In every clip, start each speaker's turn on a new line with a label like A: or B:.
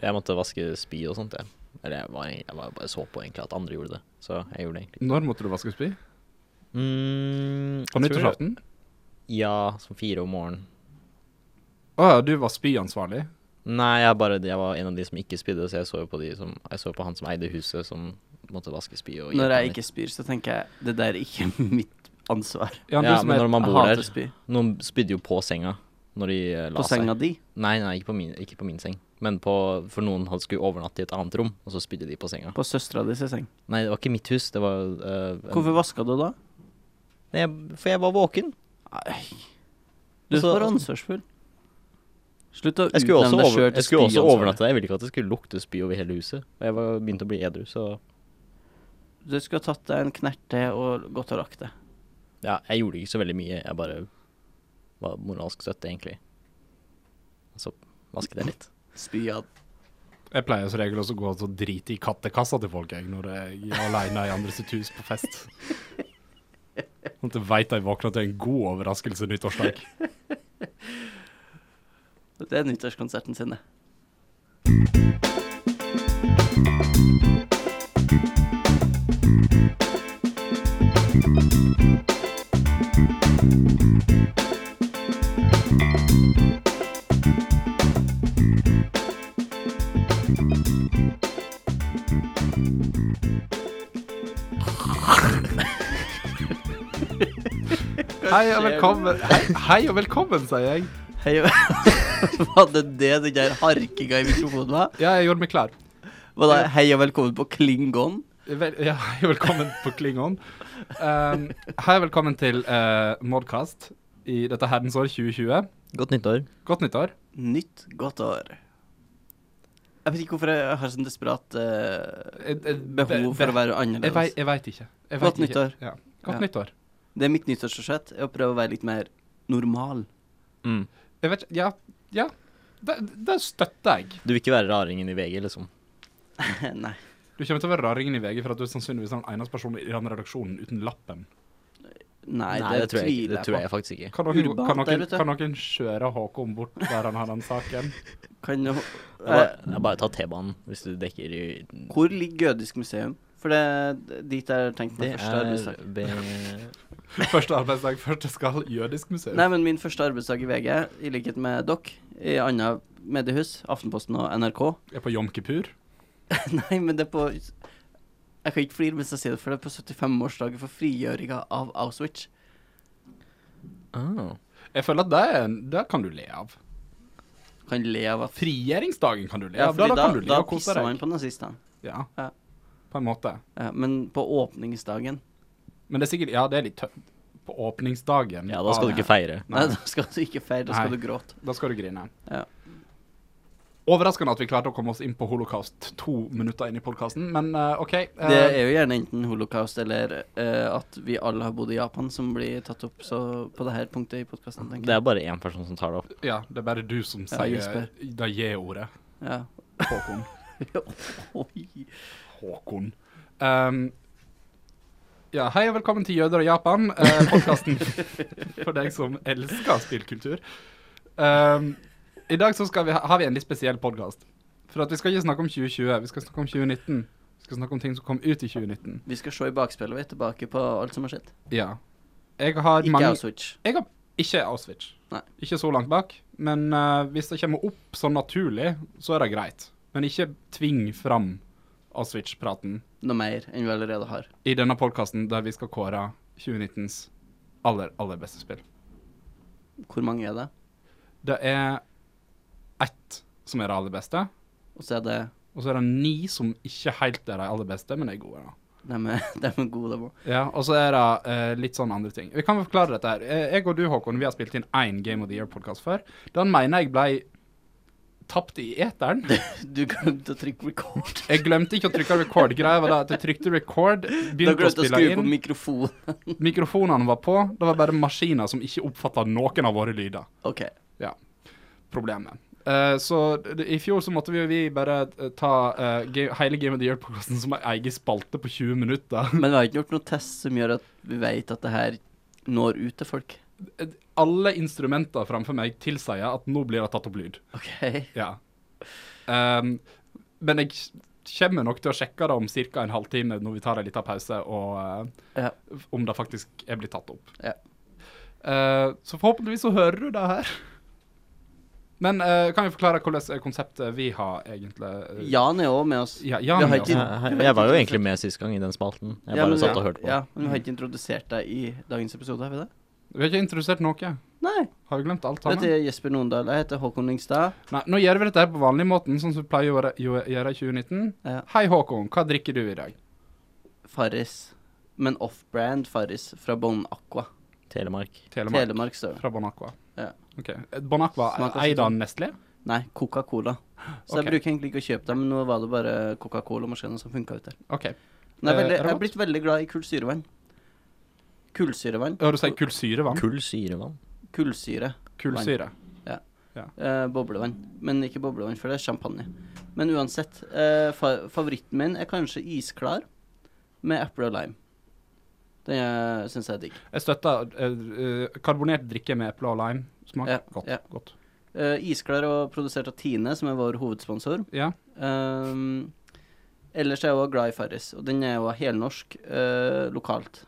A: Jeg måtte vaske spy og sånt, jeg. Eller jeg, var, egentlig- jeg var bare så på egentlig at andre gjorde det, så jeg gjorde det egentlig.
B: Når måtte du vaske spy?
A: Mm,
B: På
A: jeg tror det-
B: nyttårsaften?
A: Ja, som fire om morgenen.
B: Å ja, du var spyansvarlig.
A: Nei, jeg, bare, jeg var en av de som ikke spydde, så jeg så jo på, de som, jeg så på han som eide huset, som måtte vaske spy. Og
C: Når
A: hjelpe
C: jeg
A: han litt.
C: ikke spyr, så tenker jeg det der er ikke mitt ansvar.
B: Ja, du
A: Ja,
B: som
A: men
B: er,
A: når man
C: Jeg
A: bor
C: hater
A: der
C: spy.
A: Noen spydde jo på senga når de eh, la
C: På
A: seg.
C: senga di.
A: Nei, nei, ikke på min, ikke på min seng. Men på, for noen hadde skulle overnatte i et annet rom, og så spydde de på senga.
C: På søstera di sin seng.
A: Nei, det var ikke mitt hus, det var eh, en-
C: Hvorfor vaska du da?
A: Nei, jeg- For jeg var våken.
C: Nei. Du er
A: Altså-
C: for ansvarsfull. Slutt å
A: Jeg skulle også,
C: utnevne deg
A: over,
C: sjøl
A: jeg
C: til altså.
A: skulle også
C: spyansvarlig.
A: overnatte der. Jeg ville ikke at det skulle lukte spy over hele huset. Og jeg var begynte å bli edru, så
C: Du skulle ha tatt deg en knert til og gått og lagt deg.
A: ja, jeg gjorde ikke så veldig mye. Jeg bare var moralsk støtte, egentlig. Og så vasket jeg litt.
C: Spyad.
B: jeg pleier som regel også å gå og drite i kattekassa til folk jeg, når jeg er aleine i andre sitt hus på fest. Sånn at jeg veit jeg våkner til en god overraskelse nyttårsdag.
C: Det er nyttårskonserten sin, det.
B: Hei og velkommen, hei, hei og velkommen, sier jeg.
C: Hei, var det det den der harkinga i mikrofonen var?
B: Ja, jeg gjorde meg klar.
C: Var det hei og velkommen på Klingon?
B: Vel, ja, hei og velkommen på Klingon. Um, hei og velkommen til eh, Modcast i dette herrens år 2020.
A: Godt nyttår.
B: Godt nyttår.
C: Nytt godt år. Jeg vet ikke hvorfor jeg har sånn desperat eh,
B: Eh, eh,
C: behov for å være
B: Jeg vei-
C: annerledes.
B: jeg veit ikke. Jeg
C: Godt
B: vet ikke.
C: nyttår.
B: Ja. Godt
C: Ja.
B: nyttår.
C: Det er mitt nyttårsforsett er å prøve å være litt mer normal.
A: Mm.
B: Jeg vet ikke Ja. ja. Det, det støtter jeg.
A: Du vil ikke være raringen i VG, liksom?
C: Nei.
B: Du kommer til å være raringen i VG for at du er sannsynligvis den eneste personen i den redaksjonen uten lappen.
C: Nei,
A: det, tror jeg, ikke- det tror
C: tviler
A: jeg
C: jeg på.
A: faktisk ikke.
B: Kan noen,
C: Urbant
B: kan
C: der
B: noen,
C: ute.
B: kan noen kjøre Håkon bort der han har den saken?
C: Kan jo, Eh,
A: Jeg bare, jeg bare ta T-banen hvis du dekker i
C: hvor ligger Jødisk museum? For det dit jeg har tenkt
A: Det
C: min første arbeidsdag.
A: er B...
B: Første arbeidsdag først jeg skal jødisk museum.
C: Nei, men min første arbeidsdag i VG, i likhet med dere, i annet mediehus, Aftenposten og NRK
B: Jeg er på Jom Kippur.
C: Nei, men det er på Jeg kan ikke flire mens jeg sier det, for det er på 75-årsdagen for frigjøringa av Auschwitz.
A: Ah.
B: Jeg føler at det, er en, det kan du le av.
C: Kan le av at
B: Frigjøringsdagen kan du le
C: Ja,
B: av. da,
C: fordi
B: da
C: da,
B: kan du le
C: da
B: og kose
C: pisser man
B: deg.
C: på nazistene.
B: Ja,
C: Ja.
B: på en måte.
C: Ja, men på åpningsdagen
B: Men det er sikkert Ja, det er litt tøft. På åpningsdagen.
A: Ja, da skal du
B: av-
A: ikke feire.
C: Nei,
B: Nei.
C: da skal du ikke feire, da skal
B: Nei.
C: du gråte.
B: Da skal du grine.
C: Ja.
B: Overraskende at vi klarte å komme oss inn på holocaust to minutter inn i podkasten, men eh, OK. eh,
C: Det er jo gjerne enten holocaust eller eh, at vi alle har bodd i Japan, som blir tatt opp så på det her punktet i podkasten,
A: Det
C: tenker jeg.
A: er bare én person som tar det opp.
B: Ja, det er bare du som
C: Ja,
B: sier
C: Jesper.
B: det J-ordet.
C: Ja.
B: Håkon.
C: Oi.
B: Håkon. Ehm, ja, hei og velkommen til Jøder og Japan, eh, podkasten for deg som elsker spillkultur. Ehm, I dag så skal vi ha, har vi en litt spesiell podkast. For at vi skal ikke snakke om 2020, vi skal snakke om 2019. Vi skal snakke om ting som kom ut i 2019.
C: Vi skal se i bakspeilet vi er tilbake på alt som har skjedd.
B: Ja. Jeg har
C: Ikke altså
B: mange
C: Auschwitz.
B: Jeg har ikke Auschwitz.
C: Nei.
B: Ikke så langt bak. Men eh, hvis det kommer opp sånn naturlig, så er det greit. Men ikke tving fram Auschwitz-praten
C: Noe mer enn vi allerede har.
B: i denne podkasten der vi skal kåre 2019s aller, aller beste spill.
C: Hvor mange er det?
B: Det er ett som er det aller beste,
C: Og så er det
B: og så er det ni som ikke helt er de aller beste, men er gode. da.
C: dem er, dem er gode, dem òg.
B: Ja, Og så er det eh, litt sånn andre ting. Vi kan vel forklare dette her. Eh, Jeg og du, Håkon, vi har spilt inn én Game of the Year-podkast før. Den mener jeg ble tapt i eteren.
C: Du glemte å trykke record.
B: Jeg glemte ikke å trykke record. Greia var da at jeg trykte record,
C: Da
B: begynte å
C: glemte å
B: spille
C: skru på
B: inn,
C: mikrofon.
B: mikrofonene var på, det var bare maskiner som ikke oppfatta noen av våre lyder.
C: OK.
B: Problemet. Eh, så d- i fjor så måtte vi, vi bare eh, ta eh, ga- hele Game of the Year-podkasten som ei egen spalte på 20 minutter.
C: Men vi har ikke gjort noen test som gjør at vi vet at det her når ut til folk.
B: Alle instrumenter framfor meg tilsier at nå blir det tatt opp lyd.
C: OK.
B: Ja. Um, men jeg kommer nok til å sjekke det om ca. en halvtime når vi tar en liten pause, og eh,
C: Ja.
B: om det faktisk er blitt tatt opp.
C: Ja.
B: Eh, så forhåpentligvis så hører du det her. Men eh, kan jeg forklare hvordan konseptet vi har, egentlig? eh,
C: Jan er òg med oss.
B: Ja, Jan
C: Vi har
B: er
C: ikke-
B: også-
A: Jeg, jeg var jo egentlig med sist gang i den spalten. Jeg
C: Ja,
A: bare
C: men-
A: satt og hørte på.
C: Ja, men vi har ikke introdusert deg i dagens episode, har vi det?
B: Vi har ikke introdusert noe.
C: Nei.
B: Har vi glemt alt
C: Dette
B: sammen?
C: er Jesper Nondal. Jeg heter Håkon Lyngstad.
B: Nei, nå gjør vi dette her på vanlig måten, sånn som vi pleier å gjøre- gjøre gjøre i 2019.
C: Ja.
B: Hei Håkon, hva drikker du i dag?
C: Farris. Men off-brand Farris fra Bon Aqua.
A: Telemark.
B: Telemark.
C: Telemark står det.
B: Fra Bon Aqua.
C: Ja.
B: Ok. Bon Aqua,
C: Smaker
B: eier
C: sånn.
B: den Nestlé?
C: Nei, Coca-Cola. Så
B: Ok.
C: jeg bruker egentlig ikke å kjøpe det, men nå var det bare Coca-Cola-maskinen som funka ute.
B: Ok.
C: Men jeg, er
B: Eh,
C: veldig, jeg
B: Robert?
C: er blitt veldig glad i kullsyrevann. Kullsyrevann.
B: Hører du si kullsyrevann?
A: Kull syrevann.
C: Kullsyre.
B: Kullsyre.
C: Eh, boblevann. Men ikke boblevann, for det er champagne. Men uansett. Eh, fa favoritten min er kanskje isklar med eple og lime. Den syns jeg er digg.
B: Jeg støtter eh, eh, karbonert drikke med eple og lime. Smak
C: Ja,
B: godt.
C: ja.
B: godt.
C: Eh, isklar er produsert av Tine, som er vår hovedsponsor.
B: Ja.
C: Ehm, ellers er jeg også glad i Farris, og den er jo helnorsk eh, lokalt.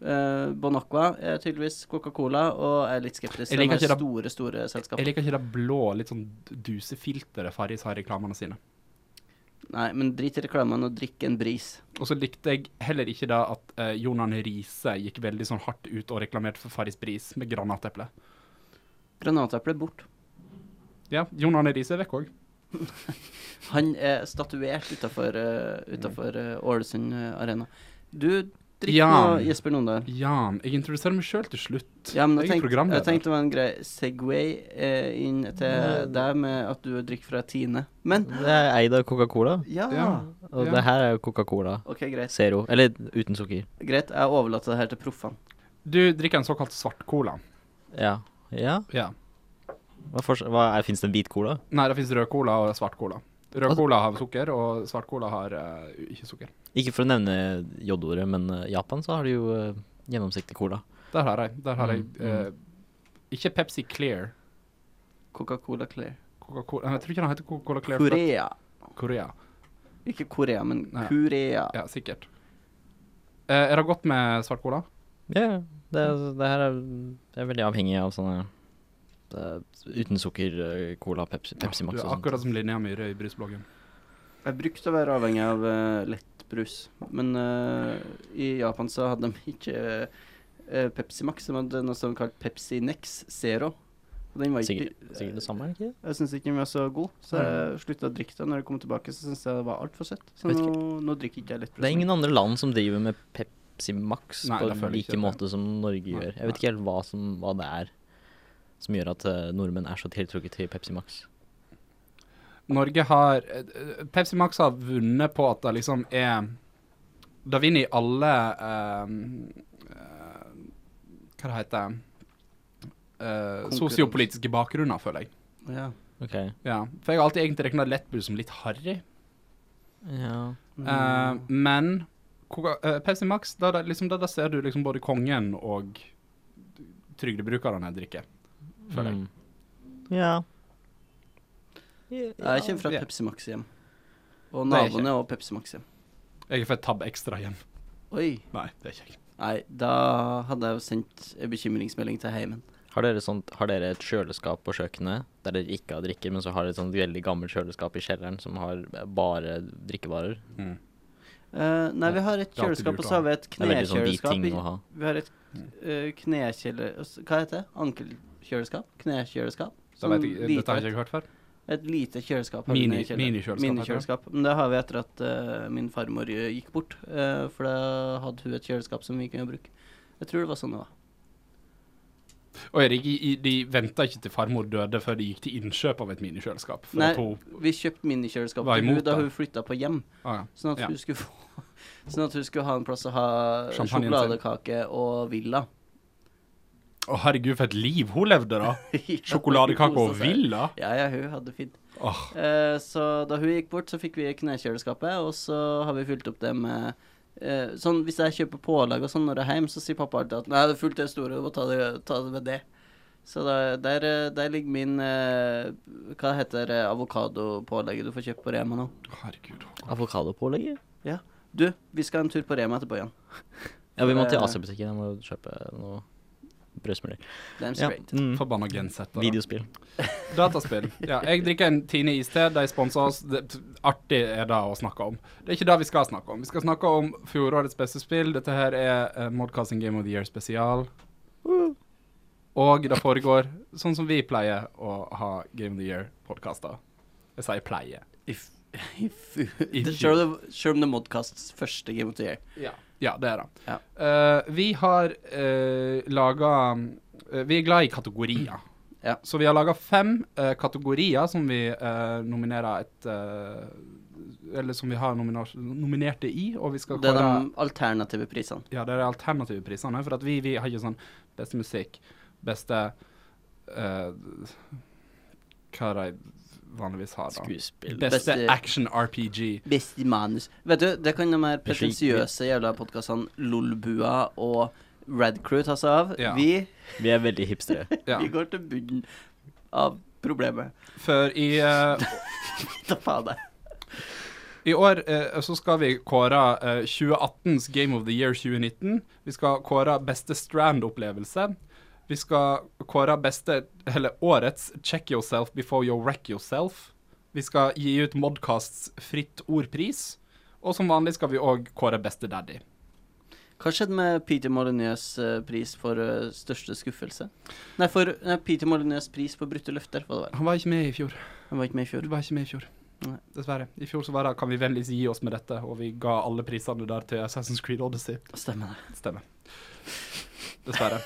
C: Eh, bon Aqua er tydeligvis Coca-Cola, og jeg er litt
B: Jeg
C: skeptisk til de
B: liker
C: her
B: ikke det-
C: store, store
B: Jeg
C: selskapene.
B: liker ikke det blå, litt sånn dusefilteret Farris har i reklamene sine.
C: Nei, men drit i reklamene og drikk en bris.
B: Og så likte jeg heller ikke det at eh, Jonan Riise gikk veldig sånn hardt ut og reklamerte for Farris Bris med granateple.
C: Granateple bort.
B: Ja, Jonan Riise er vekk òg.
C: Han er statuert utafor Ålesund eh, Arena. Du drikk
B: Jan.
C: nå, Jesper Nondal.
B: Jan, jeg introduserer meg sjøl til slutt.
C: Ja, men
B: jeg
C: jeg,
B: er
C: tenk, jeg
B: programleder.
C: tenkte det var en grei Segway eh, inn til deg med at du drikker fra Tine. Men
A: Det er eid av Coca-Cola,
C: ja.
B: Ja.
A: og
B: Ja.
A: det her er jo Coca-Cola
C: OK, greit.
A: Zero. Eller uten sukker.
C: Greit, jeg overlater det her til proffene.
B: Du drikker en såkalt svartcola.
A: Ja. Ja?
B: Ja.
A: Hva, fors- hva er, Fins det en hvit cola?
B: Nei, det fins rød cola og svart cola. Rød
A: Altså-
B: cola har sukker, og svart cola har eh, ikke sukker.
A: Ikke for å nevne J-ordet, men eh, i Japan så har de jo eh, gjennomsiktig cola.
B: Der har jeg. Der har jeg
A: Mm,
B: eh, ikke Pepsi Clear.
C: Coca-Cola Clear.
B: Coca-Cola Jeg tror ikke den heter Coca-Cola Clear. for det
C: Korea.
B: er Korea.
C: Ikke Korea, men
B: Nei.
C: Korea.
B: Ja, sikkert. Eh, er det godt med svart cola?
A: Ja, ja. det, det her er, det er veldig avhengig av sånne eh, uten sukker eh, cola, Pepsi, Pepsi
B: du
A: Max sånn.
B: er
A: og sånt.
B: akkurat som Linnea Myhre i Brusbloggen.
C: Jeg brukte å være avhengig av eh, lett brus, men eh, i Japan så hadde de ikke eh, Pepsi Max, de hadde noe som kalt Pepsi Nex Zero. Og den var ikke eh,
A: Sikkert, sikkert det samme, er det ikke det?
C: Jeg syns ikke den var så god, så jeg slutta å drikke den. Når jeg kom tilbake, så syntes jeg det var altfor søtt. Så
A: Vet
C: nå,
A: ikke.
C: nå drikker ikke jeg lettbrus.
A: Det er ingen andre land som driver med Pepsi Max
B: Nei, det
A: på
B: føler jeg
A: like
B: ikke.
A: måte som Norge
B: Nei,
A: gjør. Jeg vet ikke helt hva, som, hva det er som gjør at eh, nordmenn er så tiltrukket til Pepsi Max.
B: Norge har eh, eh, Pepsi Max har vunnet på at det liksom er Det vinner i alle eh, eh, Hva det heter eh,
C: Konkurranse.
B: Sosiopolitiske bakgrunner, føler jeg.
C: Ja.
A: Ok.
B: Ja. For jeg har alltid egentlig regna lettbrus som litt harry.
A: Ja.
C: Mm.
B: Eh, men Coca eh, Pepsi Max, der, der, liksom, der, der ser du liksom både kongen og trygdebrukerne drikke. Føler jeg.
A: Mm. Ja.
C: jeg kommer fra
B: ja.
C: et Pepsi Max hjem. Og
B: Det er ikke-
C: naboene og Pepsi Max hjem.
B: Jeg får et tab ekstra hjem.
C: Oi.
B: Nei, det er ikke jeg.
C: Nei, da hadde jeg jo sendt en bekymringsmelding til heimen.
A: Har dere, sånt, har dere et kjøleskap på kjøkkenet der dere ikke har drikker, men så har dere et sånt veldig gammelt kjøleskap i kjelleren som har bare drikkevarer?
B: Mm.
C: Eh, nei, vi har et
B: Det er alltid
C: kjøleskap,
B: lurt
C: og
B: å
C: så har
B: ha.
C: vi et
A: Det er veldig sånn de
C: knekjøleskap.
A: ting
C: i-
A: å ha.
C: Vi har et uh, knekjele... Hva heter det? Ankelkjøleskap? Knekjøleskap? Sånn
B: Da vet jeg, eh, dette har
C: Mm, lite,
B: jeg ikke hørt før.
C: et lite kjøleskap. har vi
B: Mini-
C: nede i kjelleren.
B: Minikjøleskap. heter det.
C: Minikjøleskap. Men det har vi etter at eh, min farmor eh, gikk bort. eh, for da hadde hun et kjøleskap som vi kunne bruke. Jeg tror det var sånn det var.
B: Og Erik, i- i- de venta ikke til farmor døde før de gikk til innkjøp av et minikjøleskap. For
C: Nei.
B: at hun-
C: Vi kjøpte minikjøleskap
B: Var
C: til hun
B: imot
C: da
B: det.
C: hun flytta på hjem,
B: ah, ja.
C: sånn at,
B: Ja.
C: hun skulle få, sånn at hun skulle ha en plass å ha
B: Champagnen sin.
C: sjokoladekake og villa.
B: Å, herregud, for et liv hun levde, da! Sjokoladekake og villa!
C: Ja, ja, hun hadde fint.
B: Åh,
C: Eh, så da hun gikk bort, så fikk vi knekjøleskapet, og så har vi fylt opp det med eh, Sånn hvis jeg kjøper pålegg og sånn når jeg er hjemme, så sier pappa alltid at Nei, det er fullt i det store, du må ta det, ta det med det. Så da, der, eh, der ligger min eh, Hva heter eh, avokadopålegget du får kjøpt på Rema nå?
B: Herregud. Håkon.
A: Avokadopålegget?
C: Du, vi skal en tur på Rema etterpå igjen.
A: Ja, vi må til
C: Eh.
A: AC-butikken. Jeg må kjøpe noe brødsmuler.
C: Damn
A: Ja.
C: straight.
A: Mm.
B: Forbanna gensetter. da.
A: Videospill.
B: Dataspill. Ja, jeg drikker en Tine iste, de sponser oss. Det, artig er det å snakke om. Det er ikke det vi skal snakke om. Vi skal snakke om fjorårets beste spill. Dette her er eh, Modcasting Game of the Year spesial. Og det foregår sånn som vi pleier å ha Game of the Year-podkaster. Jeg sier pleier.
C: If, if, Selv om det- selv om det er Modcasts første Game of the Year.
B: Ja, ja det er det.
C: Ja.
B: Eh, vi har uh, laga eh, Vi er glad i kategorier.
C: Ja.
B: Så vi har laga fem eh, kategorier som vi eh, nominerer et eh, Eller som vi har nominar- nominerte i, og vi skal
C: Det er de alternative prisene.
B: Ja, det er de alternative prisene, for at vi, vi har ikke sånn beste musikk, beste eh, Hva de vanligvis har, da.
A: Skuespill.
B: Beste
C: Beste-
B: action RPG.
C: Beste manus. Vet du, det kan de her
A: er slik-
C: pretensiøse jævla podkastene Lolbua og Red Crew ta seg av.
B: Ja.
C: Vi,
A: Vi er veldig hipstere.
B: Ja.
C: vi går til bunnen av problemet.
B: For i eh,
C: Ta faen deg.
B: I år eh, så skal vi kåre eh, 2018s Game of the Year 2019. Vi skal kåre beste Strand-opplevelse. Vi skal kåre beste, eller årets Check Yourself Before You Wreck Yourself. Vi skal gi ut Modcasts Fritt Ordpris. Og som vanlig skal vi òg kåre beste daddy.
C: Hva skjedde med Peter Molyneux' eh, pris for eh, største skuffelse? Nei, for nei, Peter Molyneux' pris for brutte løfter, var det vel.
B: Han var ikke med i fjor.
C: Han var ikke med i fjor.
B: Du var ikke med i fjor.
C: Nei.
B: Dessverre. I fjor så var det 'Kan vi vennligst gi oss med dette', og vi ga alle prisene der til Assassin's Creed Odyssey.
C: Stemmer det.
B: Stemmer. Dessverre.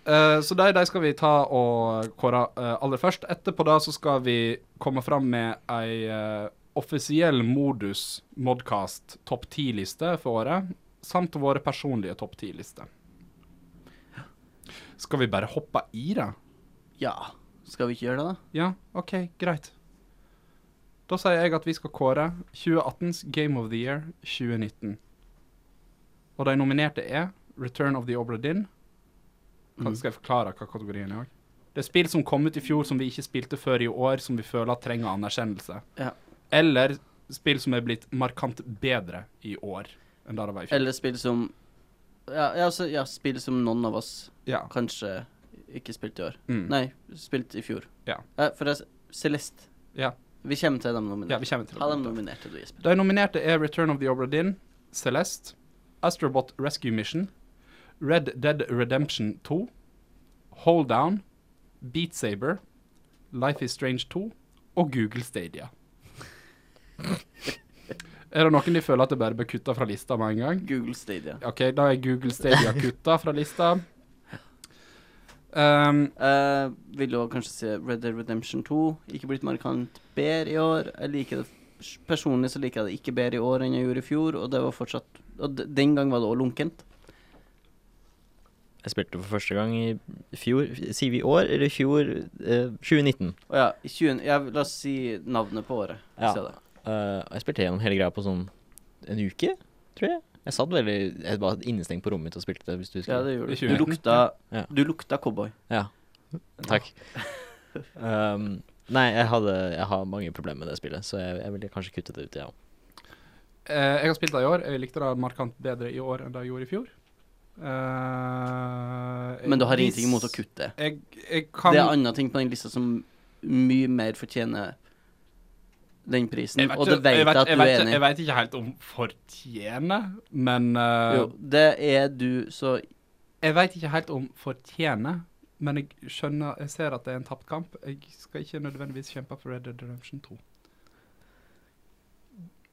B: Eh, så de, de skal vi ta og kåre eh, aller først. Etterpå da så skal vi komme fram med ei eh, offisiell modus modcast topp 10-liste for året, samt våre personlige topp 10-lister. Skal vi bare hoppe i det?
C: Ja. Skal vi ikke gjøre det, da?
B: Ja, OK, greit. Da sier jeg at vi skal kåre 2018s Game of the Year 2019. Og de nominerte er Return of the Obra Dinn.
C: Mm.
B: Kan- Skal jeg forklare hva kategorien er? Det er spill som kom ut i fjor som vi ikke spilte før i år, som vi føler trenger anerkjennelse.
C: Ja.
B: Eller spill som er blitt markant bedre i år enn det det var i fjor.
C: Eller spill som ja, ja, altså, ja, spill som noen av oss
B: Ja.
C: kanskje ikke spilte i år.
B: Mm.
C: Nei, spilt i fjor. Eh,
B: Ja.
C: for det er Celeste.
B: Ja.
C: Vi kommer til dem nominerte.
B: ja, vi kommer til
C: Ha dem
B: det.
C: nominerte, du, Jesper.
B: De nominerte er Return of the Obra Dinn, Celeste, Astrobot Rescue Mission, Red Dead Redemption 2, Hold Down, Beat Saber, Life is Strange 2 og Google Stadia. er det noen de føler at det bare bør kutte fra lista med en gang?
C: Google Stadia.
B: OK, da er Google Stadia kutta fra lista. Ehm,
C: Eh, vil jo kanskje si Red Dead Redemption 2. Ikke blitt markant bedre i år. Jeg liker det Personlig så liker jeg det ikke bedre i år enn jeg gjorde i fjor, og det var fortsatt Og d den gang var det òg lunkent.
A: Jeg spilte for første gang i fjor. Sier vi i år eller i fjor? Eh, 2019.
C: Og ja, i 20, ja, la oss si navnet på året.
A: Ja.
C: Så det.
A: Eh, jeg spilte gjennom hele greia på sånn en uke, tror jeg. Jeg satt veldig Jeg var innestengt på rommet mitt og spilte det, hvis du husker.
C: ja, det gjorde
B: I 2019,
C: du. Du lukta,
A: ja.
C: du lukta cowboy.
A: Ja. Takk. Um, nei, jeg, hadde, jeg har mange problemer med det spillet, så jeg, jeg ville kanskje kuttet det ut, jeg òg.
B: Eh, jeg har spilt det i år. Jeg likte det markant bedre i år enn det jeg gjorde i fjor. Eh,
C: Men du har
B: hvis-
C: ingenting imot å kutte.
B: Jeg, jeg kan
C: Det er andre ting på den lista som mye mer fortjener den prisen, og det vet jeg
B: vet-
C: at du
B: vet
C: er
B: ikke-
C: enig i.
B: Jeg vet ikke helt om fortjene, men eh,
C: Jo, det er du så
B: Jeg vet ikke helt om fortjene, men jeg skjønner Jeg ser at det er en tapt kamp. Jeg skal ikke nødvendigvis kjempe for Red Dead Redemption 2.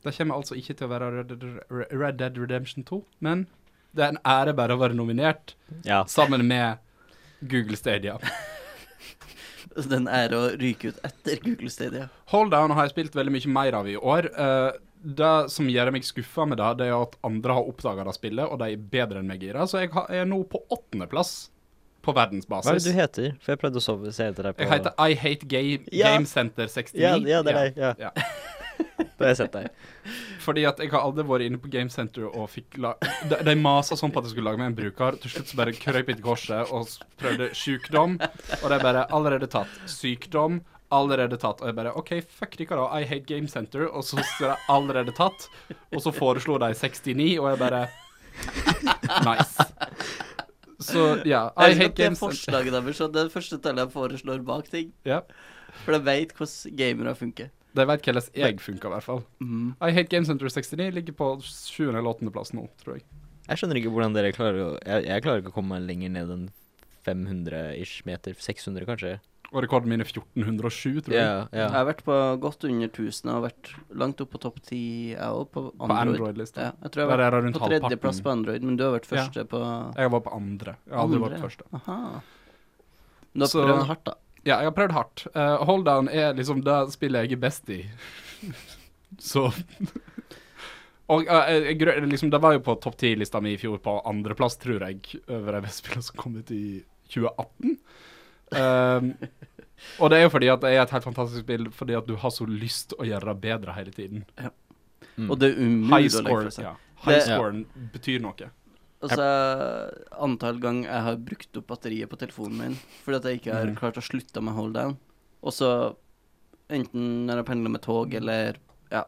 B: Det kommer altså ikke til å være Red Dead, Red Dead Redemption 2, men det er en ære bare å være nominert
A: Ja.
B: sammen med Google Stadia.
C: Den er å ryke ut etter Google Stadia.
B: Hold Down har jeg spilt veldig mye mer av i år. Eh, det som gjør meg skuffa med det, det er at andre har oppdaga det spillet, og de er bedre enn meg i det. Så jeg har- er nå på åttendeplass på
A: Hva er det
B: verdensbasis.
A: du heter? For jeg prøvde å sove, se etter deg på
B: jeg heter I Hate Game,
A: Ja.
B: Game Center 69.
A: ja, ja, det er deg.
B: Ja.
A: Ja. Da har jeg sett deg.
B: Fordi at jeg har aldri vært inne på Game Center og fikk la De, de masa sånn på at jeg skulle lage meg en bruker. Til slutt så bare krøp jeg til korset og s- prøvde sykdom, og de bare allerede tatt. Sykdom, allerede tatt. Og jeg bare OK, fuck dere, da. I hate Game Center. Og så står det allerede tatt. Og så foreslo de 69, og jeg bare Nice. Så ja. I
C: Jeg elsker
B: hate
C: at det
B: Game
C: er
B: Center.
C: forslaget deres, og det er det første tallet jeg foreslår bak ting.
B: Ja.
C: For de vet hvordan gamere funker.
B: De veit hvordan jeg funker, i hvert fall. I Hate Game Center 69 ligger på 7. eller 8. plass nå, tror jeg.
A: Jeg skjønner ikke hvordan dere klarer å Jeg, jeg klarer ikke å komme meg lenger ned enn 500-ish meter. 600, kanskje.
B: Og rekorden min er 1407, tror jeg.
A: Ja, ja.
C: Jeg har vært på godt under 1000 og vært langt opp på topp 10 jeg òg, på
B: På
C: Android.
B: Android-lista.
C: Ja, jeg tror jeg
B: Der
C: har
B: er det rundt
C: vært på tredjeplass
B: halvparten.
C: på Android, men du har vært første på
B: Jeg var på andre. Jeg har aldri vært
C: Andre?
B: første.
C: Aha. Du har
B: Så-
C: prøvd hardt, da.
B: Ja, jeg har prøvd hardt. Eh, Holdown er liksom det spillet jeg er best i. Så Og eh, jeg grø- liksom, det var jo på topp ti-lista mi i fjor på andreplass, tror jeg, over de beste spillene som kom ut i 2018. Um, og det er jo fordi at det er et helt fantastisk spill, fordi at du har så lyst å gjøre det bedre hele tiden.
A: Mm.
C: Og det er
B: High
C: umulig å legge
B: score,
C: fra seg.
B: ja. High
C: Det-
B: scoren betyr noe.
C: Altså, antall gang jeg har brukt opp batteriet på telefonen min fordi at jeg ikke har
B: Mhm.
C: klart å slutte med hold down, og så enten når jeg pendler med tog eller ja,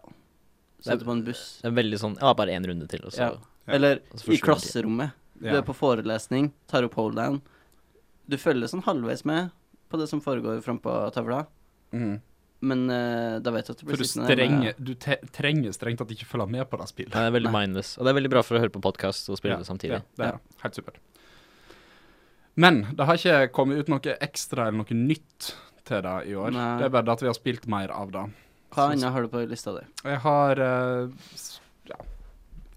C: sitter på en buss
A: Det er veldig sånn Ja, bare én runde til, og så
C: Ja. Eller
A: Og så
C: i
A: forsvinner
C: klasserommet. Du
B: Ja.
C: er på forelesning, tar opp hold down. Du følger sånn halvveis med på det som foregår frampå tavla,
B: Mm.
C: men eh, da vet du at du
B: For
C: blir
B: du,
C: sittende der
B: strenger,
C: med
B: du te trenger strengt tatt ikke følge med på det spillet.
A: Nei, det er veldig mindless. Og det er veldig bra for å høre på podkast og spille
B: Ja,
A: det samtidig.
B: Ja, det er det. Helt supert. Men det har ikke kommet ut noe ekstra eller noe nytt til det i år.
C: Nei.
B: Det er bare det at vi har spilt mer av det.
C: Hva annet har du på lista di?
B: Jeg har eh, s- ja.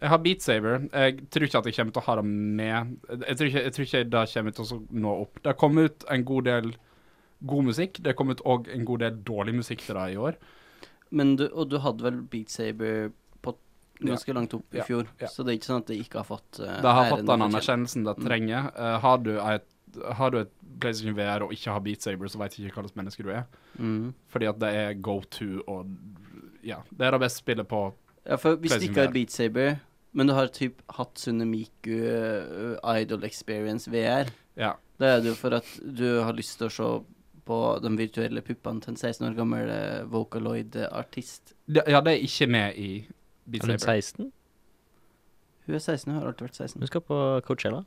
B: Jeg har Beat Saber. Jeg tror ikke at jeg kommer til å ha det med. Jeg tror ikke, jeg tror ikke det kommer til å nå opp. Det har kommet ut en god del god musikk. Det har kommet òg en god del dårlig musikk til det i år.
C: Men du, og du hadde vel Beat Saber på ganske langt opp i
B: Ja,
C: fjor,
B: ja.
C: så det er ikke sånn at det ikke har fått uh,
B: Det har fått den anerkjennelsen det trenger. Eh, har, du et, har du et PlayStation VR og ikke har Beat Saber, så veit jeg ikke hva slags menneske du er.
C: Mm.
B: Fordi at det er go to og Ja, det er det beste spillet på
C: Ja, for hvis du
B: PlayStation
C: ikke har
B: VR.
C: Beat Saber, men du har typ Hatsune Miku eh, Idol Experience VR,
B: Ja.
C: da er det jo for at du har lyst til å se på de virtuelle puppene til en 16 år gammel eh, Vocaloid-artist.
B: Det, ja, det er ikke med i Beat
A: Er hun
B: Saber.
A: 16?
C: Hun er 16, hun har alltid vært 16.
A: Hun skal på Coachella.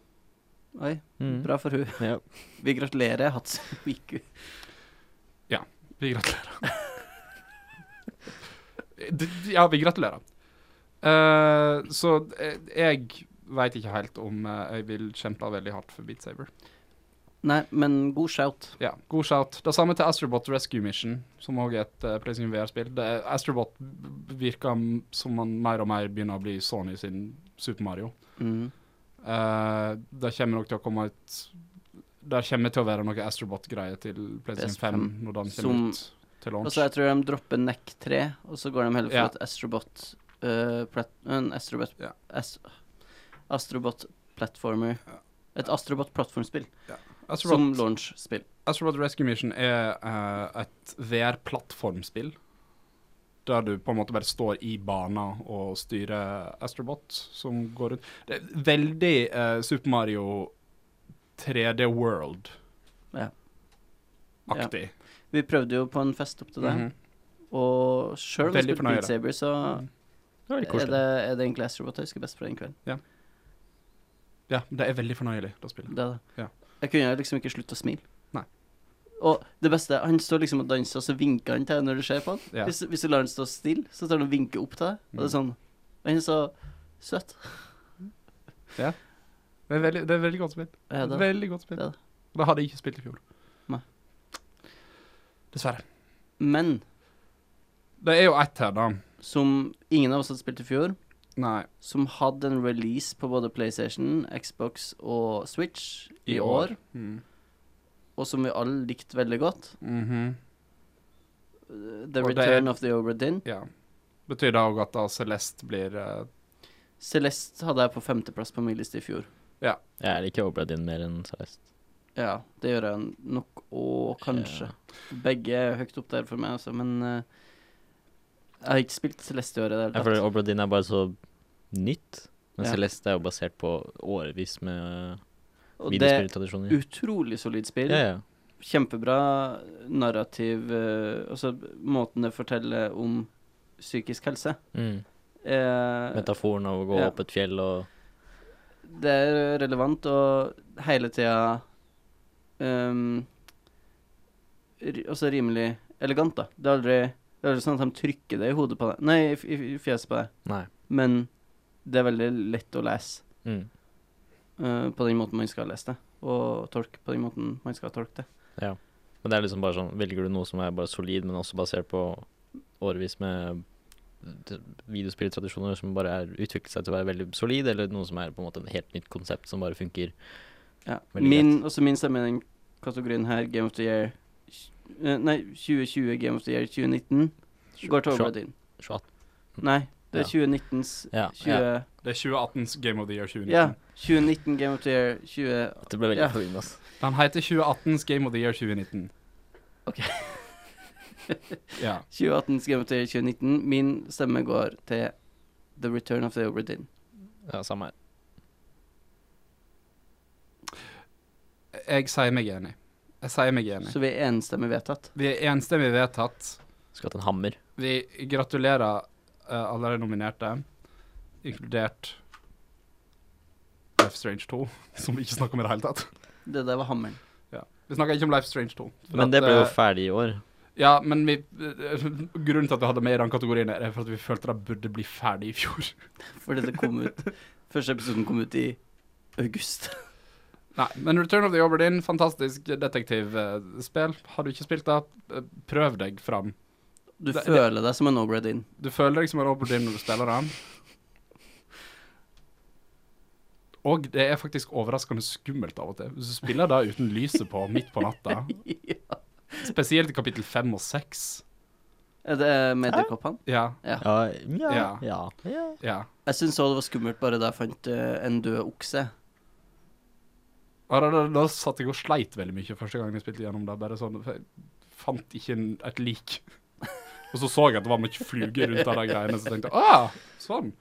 C: Oi,
A: Mm.
C: bra for hun.
A: Ja.
C: Vi gratulerer Hatsune Miku.
B: Vi gratulerer. D- ja, vi gratulerer. Eh, så eh, jeg veit ikke helt om eh, jeg vil kjempe veldig hardt for Beat Saber.
C: Nei, men god shout.
B: Ja, god shout. Det samme til Astrobot Rescue Mission, som òg er et eh, PlayStation VR-spill. Astrobot virker m- som man mer og mer begynner å bli Sony sin Super Mario.
C: Mm.
B: Eh, det kommer nok til å komme ut Det kommer til å være noe Astrobot-greier til PlayStation 5
C: PS5,
B: når den kommer
C: som- altså,
B: ut til
C: Og
B: launch.
C: så jeg tror de dropper Neck 3, og så går de heller for
B: Ja.
C: et Astrobot eh, plat, En Astrobot
B: Ja.
C: As- Astrobot Platformer. Et Astrobot plattformspill som
B: Astrobot,
C: launch-spill.
B: Astrobot Rescue Mission er eh, et VR-plattformspill. Der du på en måte bare står i bana og styrer Astrobot som går rundt. Det er veldig eh, Super Mario 3D World-aktig.
C: Ja. Vi prøvde jo på en fest opp til det,
B: Mhm.
C: og sjøl om vi
B: Veldig
C: spilte
B: fornøyd.
C: Beat Saber, så
A: Det var veldig
C: er
A: koselig.
C: det, er det egentlig Astrobot jeg husker best fra den kvelden.
B: Ja, det er veldig fornøyelig, det spillet.
C: Det, er det.
B: Ja.
C: Jeg kunne liksom ikke slutte å smile.
B: Nei.
C: Og det beste, han står liksom og danser, og så vinker han til deg når du ser på han.
B: Ja. Mhm.
C: Hvis, hvis du lar han stå stille, så tar han og vinker opp til deg, og det er sånn Han er så søt.
B: Det er veldig, det er veldig godt spill.
C: Ja, det-
B: veldig godt spill.
C: det er det.
B: Og det hadde jeg ikke spilt i fjor.
C: Nei.
B: Dessverre.
C: Men
B: Det er jo ett her, da.
C: som ingen av oss hadde spilt i fjor,
B: Nei.
C: som hadde en release på både PlayStation, Xbox og Switch i, år.
B: Mm.
C: og som vi alle likte veldig godt,
B: Mhm.
C: uh, The
B: Og det er-
C: Return of the Obra Dinn.
B: Ja. Betyr det òg at da Celeste blir eh,
C: Celeste hadde jeg på femteplass på min liste i fjor.
A: Jeg liker Obra Dinn mer enn 16.
C: Ja, det gjør jeg nok, og kanskje. Begge er høyt opp der for meg, altså, men uh, eh, Jeg har ikke spilt Celeste i år i det
A: Ja,
C: hele
A: for
C: tatt.
A: Obradin er bare så nytt. Men
C: Ja.
A: Celeste er jo basert på årevis med
C: Og det er
A: videospilltradisjoner.
C: utrolig solid spill.
A: Ja, ja.
C: Kjempebra narrativ eh, Altså måten det forteller om psykisk helse.
A: Mm.
C: Eh,
A: Metaforen av å gå
C: Ja.
A: opp et fjell og
C: det er relevant og hele tida ehm, ri- Også rimelig elegant, da. Det er aldri, det er aldri sånn at de trykker det i hodet på deg Nei, i, f- i, f- i fjeset på deg.
A: Nei.
C: Men det er veldig lett å lese
A: Mm.
C: eh, på den måten man skal lese det. Og tolke på den måten man skal tolke det.
A: Men det er liksom bare sånn Velger du noe som er bare solid, men også basert på årevis med d- videospilltradisjoner som bare er utviklet seg til å være veldig solid, eller noe som er på en måte en helt nytt konsept som bare funker?
C: Ja.
A: Veldig
C: Min, også min stemme i den kategorien her, Game of the Year eh, Nei, 2020 Game of the Year 2019 går til
A: Sjo-
C: Overbrodin.
A: sjo-
C: Nei, det er
A: Ja.
C: 2019s
A: Ja,
C: 20...
A: ja.
B: Det er 2018s Game of the Year 2019.
C: Ja. 2019 Game of the Year 20
A: Det ble veldig
C: Ja.
A: forvirrende, altså.
B: De heter 2018s Game of the Year 2019.
C: Ok.
B: ja.
C: 2018 Game of the Year 2019. Min stemme går til The Return of the Obra Dinn.
A: Ja, samme her.
B: Jeg sier meg enig. Jeg sier meg enig.
C: Så vi er enstemmig vedtatt.
B: Vi er enstemmig vedtatt.
A: Skulle hatt en hammer.
B: Vi gratulerer eh, alle de nominerte, inkludert Life Strange 2, som vi ikke snakker om i det hele tatt.
C: Det der var hammeren.
B: Vi snakker ikke om Life Strange 2. for
A: Men
B: at,
A: det ble jo
B: eh,
A: ferdig i år.
B: Ja, men vi, grunnen til at vi hadde med i den kategorien, er for at vi følte det burde bli ferdig i fjor.
C: Fordi det kom ut Første episoden kom ut i august.
B: Nei, men Return of the Obra Dinn, fantastisk detektivspill. Har du ikke spilt det, eh, prøv deg fram.
C: Du
B: Det- det-
C: føler deg som en Obra Dinn.
B: Du føler deg som en Obra Dinn når du spiller den. Og det er faktisk overraskende skummelt av og til. Hvis du spiller det uten lyset på midt på natta,
C: ja.
B: spesielt i kapittel fem og seks
C: Er det Mediekoppene?
B: Ja,
A: Ja. Ja.
B: Ja.
A: ja. ja.
B: ja.
C: Jeg syns òg det var skummelt bare da jeg fant eh, en død okse.
B: Og da, da, da satt jeg og sleit veldig mye første gang jeg spilte gjennom det. Bare sånn, for jeg fant ikke en, et lik. Og så så jeg at det var mye fluger rundt av de greiene, så tenkte jeg ah, sånn.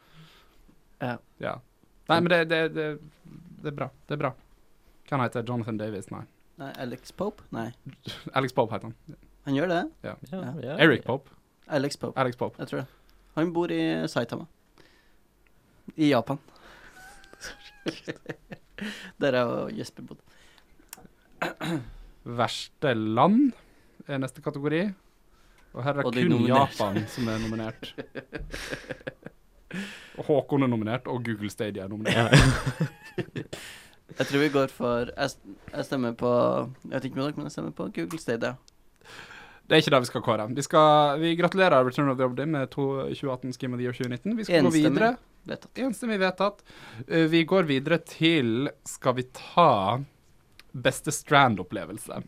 C: Ja.
B: Nei, men det, det, det, det er bra. Det er bra. Hva han heter Jonathan Davies? Nei.
C: Nei, Alex Pope? Nei.
B: Alex Pope heter han.
C: Han gjør det.
A: ja. ja.
B: Eric Pope.
C: Alex Pope.
B: Alex Pope.
C: Jeg tror det. Han bor i Saitama. I Japan. Der er jo Jesper bodd.
B: Verste land er neste kategori. Og her er
C: Og
B: det
C: de
B: kun
C: nominerte.
B: Japan som er nominert. Og Håkon er nominert, og Google Stadia er nominert.
A: Ja.
C: Jeg tror vi går for Jeg, s- jeg stemmer på Jeg vet ikke med dere, men jeg stemmer på Google Stadia.
B: Det er ikke det vi skal kåre. Vi, skal, vi gratulerer Return of the Obdim med to- 2018 Skim of the Year 2019. Vi skal gå
C: Enstemmig.
B: videre.
C: Vet at.
B: Enstemmig vedtatt. Eh, Vi går videre til Skal vi ta beste strand-opplevelse?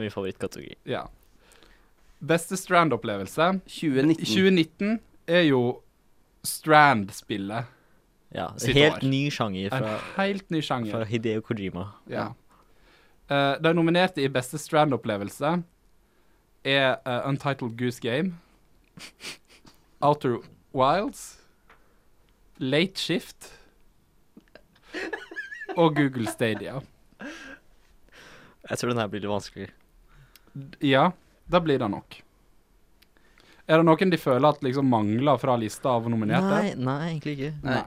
A: Min favorittkategori.
B: Ja. Beste strand-opplevelse.
C: 2019.
B: 2019 er jo Strand-spillet.
A: Ja.
B: Sitt
A: Helt
B: år.
A: ny sjanger
B: En
A: fra,
B: helt ny sjanger.
A: fra Hideo Kojima.
B: Ja. Eh, de nominerte i beste Strand-opplevelse er eh, Untitled Goose Game, Outer Wilds, Late Shift og Google Stadia.
A: Jeg tror den her blir litt vanskelig.
B: D- Ja, da blir det nok. Er det noen de føler at liksom mangler fra lista av nominerte?
A: Nei, nei, egentlig ikke.
C: Nei.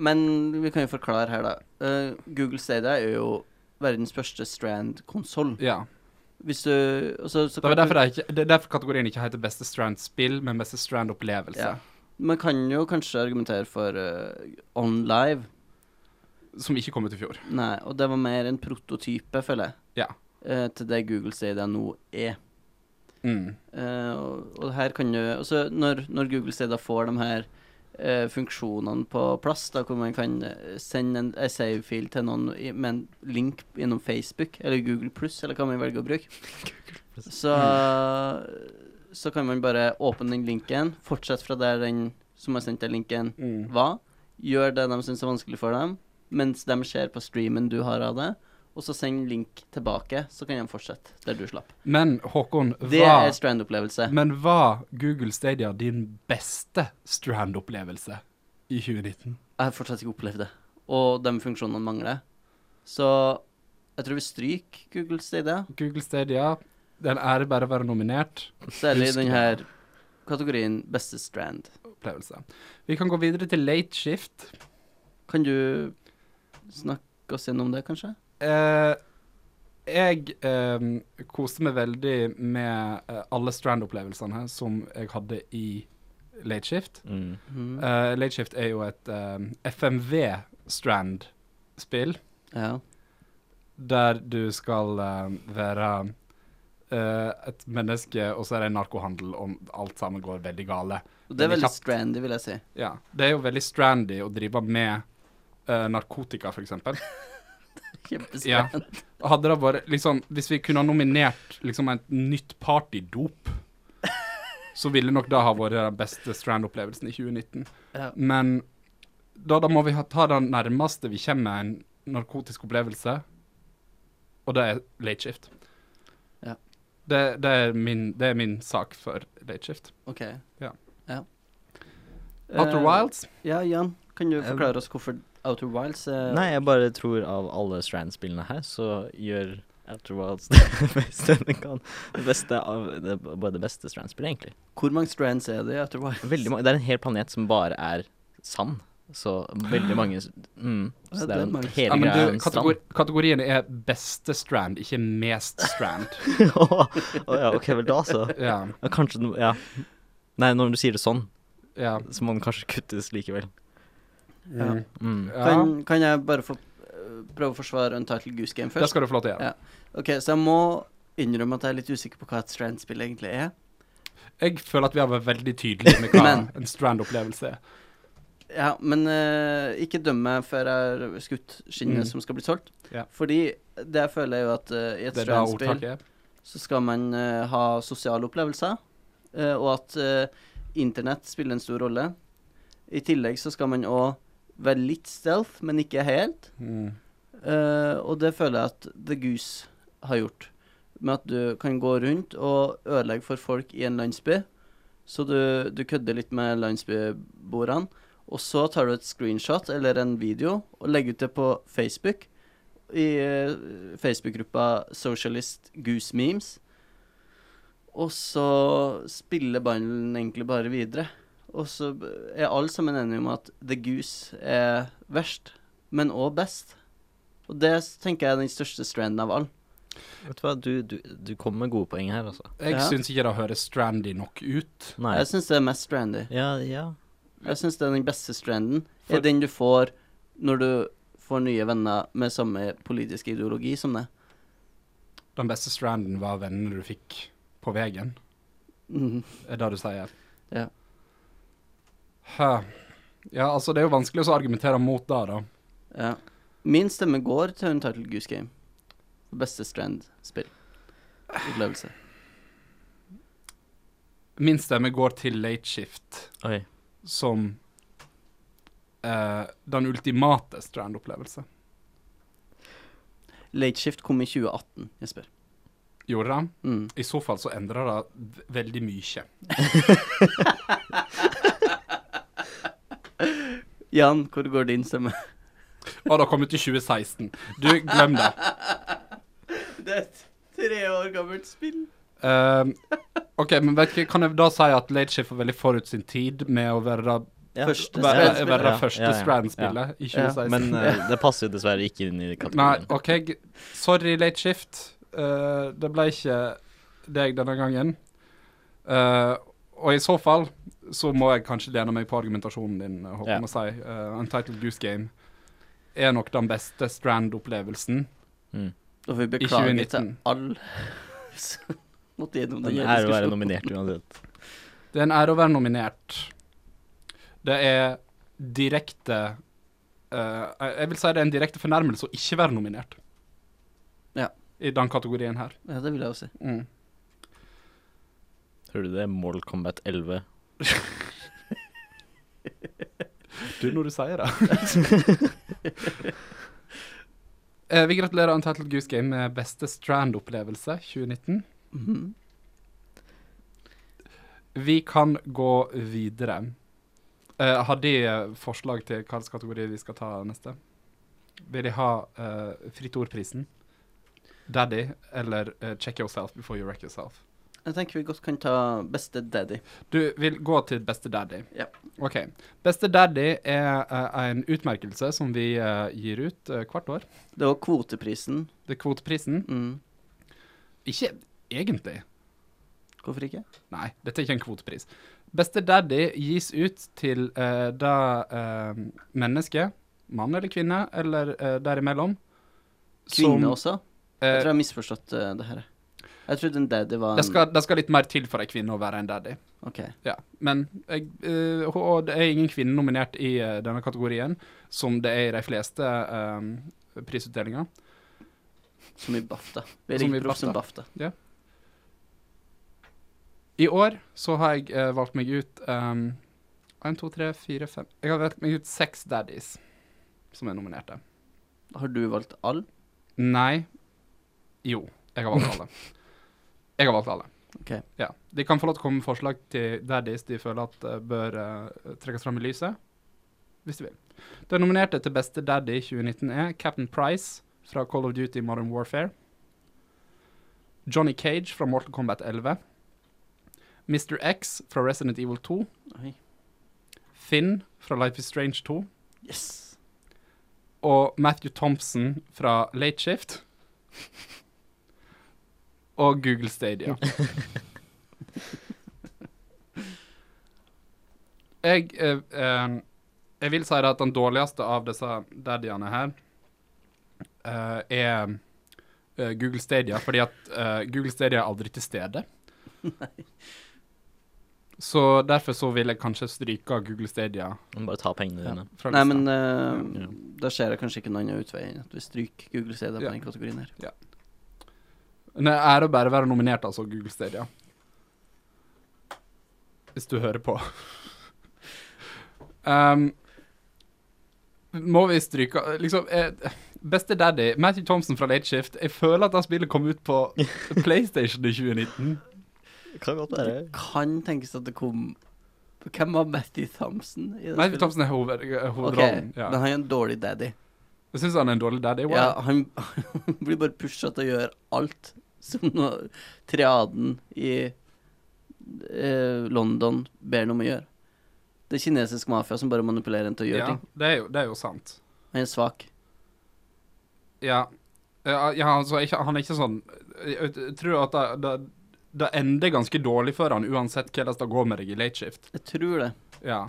C: Men vi kan jo forklare her, da. Eh, Google Stadia er jo verdens første strand-konsoll.
B: Ja.
C: Hvis du og så- så
B: Det, var
C: kan
B: derfor
C: du-
B: det, ikke, det er derfor kategorien ikke heter Beste Strand-spill, men Beste Strand-opplevelse.
C: Ja. Man kan jo kanskje argumentere for eh, On Live.
B: Som ikke kom ut i fjor.
C: Nei, og det var mer en prototype, føler jeg.
B: Ja.
C: Eh, til det Google Stadia nå er.
B: Mm.
C: Eh, og, og her kan du altså når, når Google Stadia får de her eh, funksjonene på plass, da, hvor man kan eh, sende en en save-fil til noen i- med en link gjennom Facebook eller Google Pluss, eller hva man velger å bruke, så, så kan man bare åpne den linken, fortsette fra der den som har sendt deg linken,
B: Mm.
C: var, gjør det de syns er vanskelig for dem, mens de ser på streamen du har av det, og så send link tilbake, så kan de fortsette der du slapp.
B: Men Håkon,
C: Det er
B: hva,
C: Strand-opplevelse.
B: men var Google Stadia din beste Strand-opplevelse i 2019?
C: Jeg har fortsatt ikke opplevd det. Og de funksjonene mangler. Så jeg tror vi stryker Google Stadia.
B: Google Stadia, det er en ære bare å være nominert.
C: Særlig i
A: Husk
C: den
A: det.
C: her kategorien beste strand.
B: Opplevelse. Vi kan gå videre til late shift.
C: Kan du snakke oss gjennom det, kanskje?
B: Eh, jeg eh, koste meg veldig med eh, alle Strand-opplevelsene som jeg hadde i late shift.
A: Mm.
C: Mhm.
B: Eh, late shift er jo et eh, FMV-Strand-spill.
C: Ja.
B: Der du skal eh, være eh, et menneske, og så er det narkohandel, og alt sammen går veldig gale.
C: Og det er
B: veldig
C: veldig
B: kjapt.
C: strandy, vil jeg si.
B: Ja. Det er jo veldig strandy å drive med eh, narkotika, for eksempel. Ja.
C: Kjempestrand.
B: Hadde det vært liksom Hvis vi kunne ha nominert liksom et nytt partydop, så ville nok det ha vært den beste strand-opplevelsen i 2019.
C: Ja.
B: Men da, da må vi ha, ta den nærmeste vi kommer en narkotisk opplevelse, og det er late shift.
C: Ja.
B: Det, det, er min, det er min sak for late shift.
C: OK.
B: Ja.
C: ja.
B: Outer
C: Eh,
B: Wilds?
C: Ja, Jan, kan du
A: Eh,
C: forklare oss hvorfor Outer Wilds er
A: Nei, jeg bare tror av alle Strand-spillene her, så gjør Outer Wilds det beste den kan. Det beste av det, er Bare det beste Strand-spillet, egentlig.
C: Hvor mange strands er det i Outer Wilds?
A: Veldig mange, det er en hel planet som bare er sand. Så veldig mange s- mm,
C: Ja,
A: Så det
C: det
A: er
C: er
A: jo en
C: mange.
B: Ja,
A: hele
B: men
A: greia er
B: du,
A: en strand.
B: kategori, kategorien er beste strand, ikke mest strand.
A: Å ja, OK, vel da, så.
B: ja,
A: Ja, Kanskje den- Ja. Nei, når du sier det sånn,
B: ja.
A: så må den kanskje kuttes likevel.
C: Ja.
A: Mm.
B: Ja,
C: Kan, kan jeg bare få eh, prøve å forsvare Untitled Goose Game
B: det
C: først?
B: skal du få lov til å gjøre.
C: Ja. Ok, Så jeg må innrømme at jeg er litt usikker på hva et strand-spill egentlig er.
B: Jeg føler at vi har vært veldig tydelige med hva
C: Men-
B: en strand-opplevelse er.
C: Ja, men eh, ikke døm meg før jeg har skutt
B: Mm.
C: skinnet som skal bli solgt.
B: Ja.
C: Fordi det jeg føler, er jo at eh, i et
B: Det er da
C: strandspill
B: ordtaket er.
C: så skal man eh, ha sosiale opplevelser, eh, og at eh, internett spiller en stor rolle. I tillegg så skal man òg være litt stealth, men ikke helt.
B: Mm.
C: Eh, og det føler jeg at The Goose har gjort. Med at du kan gå rundt og ødelegge for folk i en landsby. Så du, du kødder litt med landsbyboerne. Og så tar du et screenshot eller en video og legger ut det på Facebook. I eh, Facebook-gruppa Socialist Goose Memes. Og så spiller ballen egentlig bare videre. Og så er alle sammen enige om at The Goose er verst, men òg best. Og det s- tenker jeg er den største stranden av alle.
A: Vet du hva, du, du, du kommer med gode poeng her, altså.
B: Jeg
C: Ja.
B: syns ikke det høres strandy nok ut.
A: Nei.
C: Jeg syns det er mest strandy.
A: Ja, ja.
C: Jeg syns det er den beste stranden.
B: For-
C: Er den du får når du får nye venner med samme politiske ideologi som det.
B: Den beste stranden var vennene du fikk på veien,
C: Mhm.
B: er det du sier.
C: Ja.
B: Hæ. Ja, altså, det er jo vanskelig å argumentere mot det, da.
C: ja. Min stemme går til Untitled Goose Game. Beste strand-spill. Opplevelse.
B: Min stemme går til late shift
A: Oi.
B: som eh, den ultimate strandopplevelse.
C: Late Shift kom i 2018, Jesper.
B: Gjorde den?
C: Mm.
B: I så fall så endrer det v- veldig mye.
C: Jan, hvor går din stemme?
B: Og det kom ut i 2016. Du, glem det.
C: Det er et tre år gammelt spill.
B: Ehm, OK, men vet ikke, kan jeg da si at Late Shift var veldig forut sin tid med å være det
A: Ja.
C: Første
B: være-
C: Strand-spillet.
B: være det
A: Ja,
B: første
A: ja, ja.
B: Strand-spillet i 2016?
A: Men eh, det passer jo dessverre ikke inn i
B: Nei,
A: kategorien.
B: OK, g- sorry, Late Shift. Eh, det ble ikke deg denne gangen. Eh, og i så fall så må jeg kanskje lene meg på argumentasjonen din, Håkon,
A: Ja.
B: og si eh, Untitled Goose Game er nok den beste Strand-opplevelsen.
A: Mm.
C: Og vi beklager til
B: 2019.
C: alle som måtte gjennom
A: Den
C: denne
A: er å være
C: diskusjonen.
A: nominert uansett.
B: Det er en ære å være nominert. Det er direkte eh, jeg- Jeg vil si det er en direkte fornærmelse å ikke være nominert.
C: Ja.
B: I den kategorien her.
C: Ja, det vil jeg også si.
B: Mm.
A: Hører du det? Mortal Kombat 11.
B: Du, når du sier det. Eh, vi gratulerer Untitled Goose Game med beste Strand-opplevelse 2019.
C: Mhm.
B: Vi kan gå videre. Eh, har de eh, forslag til hvilken kategori vi skal ta neste? Vil de ha eh, Fritt ordprisen, Daddy eller eh, Check Yourself Before You Wreck Yourself?
C: Jeg tenker vi godt kan ta Beste Daddy.
B: Du vil gå til Beste Daddy.
C: Ja.
B: OK. Beste Daddy er eh, en utmerkelse som vi eh, gir ut eh, hvert år.
C: Det var kvoteprisen.
B: Det er kvoteprisen.
C: Mm.
B: Ikke egentlig.
C: Hvorfor ikke?
B: Nei, dette er ikke en kvotepris. Beste daddy gis ut til uh, da eh, mennesket, mann eller kvinne, eller eh, derimellom
C: Kvinne også?
B: eh,
C: Jeg tror jeg har misforstått eh, det her. Jeg trodde en daddy var en
B: det, skal, det skal litt mer til for ei kvinne å være en daddy.
C: OK.
B: Ja, men jeg, eh, og det er ingen kvinne nominert i eh, denne kategorien, som det er i de fleste eh, prisutdelinger.
C: Som i BAFTA. Vi er
B: Som i
C: ikke proff som BAFTA.
B: I år så har jeg eh, valgt meg ut um, 1, 2, 3, 4, 5 Jeg har valgt meg ut seks daddies som er nominerte.
C: Har du valgt all?
B: Nei. Jo, jeg har valgt alle. Jeg har valgt alle.
C: Ok.
B: Ja. De kan få lov til å komme med forslag til daddies de føler at eh, bør eh, trekkes fram i lyset, hvis de vil. Den nominerte til beste daddy i 2019 er Captain Price fra Call of Duty Modern Warfare. Johnny Cage fra Mortal Kombat 11. Mr. X fra Resident Evil 2.
C: Oi.
B: Finn fra Life is Strange 2.
C: Yes.
B: og Matthew Thompson fra Late Shift. Og Google Stadia. jeg, eh, eh, jeg vil si det at den dårligste av disse daddyene her eh, er eh, Google Stadia, fordi at eh, Google Stadia er aldri til stede. Så derfor så vil jeg kanskje stryke Google Stadia.
A: Men Bare ta pengene
B: Ja,
A: dine.
B: fra
C: Nei,
B: lista.
C: men eh,
A: Ja.
C: da ser jeg kanskje ikke noen annen utvei enn at vi stryker Google CD på
B: Ja.
C: den kategorien her.
B: Nei, ære å bare være nominert, altså, Google Stadia. Hvis du hører på. um, må vi stryke Liksom eh, Beste daddy, Matthew Thompson fra Late Shift. Jeg føler at det spillet kom ut på PlayStation i 2019.
A: Kan godt være.
C: Kan tenkes at det kom Hvem var Matty Thompson? i det
B: Matthew
C: spillet?
B: Thompson er hoved, eh,
C: Ok,
B: hovedrollen.
C: Men
B: Ja.
C: han er en dårlig daddy.
B: Jeg syns han er en dårlig daddy. Wow.
C: Ja, han blir bare pusha til å gjøre alt som nå- triaden i eh, London ber ham om å gjøre. Det er kinesisk mafia som bare manipulerer en til å gjøre
B: Ja,
C: ting.
B: det, er jo, det er jo sant.
C: Han er svak.
B: Ja. Ja, ja altså, ikke, han er ikke sånn Jeg, jeg tror at det, det, det ender ganske dårlig for han, uansett hvordan det går med deg i late shift.
C: Jeg tror det.
B: Ja.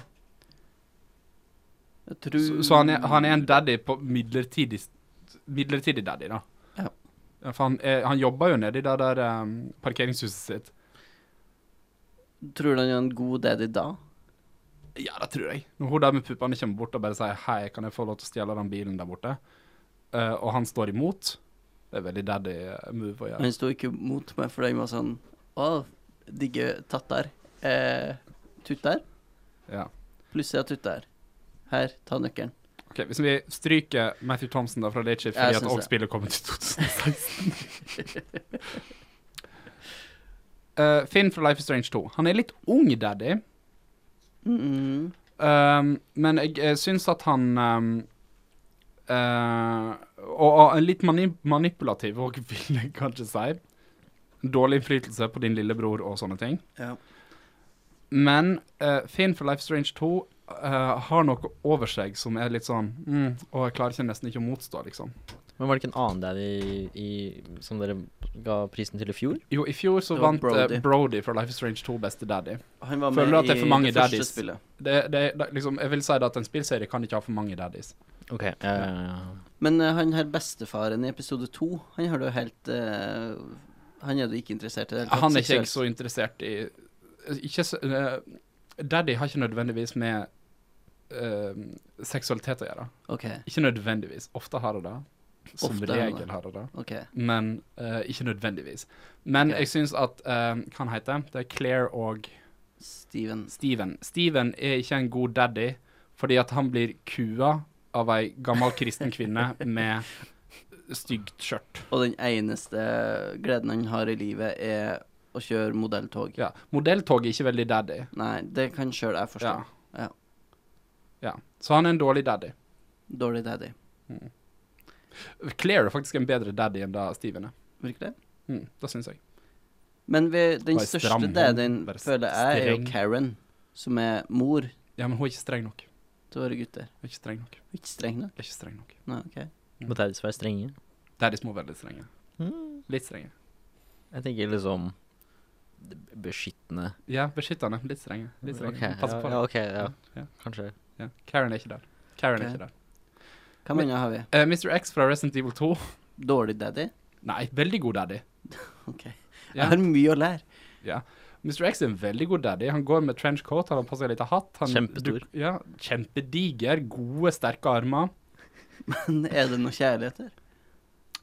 C: Jeg tror
B: Så, så han, er, han er en daddy på midlertidig Midlertidig daddy, da.
C: Ja.
B: Ja, For han, er, han jobber jo nedi det der eh, parkeringshuset sitt.
C: Tror du han er en god daddy da?
B: Ja, det tror jeg. Når hun der med puppene kommer bort og bare sier 'hei, kan jeg få lov til å stjele den bilen der borte', Eh, og han står imot Det er veldig daddy eh, move å gjøre.
C: Han sto ikke mot meg, for han var sånn Å, digge tattar. Eh, tuttar?
B: Ja.
C: Plutselig er tuttar. Her, ta nøkkelen.
B: Ok, Hvis vi stryker Matthew Thompson da fra Late Shift
C: Jeg
B: fordi at
C: synes
B: også
C: det.
B: spillet kommer til 2016 Eh, Finn fra Life is Strange 2. Han er litt ung daddy,
C: Mm,
B: um, men jeg, jeg syns at han um, eh, og, og er litt mani manipulativ, og vil jeg kanskje si. Dårlig innflytelse på din lillebror og sånne ting.
C: ja.
B: Men eh, Finn fra Life is Strange 2 eh, har noe over seg som er litt sånn mm, Og jeg klarer ikke nesten ikke å motstå, liksom.
A: Men var det ikke en annen daddy i, som dere ga prisen til i fjor?
B: Jo, i fjor så
C: Det var
B: vant Brody.
C: Brody.
B: Brody fra Life is Strange 2 Beste Daddy.
C: Han var
B: Føler
C: med
B: du at det er for mange
C: i det første
B: daddies?
C: spillet.
B: Det, det, det, liksom, jeg vil si det at en spillserie kan ikke ha for mange daddies.
A: OK. eh,
C: Men eh, han her bestefaren i episode to, han har du helt eh, Han er du ikke interessert i det hele tatt,
B: Han er ikke jeg
C: seksuelt.
B: så interessert i ikke, så- eh, Daddy har ikke nødvendigvis med eh, seksualitet å gjøre.
C: OK.
B: Ikke nødvendigvis. Ofte har det det. Som
C: Ofte har det
B: regel
C: det.
B: har det det.
C: ok
B: Men eh, ikke nødvendigvis. Men
C: Ok.
B: jeg syns at eh, Hva han heter Det er Claire og
C: Steven.
B: Steven. Steven er ikke en god daddy, fordi at han blir kua av ei gammel kristen kvinne med stygt skjørt.
C: Og den eneste gleden han har i livet, er å kjøre modelltog.
B: Ja. Modelltog er ikke veldig daddy.
C: Nei, det kan sjøl jeg forstå.
B: Ja.
C: Ja.
B: ja. Så han er en dårlig daddy.
C: Dårlig daddy.
B: Claire er faktisk en bedre daddy enn da Steven er.
C: Virker det?
B: Mm, det syns jeg.
C: Men vi, den
B: Bare
C: største
B: stram hånd,
C: daddyen,
B: bare
C: føler jeg, er jo
B: streng.
C: Karen, som er mor
B: Ja, men hun er ikke streng nok.
C: til våre gutter.
B: Hun er ikke streng nok.
C: Ikke streng nok.
B: Hun er ikke streng nok.
C: Nei, ok.
A: Må Terje være strenge?
B: Daddies må være litt strenge.
A: Mm.
B: Litt strenge.
A: Jeg tenker liksom beskyttende.
B: Ja, beskyttende. Litt strenge. Litt strenge.
A: Ok,
B: Pass
A: ja,
B: på
A: ja,
B: deg.
A: ok, ja.
B: Ja.
A: Kanskje.
B: Ja. Karen er ikke der. Karen
C: Ok.
B: er ikke der.
C: Hvem annet har vi?
B: Eh, Mr. X fra Resident Evil 2.
C: Dårlig daddy?
B: Nei, veldig god daddy.
C: Ok.
B: Ja.
C: Jeg har mye å lære.
B: Ja. Mr. X er en veldig god daddy. Han går med trench coat, han har på seg litt hatt. Han,
A: Kjempestor.
B: du- ja, kjempediger, gode, sterke armer.
C: Men er det noe kjærlighet her?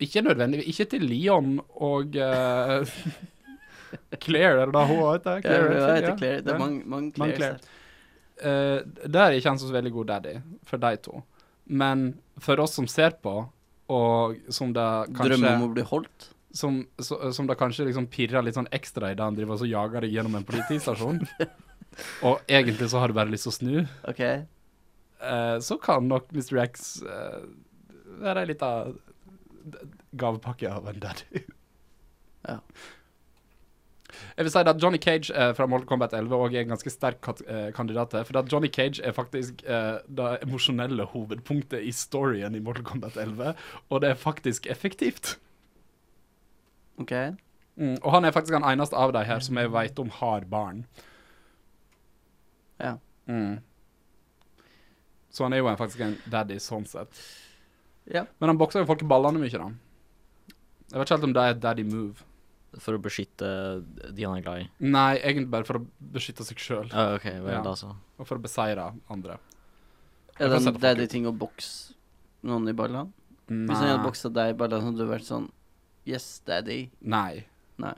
B: Ikke nødvendigvis Ikke til Leon og eh, Claire, er det da hun heter?
C: Ja,
B: Claire,
C: jeg heter
B: ja.
C: Claire. Det
B: Ja.
C: er mange, mange
B: Mange
C: Claires her.
B: Eh, der er ikke han så veldig god daddy, for de to. Men for oss som ser på, og som det
C: Drømmer
B: kanskje,
C: om å bli holdt?
B: som, så, som det kanskje liksom pirrer litt sånn ekstra i det han driver og så jager deg gjennom en politistasjon, og egentlig så har du bare lyst til å snu,
C: OK.
B: eh, så kan nok Mr. X eh, være ei lita d- gavepakke av en daddy.
C: Ja.
B: Jeg vil si at Johnny Cage eh, fra Mortal Kombat 11 også er en ganske sterk kat eh, kandidat til. For at Johnny Cage er faktisk eh, det emosjonelle hovedpunktet i storyen i Mortal Kombat 11, og det er faktisk effektivt.
C: ok.
B: Mm, og han er faktisk den eneste av de her som jeg vet om har barn.
C: Ja.
B: Mm. Så han er jo en- faktisk en daddy sånn sett.
C: Ja.
B: Men han bokser jo folk i ballene mye, da. Jeg vet ikke helt om det er et daddy move.
A: For å beskytte de han er glad i.
B: Nei, egentlig bare for å beskytte seg sjøl,
A: Ja, Ah, ok, vel
B: Ja.
A: da så.
B: og for å beseire andre.
C: Er
B: Jeg
C: det
B: får se
C: en
B: på
C: daddy ting å bokse noen i ballene? Hvis han hadde boksa deg i ballene, hadde du vært sånn Yes, daddy.
B: Nei.
C: Nei.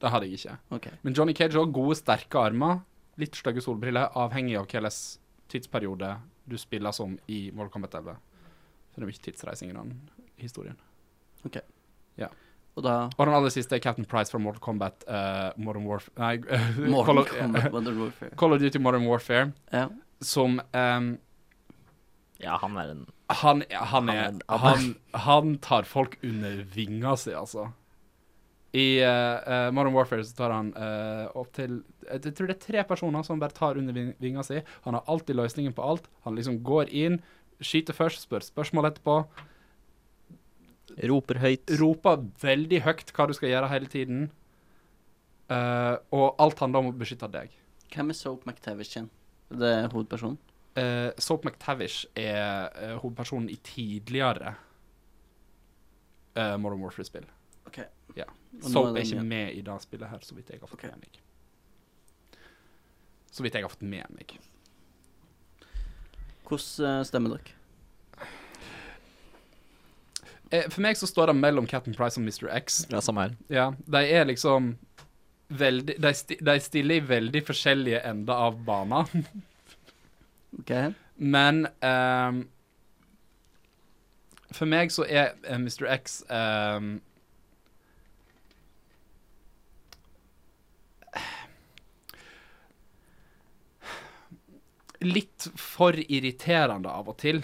B: Det hadde jeg ikke.
C: OK.
B: Men Johnny Cage har gode, sterke armer, litt stygge solbriller, avhengig av hvilken tidsperiode du spiller som i Mortal Kombat 11. For det er mye tidsreising i den historien.
C: Og da
B: Og den aller siste er Captain Price fra Mortal Kombat eh, Modern Warfare Nei, eh, Call,
C: Mortal
B: of,
C: Kombat Modern Warfare.
B: Call of Duty Modern Warfare,
C: Ja.
B: som ehm,
A: Ja, han er en
B: han, han, er,
A: Han er en abbe.
B: han, han tar folk under vinga si, altså. I eh, eh, Modern Warfare så tar han eh, opp til Jeg tror det er tre personer som bare tar under ving- vinga si. Han har alltid løsningen på alt. Han liksom går inn, skyter først, spør spørsmål etterpå.
A: Roper høyt.
B: Roper veldig høyt hva du skal gjøre hele tiden. Eh, og alt handler om å beskytte deg.
C: Hvem er Soap McTavish igjen? Det er hovedpersonen.
B: Eh, Soap McTavish er eh, hovedpersonen i tidligere eh, Modern Warfare-spill.
C: OK.
B: Ja.
C: Og nå
B: Soap
C: den
B: er ikke
C: igjen.
B: med i det spillet her, så vidt jeg har fått
C: Ok.
B: med meg. Så vidt jeg har fått med meg.
C: Hvordan eh, stemmer dere?
B: Eh, for meg så står det mellom Captain Price og Mr. X.
A: Ja, samme her.
B: Ja, de er liksom veldig De, sti, de stiller i veldig forskjellige ender av bana,
C: OK.
B: men ehm, For meg så er eh, Mr. X ehm, Litt for irriterende av og til.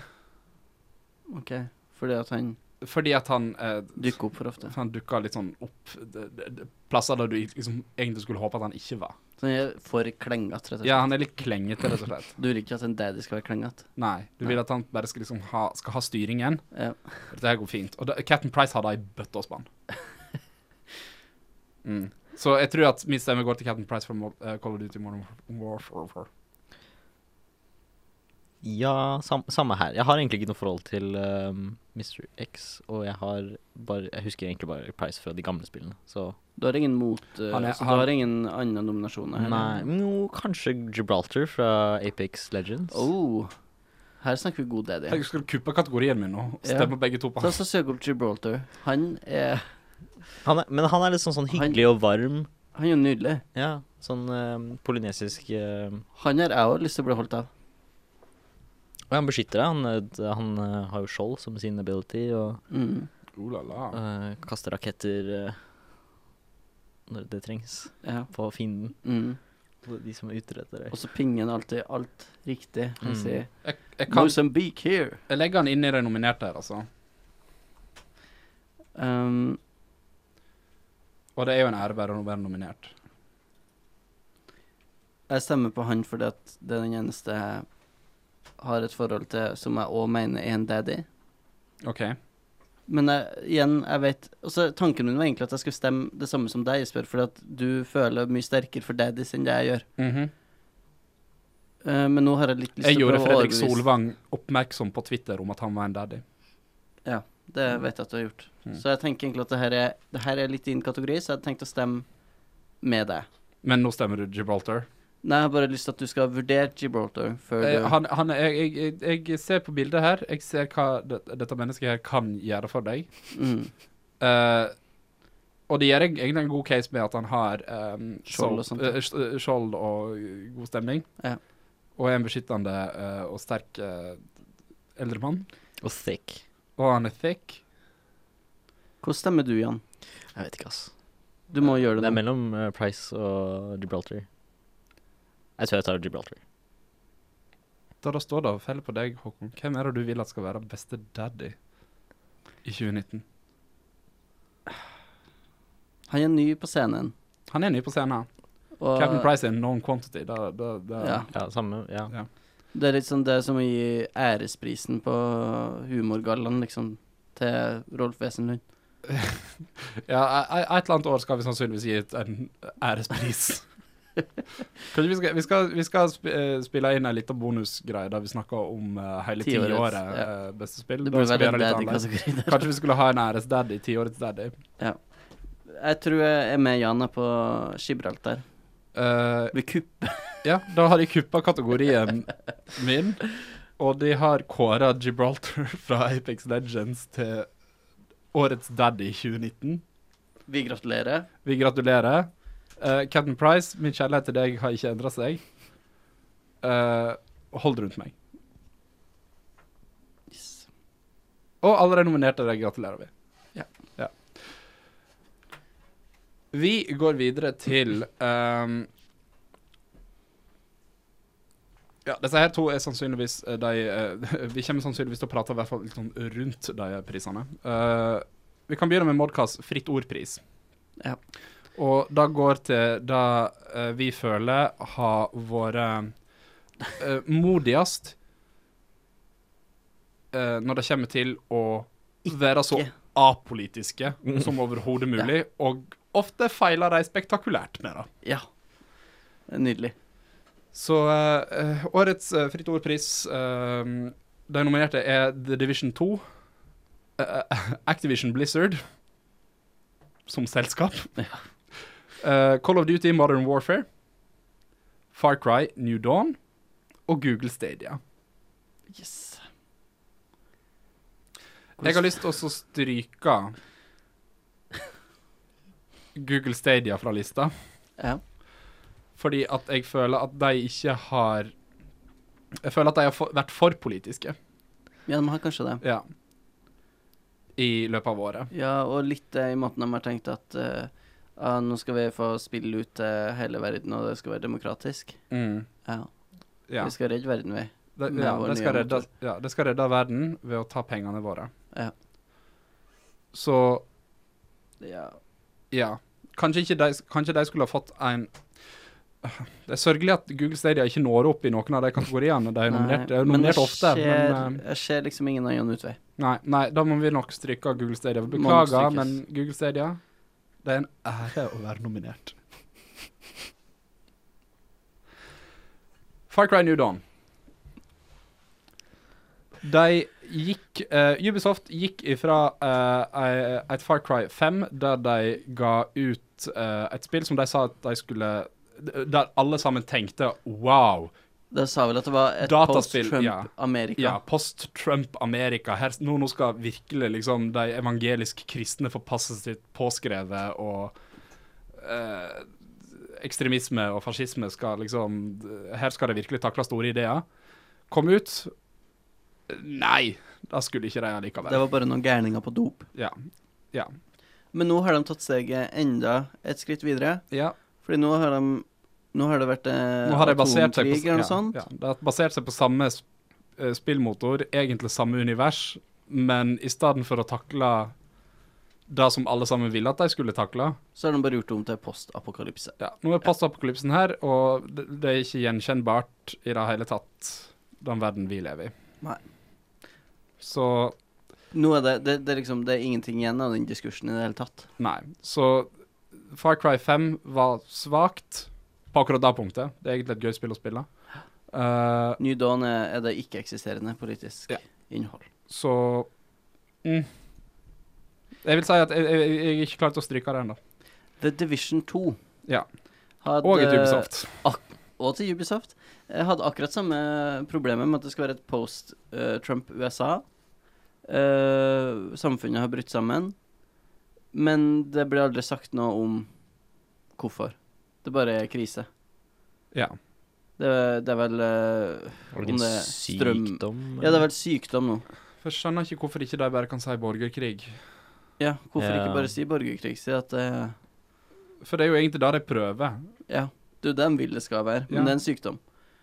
C: ok Fordi at han
B: Fordi at han eh,
C: dukker opp for ofte.
B: Han dukka litt sånn opp d- d- d- plasser der du liksom egentlig skulle håpe at han ikke var.
C: Så han er for klengete, rett og slett.
B: Ja, han er litt klengete, rett og slett.
C: Du vil ikke at en daddy skal være klengete?
B: Nei, du vil at han bare skal, liksom ha, skal ha styringen.
C: Ja.
B: Dette her går fint. Og da, Captain Price har det i bøtte og spann. Mm. Så jeg tror at min stemme går til Captain Price fra Mo- eh, Call of Duty Modern Warfare.
A: Ja, sam samme her. Jeg har egentlig ikke noe forhold til ehm, Mr. X, og jeg har bare Jeg husker egentlig bare Price fra de gamle spillene, så
C: Du har ingen mot eh,
B: Han er-
C: Så
B: han-
C: du har ingen andre nominasjoner? her?
A: Nei, no, kanskje Gibraltar fra Apex Legends.
C: Oh. Her snakker vi god daddy.
B: Jeg skal kuppe kategorien min nå. og
C: Ja.
B: Stemme begge to på han.
C: Ta så Søk opp Gibraltar. Han er
A: Han er, men han er litt sånn, sånn
C: Han-
A: hyggelig og varm.
C: Han er jo nydelig.
A: Ja, sånn ehm, polynesisk ehm,
C: Han har jeg òg lyst til å bli holdt av.
A: Og han beskytter deg. Han, eh, d- han eh, har jo skjold som sin ability, og
C: Mm.
B: Oh la la.
A: Eh, kaste raketter eh, når det trengs,
C: Ja.
A: på fienden.
C: Mm.
A: på De som er ute etter
C: Og
A: deg.
C: så pingen alltid alt riktig. Han
A: Mm.
C: sier
B: Jeg, jeg, kan,
C: Mozambique here.
B: jeg legger han inn i de nominerte her, altså.
C: Um,
B: Og det er jo en ære bare å være nominert.
C: jeg stemmer på han fordi at det er den eneste jeg har et forhold til som jeg òg mener er en daddy.
B: OK.
C: Men jeg, igjen, jeg vet altså, Tanken min var egentlig at jeg skulle stemme det samme som deg, Jesper, fordi at du føler mye sterkere for daddies enn det jeg gjør. Eh, men nå har jeg litt lyst
B: Mhm. Jeg
C: til å
B: gjorde
C: prøve å
B: Fredrik
C: overbevise
B: Solvang oppmerksom på Twitter om at han var en daddy.
C: Det vet jeg at du har gjort.
B: Mm.
C: Så jeg tenker egentlig at det her, er, det her er litt din kategori, så jeg hadde tenkt å stemme med deg.
B: Men nå stemmer du Gibraltar.
C: Nei, jeg har bare lyst til at du skal vurdere Gibraltar før du
B: Eh, Han, han, jeg, jeg, jeg- jeg ser på bildet her. Jeg ser hva det, dette mennesket her kan gjøre for deg.
C: mm,
B: Eh, og det gjør eg- egentlig en god case med at han har eh,
C: Skjold og
B: soap-
C: sånt,
B: eh, sk- eh, skjold og eh, god stemning.
C: Ja.
B: Og er en beskyttende eh, og sterk eh, eldre mann.
A: Og thick.
B: Og han er thick.
C: Hvordan stemmer du, Jan?
A: Jeg vet ikke, ass.
C: Du må gjøre
A: Det er
C: det nå.
A: mellom eh, Price og Gibraltar. Jeg tror jeg tar Gibraltar.
B: Da, da står det og feller på deg, Håkon. Hvem er det du vil at skal være beste daddy i 2019?
C: Han er ny på scenen.
B: Han er ny på scenen.
C: Og
B: Captain Price er en known quantity. Da, da, da.
C: Ja.
A: Ja, samme. Ja.
C: det er litt sånn det som å gi æresprisen på humorgallaen, liksom, til Rolf Wesenlund.
B: Ja, e- e- et eller annet år skal vi sannsynligvis gi ut en ærespris. Kanskje vi skal, vi skal, vi skal sp eh, spille inn en liten bonusgreie der vi snakker om eh, hele
C: Tiårets,
B: tiåret
C: ja.
B: eh, beste spill.
C: Det
B: Da
C: burde
B: skal vi
C: være
B: gjøre litt
C: en daddy
B: annerledes.
C: kategori der.
B: Kanskje vi skulle ha en æresdaddy, tiårets daddy.
C: Jeg tror jeg er med Jan her på Gibraltar.
B: Eh,
C: Vi kupper
B: ja, da har de kuppa kategorien min, og de har kåra Gibraltar fra Apex Legends til årets daddy 2019.
C: Vi gratulerer.
B: Vi gratulerer. Uh, Captain Price, min kjærlighet til deg har ikke endra seg. Eh, hold rundt meg.
C: Yes.
B: Og alle de nominerte, deg gratulerer vi.
C: Ja.
B: Ja. Vi går videre til ehm, Ja, disse her to er sannsynligvis eh, de eh, Vi kommer sannsynligvis til å prate i hvert fall litt sånn rundt de prisene. Eh, vi kan begynne med Modcast Fritt ordpris.
C: Ja.
B: Og det går til det eh, vi føler har vært eh, modigst eh, når det kommer til å være så apolitiske som overhodet mulig, og ofte feiler de spektakulært med det.
C: Ja. Det er Nydelig.
B: Så eh, årets eh, Fritt Ordpris eh, De nominerte er The Division 2, eh, Activision Blizzard som selskap, eh, Call of Duty Modern Warfare, Far Cry New Dawn og Google Stadia.
C: Yes.
B: Jeg har lyst til å stryke Google Stadia fra lista,
C: Ja.
B: fordi at jeg føler at de ikke har Jeg føler at de har fo- vært for politiske
C: ja, de har kanskje det.
B: ja. i løpet av året.
C: Ja, og litt eh, i måten de har tenkt at eh, ah, nå skal vi få spille ut til hele verden, og det skal være demokratisk. Ja.
B: Mm, Ja.
C: Vi skal redde verden, vi.
B: Det,
C: med
B: ja,
C: vår
B: det
C: nye
B: skal redde,
C: motor.
B: ja, det skal redde verden ved å ta pengene våre.
C: Ja.
B: Så
C: Ja.
B: ja. Kanskje, ikke de, kanskje de skulle ha fått en Det er sørgelig at Google Stadia ikke når opp i noen av de kategoriene de er nominert. De er jo
C: men
B: nominert
C: jeg
B: ofte,
C: ser,
B: men eh,
C: Jeg ser liksom ingen annen utvei.
B: Nei, nei, da må vi nok stryke av Google Stadia.
C: Må nok
B: Beklager,
C: strykes.
B: men Google Stadia Det er en ære å være nominert. Far Cry New Dawn. De gikk eh, Ubisoft gikk ifra eh, ei- et Far Cry 5 der de ga ut eh, et spill som de sa at de skulle Der alle sammen tenkte wow.
C: Det sa vel at det var et
B: Dataspill, ja.
C: post-Trump-Amerika.
B: Ja, post-Trump-Amerika. Her, nå, nå skal virkelig liksom de evangelisk-kristne få passet sitt påskrevet, og eh, ekstremisme og fascisme skal liksom Her skal det virkelig takle store ideer. Kom ut. Nei. Da skulle ikke de allikevel.
C: Det var bare noen gærninger på dop.
B: Ja. Ja.
C: Men nå har de tatt seg enda et skritt videre.
B: ja.
C: Fordi nå har de Nå har det vært eh,
B: Nå har de basert seg på,
C: atomkrig eller noe
B: ja,
C: sånt.
B: ja, det har basert seg på samme sp- eh, spillmotor, egentlig samme univers, men i stedet for å takle det som alle sammen ville at de skulle takle
C: Så har de bare gjort det om til postapokalypse.
B: ja, Nå er postapokalypsen her, og det, det er ikke gjenkjennbart i det hele tatt, den verden vi lever i.
C: Nei.
B: Så
C: Nå er det, det, det, er liksom, det er ingenting igjen av den diskursen i det hele tatt.
B: Nei. Så Far Cry 5 var svakt på akkurat det punktet. Det er egentlig et gøy spill å spille. Eh,
C: New Dawn er, er det ikke-eksisterende politisk
B: Ja.
C: innhold.
B: så mm. Jeg vil si at jeg, jeg, jeg er ikke klar til å stryke det ennå.
C: The Division 2
B: Ja.
C: hadde,
B: Og et Ubisoft.
C: Og til Ubisoft. Eh, Hadde akkurat samme problemet med at det skal være et eh, post-Trump-USA. Eh, samfunnet har brutt sammen. Men det ble aldri sagt noe om hvorfor. Det bare er krise.
B: Ja.
C: Det, det er vel eh,
A: Var
C: Om
A: det ikke
C: det er
A: en
C: strøm-
A: sykdom?
C: Ja, det er vel sykdom nå.
B: For jeg skjønner ikke hvorfor ikke de bare kan si borgerkrig.
C: Ja, hvorfor
A: Ja.
C: ikke bare si borgerkrig? Si at det
B: For det er jo egentlig det de prøver.
C: Ja, du, dem vil det skal være, men
B: Ja.
C: det er en sykdom.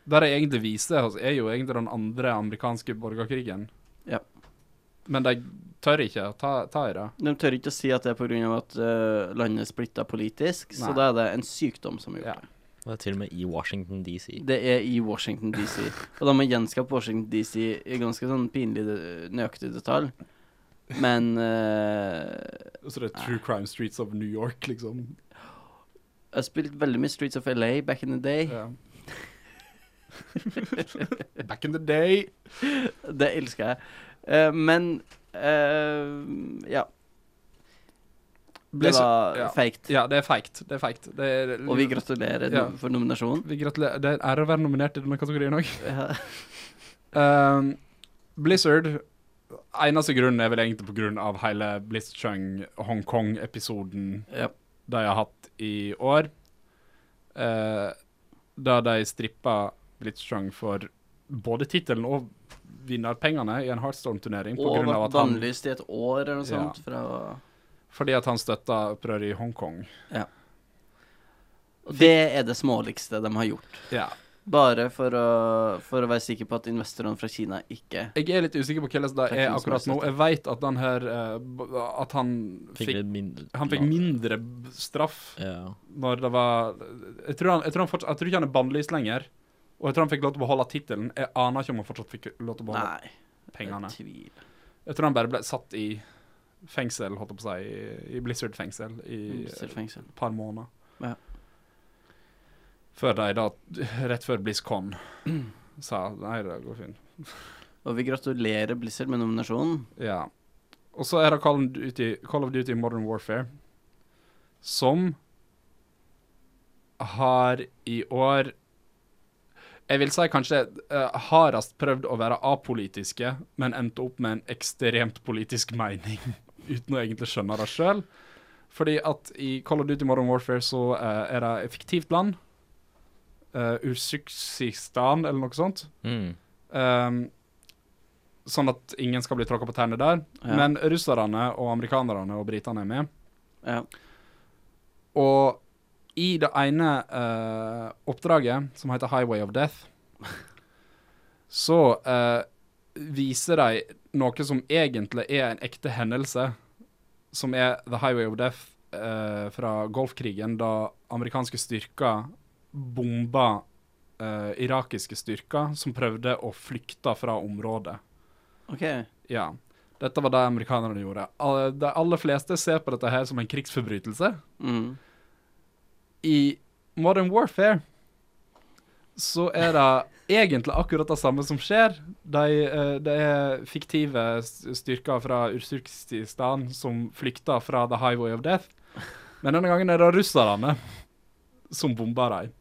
B: Det de egentlig viser, altså, er jo egentlig den andre amerikanske borgerkrigen.
C: Ja.
B: Men de tør ikke å ta, ta i det.
C: De tør ikke å si at det er pga. at eh, landet er splitta politisk, så
B: Nei.
C: da er det en sykdom som har gjort
B: Ja.
C: det.
A: Det er til og med i Washington DC.
C: Det er i Washington DC. Og de har gjenskapt Washington DC i ganske sånn pinlig de- nøyaktig detalj. Men eh,
B: Så Altså, det er True Crime Streets of New York, liksom.
C: jeg har spilt veldig mye Streets of LA back in the day.
B: Ja. Back in the day.
C: Det elsker jeg. Eh, men eh, ja. Det
B: Det er så-
C: var
B: ja.
C: feigt.
B: Ja, det er feigt. Det er feigt. Det er,
C: Og vi gratulerer
B: Ja.
C: no- for nominasjonen.
B: vi gratulerer. Det er en ære å være nominert i denne kategorien òg.
C: Ja.
B: Blizzard Eneste grunnen er vel egentlig på grunn av hele Blitzchung Hongkong-episoden
C: Ja.
B: de har hatt i år. Eh, da de strippa Blitzchung for både tittelen og vinnerpengene i en Heartstone-turnering. på
C: Og
B: grunn av
C: ble
B: at han...
C: bannlyst i et år eller
B: Ja.
C: noe sånt. Fra,
B: Fordi at han støtta opprøret i Hongkong.
C: og det er det småligste de har gjort.
B: Ja.
C: Bare for å, for å være sikker på at investorene fra Kina ikke
B: Jeg er litt usikker på hvordan det
C: Takk
B: er
C: for
B: akkurat nå.
C: spørsmålet.
B: Jeg vet at den her eh, b- At han
A: Fikk
B: fikk,
A: litt mindre
B: han fikk mindre b- straff
A: Ja.
B: når det var Jeg tror, han, jeg tror, han fortsatt, jeg tror ikke han er bannlyst lenger. Og jeg tror han fikk lov til å beholde tittelen. Jeg aner ikke om han fortsatt fikk lov til å beholde
C: Nei,
B: pengene.
C: jeg tviler.
B: Jeg tror han bare ble satt i fengsel, holdt jeg på å si, i- i Blizzard-fengsel i
C: Still fengsel.
B: et par måneder.
C: Mm, Ja.
B: Før de da, rett før BlizzCon, sa nei, det går fint.
C: Og vi gratulerer Blizzard med nominasjonen.
B: Ja. Og så er det Call of, Duty, Call of Duty Modern Warfare, som har i år Jeg vil si kanskje eh, hardest prøvd å være apolitiske, men endte opp med en ekstremt politisk mening, uten å egentlig skjønne det sjøl. Fordi at i Call of Duty Modern Warfare så eh, er det et fiktivt land. Uh, Usykistan, eller noe sånt.
A: Mm.
B: Ehm, sånn at ingen skal bli tråkka på tærne der.
C: Ja.
B: Men russerne og amerikanerne og britene er med.
C: Ja.
B: Og i det ene eh, oppdraget, som heter Highway of Death, så eh, viser de noe som egentlig er en ekte hendelse, som er The Highway of Death eh, fra Golfkrigen, da amerikanske styrker bomba eh, irakiske styrker som prøvde å flykte fra området.
C: OK.
B: Ja. Dette var det amerikanerne gjorde. Alle- De aller fleste ser på dette her som en krigsforbrytelse
C: Mm.
B: i Modern Warfare så er det egentlig akkurat det samme som skjer. De, eh, det er fiktive s- styrker fra Ursurkistan som flykter fra The Highway of Death. Men denne gangen er det russerne som bomber dem.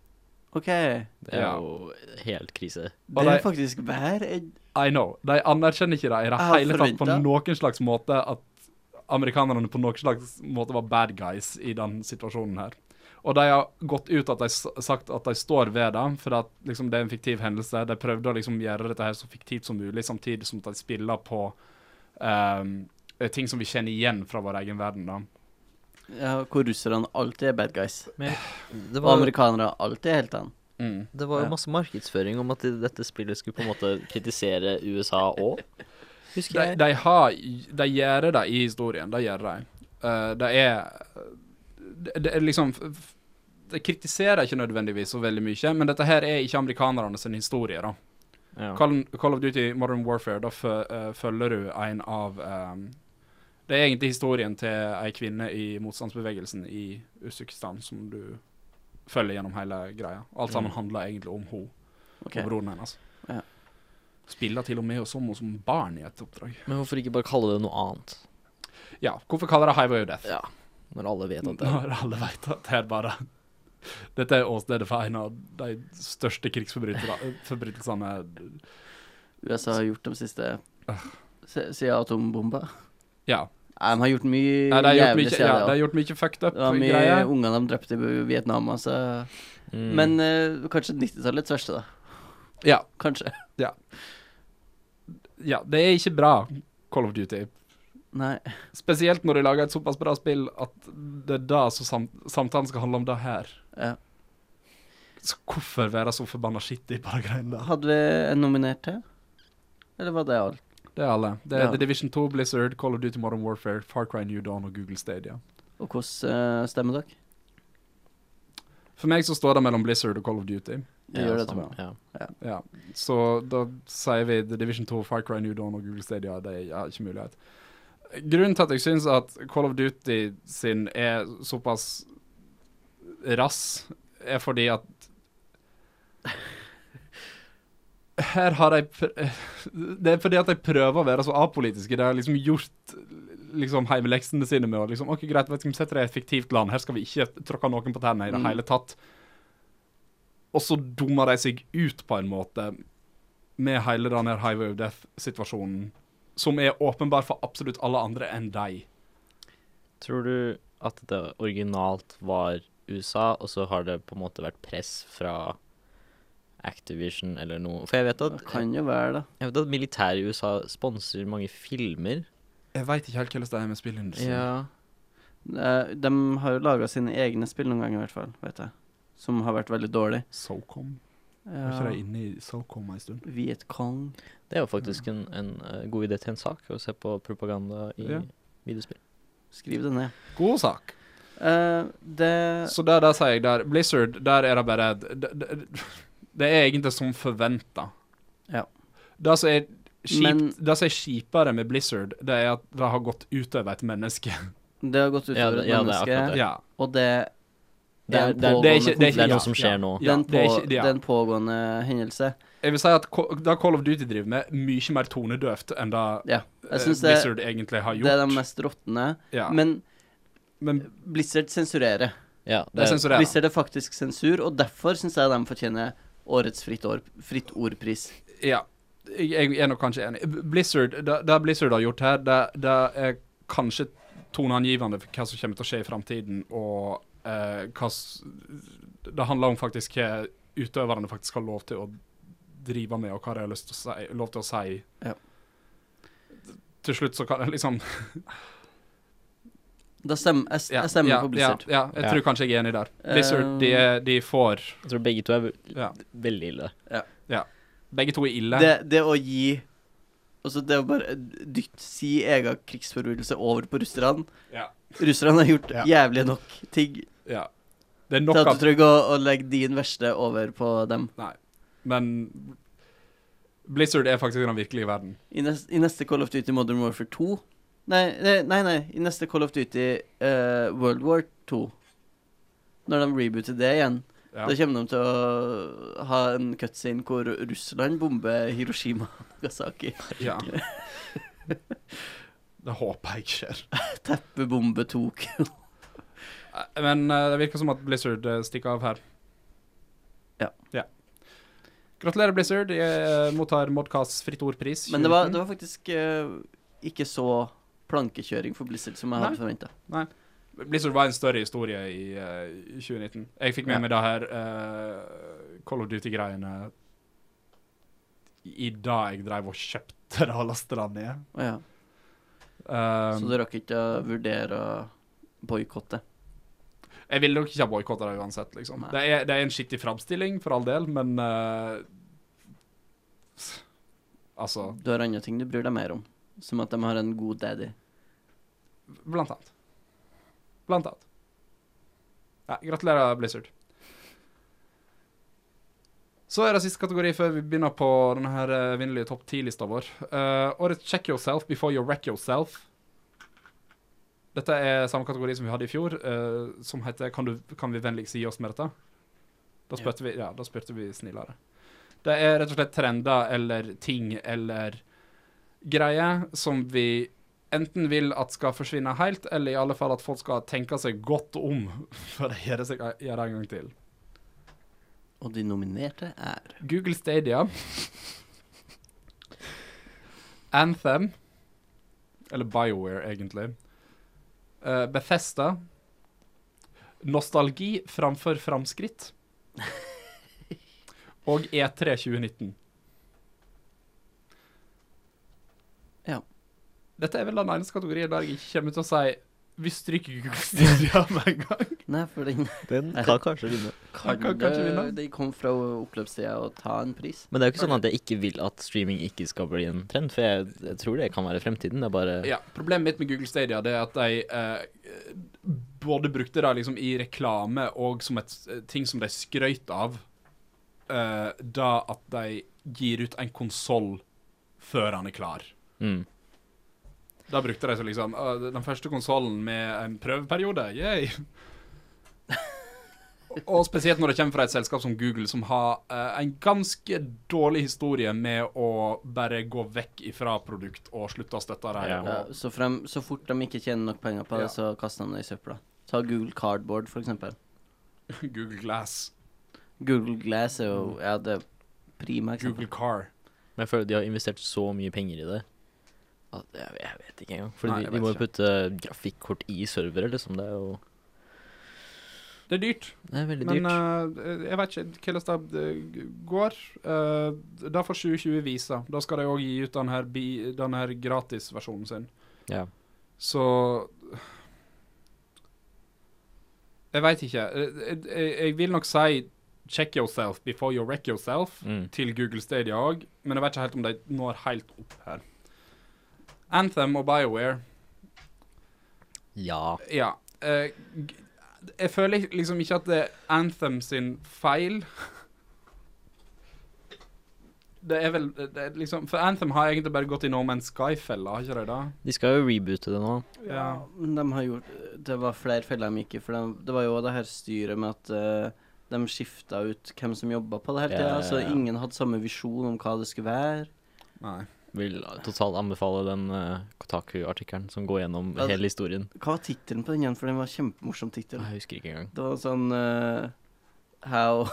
C: OK.
A: Det er
B: Ja.
A: jo helt krise.
B: Og
C: Det er
B: de-
C: faktisk hver en-
B: I know. De anerkjenner ikke det i det
C: Jeg
B: hele tatt på
C: forventet.
B: noen slags måte at amerikanerne på noen slags måte var bad guys i den situasjonen her. Og de har gått ut at de s- sagt at de står ved det, for at, liksom, det er en fiktiv hendelse. De prøvde å liksom, gjøre dette her så fiktivt som mulig, samtidig som at de spiller på ehm, ting som vi kjenner igjen fra vår egen verden. da.
C: Ja, hvor russerne alltid er bad guys.
A: Det
C: Og
A: var,
C: amerikanere alltid er heltene.
B: Mm.
A: det var
C: ja.
A: jo masse markedsføring om at dette spillet skulle på en måte kritisere USA òg, husker
B: De,
A: jeg.
B: de, har, de gjør det i historien, de gjør det. Eh, det er det, det er liksom f- f- De kritiserer ikke nødvendigvis så veldig mye, men dette her er ikke amerikanerne sin historie, da.
A: Ja.
B: Call, Call of Duty Modern Warfare, da fø, eh, følger du en av ehm, Det er egentlig historien til ei kvinne i motstandsbevegelsen i Usbekistan som du følger gjennom hele greia. Alt sammen
A: Mm.
B: handler egentlig om henne
C: Ok.
B: og broren hennes.
C: Ja.
B: Spiller til og med som henne som barn i et oppdrag.
A: Men hvorfor ikke bare kalle det noe annet?
B: Ja, hvorfor kaller de Highway of Death?
A: Ja, når alle vet at det er
B: Når alle vet at det er bare Dette er åstedet for en av de største krigsforbrytelsene
C: USA har gjort de siste se- Siden atombomba.
B: Ja.
C: Nei, de har gjort
B: Nei,
C: mye
B: de har gjort
C: jævlig
B: mye, ja,
C: siden det
B: de har
C: også.
B: gjort mye fucked
C: Det var mye
B: up-greier.
C: unger de drepte i Vietnam, altså.
A: Mm.
C: Men eh, kanskje 90-tallets verste, da.
B: Ja,
C: Kanskje.
B: ja, det er ikke bra, Call of Duty.
C: Nei.
B: Spesielt når de lager et såpass bra spill at det er det som sam samtalen skal handle om det her.
C: Ja.
B: Så hvorfor være så forbanna skittig på de greiene der?
C: Hadde vi en nominert til? Eller var det alt?
B: Det er alle. Det er
C: Ja.
B: The Division 2, Blizzard, Call of Duty Modern Warfare, Far Cry New Dawn og Google Stadia.
C: Og hvordan eh, stemmer dere?
B: For meg så står det mellom Blizzard og Call of Duty.
C: Vi gjør det til
A: samme,
C: meg.
A: ja.
B: Ja. Så da sier vi The Division 2, Far Cry New Dawn og Google Stadia. Det er ja, ikke mulighet. Grunnen til at jeg syns at Call of Duty sin er såpass rass, er fordi at Her har de pr Det er fordi at de prøver å være så apolitiske. De har liksom gjort liksom heimeleksene sine med å liksom OK, greit, vet du, vi setter det i et fiktivt land. Her skal vi ikke tråkke noen på tærne i det
C: Mm.
B: hele tatt. Og så dummer de seg ut på en måte med hele den her Highway of Death-situasjonen, som er åpenbar for absolutt alle andre enn deg.
A: Tror du at det originalt var USA, og så har det på en måte vært press fra Activision eller noe? For jeg vet
C: Det
A: at,
C: kan jo være, da.
A: jeg vet at militæret i USA sponser mange filmer.
B: Jeg veit ikke helt hvordan det er med spillindustrien.
C: Eh, De har jo laga sine egne spill noen ganger, i hvert fall. Vet jeg. Som har vært veldig dårlig.
B: SoCom. Var ikke
C: Ja.
B: de inne i SoCom en stund?
C: Vietcong.
A: Det er jo faktisk en, en eh, god idé til en sak, å se på propaganda i
B: Ja.
A: videospill.
C: Skriv det ned.
B: God sak.
C: Eh, det
B: Så der, der sier jeg der. Blizzard, der er det bare Det, det, det er egentlig som forventa.
C: Ja.
B: Det som er kjipt,
C: Men-
B: det som er kjipere med Blizzard, det er at det har gått utover et menneske.
C: Det har gått utover
A: Ja,
C: over
A: det-
C: et
A: ja, det er
C: menneske,
A: akkurat
B: ja.
C: og det
A: Det er, det,
C: en
A: er,
B: det er
C: pågående
B: ikke- det er
A: det er
B: ja,
A: noe som skjer
B: ja.
A: nå.
C: konflikt. Det er en
B: det er
C: på-
B: ikke- ja.
C: det er en pågående hendelse.
B: Jeg vil si at Ko- det Call of Duty driver med, mye mer tonedøvt enn det
C: Ja.
B: eh,
C: Jeg syns det,
B: Blizzard egentlig har
C: det
B: gjort.
C: er de mest råtne.
B: ja. men,
C: Men Blizzard sensurerer.
A: Ja,
B: det
A: det er,
B: sensurerer.
C: Blizzard er faktisk sensur, og derfor syns jeg de fortjener årets fritt, år, fritt ordpris.
B: Ja, jeg, jeg er nok kanskje enig. B- Blizzard, det, det Blizzard har gjort her, det, det er kanskje toneangivende for hva som kommer til å skje i framtiden, og eh, hva s- Det handler om faktisk hva utøverne faktisk har lov til å drive med, og hva de har lyst til å si, lov til å si.
C: Ja.
B: Til slutt så kan jeg liksom
C: Da stemmer jeg,
B: ja,
C: jeg stemmer
B: ja,
C: på Blizzard.
B: Ja, ja, jeg
A: Ja.
B: tror kanskje jeg er enig der. Blizzard, de, er- de får
A: jeg tror begge to er ve-
B: ja.
A: veldig ille.
B: Begge to er ille.
C: Det, det å gi Altså, det å bare dytte si egen krigsforbrytelse over på russerne
B: Ja.
C: Russerne har gjort
B: Ja.
C: jævlig nok ting
B: Ja. Det er
C: til
B: nok
C: at
B: av
C: du trenger å, å legge din verste over på dem.
B: Men Blizzard er faktisk den virkelige verden.
C: I neste, I neste Call of Duty Modern Warfare 2 Nei, nei, nei, nei. i neste Call of Duty eh, World War 2 Når de rebooter det igjen,
B: Ja.
C: da kommer de til å ha en cutscene hvor Russland bomber Hiroshima og Nagasaki.
B: ja. Det håper jeg ikke skjer.
C: Teppebombe Tokyo.
B: Eh, Men eh, det virker som at Blizzard eh, stikker av her.
C: Ja.
B: Gratulerer, Blizzard. Jeg eh, mottar Modcasts fritt ordpris.
C: Men det var, det var faktisk eh, ikke så plankekjøring for Blizzard som jeg hadde forventa.
B: Blizzard var en større historie i eh, i 2019. Jeg fikk med
A: Ja.
B: meg det her eh, Call of Duty-greiene i da jeg drev og kjøpte det og lastet det ned.
C: Å ja. Så
B: Um,
C: du rakk ikke å vurdere å boikotte?
B: jeg ville nok ikke ha boikotta det uansett, liksom.
C: Nei.
B: Det er, det er en skittig framstilling, for all del, men eh, Altså,
C: Du har andre ting du bryr deg mer om, som at de har en god daddy.
B: blant annet. Blant annet. Ja, gratulerer, Blizzard. Så er det siste kategori før vi begynner på denne her eh, vinnerlige topp 10-lista vår. Eh, årets Check Yourself Before You Wreck Yourself. Dette er samme kategori som vi hadde i fjor, eh, som heter Kan, du, kan vi vennligst gi oss med dette? Da
A: Ja.
B: spurte vi, ja, da spurte vi snillere. Det er rett og slett trender eller ting eller greier som vi enten vil at skal forsvinne helt, eller i alle fall at folk skal tenke seg godt om før de gjør det seg- gjør det en gang til.
C: Og de nominerte er
B: Google Stadia. Anthem. Eller BioWare, egentlig. Eh, Bethesda. Nostalgi framfor framskritt. Og E E3 2019.
C: Ja.
B: Dette er vel den eneste kategorien der jeg ikke kommer til å si Vi stryker Google Stadia med en gang.
C: Nei, for den
A: Den kan kanskje vinne.
C: kan,
B: kan kanskje vinne.
C: De kom fra oppløpssida og ta en pris.
A: Men det er jo ikke sånn at jeg ikke vil at streaming ikke skal bli en trend, for jeg, jeg tror det kan være fremtiden. Det er bare
B: Ja, Problemet mitt med Google Stadia det er at de eh, både brukte det liksom i reklame og som et eh, ting som de skrøt av, eh, da at de gir ut en konsoll før han er klar.
A: mm.
B: Da brukte de så liksom «Å, den første konsollen med en prøveperiode. Yay! Og spesielt når det kommer fra et selskap som Google, som har eh, en ganske dårlig historie med å bare gå vekk ifra produkt og slutte å støtte dem.
A: Ja.
B: og-
C: Ja, så, frem, så fort de ikke tjener nok penger på
B: Ja.
C: det, så kaster de det i søpla. Ta Google Cardboard, for eksempel.
B: Google Glass,
C: Google Glass er jo ja, det er prima eksempel.
B: Mm. Google Car.
A: Men jeg føler de har investert så mye penger i det. At jeg, jeg vet ikke engang. For
B: Nei,
A: de,
B: jeg
A: de må
B: vet
A: jo putte grafikkort i servere, liksom. Det er jo
B: Det er dyrt,
A: det er veldig
B: men
A: dyrt.
B: eh, jeg vet ikke hvordan det eh, går. Eh, da får 2020 vise. Da skal de òg gi ut den her, bi- den her gratisversjonen sin.
C: eh,
A: ja.
B: Så Jeg veit ikke. Eh, Jeg, jeg vil nok si check yourself before you wreck yourself
A: Mm.
B: til Google Stadia òg, men jeg vet ikke helt om de når helt opp her. Anthem og BioWare
A: ja.
B: Ja. eh, g- jeg føler liksom ikke at det er Anthem sin feil. Det er vel det er liksom For Anthem har egentlig bare gått i No Man's Sky-fella, har ikke de det?
A: De skal jo reboote det nå.
B: Ja.
C: Men de har gjort Det var flere feller de gikk i, for de, det var jo det her styret med at eh, de skifta ut hvem som jobba på det hele
A: Ja,
C: tida,
A: ja, ja.
C: så ingen hadde samme visjon om hva det skulle være.
B: Nei.
A: Vil totalt anbefale den eh, Kotaku-artikkelen som går gjennom
C: Ja, det-
A: hele historien. Ah,
C: Hva var tittelen på den igjen, for den var kjempemorsom tittel.
A: Jeg husker ikke engang.
C: Det var sånn eh, How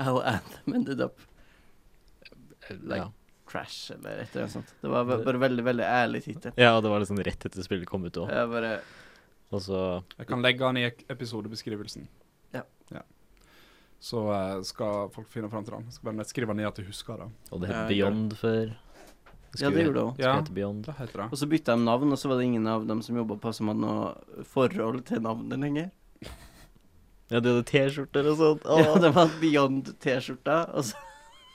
C: How Anthem ended up Like-
A: Ja.
C: trash, eller et eller annet sånt. Det var ba- bare veldig, veldig ærlig tittel.
A: ja, og det var liksom rett etter spillet kom ut òg.
C: Jeg bare
A: Og så
B: Jeg kan legge den i ek- episodebeskrivelsen.
C: Ja.
B: Så eh, skal folk finne fram til den. Jeg skal bare skrive ned at jeg husker det.
A: Og det
C: Ja,
A: het
C: jeg gjør
A: Beyond før.
C: Ja, det gjorde det òg.
A: Skulle
B: Ja.
A: hete Beyond.
B: Det heter
C: Og
B: det.
C: så bytta de navn, og så var det ingen av dem som jobba på, som hadde noe forhold til navnet lenger.
A: Ja, de hadde T-skjorter og sånt. Å,
C: Ja, det var Beyond-T-skjorta, og så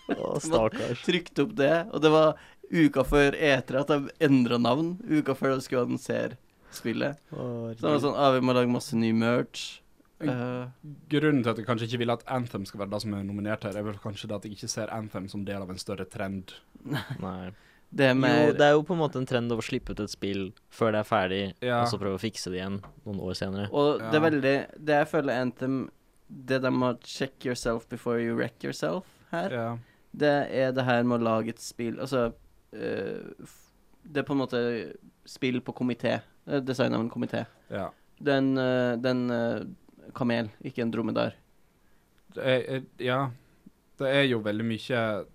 A: å, stakkars.
C: trykte opp det. Og det var uka før etere at de endra navn. Uka før de skulle annonsere spillet. Så
A: Mm.
C: det var sånn ah, vi må lage masse ny merch. Eh,
B: Grunnen til at jeg kanskje ikke vil at Anthem skal være det som er nominert her, er vel kanskje det at jeg ikke ser Anthem som del av en større trend.
A: Nei.
C: det er mer
A: Jo, det er jo på en måte en trend å slippe ut et spill før det er ferdig,
B: Ja.
A: og så prøve å fikse det igjen noen år senere.
C: Og det er
B: Ja.
C: veldig Det jeg føler Anthem Det de har check yourself before you wreck yourself her,
B: Ja.
C: det er det her med å lage et spill Altså eh, f- Det er på en måte spill på komité. Det er Design av en komité.
B: ja.
C: Det er en, eh, det er en eh, kamel, ikke en dromedar.
B: Det eh, er, er- ja. Det er jo veldig mye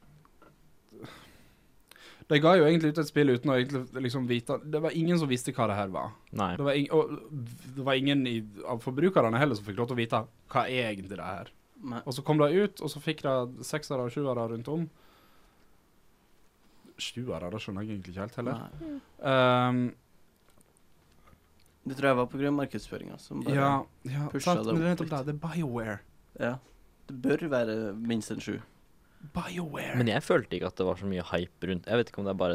B: De ga jo egentlig ut et spill uten å egentlig liksom vite Det var ingen som visste hva det her var.
A: Nei.
B: Det var, ing, og det var ingen i, av forbrukerne heller som fikk lov til å vite hva er egentlig det her.
C: Nei.
B: Og så kom det ut, og så fikk det seksere og sjuere rundt om. Sjuere, det skjønner jeg egentlig ikke helt heller.
C: Nei.
B: Ehm,
C: Det tror jeg var pga. markedsføringa som bare
B: ja, ja
C: pusha
B: sant,
C: det
B: men det er
C: opp
B: nettopp det. Det er BioWare.
C: Ja. Det bør være minst en sju.
B: BioWare.
A: Men jeg følte ikke at det var så mye hype rundt Jeg vet ikke om det er bare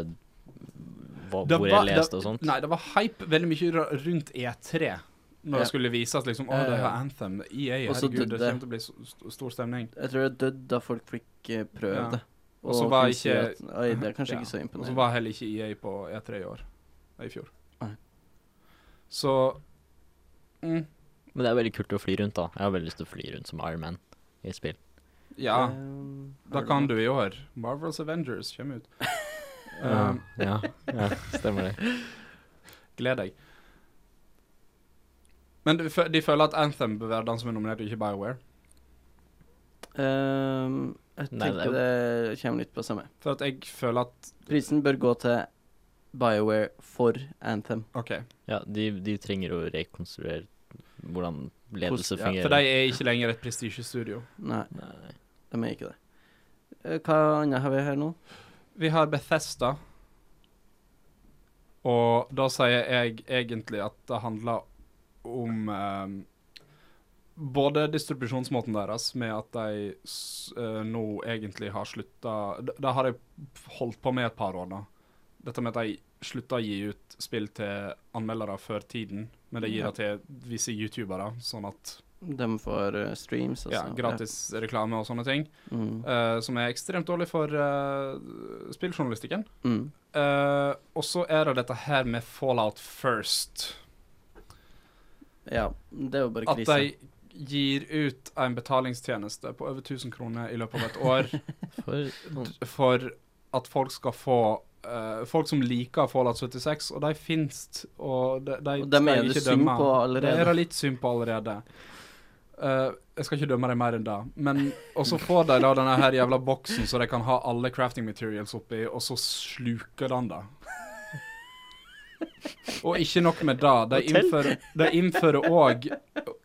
A: hva,
B: Det
A: hvor
B: var-
A: jeg leste og sånt.
B: Nei, det var hype veldig mye ra- rundt E3. Når
C: Ja.
B: det skulle vises liksom, å,
C: Ja, ja,
B: det er
A: Eh.
C: ja.
B: Anthem, EA,
C: Og så
B: herregud, det
C: døde-
B: kommer til å bli s- st- stor stemning.
C: Jeg tror det døde da folk fikk eh, prøvd
B: Ja.
C: det.
B: Og så var
C: kunne si
B: ikke-
C: at, Oi, det er kanskje
B: Ja.
C: ikke så
B: Og så
C: imponerende.
B: var heller ikke EA på E3 i år. Nei, I fjor.
C: Nei.
B: Så mm,
A: Men det er veldig kult å fly rundt, da. Jeg har veldig lyst til å fly rundt som Iron Man i et spill.
B: Ja,
C: Um,
B: da
C: har
B: kan du
C: noe?
B: i år. Marvels Avengers kommer ut.
A: Ja,
B: Um,
A: ja, ja stemmer det.
B: Gled deg. Men du fø- de føler at Anthem bør være den som er nominert, og ikke BioWare.
C: Um, jeg
A: Nei, det er
C: tenker det kommer litt på samme.
B: For at jeg føler at
C: Prisen bør gå til BioWare for Anthem.
B: OK.
A: Ja, de, de trenger å rekonstruere hvordan ledelse
C: Hvordan- ja,
B: Ja,
A: fungerer.
B: for de er ikke lenger et prestisjestudio.
C: Nei,
A: Nei.
C: de er ikke det. Eh, Hva annet har vi her nå?
B: Vi har Bethesda. Og da sier jeg egentlig at det handler om eh, både distribusjonsmåten deres, med at de s eh, nå egentlig har slutta Det det har jeg holdt på med et par år, da. Dette med at de slutta å gi ut spill til anmeldere før tiden, men de gir
C: Ja.
B: det til visse youtubere, sånn at
C: De får eh, streams.
B: ja, gratis reklame og sånne ting.
C: Ja. Mm.
B: eh, som er ekstremt dårlig for eh, spilljournalistikken.
C: Mm.
B: Eh, og så er det dette her med Fallout First.
C: ja. Det er jo bare
B: At
C: krise.
B: de gir ut en betalingstjeneste på over 1000 kroner i løpet av et år
A: For
B: for at folk skal få eh, Folk som liker Fallout 76, og de fins, og de, de
C: Og dem
B: skal
C: er
B: jeg
C: det
B: ikke
C: synd
B: dømme.
C: på
B: Det er
C: allerede.
B: det litt synd på allerede. Eh, jeg skal ikke dømme dem mer enn det. Men Og så får de da denne her jævla boksen så de kan ha alle crafting materials oppi, og så sluker den det. Og ikke nok med det. De
A: Hotell?
B: innfører- De innfører òg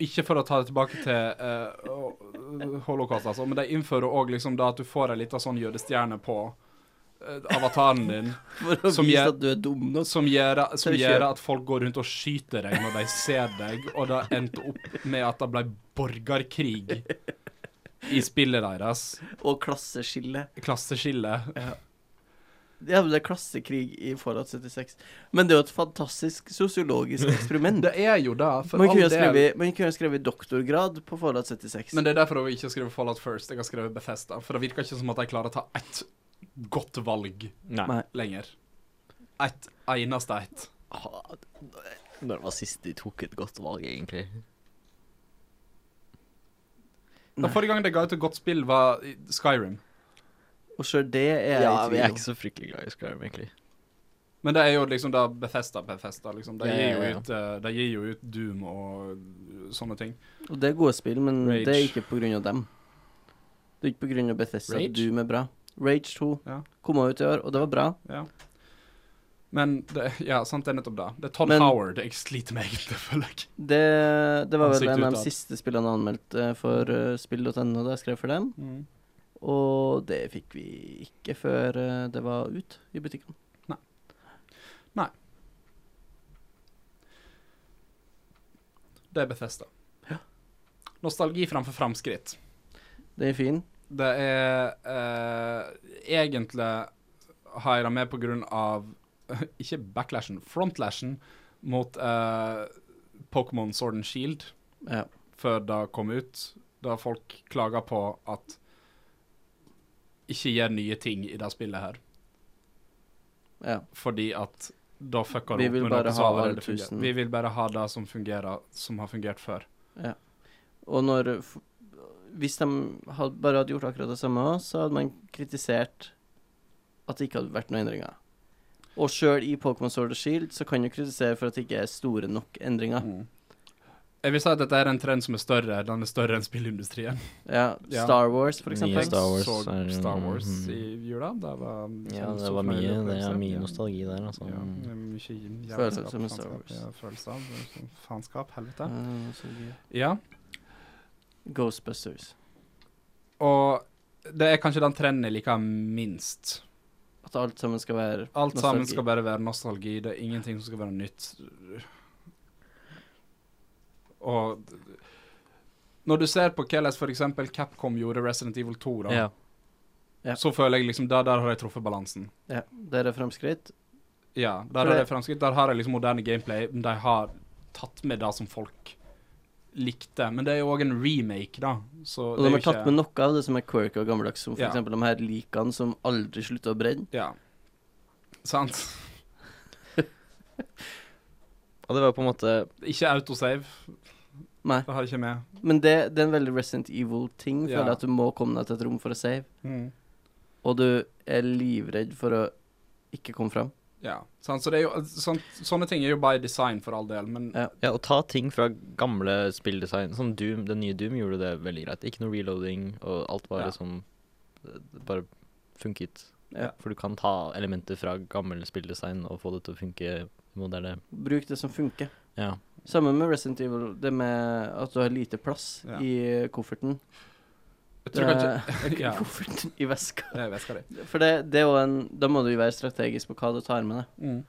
B: Ikke for å ta det tilbake til eh, å- holocaust, altså, men de innfører òg liksom da at du får ei lita sånn jødestjerne på eh, avataren din,
C: For å
B: som
C: vise
B: jeg-
C: at du er dum nok.
B: som gjør, som
C: Tør ikke
B: gjør
C: gjøre.
B: at folk går rundt og skyter deg når de ser deg, og det endte opp med at det ble borgerkrig i spillet deres.
C: Og klasseskille.
B: Klasseskille.
C: Ja, men det er klassekrig i Fallout 76. Men det er jo et fantastisk sosiologisk eksperiment.
B: Det er jo det, for
C: man
B: all
C: kunne jo
B: del.
C: skrevet- man kunne jo skrevet doktorgrad på Fallout 76.
B: Men det er derfor jeg ikke har skrevet Fallout First, jeg har skrevet Bethesda. For det virker ikke som at de klarer å ta ett godt valg
A: Nei.
C: Nei.
B: lenger. Ett eneste ett.
A: Ah, Når var sist de tok et godt valg, egentlig?
B: Da
C: Nei.
B: forrige gang de ga ut et godt spill, var i Skyrim.
C: Og sjøl det er jeg
A: Ja,
C: i
A: vi
C: tvil
A: er
C: om.
A: ikke så fryktelig glad i Skyrim, egentlig.
B: Men det er jo liksom da Bethesda, Bethesda, liksom. De
A: Ja,
B: gir
A: ja,
B: jo
A: ja.
B: ut, eh, de gir jo ut Doom og eh, sånne ting.
C: Og det er gode spill, men
B: Rage.
C: det er ikke på grunn av dem. Det er ikke på grunn av Bethesda
B: Rage?
C: at du er bra. Rage 2
B: Ja.
C: kom ut i år, og det var bra.
B: Ja. Men det, ja, sant, det er nettopp det. Det er Todd
C: Men-
B: Howard jeg sliter med egentlig, føler jeg.
C: Det, det var vel
B: Ansikt
C: en av
B: utad.
C: de siste spillene jeg anmeldte for eh, spill.no da jeg skrev for dem.
A: Mm.
C: Og det fikk vi ikke før eh, det var ut i butikkene.
B: Nei. Nei. Det er Bethesda.
C: Ja.
B: Nostalgi framfor framskritt.
C: Det er fin.
B: Det er eh, Egentlig har jeg det med på grunn av Ikke backlashen, frontlashen mot eh, Pokémon Sword and Shield.
C: Ja.
B: før det kom ut, da folk klaga på at ikke gjør nye ting i det spillet her,
C: ja.
B: fordi at da fucker
C: Vi
B: det opp
C: vil
B: med
C: bare
B: noe som
C: ha
B: allerede
C: tusen.
B: fungerer. Vi vil bare ha det som fungerer, som har fungert før.
C: Og når f Hvis de had, bare hadde gjort akkurat det samme, så hadde man kritisert at det ikke hadde vært noen endringer. Og sjøl i Pokémon Sword og Shield så kan du kritisere for at det ikke er store nok endringer.
B: Jeg vil si at dette er en trend som er større. Den er større enn spillindustrien.
C: Ja,
B: Ja.
C: Star Wars, for
A: Nye
C: eksempel.
A: Star Wars
B: Så
A: er jo-
B: Star Wars
A: mhm.
B: i jula. Det var, mm,
A: Ja,
B: sånn
A: det
B: så
A: var mye,
B: fornøyelig
A: det er
B: opplevelse.
A: mye
B: Ja.
A: nostalgi der, altså.
B: Ja,
A: Mm.
B: det er mye jævla
C: Følelser som
B: faenskap,
C: Star Wars.
B: Ja, følelser som faenskap, helvete.
C: Ah, så gøy.
B: Ja,
C: Ghostbusters.
B: og det er kanskje den trenden jeg liker minst.
C: At alt sammen skal være
B: Alt sammen
C: nostalgi.
B: skal bare være nostalgi, det er ingenting som skal være nytt. Og når du ser på hvordan for eksempel Capcom gjorde Resident Evil 2, da,
A: Ja.
C: Ja.
B: så føler jeg liksom der, der har jeg truffet balansen.
C: Ja, Der er fremskritt.
B: Ja,
C: For
B: der er
C: det-
B: det fremskritt. Der har jeg liksom moderne gameplay. men De har tatt med det som folk likte. Men det er jo òg en remake, da. Så
C: Og de har tatt med noe av det som er quirky og gammeldags, som for
B: Ja.
C: eksempel de her likene som aldri slutter å brenne.
B: Ja. Sant.
A: Og det var på en måte
B: Ikke autosave.
C: Nei.
B: Det har jeg ikke med.
C: Men det, det er en veldig Resident Evil-ting,
B: Ja.
C: føler jeg, at du må komme deg til et rom for å save.
B: Mm.
C: Og du er livredd for å ikke komme fram.
B: Ja. Sant? Så det er jo, sånt, sånne ting er jo by design, for all del, men
C: Ja.
A: Ja, å ta ting fra gamle spilldesign Sånn Doom, den nye Doom gjorde det veldig greit. Ikke noe reloading, og alt bare
B: Ja.
A: som det Bare funket.
C: Ja.
A: For du kan ta elementer fra gammel spilldesign og få det til å funke i moderne.
C: Bruk det som funker.
A: Ja.
C: Samme med Resident Evil, det med at du har lite plass
B: Ja.
C: i kofferten.
B: jeg
C: Det,
B: tror kanskje
C: I
B: Ja,
C: kofferten i veska.
B: det er veska di.
C: For det, det er jo en Da må du jo være strategisk på hva du tar med deg.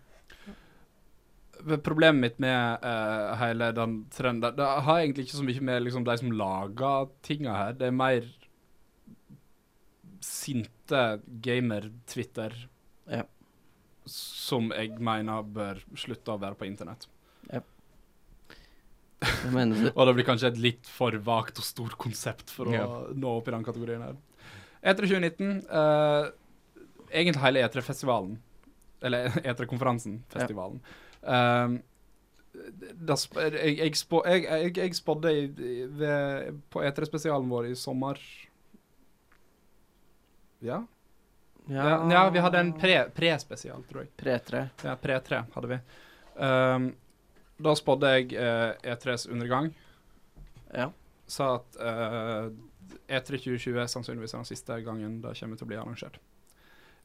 B: Mm. Problemet mitt med eh, hele den trenden Det har egentlig ikke så mye med liksom, de som lager tinga her. Det er mer sinte gamer-Twitter
C: Ja.
B: som jeg mener bør slutte å være på internett.
C: Det mener du.
B: Og det blir kanskje et litt for vagt og stort konsept for å
A: Ja.
B: nå opp i den kategorien her. E E3 2019 eh, Egentlig hele E3-festivalen. Eller E3-konferansen. Festivalen. Ehm, da sp jeg, jeg, spå, jeg, jeg, jeg spådde i, i- ved, på E3-spesialen vår i sommer ja. Ja. ja, vi hadde en pre- pre-spesial, tror jeg.
C: Pre-3.
B: Ja, Pre-3 hadde vi. Ehm, da spådde jeg eh, E3s undergang
C: Ja.
B: sa at eh, E3 2020 er sannsynligvis den siste gangen det kommer til å bli arrangert.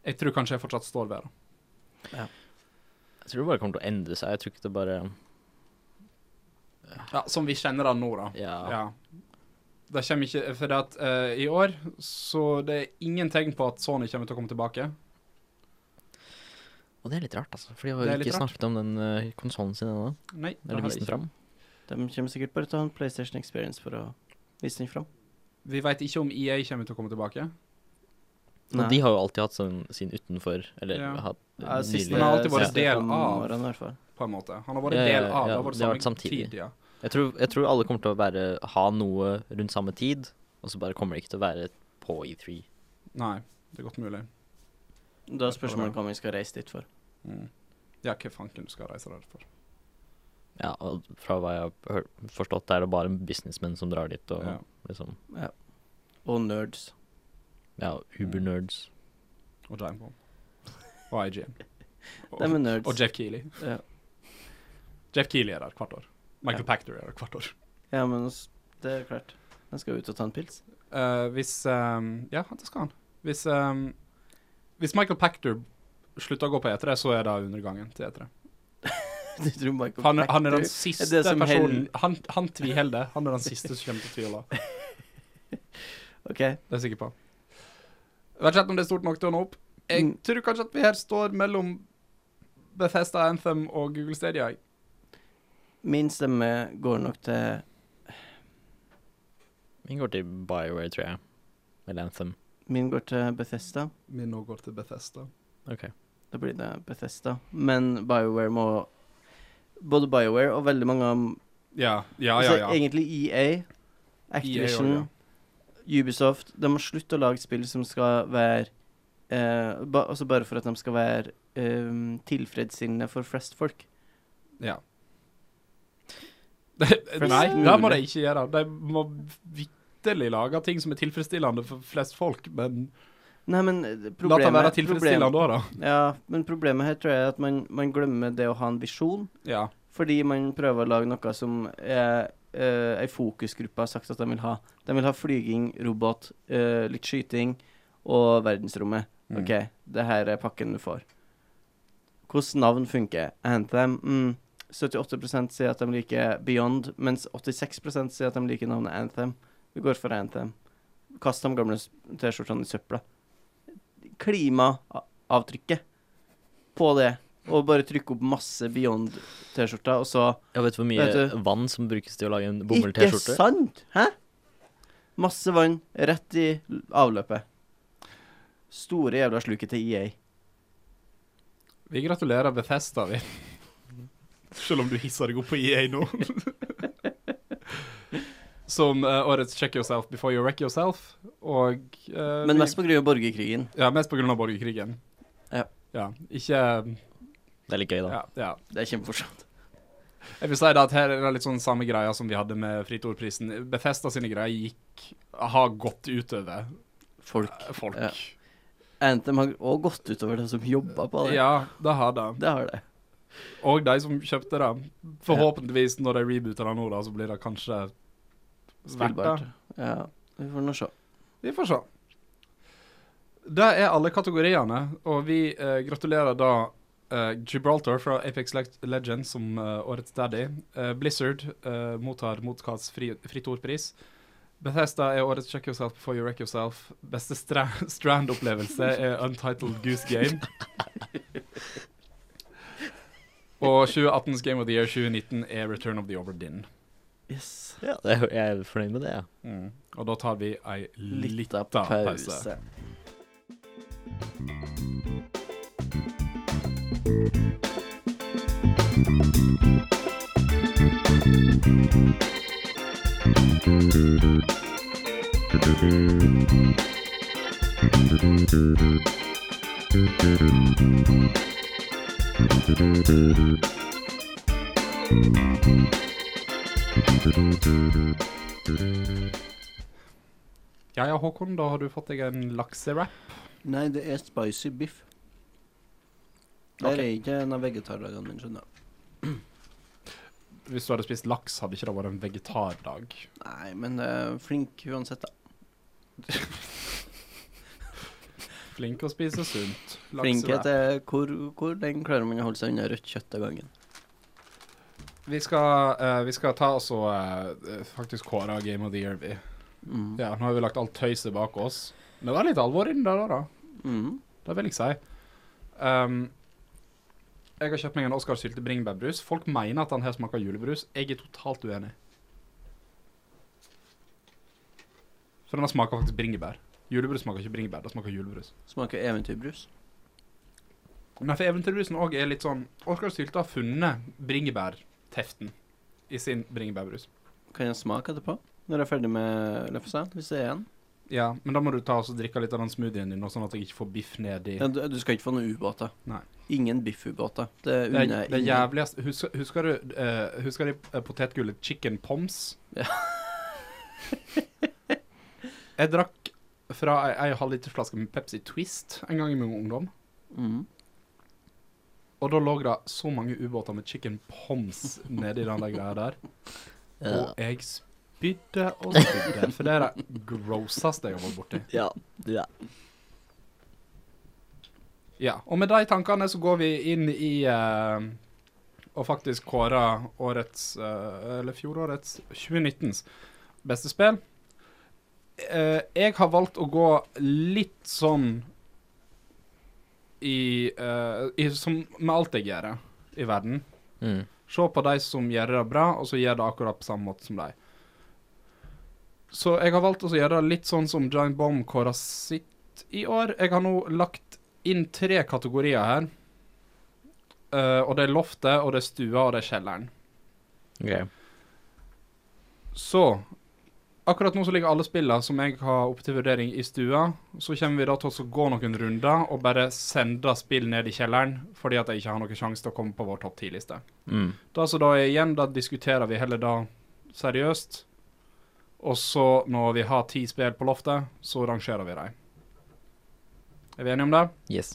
B: Jeg tror kanskje jeg fortsatt står ved det.
A: Jeg tror det bare kommer til å endre seg. Jeg tror ikke det bare
B: Ja, som vi kjenner det nå, da.
A: Ja.
B: Ja. Det kommer ikke For det at eh, i år så det er ingen tegn på at Sony kommer til å komme tilbake.
A: Og det er litt rart, altså. For de
B: Det
A: har
B: er
A: jo
B: litt
A: ikke
B: rart.
A: snakket om den uh, konsollen sin ennå.
B: Nei, det
A: Eller
B: har
A: vist
B: de
A: den
B: ikke.
A: fram.
C: De kommer sikkert bare til å ha en PlayStation Experience for å vise den fram.
B: Vi veit ikke om EA kommer til å komme tilbake.
A: Og de har jo alltid hatt sånn, sin utenfor, eller
B: Ja.
A: hatt
C: Ja, siste-
B: Den har alltid vært
A: Ja.
C: siste
B: del
C: fem
B: av.
C: årene i hvert fall.
B: På en måte. Han har vært
A: Ja,
B: en
A: ja,
B: del
A: ja,
B: av. det har vært
A: det har vært
B: samme
A: samtidig.
B: tid, ja.
A: Jeg tror, jeg tror alle kommer til å være, ha noe rundt samme tid, og så bare kommer det ikke til å være på E E3.
B: Nei, det er godt mulig.
C: Da er spørsmålet hva vi skal reise dit for.
B: Mm. Ja, hva fanken du skal reise der for.
A: Ja, og fra hva jeg har hørt, forstått, er det bare businessmenn som drar dit, og
B: Ja.
A: liksom
C: Og nerds.
A: Ja, Uber-nerds.
B: Og Giant Bomb. Og IGN. Og,
C: De er nerds.
B: og Jeff Keeley.
C: Ja.
B: Jeff Keeley er der hvert år. Michael
C: Ja.
B: Pachter er der hvert år.
C: Ja, men s- det er klart. De skal ut og ta en pils.
B: Eh, hvis ehm, Ja, det skal han. Hvis, ehm, hvis Michael Pachter slutter å gå på E3, så er det undergangen til E3.
C: Du tror Michael
B: Han, er- han er
C: Pachter-
B: den siste
C: det som
B: personen
C: held-
B: Han, han tviholder det. Han er den siste som kommer til å tvile. Det
C: OK.
B: er jeg sikker på. Vet ikke helt om det er stort nok til å nå opp. Jeg
C: Mm.
B: tror kanskje at vi her står mellom Bethesda Anthem og Google Stadia. jeg.
C: Min stemme går nok til
A: Vi går til Bioware, tror jeg. Eller Anthem.
C: Min går til Bethesda.
B: Min nå går til Bethesda.
A: OK.
C: Da blir det Bethesda. Men BioWare må Både BioWare og veldig mange av
B: Ja, ja, ja.
C: altså,
B: ja.
C: Egentlig EA, Activision,
B: EA også,
C: Ubisoft De må slutte å lage spill som skal være eh, ba, Altså bare for at de skal være eh, tilfredsstillende for flest folk.
B: Ja. Nei,
C: mulig.
B: det må de ikke gjøre. De må vitterlig lage ting som er tilfredsstillende for flest folk, men
C: Nei, men eh,
B: la det være
C: problemet,
B: tilfredsstillende
C: problemet,
B: òg, da.
C: ja, men problemet her tror jeg er at man, man glemmer det å ha en visjon.
B: Ja.
C: Fordi man prøver å lage noe som er eh, ei fokusgruppe har sagt at de vil ha. De vil ha flyging, robot, eh, litt skyting og verdensrommet.
D: Mm.
C: OK, det her er pakken du får. Hvordan navn funker? Anthem? Mm. 78 sier at de liker Beyond, mens 86 sier at de liker navnet Anthem. Vi går for Anthem. Kast de gamle s- T-skjortene i søpla. Klimaavtrykket på det, og bare trykke opp masse Beyond-T-skjorter, og så
A: Jeg vet du hvor mye
C: Vet du-
A: vann som brukes til å lage en
C: Ikke
A: bomull-T-skjorte?
C: sant? Hæ? Masse vann rett i avløpet. Store jævla sluket til EA.
B: Vi gratulerer Bethesda, vi. Selv om du hisser deg opp på EA nå. Som eh, årets Check Yourself Before You Wreck Yourself. Og eh,
C: Men
B: vi-
C: mest pga. borgerkrigen.
B: Ja, mest på grunn av borgerkrigen.
C: Ja.
B: ja. Ikke eh,
A: Det er litt gøy, da.
B: ja, ja.
C: Det er kjempemorsomt.
B: Jeg vil si da at her er det litt sånn samme greia som vi hadde med Fritt Ordprisen. Bethesda sine greier gikk har gått utover
C: Folk.
B: folk.
C: Ja. Anthem har òg gått utover de som jobba på
B: Ja,
C: det.
B: det har det.
C: Det har det.
B: Og de som kjøpte det. Forhåpentligvis, når de rebooter det nå, da, så blir det kanskje verdt det.
C: Spillbart. Ja, vi får nå se.
B: Vi får se. Det er alle kategoriene, og vi eh, gratulerer da eh, Gibraltar fra Apex Leg- Legends som eh, årets daddy. Eh, Blizzard eh, mottar Motkas fri, fritt ordpris. Bethesda er årets Check Yourself Before You Wreck Yourself. Beste stra strand-opplevelse er Untitled Goose Game. Og 2018s Game of the Year 2019 er Return of the Overdin.
C: Yes.
A: Ja, det er- jeg er fornøyd med det, ja.
B: Mm. Og da tar vi ei
C: Lita
B: lita pause.
C: pause.
B: Ja, ja, Håkon, da har du fått deg en laksewrap.
C: Nei, det er spicy biff. Der er ikke en av vegetardagene mine, skjønner du.
B: Hvis du hadde spist laks, hadde ikke det vært en vegetardag.
C: Nei, men eh, flink uansett, da.
B: Flink å spise sunt.
C: Flinkhet
B: Laksewrap.
C: er hvor, hvor den klarer man å holde seg unna rødt kjøtt av gangen.
B: Vi skal, eh, vi skal ta oss og eh, faktisk kåre Game of the Year, vi.
C: Mm.
B: Ja, nå har vi lagt alt tøyset bak oss. Men det var litt alvor inni der, da.
C: Mm.
B: Det vil jeg si. Ehm, jeg har kjøpt meg en Oscar-sylte bringebærbrus. Folk mener at den her smaker julebrus. Jeg er totalt uenig. For den her smaker faktisk bringebær. Julebrus smaker ikke bringebær, det smaker julebrus.
C: Smaker eventyrbrus.
B: Nei, for eventyrbrusen òg er litt sånn Oskar Sylte har funnet bringebærteften i sin bringebærbrus.
C: Kan jeg smake etterpå? Når jeg er ferdig med lefsa? Hvis det er en?
B: Ja, men da må du ta og så drikke litt av den smoothien din, nå, sånn at jeg ikke får biff ned i
C: Ja, du, du skal ikke få noen ubåter.
B: Nei.
C: Ingen biffubåter. Det
B: Det
C: unner
B: er,
C: jeg
B: det er
C: ingen.
B: jævligst Husker, husker du eh, Husker de eh, potetgullet chicken poms?
C: Ja.
B: jeg drakk fra ei, ei halvliterflaske med Pepsi Twist en gang i min ungdom.
C: Mm.
B: Og da lå det så mange ubåter med chicken poms nedi den der greia der.
A: Ja.
B: Og jeg spydde og spydde, for det er det grosseste jeg har vært borti.
A: Ja, ja.
B: Ja, og med de tankene så går vi inn i eh, å faktisk kåre årets, eh, eller fjorårets, 2019s beste spill. Eh, jeg har valgt å gå litt sånn i, eh, i Som med alt jeg gjør i verden.
A: Mm.
B: Se på de som gjør det bra, og så gjør det akkurat på samme måte som deg. Så jeg har valgt å gjøre det litt sånn som Giant Bomb kåra sitt i år. Jeg har nå lagt inn tre kategorier her. Eh, og det er loftet, og det er stua, og det er kjelleren.
A: Ok.
B: Så akkurat nå så ligger alle spillene som jeg har oppe til vurdering, i stua. Så kommer vi da til å gå noen runder og bare sende spill ned i kjelleren, fordi at jeg ikke har noen sjanse til å komme på vår topp ti-liste.
A: Mm.
B: Da så da igjen, da diskuterer vi heller da seriøst. Og så når vi har ti spill på loftet, så rangerer vi dem. Er vi enige om det?
A: Yes.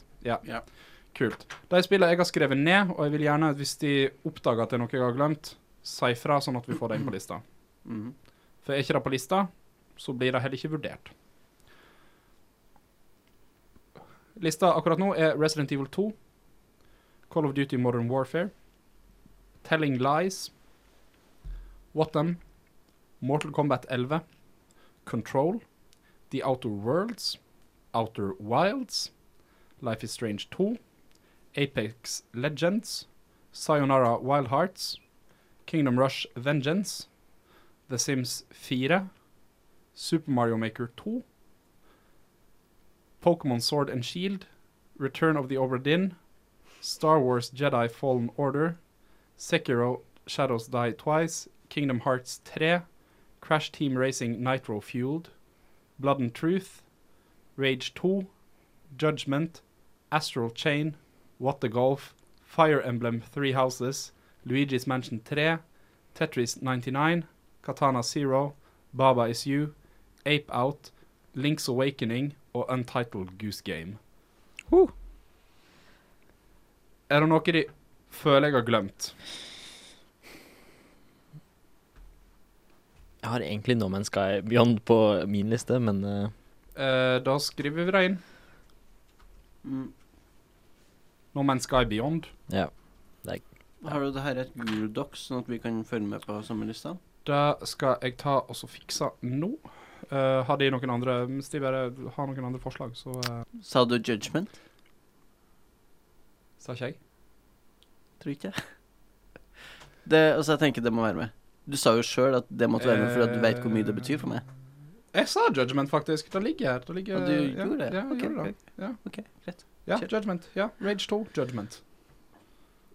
B: Kult. De spillene jeg har skrevet ned, og jeg vil gjerne, hvis de oppdager at det er noe jeg har glemt, si fra sånn at vi får det inn på lista.
C: Mhm.
B: For er ikke det på lista, så blir det heller ikke vurdert. Lista akkurat nå er Resident Evil 2, Call of Duty Modern Warfare, Telling Lies, Whatam, Mortal Kombat 11, Control, The Outer Worlds, Outer Wilds, Life is Strange 2, Apex Legends, Sayonara Wild Hearts, Kingdom Rush Vengeance, The Sims 4, Super Mario Maker 2, Pokemon Sword and Shield, Return of the Obra Dinn, Star Wars Jedi Fallen Order, Sekiro Shadows Die Twice, Kingdom Hearts 3, Crash Team Racing Nitro Fueled, Blood and Truth, Rage 2, Judgment, Astral Chain, What the Golf, Fire Emblem Three Houses, Luigi's Mansion 3, Tetris 99, Katana Zero, Baba Is You, Ape Out, Link's Awakening og Untitled Goose Game. Er det noe de føler jeg har glemt?
A: Jeg har egentlig No Man's Sky Beyond på min liste, men eh,
B: Eh, da skriver vi det inn.
C: Mm.
B: No Man's Sky Beyond.
A: ja.
C: Har du det her et Google-docs, sånn at vi kan følge med på sommerlista?
B: Det skal jeg ta og så fikse nå. Eh, har de noen andre Hvis de bare har noen andre forslag, så eh,
C: Sa du judgment?
B: sa ikke jeg.
C: Tror ikke jeg. Det, altså, jeg tenker det må være med. Du sa jo sjøl at det måtte være med, for at du veit hvor mye det
B: Eh,
C: betyr for meg.
B: Jeg sa Judgment, faktisk. Den ligger her. Den ligger,
C: Og du
B: ja,
C: gjorde det?
B: Ja, jeg
C: Ok,
B: gjorde det.
C: OK, greit.
B: ja
C: Kjør.
B: Judgment. Ja, Rage 2, Judgment.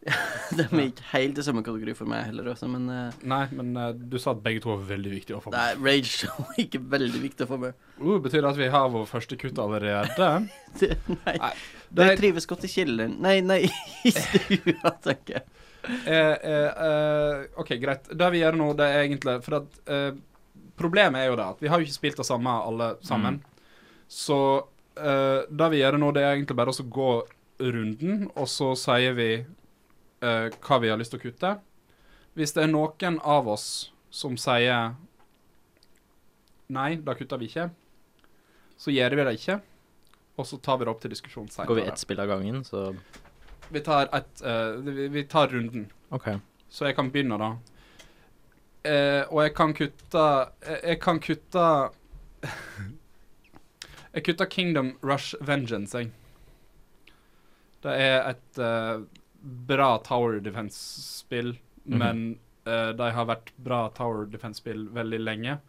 C: De er ikke helt i samme kategori for meg heller, altså, men eh,
B: Nei, men eh, du sa at begge to var veldig viktige å få
C: det
B: med.
C: er rage show er ikke veldig viktig å få med.
B: Uh, betyr det at vi har vår første kutt allerede?
C: Det, nei.
B: Nei,
C: Du
B: Det er,
C: trives godt i kjelleren Nei, nei, i stua, tenker jeg.
B: eh, eh, eh, OK, greit. Det vi gjør nå, det er egentlig For at eh, problemet er jo det at vi har jo ikke spilt det samme alle sammen.
A: Mm.
B: Så eh, det vi gjør nå, det er egentlig bare å så gå runden, og så sier vi eh, hva vi har lyst til å kutte. Hvis det er noen av oss som sier Nei, da kutter vi ikke. Så gjør vi det ikke, og så tar vi det opp til diskusjon senere.
A: går vi ett spill av gangen, så
B: Vi tar, et, eh, vi, vi tar runden,
A: OK.
B: så jeg kan begynne da. Eh, og jeg kan kutte Jeg, jeg kan kutte Jeg kutter Kingdom Rush Vengeance, jeg. Det er et eh, bra Tower Defense-spill,
A: Mhm.
B: men eh, de har vært bra Tower Defense-spill veldig lenge.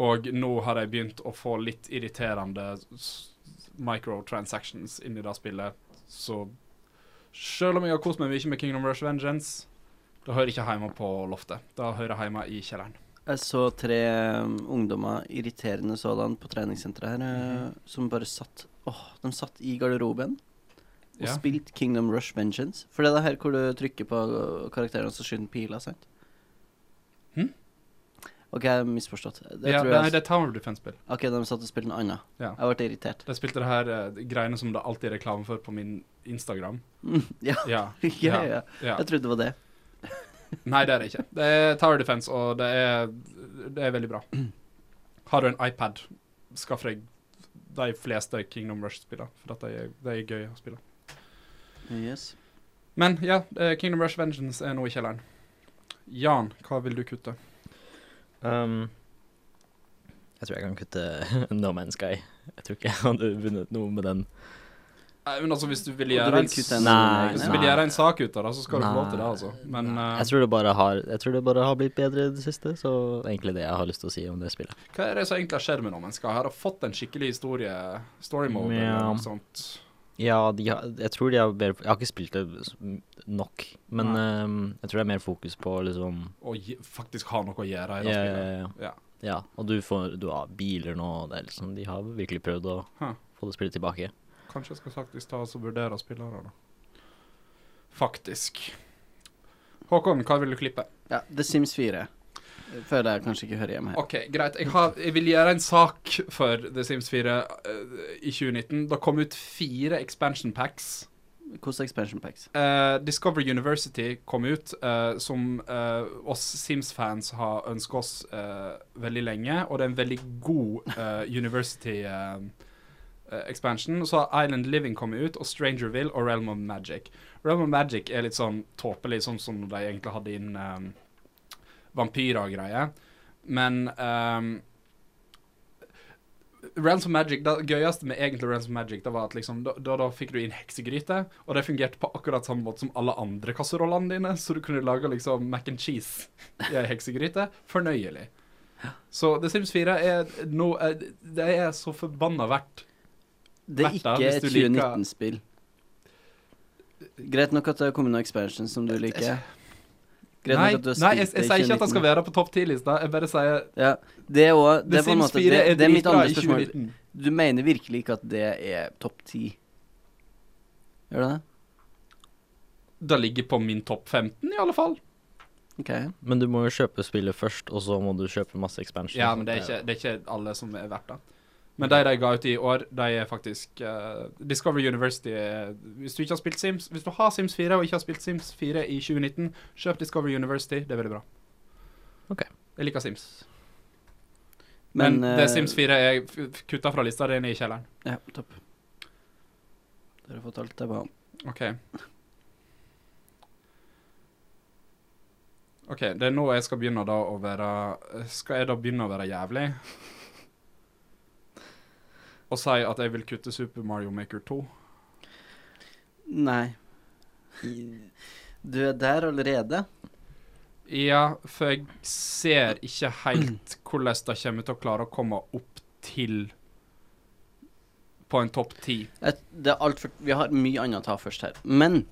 B: Og nå har de begynt å få litt irriterende s- microtransactions inni det spillet, så Sjøl om jeg har kost meg mye med Kingdom Rush Vengeance, det hører ikke hjemme på loftet. Det hører hjemme i kjelleren.
C: Jeg så tre um, ungdommer, irriterende sådan, på treningssenteret her, eh,
B: Mhm.
C: som bare satt Åh, de satt i garderoben og
B: Ja.
C: spilte Kingdom Rush Vengeance. For det er det her hvor du trykker på eh, karakteren, og så skyter den pila, sant?
B: Hm?
C: OK, jeg har misforstått. Det
B: ja,
C: tror
B: nei,
C: jeg
B: det er Tower Defense-spill.
C: OK, de satt og spilte noe annet.
B: Ja.
C: Jeg ble irritert.
B: De spilte det her eh, greiene som det alltid er reklame for på min Instagram.
C: ja,
B: Ja,
C: ja, ja.
B: ja.
C: Jeg trodde det var det.
B: Nei, det er det ikke. Det er Tower Defense, og det er, det er veldig bra. Har du en iPad, skaff deg de fleste Kingdom Rush-spillene, for at de er, de er gøy å spille.
C: Yes.
B: Men ja, eh, Kingdom Rush Vengeance er nå i kjelleren. Jan, hva vil du kutte?
A: Um, jeg tror jeg kan kutte No Man's Sky. Jeg tror ikke jeg hadde vunnet noe med den.
B: Nei, men altså, hvis du vil
C: Og
B: gjøre
C: du vil
B: en
C: kutte en
A: Nei,
C: ordentlig-
B: Hvis
A: nei.
B: du vil gjøre en sak ut av det, så skal du få lov til det,
A: Nei,
B: altså. Men
A: nei.
B: eh,
A: jeg, tror det bare har, jeg tror det bare har blitt bedre i det siste, så det er egentlig det jeg har lyst til å si om det spillet.
B: hva er det som egentlig har skjedd med noen mennesker? Har de fått en skikkelig historie, story mode
A: Ja.
B: eller noe sånt?
A: Ja, de har, jeg tror de har bedre Jeg har ikke spilt det s- nok, men um, jeg tror det er mer fokus på liksom
B: Og gi- faktisk har noe å gjøre
A: ja,
B: i det
A: ja,
B: spillet?
A: ja,
B: Ja.
A: ja. ja, og du får du har biler nå, og det er liksom De har virkelig prøvd å
B: Huh.
A: få det spillet tilbake.
B: Kanskje jeg skal faktisk ta og vurdere spillere, da. Faktisk. Håkon, hva vil du klippe?
C: Ja, The Sims 4. Føler jeg kanskje ikke hører hjemme her.
B: OK, greit. Jeg, har, jeg vil gjøre en sak for The Sims 4 eh, i 2019. Det kom ut fire expansion packs
C: Hvordan expansion packs?
B: Eh, Discovery University kom ut, eh, som eh, oss Sims-fans har ønsket oss eh, veldig lenge, og det er en veldig god eh, university eh, eh, expansion. Og så har Island Living kommet ut, og Strangerville og Realm of Magic. Realm of Magic er litt sånn tåpelig, sånn som de egentlig hadde inn eh, vampyrer og greier. Men eh, Realms of Magic, det gøyeste med egentlig Realms of Magic, det var at liksom, da, da, da fikk du inn heksegryte, og det fungerte på akkurat samme måte som alle andre kasserollene dine, så du kunne lage liksom mac and cheese i ei heksegryte. Fornøyelig. Så The Sims 4 er nå eh, Det er så forbanna verdt.
C: Det er
B: Vært da,
C: ikke
B: hvis
C: et
B: du liker-
C: 2019-spill. Greit nok at det har kommet noen expansion som du liker. Greit
B: Nei,
C: nok at du har
B: nei jeg,
C: spilt
B: jeg
C: det i
B: sier ikke at det
C: 2019.
B: skal være på topp 10-lista, jeg bare sier
C: Ja, det er også-
B: The
C: Det er på en
B: Sims
C: måte
B: 4
C: Det,
B: er
C: det er mitt
B: dritbra
C: andre
B: i
C: spørsmål.
B: 2019.
C: Du mener virkelig ikke at det er topp ti? Gjør du det?
B: Det ligger på min topp 15, i alle fall.
C: OK.
A: Men du må jo kjøpe spillet først, og så må du kjøpe masse expansion.
B: Ja, men det er ikke, det er ikke alle som er verdt det. Men de de ga ut i år, de er faktisk eh, Discovery University er- Hvis du ikke har spilt Sims Hvis du har Sims 4 og ikke har spilt Sims 4 i 2019, kjøp Discovery University. Det er veldig bra.
A: Ok.
B: Jeg liker Sims. Men,
C: eh,
B: det Sims 4 er f- f- kutta fra lista, det er nede i kjelleren.
C: Ja, topp. Dere har fått alt jeg ba om.
B: OK. OK, det er nå jeg skal begynne da å være Skal jeg da begynne å være jævlig? Og si at jeg vil kutte Super Mario Maker 2?
C: Nei. Du er der allerede.
B: Ja, for jeg ser ikke helt hvordan de kommer til å klare å komme opp til på en topp ti.
C: Jeg, det er alt for, vi har mye annet å ta først her. Men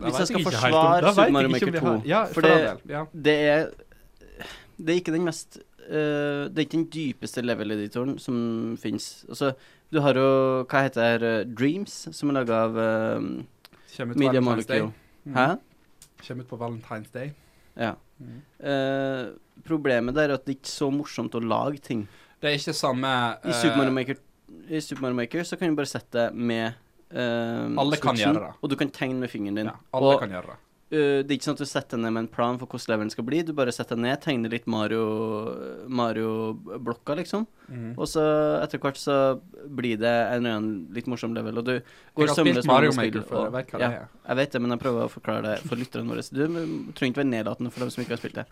C: Hvis jeg skal forsvare Super Mario Maker 2,
B: ja,
C: for
B: for
C: det-
B: all del, ja.
C: det er Det er ikke den mest eh, Det er ikke den dypeste level-editoren som fins. Altså, du har jo Hva heter det her? eh, Dreams, som er laga av eh,
B: Kommer ut på
C: Media
B: Valentine's Day.
C: Molecule. Hæ?
B: Mm. Kommer ut på Valentine's Day.
C: Ja.
B: Mm.
C: Eh, problemet der er at det ikke er så morsomt å lage ting.
B: Det er ikke samme eh,
C: I Super Mario Maker, i Super Mario Maker så kan du bare sette det med eh,
B: Alle kan
C: switchen,
B: gjøre det.
C: Og du kan tegne med fingeren din.
B: Ja, alle
C: og
B: kan gjøre det.
C: eh, det er ikke sånn at du setter deg ned med en plan for hvordan levelen skal bli. Du bare setter deg ned, tegner litt Mario- Mario-blokka, liksom.
B: Mm.
C: Og så etter hvert så blir det en eller annen litt morsom level, og du
B: Jeg
C: går
B: har spilt
C: sømløs
B: Mario
C: mellom spill
B: Maker før,
C: og-
B: jeg vet hva
C: ja.
B: det er.
C: Jeg vet det, men jeg prøver å forklare det for lytterne våre. Så du trenger ikke være nedlatende for dem som ikke har spilt det.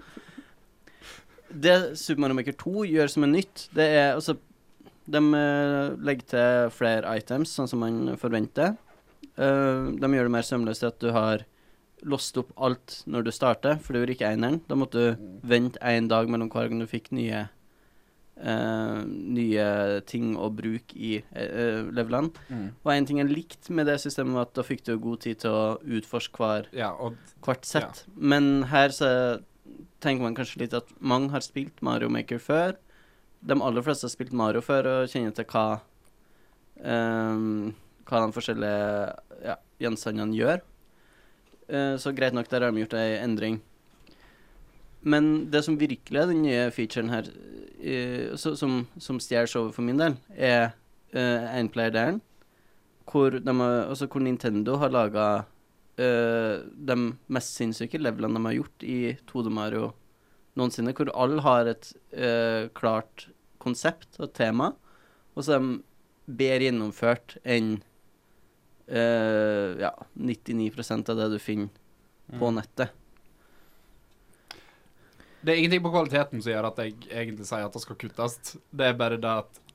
C: Det Super Mario Maker 2 gjør som er nytt, det er altså De eh, legger til flere items, sånn som man forventer. Eh, de gjør det mer sømløst at du har låst opp alt når du starter, for det gjorde ikke eineren. Da måtte du
B: Mm.
C: vente én dag mellom hver gang du fikk nye eh, nye ting å bruke i eh, levelene.
B: Mm.
C: Og en ting jeg likte med det systemet, var at da fikk du god tid til å utforske hver,
B: Ja, og
C: hvert sett. Men her så tenker man kanskje litt at mange har spilt Mario Maker før. De aller fleste har spilt Mario før og kjenner til hva ehm, hva de forskjellige ja, gjenstandene gjør. Eh, så greit nok, der har de gjort ei endring. Men det som virkelig er den nye featuren her, eh, så, som, som stjeler showet for min del, er uh, Einplayer-delen, hvor, de har- altså hvor Nintendo har laga eh, de mest sinnssyke levelene de har gjort i 2D Mario noensinne, hvor alle har et eh, klart konsept og tema, og så er de bedre gjennomført enn eh, ja, 99 av det du finner på nettet.
B: Det er ingenting på kvaliteten som gjør at jeg egentlig sier at det skal kuttes. Det er bare det at det-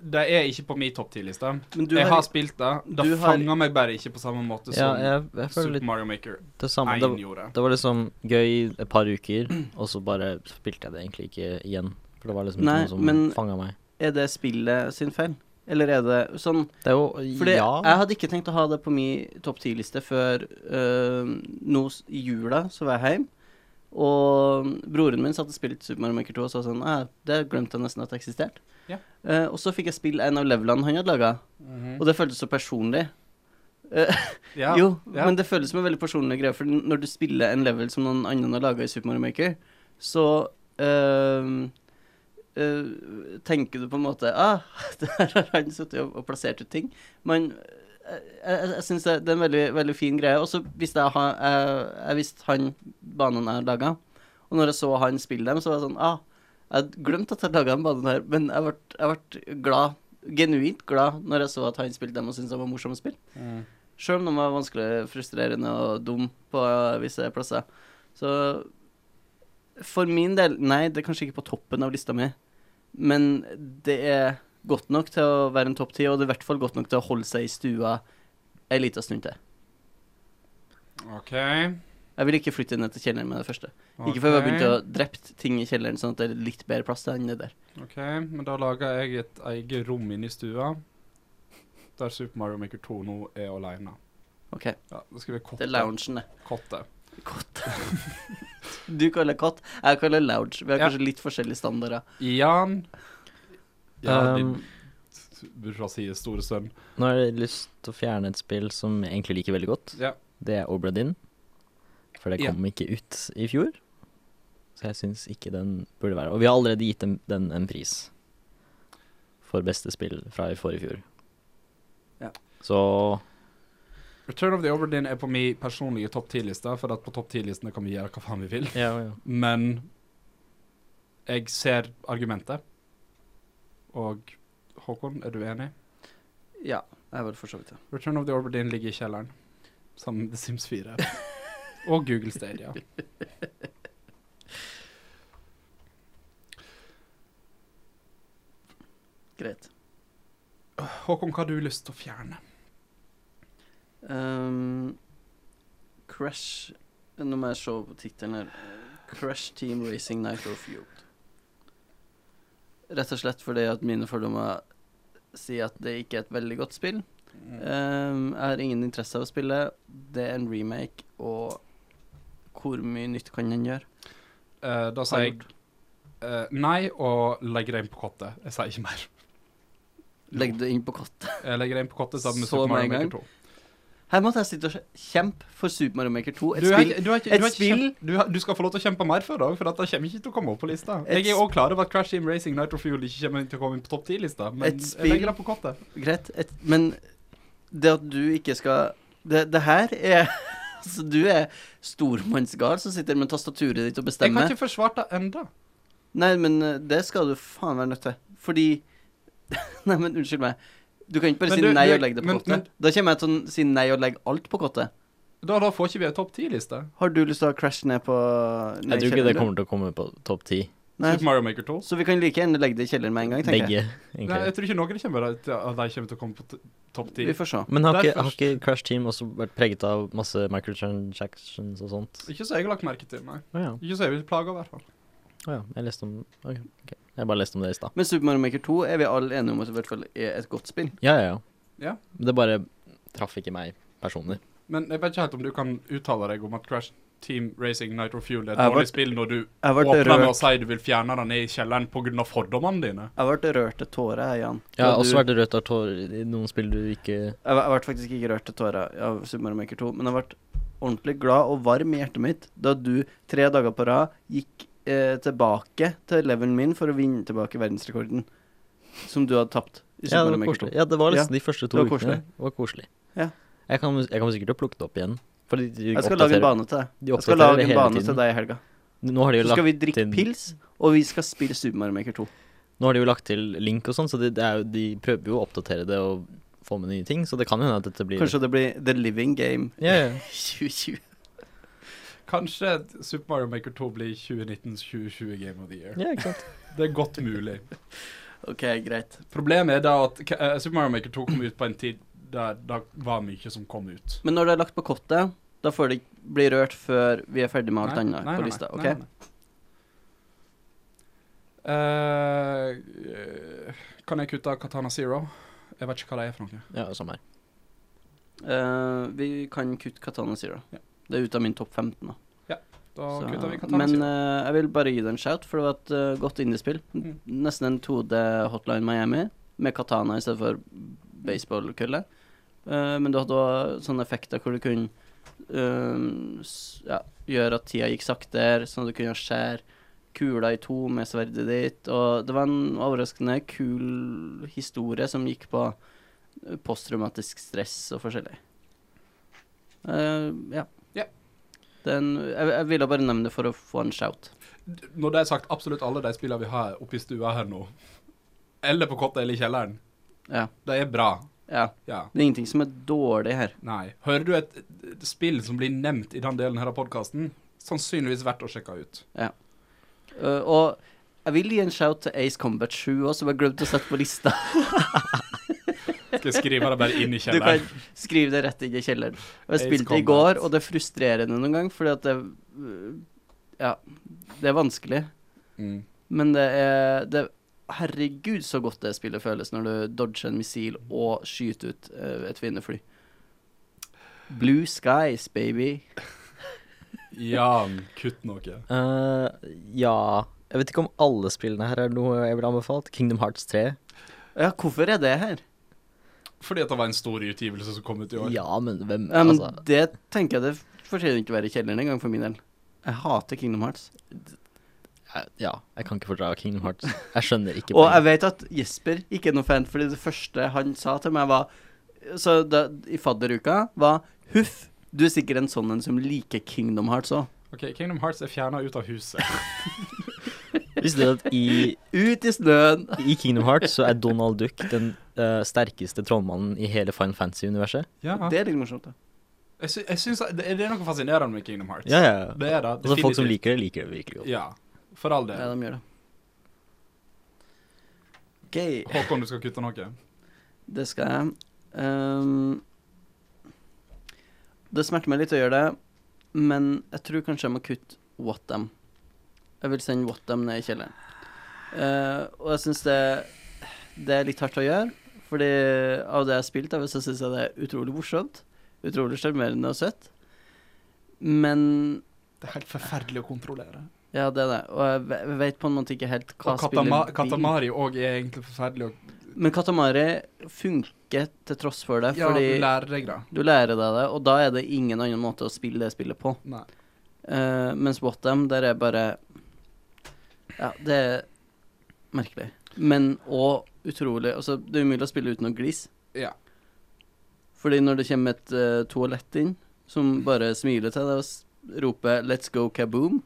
B: Det er ikke på min topp 10-liste.
C: Men du
B: Jeg
C: har-
B: har spilt det. Det
C: du har-
B: fanger meg bare ikke på samme
A: Ja,
B: måte som
A: jeg, jeg føler
B: Super
A: litt
B: Mario Maker
A: det samme.
B: 1
A: Det,
B: gjorde.
A: det var liksom gøy i et par uker, og så bare spilte jeg det egentlig ikke igjen. For det var liksom ikke
C: Nei,
A: noe som
C: men-
A: fanget fanga meg.
C: Er det spillet sin feil? Eller er det sånn
A: Det er jo
C: Fordi
A: Ja.
C: jeg hadde ikke tenkt å ha det på min topp 10-liste før øh, nå s- i jula, så var jeg hjemme. Og broren min satt og spilte Super Mario Maker 2 og sa sånn «Ah, Det glemte jeg nesten at det eksisterte.
B: Ja.
C: Eh, og så fikk jeg spille en av levelene han hadde laga,
B: Mm. Mhm.
C: og det føltes så personlig. Eh,
B: ja.
C: jo,
B: ja.
C: men det føles som en veldig personlig greie, for når du spiller en level som noen andre har laga i Super Mario Maker, så ehm, øhm, eh, øh, tenker du på en måte Ah, der har han sittet og, og plassert ut ting. Men jeg, jeg, jeg syns det det er en veldig, veldig fin greie. Og så visste jeg, han- jeg, jeg visste han banen jeg laga, og når jeg så han spille dem, så var jeg sånn ah, Jeg hadde glemt at jeg laga den banen her, men jeg ble, jeg ble glad, genuint glad, når jeg så at han spilte dem og syntes det var morsomt å spille.
B: Mm.
C: Sjøl om de var vanskelig, frustrerende og dum på visse plasser. Så for min del Nei, det er kanskje ikke på toppen av lista mi, men det er godt nok til å være en topp ti, og det er i hvert fall godt nok til å holde seg i stua ei lita stund til.
B: OK.
C: Jeg vil ikke flytte ned til kjelleren med det første. Ikke før vi har
B: ok,
C: begynt å drept ting i kjelleren, sånn at det er litt bedre plass til enn det der.
B: OK, men da lager jeg et eget rom inne i stua, der Super Mario Maker 2 nå er alene.
C: OK.
B: Ja, da skriver jeg
C: Det er
B: kotte.
C: loungen, det.
B: kotte.
C: Kott. Du kaller katt, jeg kaller lounge. Vi har
B: Ja.
C: kanskje litt forskjellige standarder.
B: Jan. Ja,
A: Um,
B: din burfrasie store sønn.
A: Nå har jeg lyst til å fjerne et spill som jeg egentlig liker veldig godt.
B: Ja.
A: Det er Obradin. For det
B: Ja.
A: kom ikke ut i fjor. Så jeg syns ikke den burde være Og vi har allerede gitt den, den en pris. For beste spill fra i forrige fjor.
C: Ja.
A: Så
B: Return of the Overdin er på min personlige topp 10-liste, for at på topp 10-listene kan vi gjøre hva faen vi vil.
A: ja,
B: Men jeg ser argumentet. Og Håkon, er du enig?
C: Ja, jeg er vel for så vidt det.
B: Return of the Overdin ligger i kjelleren, sammen med The Sims 4. og Google Stadia.
C: Greit.
B: Håkon, hva har du lyst til å fjerne?
C: Ehm, Crash Nå må jeg se på tittelen her. Crash Team Racing Nitro Fueled. Rett og slett fordi at mine fordommer sier at det ikke er et veldig godt spill.
B: Mm.
C: Ehm, jeg har ingen interesse av å spille. Det er en remake, og hvor mye nytt kan den gjøre?
B: Eh, da sier jeg eh, nei, og legger det inn på kottet. Jeg sier ikke mer.
C: Legg det inn på kottet.
B: Jeg legger det inn på kottet sammen med
C: Så
B: Super Mario
C: med en gang.
B: Maker 2.
C: Her måtte jeg sitte og kjempe for Super Mario Maker 2. Et
B: Du, er,
C: spill
B: ikke- du, er, ikke-
C: et
B: du, er ikke
C: spill-
B: kjempe- du, har- du skal få lov til å kjempe mer for det, også, for dette kommer ikke til å komme opp på lista.
C: Et
B: Jeg er òg klar over at Crash Team Racing Nitro Fuel ikke kommer til å komme inn på topp 10-lista, men
C: Et
B: jeg
C: spill-
B: legger det på kottet.
C: Greit, et, men det at du ikke skal Det, det her er Altså, du er stormannsgal som sitter med tastaturet ditt
B: Jeg har
C: og bestemmer.
B: ikke forsvart det enda.
C: Nei, men eh, det skal du faen være nødt til. Fordi Nei, men unnskyld meg. Du kan ikke bare
B: Men
C: si
B: du-
C: nei
B: du-
C: og legge det på
B: men- men-
C: kottet. Da kommer jeg til å si nei og legge alt på kottet.
B: Da, da får ikke vi en topp 10-liste.
C: Har du lyst til å crashe ned på
A: Jeg tror ikke det kommer til å komme på topp ti.
C: Nei,
B: Super Mario Maker 2.
C: Så vi kan like gjerne legge det i kjelleren med en gang, tenker jeg.
A: Begge,
B: Nei, jeg
A: egentlig.
B: tror ikke noen kommer til, at de kommer til å komme på t- topp 10.
C: Vi får se.
A: Men har
B: der
A: ikke, har
B: først.
A: ikke Crash Team også vært preget av masse microtransactions og sånt?
B: Ikke så jeg har lagt merke til, nei.
A: Å ja.
B: Ikke så jeg vil plage, i hvert fall.
A: Å ja. Jeg leste om ok, ok. Jeg bare leste om det i stad.
C: Men Super Mario Maker 2 er vi alle enige om at det i hvert fall er et godt spill.
A: Ja, ja, ja.
B: Ja.
A: Det bare traff ikke meg personlig.
B: Men jeg vet ikke helt om du kan uttale deg om at Crash Team Racing Nitro Fuel er et
C: Jeg ble-
B: dårlig spill, når du
C: Jeg ble
B: åpner med å
C: rørt,
B: si du vil fjerne det ned i kjelleren pga. fordommene dine.
C: jeg ble rørt til tårer, jeg, Jan.
A: Jeg har
C: Da
A: også
C: du-
A: vært rødt av tårer i noen spill du ikke
C: Jeg, jeg ble faktisk ikke rørt til tårer av Super Mario Maker 2, men jeg ble ordentlig glad og varm i hjertet mitt da du tre dager på rad gikk eh, tilbake til levelen min for å vinne tilbake verdensrekorden som du hadde tapt i Super
A: ja det,
C: Mario
A: var
C: Maker
A: koselig. ja, det var liksom de første to
C: det var
A: ukene. Det var koselig.
C: Ja.
A: Jeg kan, jeg kommer sikkert til å plukke det opp iggen. For de,
C: 2.
A: de
C: Jeg skal
A: oppdaterer-
C: lage en bane til deg.
A: De
C: Jeg skal
A: oppdaterer
C: lage
A: det
C: en
A: hele
C: bane til
A: tiden.
C: deg i helga.
A: Nå har de jo
C: Så skal
A: lagt,
C: vi drikke
A: inn-
C: pils, og vi skal spille Super Mario Maker 2.
A: nå har de jo lagt til link og sånn, så de, det er jo, de prøver jo å oppdatere det og få med nye ting. Så det kan jo hende at dette blir
C: Kanskje det blir The Living Game
A: ja, ja.
C: 2020.
B: Kanskje Super Mario Maker 2 blir 2019-2020 Game of the Year.
A: ja, ikke sant.
B: Det er godt mulig.
C: OK, greit.
B: Problemet er da at eh, Super Mario Maker 2 kom ut på en tid der det var mye som kom ut.
C: Men når det er lagt på kottet, da får det ikke bli rørt før vi er ferdig med alt
B: Nei,
C: annet
B: nei,
C: på
B: nei,
C: lista.
B: nei,
C: OK?
B: nei, nei. Eh, kan jeg kutte Katana Zero? Jeg vet ikke hva det er for noe.
A: Ja, samme her.
C: Eh, vi kan kutte Katana Zero.
B: Ja.
C: Det er ut av min topp 15. da.
B: Da
C: Så-
B: kutter vi Katana
C: men
B: Zero.
C: eh, jeg vil bare gi det en shout, for det var et eh, godt indiespill.
B: Mm.
C: Nesten en 2D Hotline Miami med katana i stedet for baseballkølle. Eh, men du hadde òg sånne effekter hvor du kunne eh, s ja, gjøre at tida gikk saktere, sånn at du kunne skjære kula i to med sverdet ditt. Og det var en overraskende kul historie som gikk på eh, posttraumatisk stress og forskjellig. Eh, ja.
B: Ja.
C: Den, jeg, jeg ville bare nevne det for å få en shout.
B: D- Når det er sagt, absolutt alle de spillene vi har oppe i stua her nå, eller på kottet eller i kjelleren,
C: Ja.
B: de er bra.
C: ja.
B: Ja.
C: Det er ingenting som er dårlig her.
B: Nei. Hører du et, et spill som blir nevnt i den delen her av podkasten, sannsynligvis verdt å sjekke ut.
C: Eh, og jeg vil gi en shout til Ace Combat 7 òg, som jeg glemte å sette på lista.
B: Skal jeg skrive det bare inn i
C: Du kan
B: kjelleren?
C: skrive det rett inn i kjelleren. Og jeg
B: Ace
C: spilte i
B: Combat.
C: går, og det er frustrerende noen gang, fordi at det øh, Ja, det er vanskelig,
B: Mm.
C: men det er det, Herregud, så godt det spillet føles når du dodger en missil og skyter ut øh, et fiendefly. Blue skies, baby.
B: Jan, kutt noe.
A: Eh, ja Jeg vet ikke om alle spillene her er noe jeg ville anbefalt. Kingdom Hearts 3.
C: Ja, hvorfor er det her?
B: Fordi at det var en stor utgivelse som kom ut i år.
A: Ja, men hvem
C: Ja, men
A: Altså,
C: det tenker jeg det fortjener ikke å være i kjelleren engang, for min del. Jeg hater Kingdom Hearts.
A: jeg- ja, jeg kan ikke fordra Kingdom Hearts. Jeg skjønner ikke
C: Og jeg
A: poenget.
C: vet at Jesper ikke er noen fan, fordi det første han sa til meg, var Så da, i fadderuka var Huff, du er sikkert en sånn en som liker Kingdom Hearts òg.
B: Ok, Kingdom Hearts er fjerna ut av huset.
A: Visste dere at i,
C: Ut i snøen!
A: i Kingdom Hearts så er Donald Duck den eh, sterkeste trollmannen i hele Fine Fantasy-universet?
B: Ja.
C: Det er litt morsomt. da.
B: Jeg, sy jeg synes at det, det er noe fascinerende med Kingdom Hearts.
A: Ja, ja.
B: Det er det.
A: Altså, folk som
B: definitivt.
A: liker det, liker det virkelig godt.
B: Ja, for all
C: Ja,
B: del.
C: de gjør det. OK,
B: Håkon, du skal kutte noe.
C: det skal jeg. Ehm, det smerter meg litt å gjøre det, men jeg tror kanskje jeg må kutte What Them. Jeg vil sende What Them ned i kjelleren. Eh, og jeg syns det, det er litt hardt å gjøre, fordi av det jeg har spilt, da, så syns jeg det er utrolig morsomt. Utrolig sjarmerende og søtt. Men
B: Det er helt forferdelig å kontrollere.
C: ja, det er det. Og jeg ve- jeg vet på en måte ikke helt hva
B: Og Katama
C: spillet vil.
B: Katamari òg er egentlig forferdelig å
C: Men Katamari funker til tross for det,
B: ja,
C: fordi
B: lære deg, da.
C: Du lærer deg det, og da er det ingen annen måte å spille det spillet på.
B: Nei.
C: Eh, mens What Them, der er bare Ja, det er merkelig. Men òg utrolig Altså, det er umulig å spille uten å glise.
B: Ja.
C: Fordi når det kommer et eh, toalett inn som bare smiler til deg og s- roper 'let's go kaboom',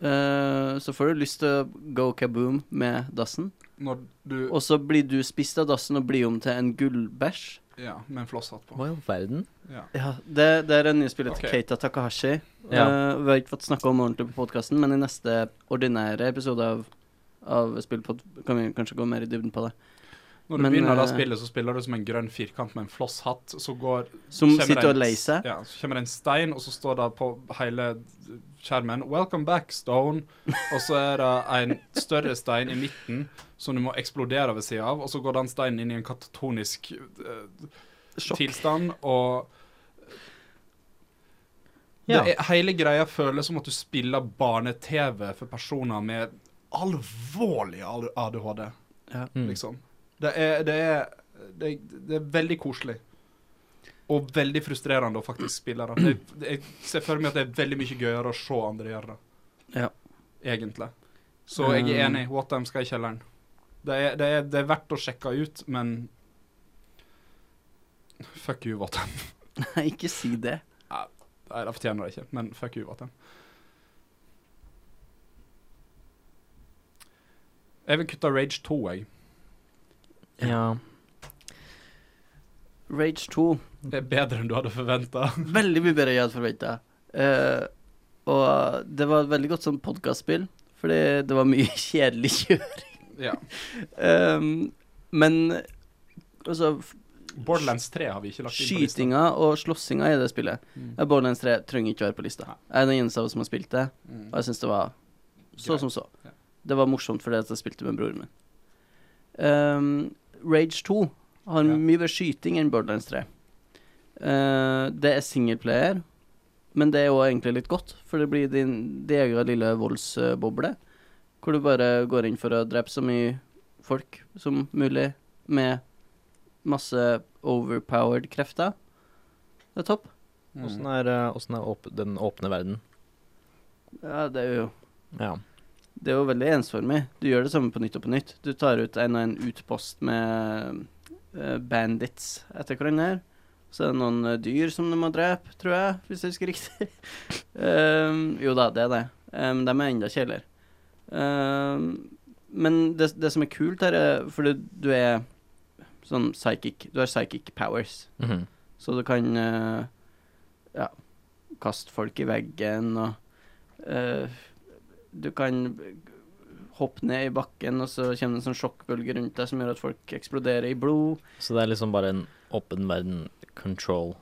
C: eh, så får du lyst til å go kaboom med dassen.
B: Når du
C: Og så blir du spist av dassen og blir om til en gullbæsj.
B: Ja, med en flosshatt på.
A: Hva i all verden?
B: Ja.
C: Ja, det, det er en nyspiller til
B: Ok.
C: Keita Takahashi.
A: Ja.
C: Eh, vi har ikke fått snakka om ordentlig på podkasten, men i neste ordinære episode av, av Spillpod kan vi kanskje gå mer i dybden på det.
B: Når du
C: Men,
B: begynner det
C: eh,
B: spillet, så spiller du som en grønn firkant med en flosshatt, så går
C: Som
B: kommer
C: sitter
B: en-
C: og leier seg.
B: Ja, så kommer det en stein, og så står det på hele skjermen 'Welcome back, Stone'. Og så er det en større stein i midten som du må eksplodere ved sida av, og så går den steinen inn i en katatonisk eh, tilstand, og
A: Ja.
B: det er, Hele greia føles som at du spiller barne-TV for personer med alvorlig al- ADHD,
A: Mm.
B: liksom. Det er, det er, det er, det er veldig koselig. Og veldig frustrerende å faktisk spille det. Jeg, jeg ser for meg at det er veldig mye gøyere å se andre gjøre det.
C: Ja.
B: Egentlig. Så jeg er
C: Um.
B: enig. What Them skal i kjelleren. Det er, det, er, det er verdt å sjekke ut, men Fuck you, What Them.
C: Nei, ikke si det.
B: Nei, det fortjener det ikke, men fuck you, Vatten. Jeg vil kutte Rage 2, jeg.
A: Ja.
C: Rage 2.
B: Det er bedre enn du hadde forventa.
C: Veldig mye bedre enn jeg hadde forventa. Eh, og det var et veldig godt sånn podkastspill, fordi det var mye kjedelig kjør.
B: ja.
C: Ehm, men altså
B: Borderlands 3 har vi ikke lagt inn på lista.
C: Skytinga og slåssinga i det spillet.
B: Mm.
C: Ja, Borderlands 3 trenger ikke være på lista. Jeg er den eneste av oss som har spilt det,
B: Mm.
C: og
A: Altså,
C: jeg syns det var så
B: Greit.
C: som så.
B: Ja.
C: Det var morsomt fordi at jeg spilte med broren min. Ehm, Rage 2 har
B: Ja.
C: mye mer skyting enn Borderlands 3. Eh, det er singleplayer, men det er jo egentlig litt godt, for det blir din, din egen lille voldsboble, hvor du bare går inn for å drepe så mye folk som mulig med masse overpowered krefter. Det er topp.
B: Mm.
A: sånn Åssen er, eh, åssen er åp den åpne verden?
C: Ja, det er jo
A: Ja.
C: Det er jo veldig ensformig. Du gjør det samme på nytt og på nytt. Du tar ut en og en utpost med eh, bandits etter hverandre. her. Så er det noen eh, dyr som du må drepe, tror jeg, hvis jeg husker riktig. Ehm, jo da, det er det. Um, de er enda kjedeligere. Ehm, men det, det som er kult her, er fordi du er sånn psychic Du har psychic powers.
A: Mhm.
C: Så du kan eh, ja, kaste folk i veggen, og eh, du kan hoppe ned i bakken, og så kommer det en sånn sjokkbølge rundt deg som gjør at folk eksploderer i blod.
A: Så det er liksom bare en åpen verden control.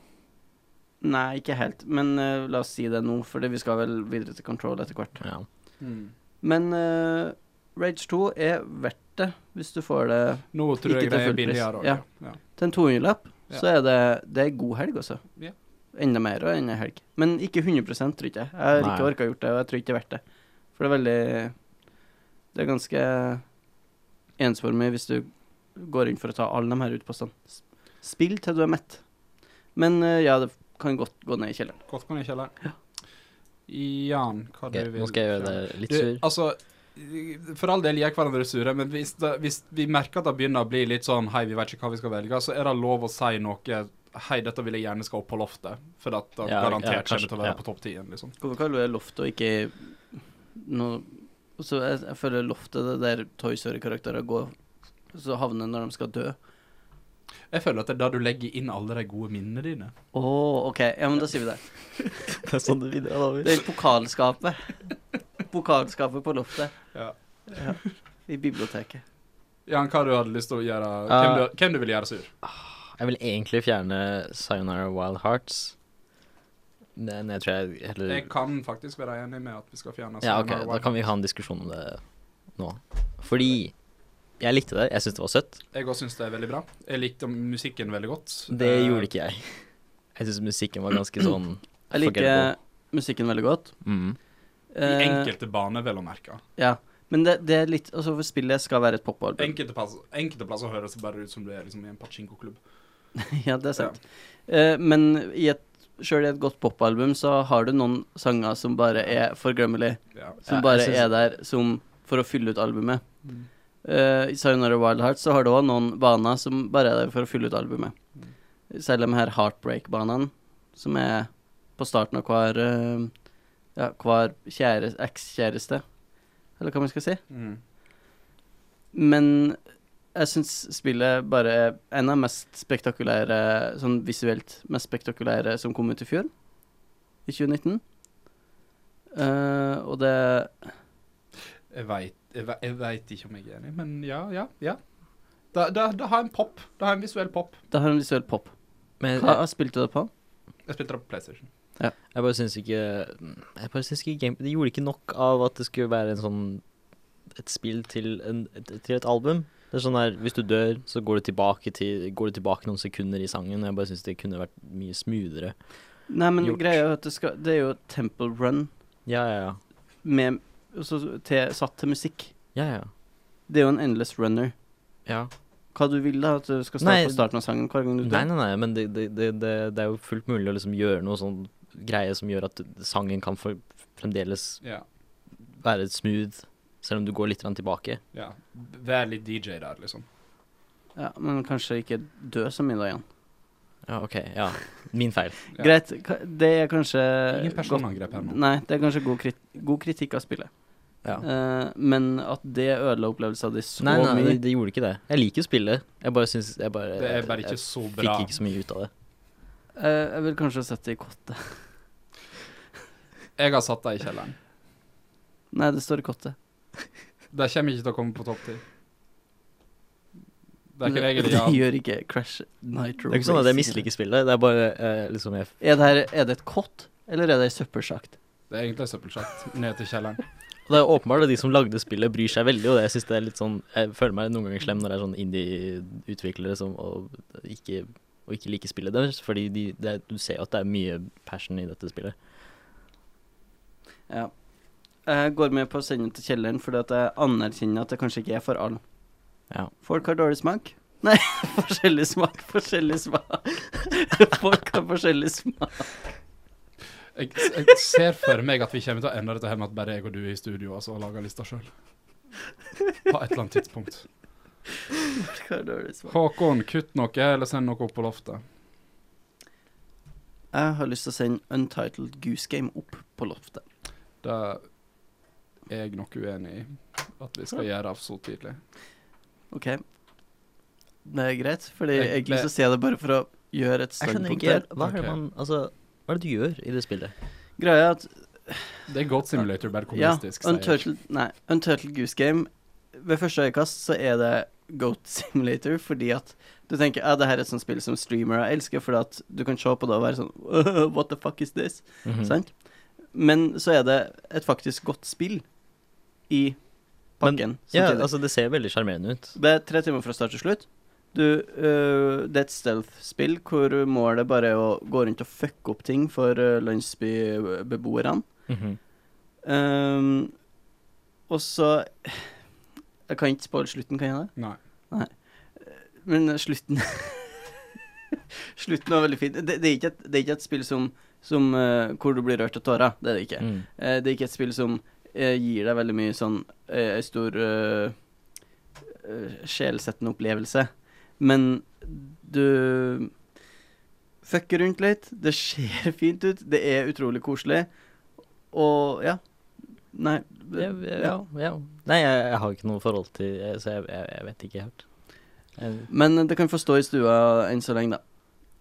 C: Nei, ikke helt, men eh, la oss si det nå, for vi skal vel videre til Control etter hvert.
A: Ja.
C: Men eh, Rage 2 er verdt det, hvis du får det
B: Nå tror jeg
C: Ikke til
B: det er
C: full pris.
B: billigere òg.
C: Ja.
B: Ja.
C: til en 200-lapp.
B: Ja.
C: Så er det, det er god helg, altså.
B: Ja.
C: Enda mer og enda helg. Men ikke 100 tror ikke jeg. Jeg har ikke
A: Nei.
C: orka gjort det, og jeg tror ikke det er verdt det. For det er veldig Det er ganske ensformig hvis du går inn for å ta alle de her utpostene. S- Spill til du er mett. Men eh, ja, det kan godt gå ned i kjelleren.
B: Godt kan jeg kjelle. Jan, hva
A: Ok,
B: du vil
A: nå skal jeg gjøre
B: kjøre?
A: deg litt
B: Du,
A: sur.
B: altså, for all del gjør hverandre sure, men hvis, det, hvis vi merker at det begynner å bli litt sånn Hei, vi vet ikke hva vi skal velge, så er det lov å si noe Hei, dette vil jeg gjerne skal opp på loftet, for at det
A: Ja, ja,
B: garantert
A: kanskje,
B: kommer til å være
A: ja.
B: på topp 10 liksom.
C: Hvorfor kaller du det loft og ikke noe Så jeg, jeg føler loftet, det der Toy Story-karakterer går Så havner når de skal dø.
B: Jeg føler at det er da du legger inn alle de gode minnene dine.
C: Å, OK. Ja, men da sier vi det.
A: Det er sånn det videre, da.
C: Det er pokalskapet. Pokalskapet på loftet.
B: Ja.
C: Ja. I biblioteket.
B: Jan, hva du hadde lyst til å gjøre Hvem
A: Eh.
B: du, hvem du vil gjøre sur?
A: Jeg vil egentlig fjerne Sayonara Wild Hearts. Men jeg tror jeg heller
C: Eh,
B: Jeg kan faktisk være enig med at vi skal fjerne
A: Ja, ok,
B: Sayonara
A: da
B: Wild
A: kan vi ha en diskusjon om det nå. Fordi jeg likte det, jeg syntes det var søtt.
B: Jeg òg syns det er veldig bra. Jeg likte musikken veldig godt. Eh,
A: Det gjorde ikke jeg. Jeg syntes musikken var ganske sånn
C: Jeg liker musikken veldig godt.
A: mm.
B: I
C: Eh,
B: enkelte baner, vel å merke.
C: Ja. Men det, det er litt Altså, for spillet skal være et popalbum.
B: Enkelte, plass, enkelte plasser høres det bare ut som du er liksom i en pachinko-klubb.
C: ja, det er sant. Eh, men i et Sjøl i et godt popalbum så har du noen sanger som bare er forglemmelig.
B: Ja.
C: Som
A: Ja,
C: bare
A: jeg synes-
C: er der som for å fylle ut albumet.
B: Mm.
C: Eh, I Sayonara Wild Hearts så har du òg noen baner som bare er der for å fylle ut albumet.
B: Mm.
C: Selv de her Heartbreak-banene, som er på starten av hver eh, Ja, hver kjære- ekskjæreste, eller hva man skal si.
B: Mm.
C: Men jeg syns spillet bare er en av de mest spektakulære, sånn visuelt mest spektakulære som kom ut i fjor, i 2019. Eh, og det
B: Jeg veit, jeg, ve- jeg vet ikke om jeg er enig, men ja, ja. ja. Det, det, det har en pop. Det har en visuell pop.
C: Det har en visuell pop.
A: Men
C: Hva
A: jeg,
C: spilte du det på?
B: Jeg spilte det på PlayStation.
A: jeg bare syns ikke Jeg bare syns ikke game, Det gjorde ikke nok av at det skulle være en sånn et spill til, en, et, til et album. Det er sånn her, Hvis du dør, så går du tilbake, til, går du tilbake noen sekunder i sangen. Jeg bare syns det kunne vært mye smoothere.
C: Nei, men
A: Gjort.
C: greia er jo at det, skal, det er jo Temple Run
A: Ja, ja, ja.
C: med, altså, til, satt til musikk.
A: ja, ja.
C: Det er jo en endless runner.
A: ja.
C: Hva du vil da, at du skal
A: Nei.
C: starte på starten av sangen hver gang du
A: Nei,
C: dør?
A: nei, nei, men det, det, det, det, det er jo fullt mulig å liksom gjøre noe sånn greie som gjør at sangen kan for, fremdeles
B: Ja,
A: være smooth, selv om du går litt grann tilbake.
B: ja. Vær litt DJ der, liksom.
C: Ja, men kanskje ikke dø så mye da igjen.
A: Ja, OK. Ja. Min feil.
B: Ja.
C: Greit, ka- det er kanskje
B: Ingen
C: godt-
B: personangrep her nå.
C: Nei, det er kanskje god, krit god kritikk av spillet.
A: Ja.
C: Eh, men at det ødela opplevelsen av de så
A: Nei, nei, det,
C: mye
A: det gjorde ikke det. Jeg liker spillet. Jeg bare syns jeg bare,
B: Det er bare ikke
A: jeg,
B: så
A: Fikk
B: bra.
A: ikke så mye ut av det.
C: Eh, Jeg vil kanskje sette det i kottet.
B: Jeg har satt det i kjelleren.
C: Nei, det står i kottet.
B: Det kommer ikke til å komme på topp ti. Det er ikke
C: Det-
B: regel,
C: det
B: ja.
C: gjør ikke Crash Nitro
A: Det er ikke sånn at jeg
C: Racing.
A: misliker spillet. Det er bare eh, liksom jeg
C: Er det, her, er det et kott, eller er det ei søppelsjakt?
B: Det er egentlig søppelskatt ned til kjelleren.
A: Og det er åpenbart at de som lagde spillet, bryr seg veldig, og det jeg synes det er litt sånn Jeg føler meg noen ganger slem når det er sånn indie-utviklere som og ikke, og ikke liker spillet deres, fordi de, det, er- du ser jo at det er mye passion i dette spillet.
C: Ja. Jeg går med på å sende den til kjelleren fordi at jeg anerkjenner at det kanskje ikke er for alle.
A: Ja.
C: Folk har dårlig smak. Nei, forskjellig smak, forskjellig smak. Folk har forskjellig smak.
B: Jeg, jeg ser for meg at vi kommer til å ende dette her med at bare jeg og du er i studio altså, og lager lista sjøl. På et eller annet tidspunkt.
C: Hva er dårlig svar?
B: Håkon, kutt noe, eller send noe opp på loftet.
C: Jeg har lyst til å sende Untitled Goose Game opp på loftet.
B: Det er jeg nok uenig i at vi skal gjøre av så tidlig.
C: OK? Det er greit, fordi
B: Jeg
C: jeg har ikke
B: ble-
C: lyst til å si det bare for å gjøre et
A: Jeg skjønner
C: standpunkt
A: ikke
C: der.
A: helt hva er det
B: Ok.
A: man Altså, hva er det du gjør i det spillet?
C: Greia er at
B: Det er Goat Simulator, bare
C: ja,
B: kommunistisk. sier jeg.
C: Unturtled, nei, Unturtled Goose Game Ved første øyekast så er det Goat Simulator fordi at du tenker ja, det her er et sånt spill som streamere elsker, fordi at du kan se på det og være sånn What the fuck is this?
A: Mhm.
C: Sant? Men så er det et faktisk godt spill i pakken.
A: Ja,
C: samtidig.
A: altså, det ser veldig sjarmerende ut.
C: Det er tre timer fra start til slutt. Du, øh, det er et stealth-spill hvor målet bare er å gå rundt og fucke opp ting for øh, landsbybeboerne.
A: Mhm.
C: Ehm, og så Jeg kan ikke spoile slutten, kan jeg det?
B: Nei.
C: Men slutten Slutten var veldig fin. Det, det, er ikke et, det er ikke et spill som, som øh, hvor du blir rørt av tårer. Det er det ikke.
A: Mm.
C: Eh, det er ikke et spill som eh, gir deg veldig mye sånn eh, en stor eh, eh, sjelsettende opplevelse. Men du fucker rundt litt. Det ser fint ut. Det er utrolig koselig. Og ja. Nei. det-
A: Ja, ja, ja. Nei, jeg, jeg har ikke noe forhold til jeg- Så jeg, jeg, jeg vet ikke helt. Jeg,
C: Men det kan få stå i stua enn så lenge, da.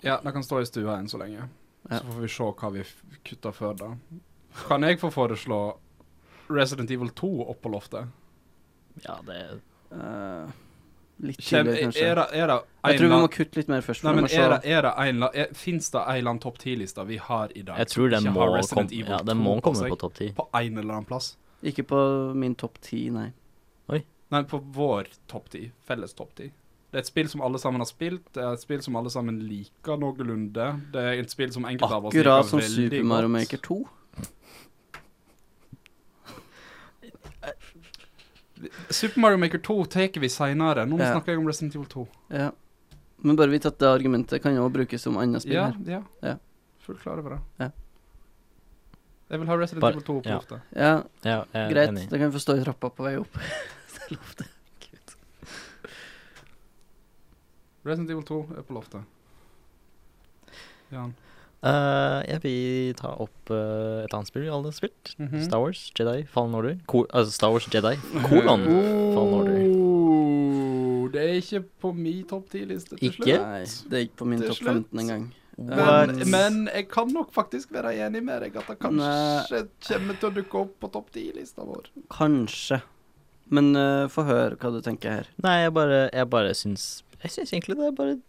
B: Ja, det kan stå i stua enn så lenge.
C: Ja.
B: Så får vi se hva vi f- kutter før da. Kan jeg få foreslå Resident Evil 2 opp på loftet?
A: ja, det
C: Eh, litt
B: Kjem,
C: tidligere,
B: er,
C: kanskje.
B: er det er det
C: jeg
B: en
C: tror vi
B: la-
C: må kutte litt mer først. for
B: Nei,
C: jeg
B: men
C: må se-
B: er det, er det en la- er, Finnes det en eller annen topp 10-lista vi har i dag?
A: Jeg tror den
B: som ikke
A: må,
B: har Resident
A: komme-
B: Evil
A: ja, den
B: 2
A: må komme
B: seg?
A: på topp ti.
B: På en eller annen plass.
C: Ikke på min topp ti, nei.
B: Nei, på vår topp 10. Felles topp 10. Det er et spill som alle sammen har spilt, det er et spill som alle sammen liker noenlunde. Det er et spill som enkelte av oss liker
C: Akkurat som
B: veldig
C: Super Mario
B: godt.
C: Maker 2.
B: Super Mario Maker 2 tar vi seinere. Nå
C: Ja.
B: snakker jeg om Resident Evil 2.
C: Ja. Men bare vit at det argumentet kan jo også brukes om andre spill
B: Ja,
C: her.
B: ja.
C: Ja.
B: Fullt klar over det.
C: Ja.
B: Jeg vil ha Resident
A: Bare-
B: Evil 2 på
A: ja.
B: lufta.
C: Ja,
A: Ja, jeg er
C: greit.
A: enig.
C: Det kan få stå i trappa på vei opp. Til loftet.
B: Resident Evil 2 er på loftet. Jan.
A: Eh, jeg vil ta opp eh, et annet spill vi alle har spilt.
B: Mhm.
A: Star Wars Jedi Fallen Order. Ko altså Star Wars Jedi kolon Fallen Order.
B: Oh, det er ikke på min topp 10-liste til
A: Ikke?
B: slutt.
C: Nei, det er ikke på min
B: Til
C: topp
B: slutt.
C: 15 engang.
A: What?
B: Men, men jeg kan nok faktisk være enig med deg at det kanskje kommer til å dukke opp på topp 10-lista vår.
C: Kanskje. Men eh, få høre hva du tenker her.
A: Nei, jeg bare, jeg bare syns Jeg syns egentlig det er bare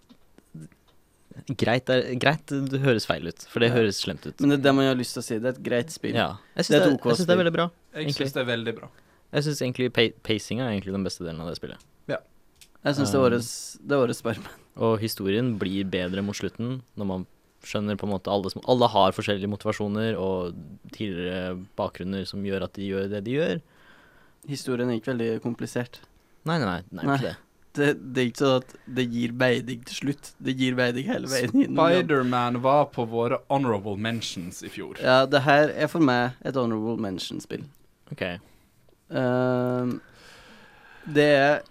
A: Greit, det er, greit, det høres feil ut, for det
C: Ja.
A: høres slemt ut.
C: Men det er det man har lyst til å si. Det er et greit spill.
A: Ja. Jeg syns
C: Det er
A: det,
C: et
A: er-
C: OK
A: jeg syns det er veldig bra.
B: Jeg
A: Egentlig.
B: syns det er veldig bra.
A: Jeg syns egentlig pa pacinga er egentlig den beste delen av det spillet.
C: Jeg syns det er
A: Um,
C: årets, det er årets sperma.
A: Og historien blir bedre mot slutten når man skjønner på en måte alle som Alle har forskjellige motivasjoner og tidligere bakgrunner som gjør at de gjør det de gjør.
C: Historien er ikke veldig komplisert.
A: Nei, nei, nei. nei.
C: Nei.
A: Ikke det.
C: Det, det er ikke sånn at det gir beidig til slutt. Det gir beidig hele veien innom.
B: Spiderman var på våre honorable mentions i fjor.
C: Ja, det her er for meg et honorable mention-spill.
A: OK.
C: Ehm, det er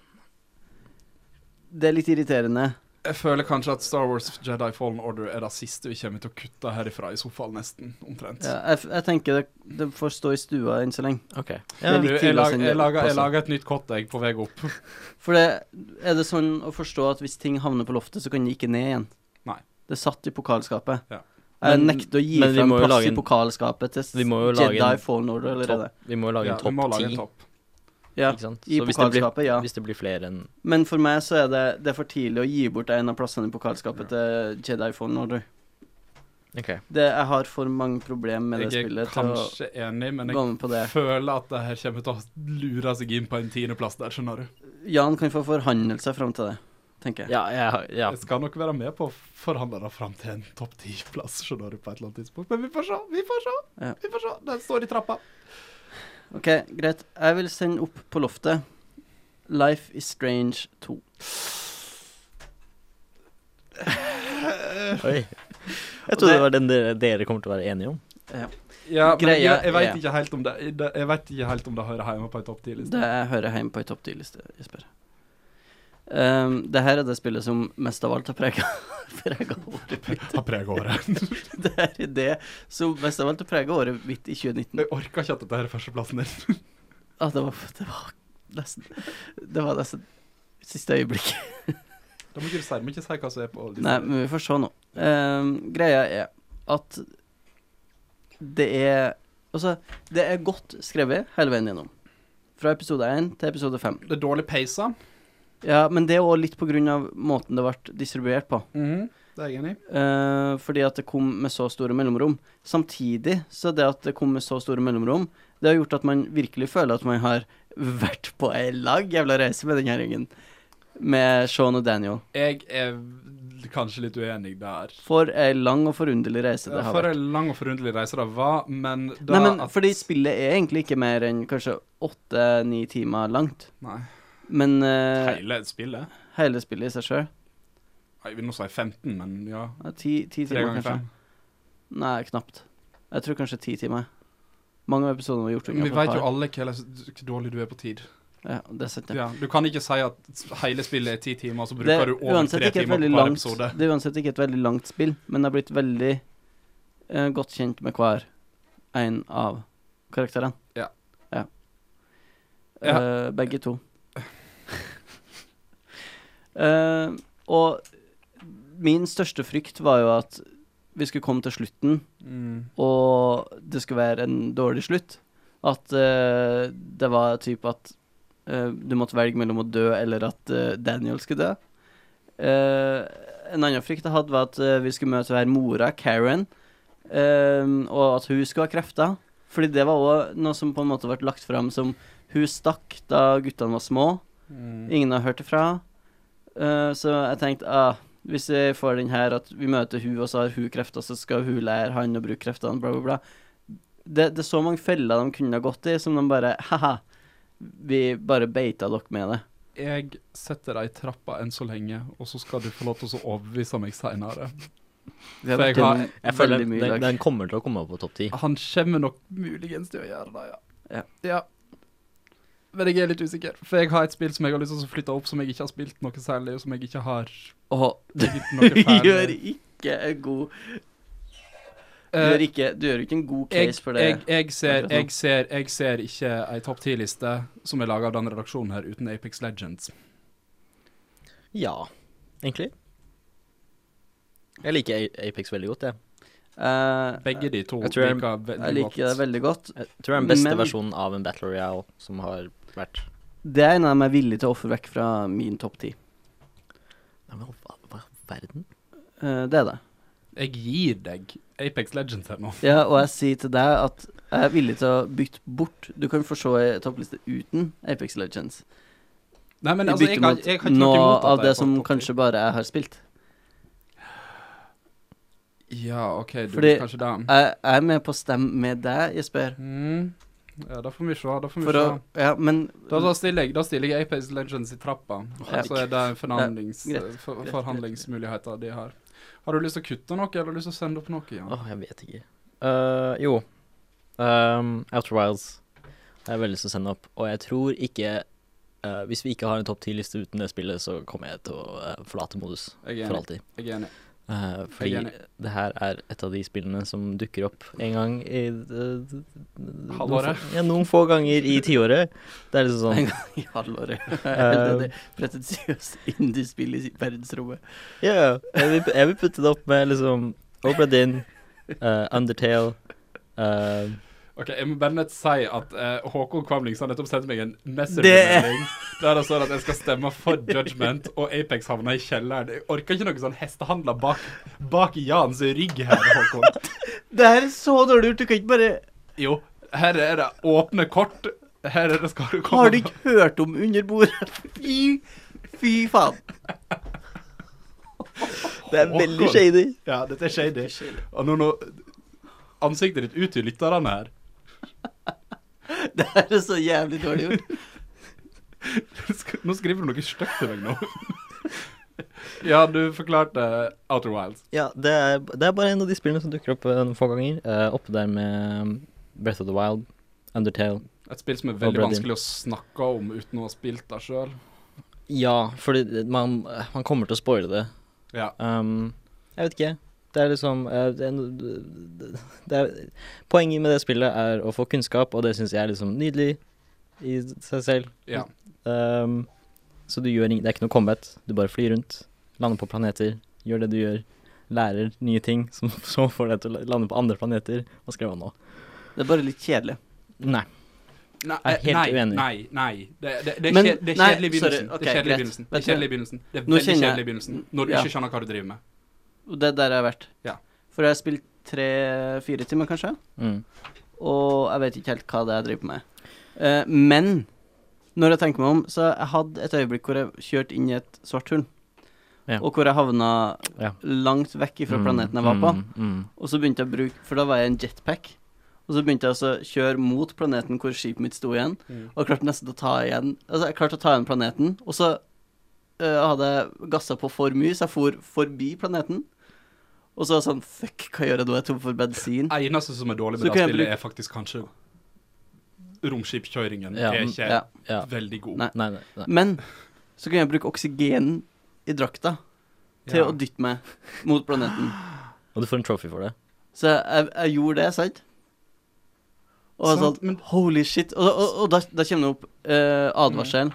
C: Det er litt irriterende.
B: Jeg føler kanskje at Star Wars Jedi Fallen Order er det siste vi kommer til å kutte herifra i sofaen, nesten. Omtrent.
C: Ja, jeg, f- jeg tenker det, det får stå i stua enn så lenge.
A: ok.
B: Du,
A: Ja,
C: Det er litt
B: jeg,
C: tidlig å
B: lag,
C: sende
B: jeg,
C: det
B: lager,
C: opp,
B: jeg
C: altså.
B: lager et nytt kottegg på vei opp.
C: For det, er det sånn å forstå at hvis ting havner på loftet, så kan de ikke ned igjen?
B: Nei.
C: Det satt i pokalskapet.
B: Ja.
C: Jeg
A: Men-
C: nekter å gi
A: men vi
C: frem
A: må jo
C: plass
A: lage en-
C: i pokalskapet til s-
A: Vi må jo lage
C: Jedi
A: en
C: Fallen Order allerede.
A: topp, vi må jo lage en
B: Ja, vi må
A: topp
B: lage en
A: ti.
B: topp.
C: Ja,
A: ikke sant?
C: I
A: Så hvis det, blir,
C: pokalskapet, ja.
A: hvis det blir flere enn
C: Men for meg så er det, det er for tidlig å gi bort en av plassene i pokalskapet til Jedi Fallen Order.
A: OK.
C: Det, jeg har for mange problemer med det
B: Jeg er
C: spillet til å
B: kanskje enig, men
C: gå med på det.
B: jeg føler at det her kommer til å lure seg inn på en tiendeplass der, skjønner du.
C: Jan kan få forhandle seg fram til det, tenker jeg.
A: Ja, jeg har ja.
B: Jeg skal nok være med på å forhandle det fram til en topp ti-plass, skjønner du, på et eller annet tidspunkt. Men vi får se, vi får se.
C: Ja.
B: Vi får se. Den står i trappa.
C: Ok, greit. Jeg vil sende opp på loftet Life is Strange 2.
A: Oi. Jeg trodde det var den dere, dere kommer til å være enige om.
C: Ja.
B: Ja, men jeg,
C: Greia
B: jeg vet
C: er-
B: ikke helt om det det- Jeg vet ikke helt om det hører hjemme på en topp 10-liste.
C: Det hører hjemme på ei topp 10-liste, Jesper. Um, det her er det spillet som mest av alt har prega året mitt.
B: Har preget året.
C: Det her er det som mest av alt har prega året mitt i 2019.
B: Jeg orker ikke at dette her er førsteplassen din.
C: Ah, det, var, det var nesten Det var nesten siste øyeblikk.
B: Da må ikke du si, må ikke si hva som er på
C: Nei,
B: lista.
C: men vi får se nå. Ehm, greia er at det er Altså, det er godt skrevet hele veien gjennom. Fra episode 1 til episode 5.
B: Det er dårlig peisa.
C: Ja, men det er òg litt på grunn av måten det ble distribuert på.
B: Det er jeg enig i.
C: Eh, fordi at det kom med så store mellomrom. Samtidig så det at det kom med så store mellomrom, det har gjort at man virkelig føler at man har vært på ei lang jævla reise med den her gjengen. Med Sean og Daniel.
B: Jeg er kanskje litt uenig der.
C: For ei lang og forunderlig reise det har
B: For
C: vært.
B: en lang og forunderlig reise det var, men da
C: Nei, men
B: at-
C: fordi spillet er egentlig ikke mer enn kanskje åtte-ni timer langt.
B: Nei.
C: Men eh,
B: Hele spillet?
C: hele spillet i seg sjøl
B: Nei, Jeg vil nå si 15, men ja.
C: ja, ti,
B: Tre
C: ti timer,
B: ganger
C: kanskje.
B: fem.
C: Nei, knapt. Jeg tror kanskje ti timer. Mange av episodene var gjort
B: Vi
C: unna på et
B: vet jo
C: par.
B: alle hvor hvor dårlig du er på tid.
C: Ja, det er sant, det.
B: Ja, du kan ikke si at hele spillet er ti timer, og så
C: Det
B: bruker
C: er,
B: du over
C: uansett
B: tre
C: ikke et
B: timer
C: veldig
B: på hver
C: langt,
B: episode.
C: det er uansett ikke et veldig langt spill, men det har blitt veldig eh, godt kjent med hver en av karakterene.
B: Ja.
C: Ja.
B: Ja.
C: Eh, begge to. Eh, og min største frykt var jo at vi skulle komme til slutten,
B: Mm.
C: og det skulle være en dårlig slutt. At eh, det var typ at eh, du måtte velge mellom å dø eller at eh, Daniel skulle dø. Eh, en annen frykt jeg hadde, var at eh, vi skulle møte hver mora, Karen, eh, og at hun skulle ha krefter. Fordi det var òg noe som på en måte ble lagt fram som hun stakk da guttene var små.
B: Mm.
C: Ingen har hørt ifra. Eh, så jeg tenkte ah, hvis vi får den her at vi møter hun, og så har hun krefter, så skal hun lære han å bruke kreftene, bla, bla, bla. Det, det er så mange feller de kunne ha gått i, som de bare Ha-ha. Vi bare beita dere med det.
B: Jeg setter deg i trappa enn så lenge, og så skal du få lov til å overbevise meg seinere.
C: Vi har
B: For jeg
C: vært
B: har-
C: gjennom
A: Jeg føler
C: veldig mye i
A: den,
C: dag.
A: den kommer til å komme opp på topp ti.
B: Han kommer nok muligens til å gjøre det, ja.
C: Ja.
B: Men jeg er litt usikker, for jeg har et spill som jeg har lyst til å flytte opp, som jeg ikke har spilt noe særlig, og som jeg ikke har
C: Og du
B: gitt noe
C: gjør
B: ferdig.
C: ikke en god Du
B: Eh,
C: gjør ikke, du gjør ikke en god case
B: jeg,
C: for det.
B: jeg, jeg, ser,
C: akkurat nå.
B: jeg, ser, jeg ser ikke ei topp ti-liste som er laga av den redaksjonen her, uten Apex Legends.
A: Ja, egentlig. Jeg liker A- Apex veldig godt, jeg.
C: Eh,
B: Begge de to
A: Jeg tror jeg-
B: liker veldig
C: jeg liker det
B: godt.
C: veldig godt.
A: jeg tror det er den beste
C: Men-
A: versjonen av en Battle Royale som har vært
C: Det er en av dem jeg er villig til å ofre vekk fra min topp ti.
A: Nei, men hva, hva verden?
C: Eh, det er det.
B: Jeg gir deg Apex Legends her nå.
C: Ja, og jeg sier til deg at jeg er villig til å bytte bort Du kan få se ei toppliste uten Apex Legends.
B: Nei, men
C: I
B: altså,
C: bytte
B: jeg har,
C: mot
B: jeg har ikke noe
C: noe
B: imot at
C: av
B: jeg
C: det
B: får
C: som
B: topp ti.
C: kanskje bare jeg har spilt.
B: Ja, OK, du
C: Fordi-
B: vil kanskje det.
C: Jeg, jeg er med på å stemme med deg, Jesper.
B: Mm. Ja, da får vi se. Da får vi
C: For å
B: se.
C: Ja, men
B: Da, da, stiller jeg, da stiller jeg Apex Legends i trappa, og så er det forhandlings,
C: Ja, greit,
B: for,
C: greit,
B: forhandlingsmuligheter de har. Har du lyst til å kutte noe, eller har du lyst til å sende opp noe?
A: Åh,
B: Ja.
A: jeg vet ikke. Eh, jo. Um, Outer Wilds har jeg veldig lyst til å sende opp. Og jeg tror ikke eh, Hvis vi ikke har en topp ti-liste uten det spillet, så kommer jeg til å eh, forlate modus
B: Jeg er
A: for
B: enig.
A: alltid.
B: Jeg er enig.
A: Eh, fordi
B: Jeg er enig.
A: det her er et av de spillene som dukker opp en gang i eh,
B: Halvåret.
A: Noen få, ja, noen få ganger i tiåret. Det er liksom sånn
C: En i halvåret. Eller det pretensiøse indiespill i verdensrommet.
A: Ja, ja. jeg, vil- jeg vil putte det opp med liksom Obra Dinn, eh, Undertale eh,
B: Ok, Jeg må bare nett si at eh, Håkon Kvamling har nettopp sendt meg en
C: Det-
B: messengermelding der det står at jeg skal stemme for Judgment, og Apex havna i kjelleren. Jeg orker ikke noe sånn hestehandler bak, bak Jans rygg her, Håkon.
C: Det her er så dårlig gjort. Du kan ikke bare
B: Jo, her er det åpne kort. Her er det skal du komme
C: Har du ikke hørt om under bordet? Fy, fy faen. Det er veldig
B: Håkon.
C: shady.
B: Ja, dette er shady. Og nå, nå Ansiktet ditt ut til lytterne her.
C: Det her er så jævlig dårlig gjort.
B: Nå skriver du noe stygt til meg nå. Ja, du forklarte Outer Wilds.
A: Ja, det er, det er bare en av de spillene som dukker opp eh, noen få ganger. Eh, oppe der med um, Breath of the Wild, Undertale.
B: Et spill som er
A: Og
B: veldig
A: Blood
B: vanskelig å snakke om uten å ha spilt det sjøl.
A: Ja, fordi man, man kommer til å spoile det.
B: Ja.
A: Um, jeg vet ikke. Det er liksom eh, det er, no- det er, Poenget med det spillet er å få kunnskap, og det syns jeg er liksom nydelig i seg selv.
B: ja.
A: Um, så du gjør ing- Det er ikke noe combat. Du bare flyr rundt, lander på planeter, gjør det du gjør, lærer nye ting som så får deg til å lande på andre planeter. Hva skrev han nå?
C: Det er bare litt kjedelig.
A: Nei.
B: Nei,
A: Jeg er helt
B: nei,
A: uenig.
B: nei, nei. Det, det, det, er
C: Men-
B: kje- det er
C: nei,
B: kjedelig i
C: sorry,
B: begynnelsen.
C: ok,
B: det er kjedelig i
C: greit.
B: begynnelsen. Det
C: Vet
B: er kjedelig i begynnelsen. Det er
C: du- Nå
B: veldig
C: kjenner jeg-
B: kjedelig i begynnelsen. Når du
C: Ja.
B: ikke skjønner hva du driver med.
C: Og det er der jeg har vært.
B: Ja.
C: For jeg har spilt tre-fire timer, kanskje,
A: Mm.
C: og jeg vet ikke helt hva det er jeg driver med. Eh, men når jeg tenker meg om, så jeg hadde et øyeblikk hvor jeg kjørte inn i et svart hull.
A: Ja.
C: Og hvor jeg havna
A: Ja.
C: langt vekk fra
A: Mm,
C: planeten jeg var på.
A: Mm, mm.
C: Og så begynte jeg å bruke For da var jeg i en jetpack. Og så begynte jeg altså å kjøre mot planeten hvor skipet mitt sto igjen. Og jeg klarte nesten å ta igjen Altså, jeg klarte å ta igjen planeten. Og så øh, hadde jeg gassa på for mye, så jeg for forbi planeten. Og så var jeg sånn Fuck, hva gjør jeg nå? Jeg er tom for bensin.
B: Eneste som er dårlig
C: Så
B: med det
C: kan jeg
B: spillet,
C: bruke-
B: er faktisk kanskje romskipkjøringen.
A: Ja,
B: er
A: men-
B: ikke
C: Ja.
A: Ja.
B: veldig god.
C: Nei.
A: Nei, nei, nei.
C: Men så kunne jeg bruke oksygenen i drakta til
B: Ja.
C: å dytte meg mot planeten.
A: Og du får en trophy for det.
C: Så jeg, jeg, jeg gjorde det, sant? Og jeg
B: Sant,
C: sånn,
B: men-
C: holy shit. Og, og, og da, da kommer det opp eh, advarselen.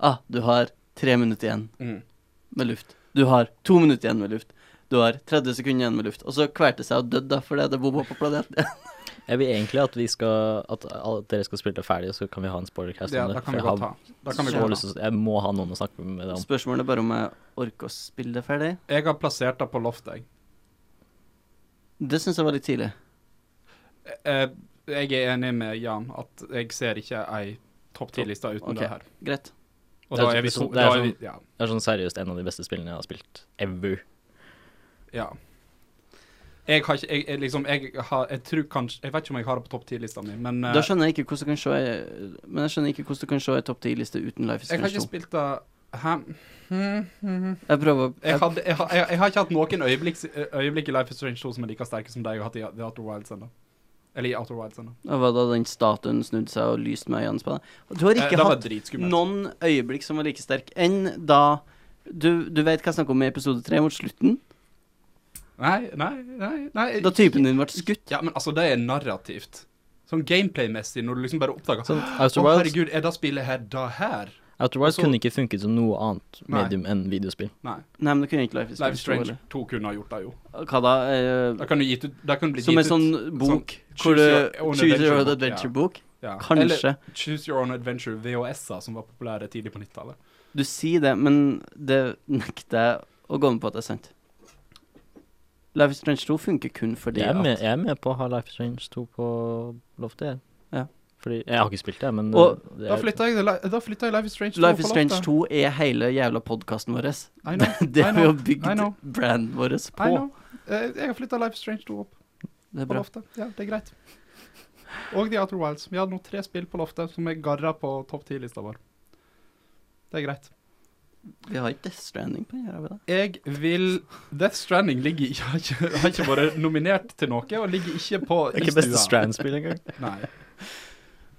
C: Ah, du har tre minutter igjen
B: Mm.
C: med luft. Du har to minutter igjen med luft. Du har 30 sekunder igjen med luft. Og så kvalte seg og døde da, fordi det bomma på planeten.
A: Jeg vil egentlig at vi skal At, at dere skal spille det ferdig, og så kan vi ha en spoilercast
B: Ja,
A: om sånn det. for
B: da kan vi
A: jeg
B: godt
A: har
B: ta. Da kan vi
A: så
B: godt ta.
A: lyst til å- Jeg må ha noen å snakke med det om.
C: Spørsmålet er bare om jeg orker å spille det ferdig.
B: Jeg har plassert det på loftet, jeg.
C: Det syns jeg var litt tidlig.
B: Eh, Jeg er enig med Jan at jeg ser ikke ei topp 10-liste uten
C: Ok.
B: det her.
C: Greit.
A: Det
B: Og
A: er
B: da er vi
A: sånn-
B: to.
A: det er
B: Da er vi, ja,
A: Det er sånn seriøst en av de beste spillene jeg har spilt ever.
B: ja. Jeg har ikke jeg, jeg, liksom, jeg, har, jeg tror kanskje Jeg vet ikke om jeg har det på topp 10-lista mi, men eh,
C: Da skjønner jeg ikke hvordan du kan se Men jeg skjønner ikke hvordan du kan se ei topp ti-liste uten Life is
B: jeg har
C: Strange
B: ikke
C: 2.
B: spilt det Hæ? Hmm, hmm.
C: Jeg prøver å
B: Jeg, hadde, jeg, har- jeg, jeg har ikke hatt noen øyeblikk, øyeblikk i Life is Strange 2 som er like sterke som det jeg har hatt i The Outer Wilds ennå. Eller i Outer Wilds ennå.
C: Og hva da den statuen snudde seg og lyste meg i øynene på deg? Du har
B: Eh,
C: ikke
B: det var
C: hatt
B: dritskummelt.
C: noen øyeblikk som var like sterk enn da du, du vet hva jeg snakker om i episode tre, mot slutten?
B: Nei, nei, nei, nei.
C: Da typen din ble skutt?
B: Ja, men altså, det er narrativt. Sånn gameplay-messig, når du liksom bare oppdager
A: Sånn,
B: Å,
A: Outer Wilds,
B: herregud, er det spillet her da her?
A: Outer Wilds
B: så-
A: kunne ikke funket som noe annet
B: Nei.
A: medium enn videospill.
B: Nei.
C: Nei, men det kunne ikke Life is
B: Life
C: Strange.
B: is Strange
C: 2, eller?
B: 2 kunne ha gjort det, jo.
C: Hva da? Eh,
B: Da kan du gitt ut Da kan det bli
C: som en
B: gitt
C: sånn
B: ut
C: bok
B: sånn
C: hvor du
B: choose your own
C: Choose your own
B: adventure-bok,
C: adventure-bok?
B: ja. Eller
C: Kanskje.
B: Choose Your Own Adventure, VHS-er, som var populære tidlig på 90-tallet.
C: Du sier det, men det nekter jeg å gå med på at det er sant. Life is Strange 2 funker kun fordi
A: Jeg er, med,
C: at
A: jeg er med på å ha Life is Strange 2 på loftet, jeg.
C: Ja.
A: Fordi Jeg har ikke spilt det, men
C: Og-
A: uh, det
B: Da
A: er-
B: flytta jeg, da flytta jeg Life is Strange 2
C: Life is
B: på
C: Strange
B: loftet.
C: 2 er hele jævla podkasten vår.
B: I know, I
C: Det vi har
B: know, I
C: bygd
B: know.
C: branden vår
B: I
C: på.
B: know. Eh, Jeg har flytta Life is Strange 2 opp
C: Det er
B: på
C: bra.
B: loftet. Ja, det er greit. Og The Outer Wilds. Vi hadde nå tre spill på loftet som jeg garra på topp 10-lista vår. Det er greit.
C: Vi har ikke Death Stranding på her, har vi det?
B: Jeg vil Death Stranding ligger ikke, har, ikke, har ikke vært nominert til noe, og ligger ikke på
A: Det er ikke beste Strand-spill engang.
B: Nei.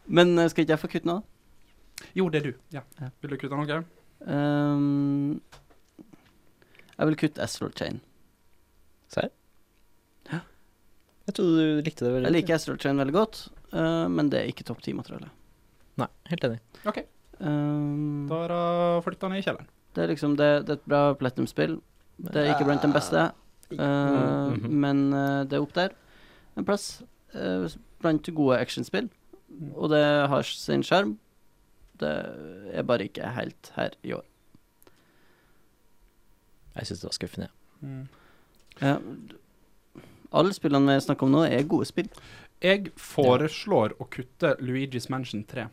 C: Men eh, skal ikke jeg få kutte nå, da?
B: Jo, det er du. Ja.
C: Ja.
B: Vil du kutte noe?
C: Ehm, jeg vil kutte Astral Chain.
A: Serr? Jeg trodde du likte det veldig
C: Jeg liker Astral Chain veldig godt, eh, men det er ikke topp ti-materiale.
A: Nei, helt enig.
C: Ehm,
B: Da er det flytta ned i kjelleren.
C: det er liksom det, det er et bra Platinum-spill. Det er ikke blant den beste, eh,
B: Mm,
A: Mhm.
C: men eh, det er opp der en plass. eh, blant gode actionspill.
A: Mm.
C: Og det har sin sjarm. Det er bare ikke helt her i år.
A: Jeg syns det var skuffende. jeg.
B: Mm.
C: Eh, alle spillene vi snakker om nå, er gode spill.
B: Jeg foreslår å kutte Luigi's Mansion 3.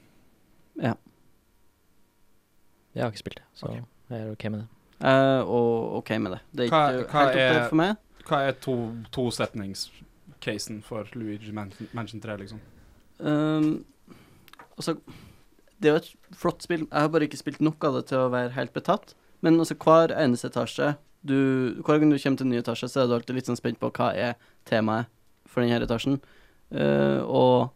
A: Jeg har ikke spilt det, så
B: Ok.
A: jeg er ok med det.
C: Eh, og OK med det. Det er ikke
B: Hva- hva
C: helt opp der
B: er-
C: for meg.
B: Hva er to tosetningscasen for Luigi's Mansion, Mansion 3, liksom?
C: Um, altså, det er jo et flott spill. Jeg har bare ikke spilt nok av det til å være helt betatt. Men altså, hver eneste etasje du, Hver gang du kommer til en ny etasje, så er du alltid litt sånn spent på hva er temaet for denne etasjen. Eh, og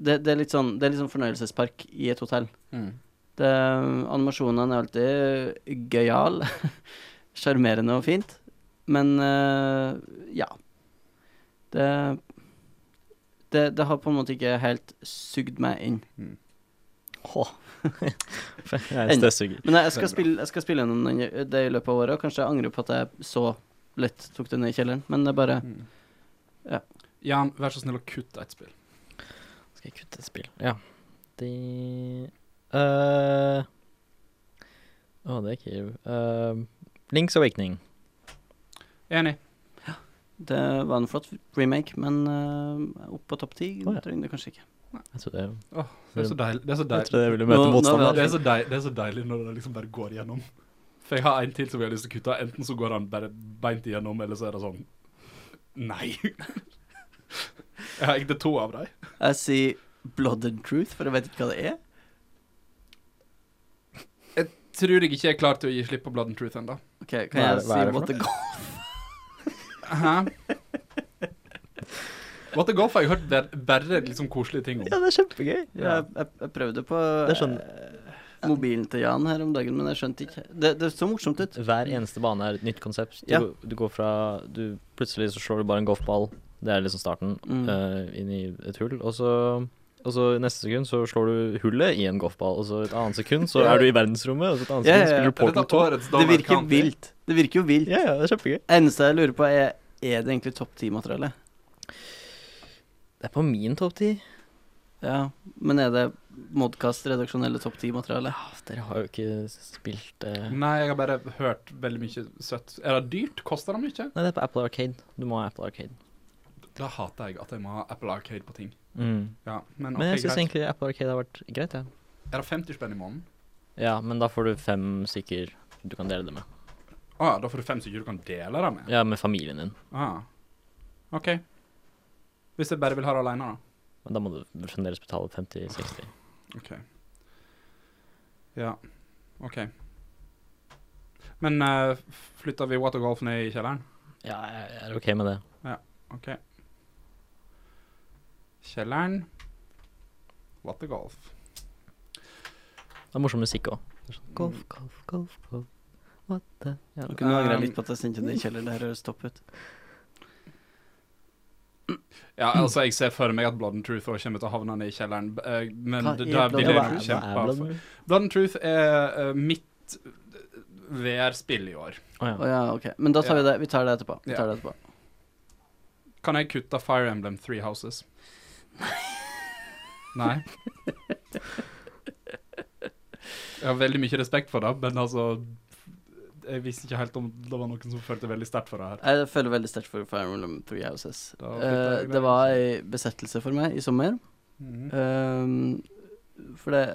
C: det, det er litt sånn Det er litt sånn fornøyelsespark i et hotell.
A: Mm.
C: Det, animasjonene eh, er alltid gøyale. Sjarmerende og fint. Men eh, ja. Det, det Det har på en måte ikke helt sugd meg inn.
B: Mm.
C: Åh.
A: Jeg er støvsuger.
C: Men jeg, jeg,
B: Veldig
C: skal
B: bra.
C: spille, jeg skal spille gjennom den, i- det i løpet av året. og Kanskje jeg angrer på at jeg så lett tok det ned i kjelleren. Men det er bare Ja.
B: Mm. Jan, vær så snill å kutte et spill.
A: Skal jeg kutte et spill? Ja. De eh, Å, det er ikke eh, Link's Awakening.
B: Enig.
C: Det var en flott remake, men eh, opp på topp ti
A: Å, ja.
C: trenger det kanskje ikke.
A: Jeg tror det,
B: Det er så deilig. Det er så
A: jeg
B: deilig,
A: tror jeg ville
C: Nå-
A: møte
C: nå
A: motstander.
C: vet
B: det er så deilig, det er så deilig når det liksom bare går igjennom. For jeg har en til som jeg har lyst til å kutte. Enten så går han bare beint igjennom, eller så er det sånn Nei. Jeg har egentlig to av dem.
C: Jeg sier Blood and Truth, for jeg vet ikke hva det er.
B: Tror jeg ikke jeg er klar til å gi slipp på Blood and Truth ennå.
C: Ok, Kan
A: Hva er
C: jeg
A: det- hva er
C: si
A: det for
C: What the God?
B: Hæ? What the Golf har jeg hørt bare, bare liksom koselige ting om.
A: Ja, det er kjempegøy.
B: Ja.
C: Jeg, jeg, jeg prøvde på
A: Det er sånn
C: eh, mobilen til Jan her om dagen, men jeg skjønte ikke Det, det så morsomt ut.
A: Hver eneste bane er et nytt konsept. Du,
C: Ja.
A: går- du går fra du, Plutselig så slår du bare en golfball, det er liksom starten,
C: Mm.
A: eh, inn i et hull. Og så, og så neste sekund så slår du hullet i en golfball, og så et annet sekund så
C: Ja.
A: er du i verdensrommet, og så et annet
C: Ja,
A: sekund
C: ja,
A: spiller du
B: Er
C: ja.
B: dette
A: Portal 2.
B: årets
C: Det
B: Donald
C: virker
B: Country?
C: vilt. Det virker jo vilt.
A: Ja, ja, det er kjempegøy.
C: Eneste jeg lurer på, er Er det egentlig topp ti-materiale?
A: Det er på min topp ti.
C: Ja, men er det Modcast redaksjonelle topp ti-materiale?
A: Dere har jo ikke spilt eh,
B: Nei, jeg har bare hørt veldig mye søtt. Er det dyrt? Koster det mye?
A: Nei, det er på Apple Arcade. Du må ha Apple Arcade.
B: Da hater jeg at jeg må ha Apple Arcade på ting.
A: Mm.
B: Ja, men,
A: Men jeg
B: ok,
A: syns
B: greit.
A: egentlig Apple Arcade har vært greit, jeg. Ja.
B: Er det 50 spenn i måneden?
A: ja, men da får du fem stykker du kan dele det med.
B: Å ja, Ah, da får du fem stykker du kan dele det med.
A: Ja, med familien din.
B: Ah. OK. Hvis jeg bare vil ha det alene, da.
A: Men da må du fremdeles betale 50-60.
B: Ja. OK. Men eh, flytter vi watergolf ned i kjelleren?
A: Ja, jeg er ok med det.
B: OK. Kjelleren Watergolf.
A: Det er morsom musikk òg. Golf, golf, golf, golf. What the ja.
C: Nå kunne jeg angre
B: Um,
C: litt på at jeg sendte det i kjeller. Det her høres topp ut.
B: Ja, altså, jeg ser for meg at Blood and Truth også kommer til å havne ned i kjelleren, b- eh, men
C: Hva
B: det
C: er
B: der
C: Blood
B: vil
C: and
B: jeg
C: Truth?
B: jo kjempe for. Blood and Truth er eh, mitt eh, VR-spill i år.
A: Å
C: Å
A: ja.
C: ja, ok. Men da tar vi det. Vi tar det etterpå. Vi
B: Ja.
C: tar det etterpå.
B: Kan jeg kutte Fire Emblem Three Houses? Nei. Jeg har veldig mye respekt for det, men altså Jeg visste ikke helt om det var noen som følte veldig sterkt for det her.
C: Jeg føler veldig sterkt for Fire Emblem Three Houses.
B: Da flytter
C: Eh,
B: jeg
C: det
B: deg.
C: var ei besettelse for meg i sommer.
B: Mhm.
C: Ehm, for det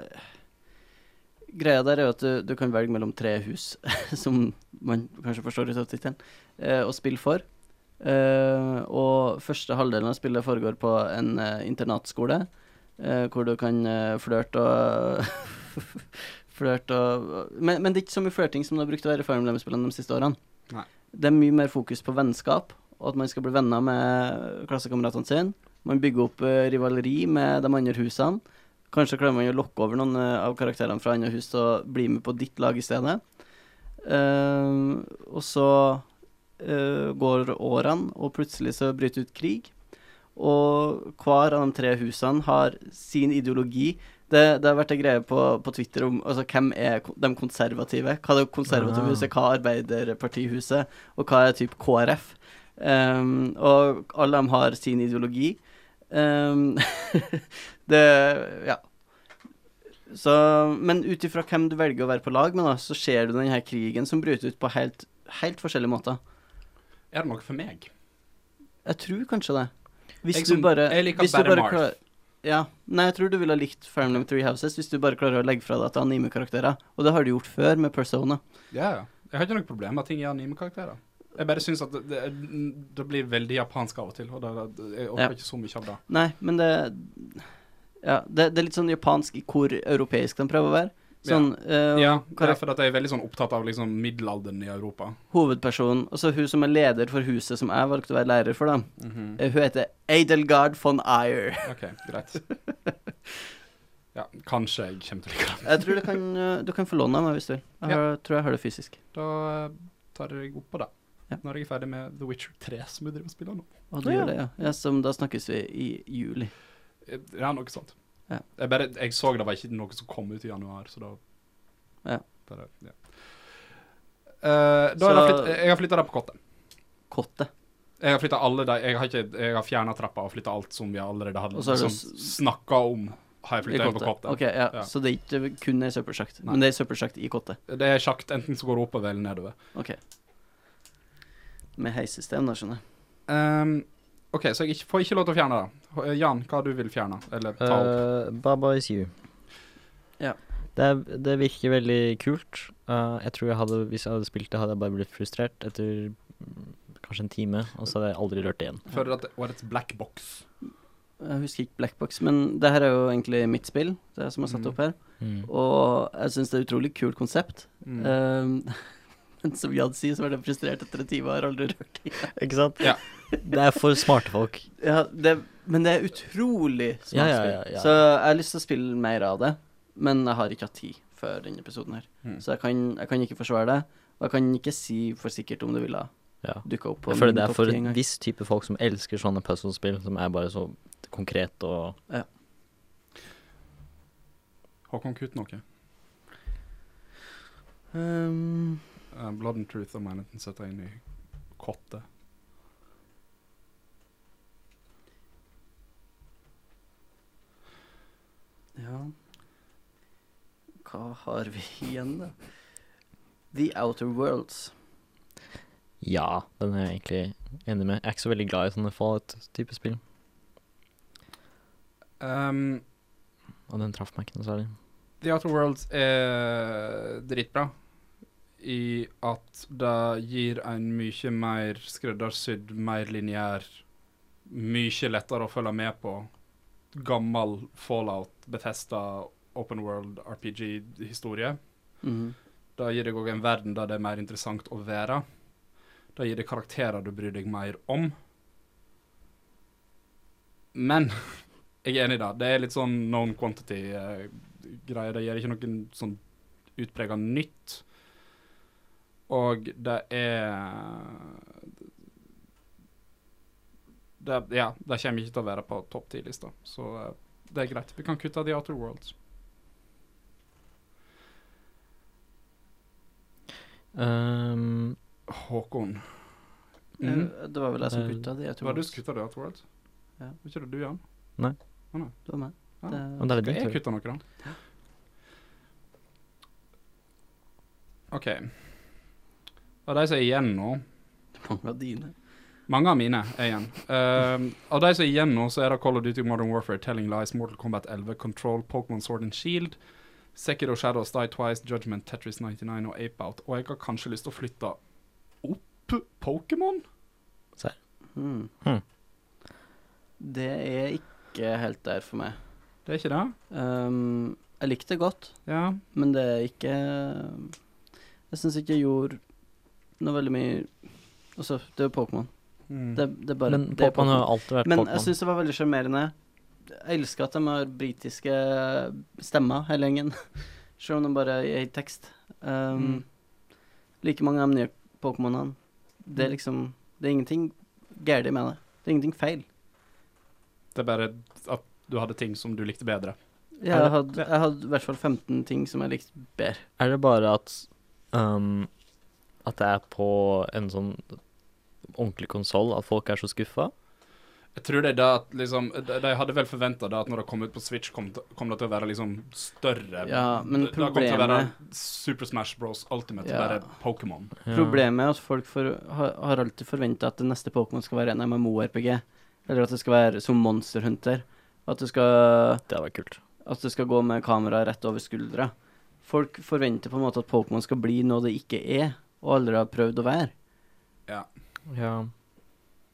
C: Greia der er jo at du, du kan velge mellom tre hus, som man kanskje forstår ut av tittelen, eh, å spille for. Eh, og første halvdelen av spillet foregår på en eh, internatskole, eh, hvor du kan eh, flørte og Flørte og men, men det er ikke så mye flørting som det har brukt å være i Fire Emblem-spillene de siste årene.
B: Nei.
C: Det er mye mer fokus på vennskap, og at man skal bli venner med klassekameratene sine. Man bygger opp eh, rivaleri med de andre husene. Kanskje klarer man å lokke over noen eh, av karakterene fra andre hus til å bli med på ditt lag i stedet. Eh, og så eh, går årene, og plutselig så bryter ut krig. Og hver av de tre husene har sin ideologi. Det, det har vært en greie på, på Twitter om altså, hvem er ko- de konservative. Hva er det konservative
A: Ah.
C: huset, hva er Arbeiderpartihuset, og hva er type KrF? Um, og alle de har sin ideologi. Um, det Ja. Så, men ut ifra hvem du velger å være på lag med, da, så ser du den her krigen som bryter ut på helt, helt forskjellige måter.
B: Er det noe for meg?
C: Jeg tror kanskje det. Hvis
B: Jeg som-
C: du bare
B: jeg liker
C: hvis du
B: bare
C: bare
B: Marth.
C: klarer- Ja. Nei, jeg tror du ville ha likt Fire Emblem Three Houses hvis du bare klarer å legge fra deg til anime-karakterer. Og det har du gjort før med Persona.
B: Ja, ja. Jeg har ikke noe problem med at ting er anime-karakterer. Jeg bare syns at det, det, det blir veldig japansk av og til, og det, det, jeg orker
C: Ja.
B: ikke så mye av det.
C: Nei, men det Ja, det, det er litt sånn japansk i hvor europeisk de prøver å være. Sånn eh,
B: Ja, det
C: karak-
B: er for at jeg er veldig sånn opptatt av liksom middelalderen i Europa.
C: hovedpersonen Altså hun som er leder for huset som jeg valgte å være lærer for, da.
B: Mhm.
C: Eh, Hun heter Adelgard von Eyre.
B: OK, greit. Ja, kanskje jeg kommer til å like det.
C: Jeg tror du kan, eh, du kan få låne av meg hvis du vil. Jeg
B: Ja.
C: har- tror jeg har det fysisk.
B: Da eh, tar jeg opp på det.
C: Ja.
B: Når jeg er ferdig med The Witcher 3, som jeg driver og spiller nå.
C: Og du
A: Ja.
C: gjør det, ja. ja som da snakkes vi i juli.
B: Eh, Ja, noe sånt.
C: Ja.
B: Jeg, bare, jeg så det var ikke noe som kom ut i januar, så da
C: Ja.
B: Bare, ja. Eh, da har jeg,
C: Så-
B: flytt, jeg har flytta det på kottet.
C: Kottet.
B: Jeg har flyttet alle de Jeg har, ikke- jeg har fjerna trappa og flytta alt som vi allerede hadde
C: Og så
B: som
C: er det
B: snakka om. Har jeg
C: I
B: flytta inn på kottet.
C: Ok, ja.
B: Ja.
C: Så det er ikke kun ei søppelsjakt,
B: Nei.
C: men det er ei søppelsjakt i kottet.
B: Det er sjakt enten som går oppover eller nedover.
C: Ok. Med heissystem, da, skjønner jeg.
B: Ehm, OK, så jeg ikke, får ikke lov til å fjerne det. Eh, Jan, hva du vil fjerne? Eller ta opp?
A: Eh, Baba is you.
C: Ja.
A: Det, er, det virker veldig kult. Eh, jeg tror jeg hadde, Hvis jeg hadde spilt det, hadde jeg bare blitt frustrert etter mm, kanskje en time, og så hadde jeg aldri rørt det igjen.
B: Føler at det var et black box.
C: Jeg husker ikke Blackbox, men det her er jo egentlig mitt spill, det som er satt
B: Mhm.
C: opp her. Mm. Og jeg syns det er et utrolig kult konsept.
B: Mm.
C: Ehm, men som Jad sier, så ble jeg frustrert etter en time og har aldri rørt det.
A: Ikke sant?
B: Ja.
A: Det er for smarte folk.
C: Ja, det, men det er utrolig smart
A: Ja, ja,
C: spill.
A: ja, ja.
C: Så jeg har lyst til å spille mer av det, men jeg har ikke hatt tid før denne episoden her.
B: Mm.
C: Så jeg kan, jeg kan ikke forsvare det, og jeg kan ikke si for sikkert om det ville ha
A: Ja.
C: dukka opp på
A: Jeg føler
C: min
A: det er
C: topp
A: for
C: 10
A: en
C: engang.
A: viss type folk som elsker sånne puzzlespill, som er bare så konkret og
B: Håkon, kutt noe.
C: Ehm,
B: Eh, Blood and Truth og Manhattan setter jeg inn i kottet.
C: ja Hva har vi igjen, da? The Outer Worlds.
A: Ja, den er jeg egentlig enig med. Jeg er ikke så veldig glad i sånne Fallout-type spill,
B: Ehm,
A: og den traff meg ikke noe særlig.
B: The Outer Worlds er dritbra i at det gir en mye mer skreddersydd, mer lineær, mye lettere å følge med på gammel Fallout, Bethesda, Open World, RPG-historie.
C: Mhm.
B: Det gir deg òg en verden der det er mer interessant å være. Det gir deg karakterer du bryr deg mer om. Men jeg er enig i det. Det er litt sånn known quantity-greie. det gir ikke noe sånn utprega nytt. Og det er det, Ja, det kommer ikke til å være på topp ti-lista, så eh, det er greit. Vi kan kutte The Outer Worlds.
A: Ehm,
B: Håkon.
A: mhm.
C: Eh, Det var vel jeg som
A: Eh,
C: kutta de. Jeg tror
B: Var du
C: det
B: skutta The Outer Worlds?
C: Ja.
B: Var ikke det altså? du, Jan?
C: det var meg.
B: Ja.
A: og
C: Det,
A: det er
B: Skal
A: din
B: jeg
A: tur.
B: kutte noe, da? OK. Og de som er igjen nå
C: mange av dine.
B: Mange av mine er igjen. Um, av de som er igjen nå, så er det Call of Duty Modern Warfare, Telling Lies, Mortal Kombat 11, Control, Pokémon Sword and Shield, Sekiro Shadows, Die Twice, Judgment, Tetris 99 og Ape Out. Og jeg har kanskje lyst til å flytte opp Pokémon?
C: Hmm.
A: Hmm.
C: Det er ikke helt der for meg.
B: Det er ikke det?
C: Ehm, jeg likte det godt,
B: Ja.
C: men det er ikke Jeg syns ikke jeg gjorde noe veldig mye Altså, det er jo Pokémon.
B: Mm.
C: Det, det er bare
A: Men
C: det er
A: Pokémon har alltid vært
C: Men altså,
A: Pokémon.
C: jeg syns det var veldig sjarmerende. Jeg elsker at de har britiske stemmer, hele gjengen. Selv om de bare er i tekst.
B: Mm.
C: Um, Like mange av de nye Pokémonene. Det er liksom Det er ingenting galt med det. Det er ingenting feil.
B: Det er bare at du hadde ting som du likte bedre.
A: Er
C: Jeg
A: det-
C: hadde, jeg hadde i hvert fall 15 ting som jeg likte bedre.
A: Er det bare at ehm, At det er på en sånn ordentlig konsoll at folk er så skuffa?
B: Jeg tror det er det at liksom De de hadde vel forventa at når det kom ut på Switch, kom, til- kom det til å være liksom større
C: Ja, men
B: Det- Det kom til å være
C: problemet-
B: Super Smash Bros. Ultimate,
C: Ja.
B: bare Pokémon.
C: Problemet er at folk for, har, har alltid forventa at det neste Pokémon skal være en MMO-RPG. Eller at det skal være som Monster Hunter. At det skal
A: Det hadde vært kult.
C: At det skal gå med kamera rett over skuldra. Folk forventer på en måte at Pokémon skal bli noe det ikke er, og aldri har prøvd å være.
A: Ja.
C: Og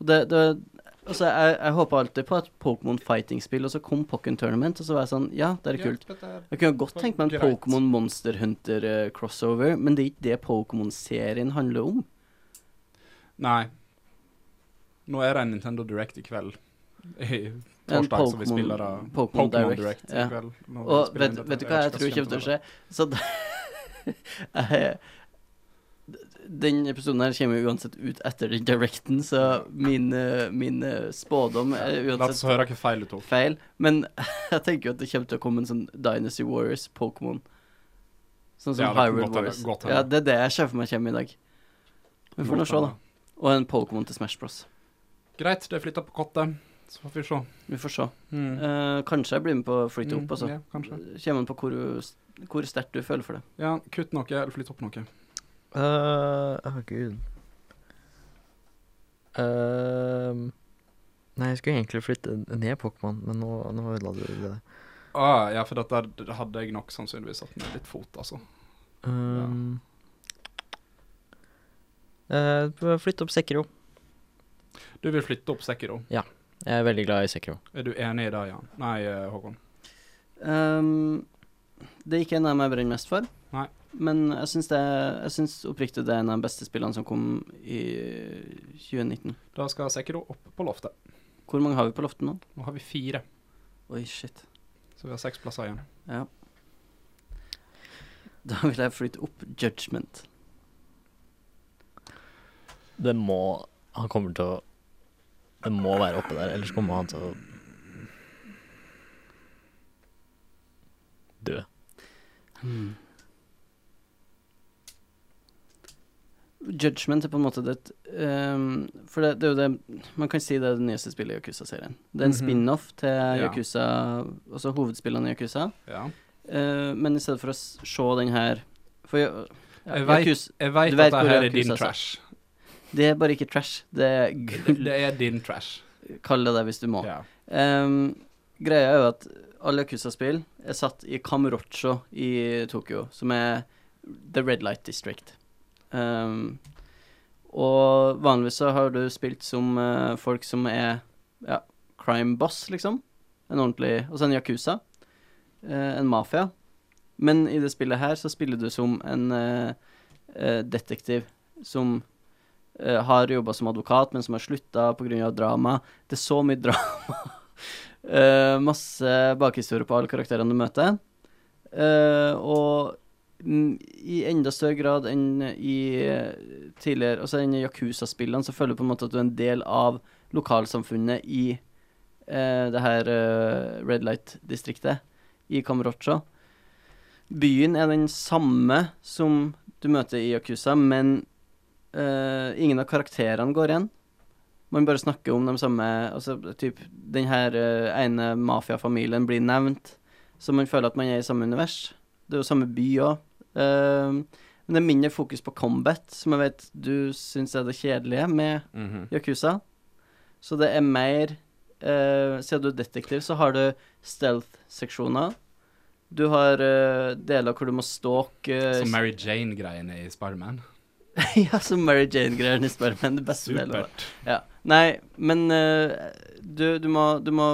C: Det, det, Altså, jeg, jeg håpa alltid på et Pokémon fighting-spill, og så kom Pokken Tournament, og så var jeg sånn Ja, det er kult. Jeg kunne godt tenkt meg en
B: Greit.
C: Pokémon Monster Hunter-crossover, men det er ikke det Pokémon-serien handler om.
B: Nei. Nå er det en Nintendo Direct i kveld. I torsdag,
C: En
B: så vi
C: Pokémon-
B: spiller da
C: Pokémon Direct, ja.
B: i kveld. Når vi
C: Og
B: spiller
C: vet,
B: inn dette.
C: vet du hva jeg
B: vet
C: tror
B: ikke
C: kommer til å
B: som
C: skje? Så da jeg, Den episoden her kommer jo uansett ut etter den directen, så min, eh, min eh, spådom er
B: kommer til å skje. La oss
C: uansett
B: høre hva feil du tok.
C: feil. Men jeg tenker jo at det kommer til å komme en sånn Dynasty Warriors Pokémon. Sånn som
B: Ja, det kan
C: Hyrule
B: godt hende-
C: Warriors.
B: godt hende.
C: Ja, det er det jeg ser for meg kommer i dag. Vi får nå se, da. Og en Pokémon til Smash Bros.
B: Greit, det er flytta på kottet.
C: Eh,
B: Så får vi se.
C: Vi får se.
B: Mm.
C: Eh, kanskje jeg blir med på Flytt opp, altså.
B: Ja, kanskje.
C: Kommer an på hvor, hvor sterkt du føler for det.
B: Ja, kutt noe, eller flytt opp noe.
A: Åh, gud. Ehm, nei, jeg skulle egentlig flytte ned Pokémon, men nå, nå ødela du det.
B: Ah, ja, for dette det hadde jeg nok sannsynligvis satt ned litt fot, altså.
A: Um, eh, flytt opp Sekiro.
B: Du vil flytte opp Sekiro.
A: Jeg er veldig glad i Sekiro.
B: Er du enig i det, Jan? Nei, eh, Håkon.
C: Ehm, det er ikke en av dem jeg brenner mest for.
B: Nei.
C: Men jeg syns det er- jeg syns oppriktig det er en av de beste spillene som kom i 2019.
B: Da skal Sekiro opp på loftet.
C: Hvor mange har vi på loftet nå?
B: Nå har vi fire,
C: Oi, shit.
B: så vi har seks plasser igjen.
C: Ja. Da vil jeg flytte opp Judgment.
A: Det må Han kommer til å Det må være oppe der, ellers kommer han til å dø.
C: Judgment er på en måte det ehm, For det, det er jo det Man kan si det er det nyeste spillet i Yakuza-serien. Det er en
B: Mhm.
C: spin-off til
B: Ja.
C: Yakuza, altså hovedspillene i Yakuza.
B: Ja.
C: Eh, men i stedet for å s- se den her For ja,
B: Jeg vet-
C: Yakuza-
B: Jeg vet
C: Du
B: at
C: vet
B: dette
C: hvor
B: her er
C: Yakuza
B: din
C: satt.
B: trash.
C: Det er bare ikke trash. Det er
B: Det,
C: gull.
B: det er din trash.
C: Kall det det hvis du må.
B: Ja.
C: Ehm, greia er jo at alle Yakuza-spill er satt i Kamurocho i Tokyo, som er The Red Light District. Ehm, og vanligvis så har du spilt som eh, folk som er ja, crime boss, liksom. En ordentlig Og så en Yakuza. Eh, en mafia. Men i det spillet her så spiller du som en eh, eh, detektiv som eh, har jobba som advokat, men som har slutta pga. drama. Det er så mye drama. Eh, masse bakhistorie på alle karakterene du møter. Eh, og mm, i enda større grad enn i eh, tidligere Altså enn i Yakuza-spillene, så føler du på en måte at du er en del av lokalsamfunnet i eh, det her eh, Red Light-distriktet i Kamurocho. Byen er den samme som du møter i Yakuza, men eh, ingen av karakterene går igjen. Man bare snakker om de samme Altså, typ, den her eh, ene mafiafamilien blir nevnt, så man føler at man er i samme univers. Det er jo samme by òg. men det er mindre fokus på combat, som jeg vet du syns er det kjedelige med Yakuza. Så det er mer eh, Siden du er detektiv, så har du stealth-seksjoner. Du har eh, deler hvor du må stalke eh,
B: Som Mary Jane-greiene i Spiderman.
C: ja, som Mary Jane-greier i Spiderman. Det beste delen av det.
B: Supert.
C: Ja. Nei, men eh, du, du, må, du må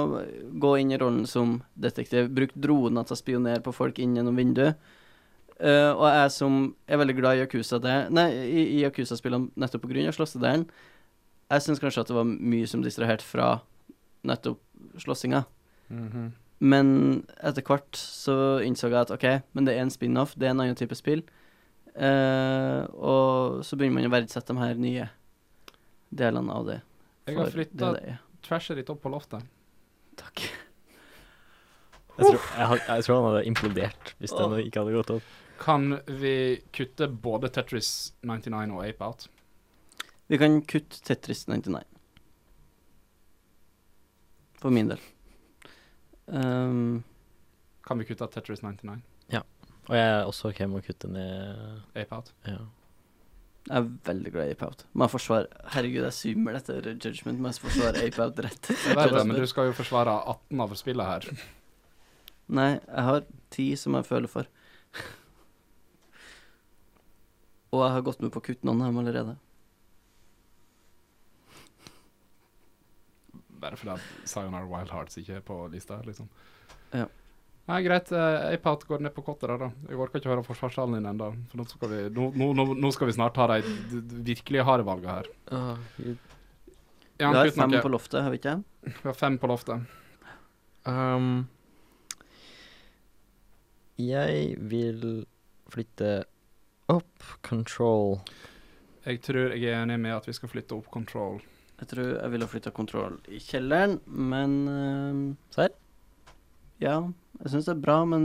C: gå inn i rollen som detektiv. Bruk droner til å spionere på folk inn gjennom vinduet. Eh, og jeg som er veldig glad i Yakuza der, Nei, i, i Yakuza-spillene nettopp pga. slåssedelen, jeg syns kanskje at det var mye som distraherte fra nettopp slåssinga. Men etter hvert så innså jeg at OK, men det er en spin-off, det er en annen type spill. Eh, og så begynner man å verdsette de her nye delene av det.
B: Jeg har
C: for
B: flytta
C: det det er.
B: trashet ditt opp på loftet.
C: Takk.
A: Jeg tror, jeg, har- jeg tror han hadde implodert hvis den
C: Åh.
A: ikke hadde gått opp.
B: Kan vi kutte både Tetris 99 og Ape Out?
C: Vi kan kutte Tetris 99. For min del. Ehm,
B: Kan vi kutte Tetris 99?
A: Og jeg er også ok med å kutte ned
B: Ape Out?
A: ja.
C: jeg er veldig glad i Ape Out. Må jeg forsvare Herregud, jeg zoomer etter judgment. Må jeg forsvare Ape Out rett?
B: Jeg vet det, men du skal jo forsvare 18 av spillet her.
C: Nei, jeg har ti som jeg føler for. Og jeg har gått med på å kutte noen av dem allerede.
B: Bare fordi at Sayonara Wild Hearts ikke er på lista, liksom.
C: Ja.
B: Nei, greit. eh, iPad går ned på kottet der, da. Jeg orker ikke høre forsvarstalen din ennå. For nå skal, vi, nå, nå- nå, nå skal vi snart ta de d- d- virkelig harde valgene her.
C: Vi
B: Ja,
C: har
B: Knut
C: fem
B: Nakke,
C: på loftet, har vi ikke?
B: vi har fem på loftet.
A: Um, jeg vil flytte opp control.
B: Jeg tror jeg er enig med at vi skal flytte opp Control.
C: Jeg tror jeg ville flytta kontroll i kjelleren, men ehm,
A: Serr?
C: Ja, jeg syns det er bra, men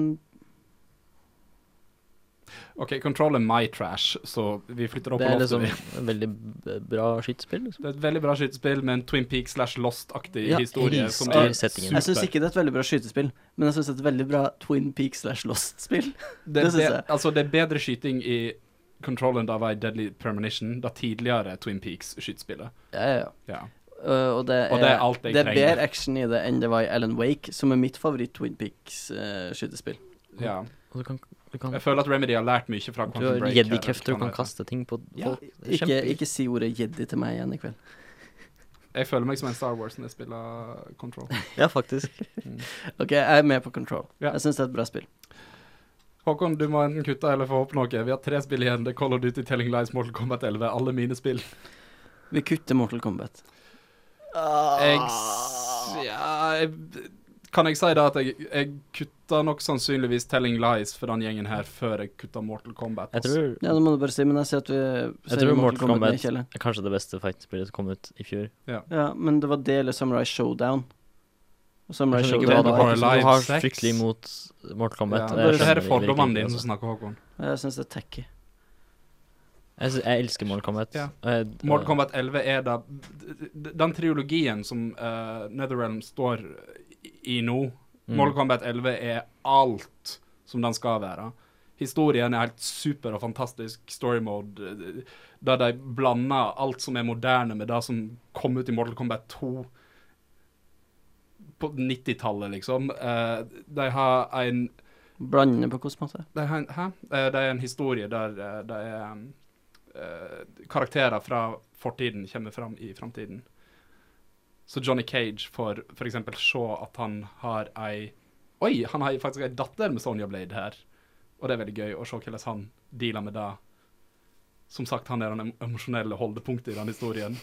B: OK, Control er my trash, så vi flytter opp
A: Det
B: på
A: er liksom
B: loftet. vi.
A: et veldig b- bra skytespill. Liksom.
B: Det er et veldig bra skytespill med en Twin Peaks slash Lost-aktig
A: Ja,
B: historie.
A: elsker
B: Som er
A: settingen.
B: super.
C: Jeg syns ikke det er et veldig bra skytespill, men jeg syns det er et veldig bra Twin Peak slash Lost-spill.
B: Det,
C: Det synes
B: det,
C: jeg.
B: altså, det er bedre skyting i Control enn da var i Deadly Premonition, da tidligere Twin Peaks-skytespillet.
C: Ja, ja, ja.
B: Ja.
C: Uh, og, det er,
B: Og det er alt jeg
C: det er
B: trenger.
C: bedre action i det enn det var i Alan Wake, som er mitt favoritt-Twin Peaks-skytespill.
B: ja.
A: Og Du kan, du kan,
B: Jeg føler at Remedy har lært mye fra
A: du
B: Quantum
A: har
B: Break.
A: jedi-krefter, du
B: eller
A: kan
B: hva det heter.
A: kaste ting på
B: Ja,
A: folk. Det er
C: ikke,
A: kjempe-
C: ikke si ordet jedi til meg igjen i kveld.
B: Jeg føler meg som en Star Wars når jeg spiller Control.
A: Ja, faktisk.
C: OK, jeg er med på Control.
B: Ja.
C: Jeg syns det er et bra spill.
B: Håkon, du må enten kutte eller få opp noe. Vi har tre spill igjen. Det er Call of Duty, Telling Lies, Mortal Kombat 11. Alle mine spill.
C: Vi kutter Mortal Kombat. Ah.
B: Jeg s- ja, jeg, Kan jeg si da at jeg, jeg kutta nok sannsynligvis Telling Lies for den gjengen her før jeg kutta Mortal Kombat.
A: Jeg
B: altså.
A: tror,
C: Ja, det må du bare si, men jeg sier at vi
A: jeg
C: sier
A: tror Mortal
C: ned i
A: Kombat
C: kjelleren.
A: er kanskje det beste fighting-spillet som kom ut i fjor.
C: Ja, men det var det eller Samurai Showdown. Og Samurai
A: Jeg skjønner ikke
B: det
A: hva
C: Showdown
A: du
B: var
A: har,
B: bare
A: du
B: live
A: har
B: sex.
A: fryktelig imot Mortal
B: ja,
A: Kombat. og
B: det er-
A: jeg
B: det her
A: skjønner
B: er
A: virkelig ikke
B: fordommene
A: det,
B: dine som
A: altså.
B: snakker, Håkon.
C: Jeg syns det er tacky.
A: Jeg, sy- jeg elsker Mortal Kombat.
B: Ja.
A: og jeg-
B: Mortal Kombat 11 er da d- d- Den triologien som eh, Netherrealm står i nå
A: Mm.
B: Mortal Kombat 11 er alt som den skal være. Historien er helt super og fantastisk. Story mode, eh, der de blander alt som er moderne med det som kom ut i Mortal Kombat 2 på 90-tallet, liksom. Eh, de har en
C: Blandende på hvilken måte?
B: det er, en, hæ? Eh, Det er en historie der eh, det er um, eh, karakterer fra fortiden kommer fram i framtiden. Så Johnny Cage får f.eks. se at han har ei Oi, han har faktisk ei datter med Sonja Blade her. Og det er veldig gøy å se hvordan han dealer med det. Som sagt, han er den em- emosjonelle holdepunktet i den historien,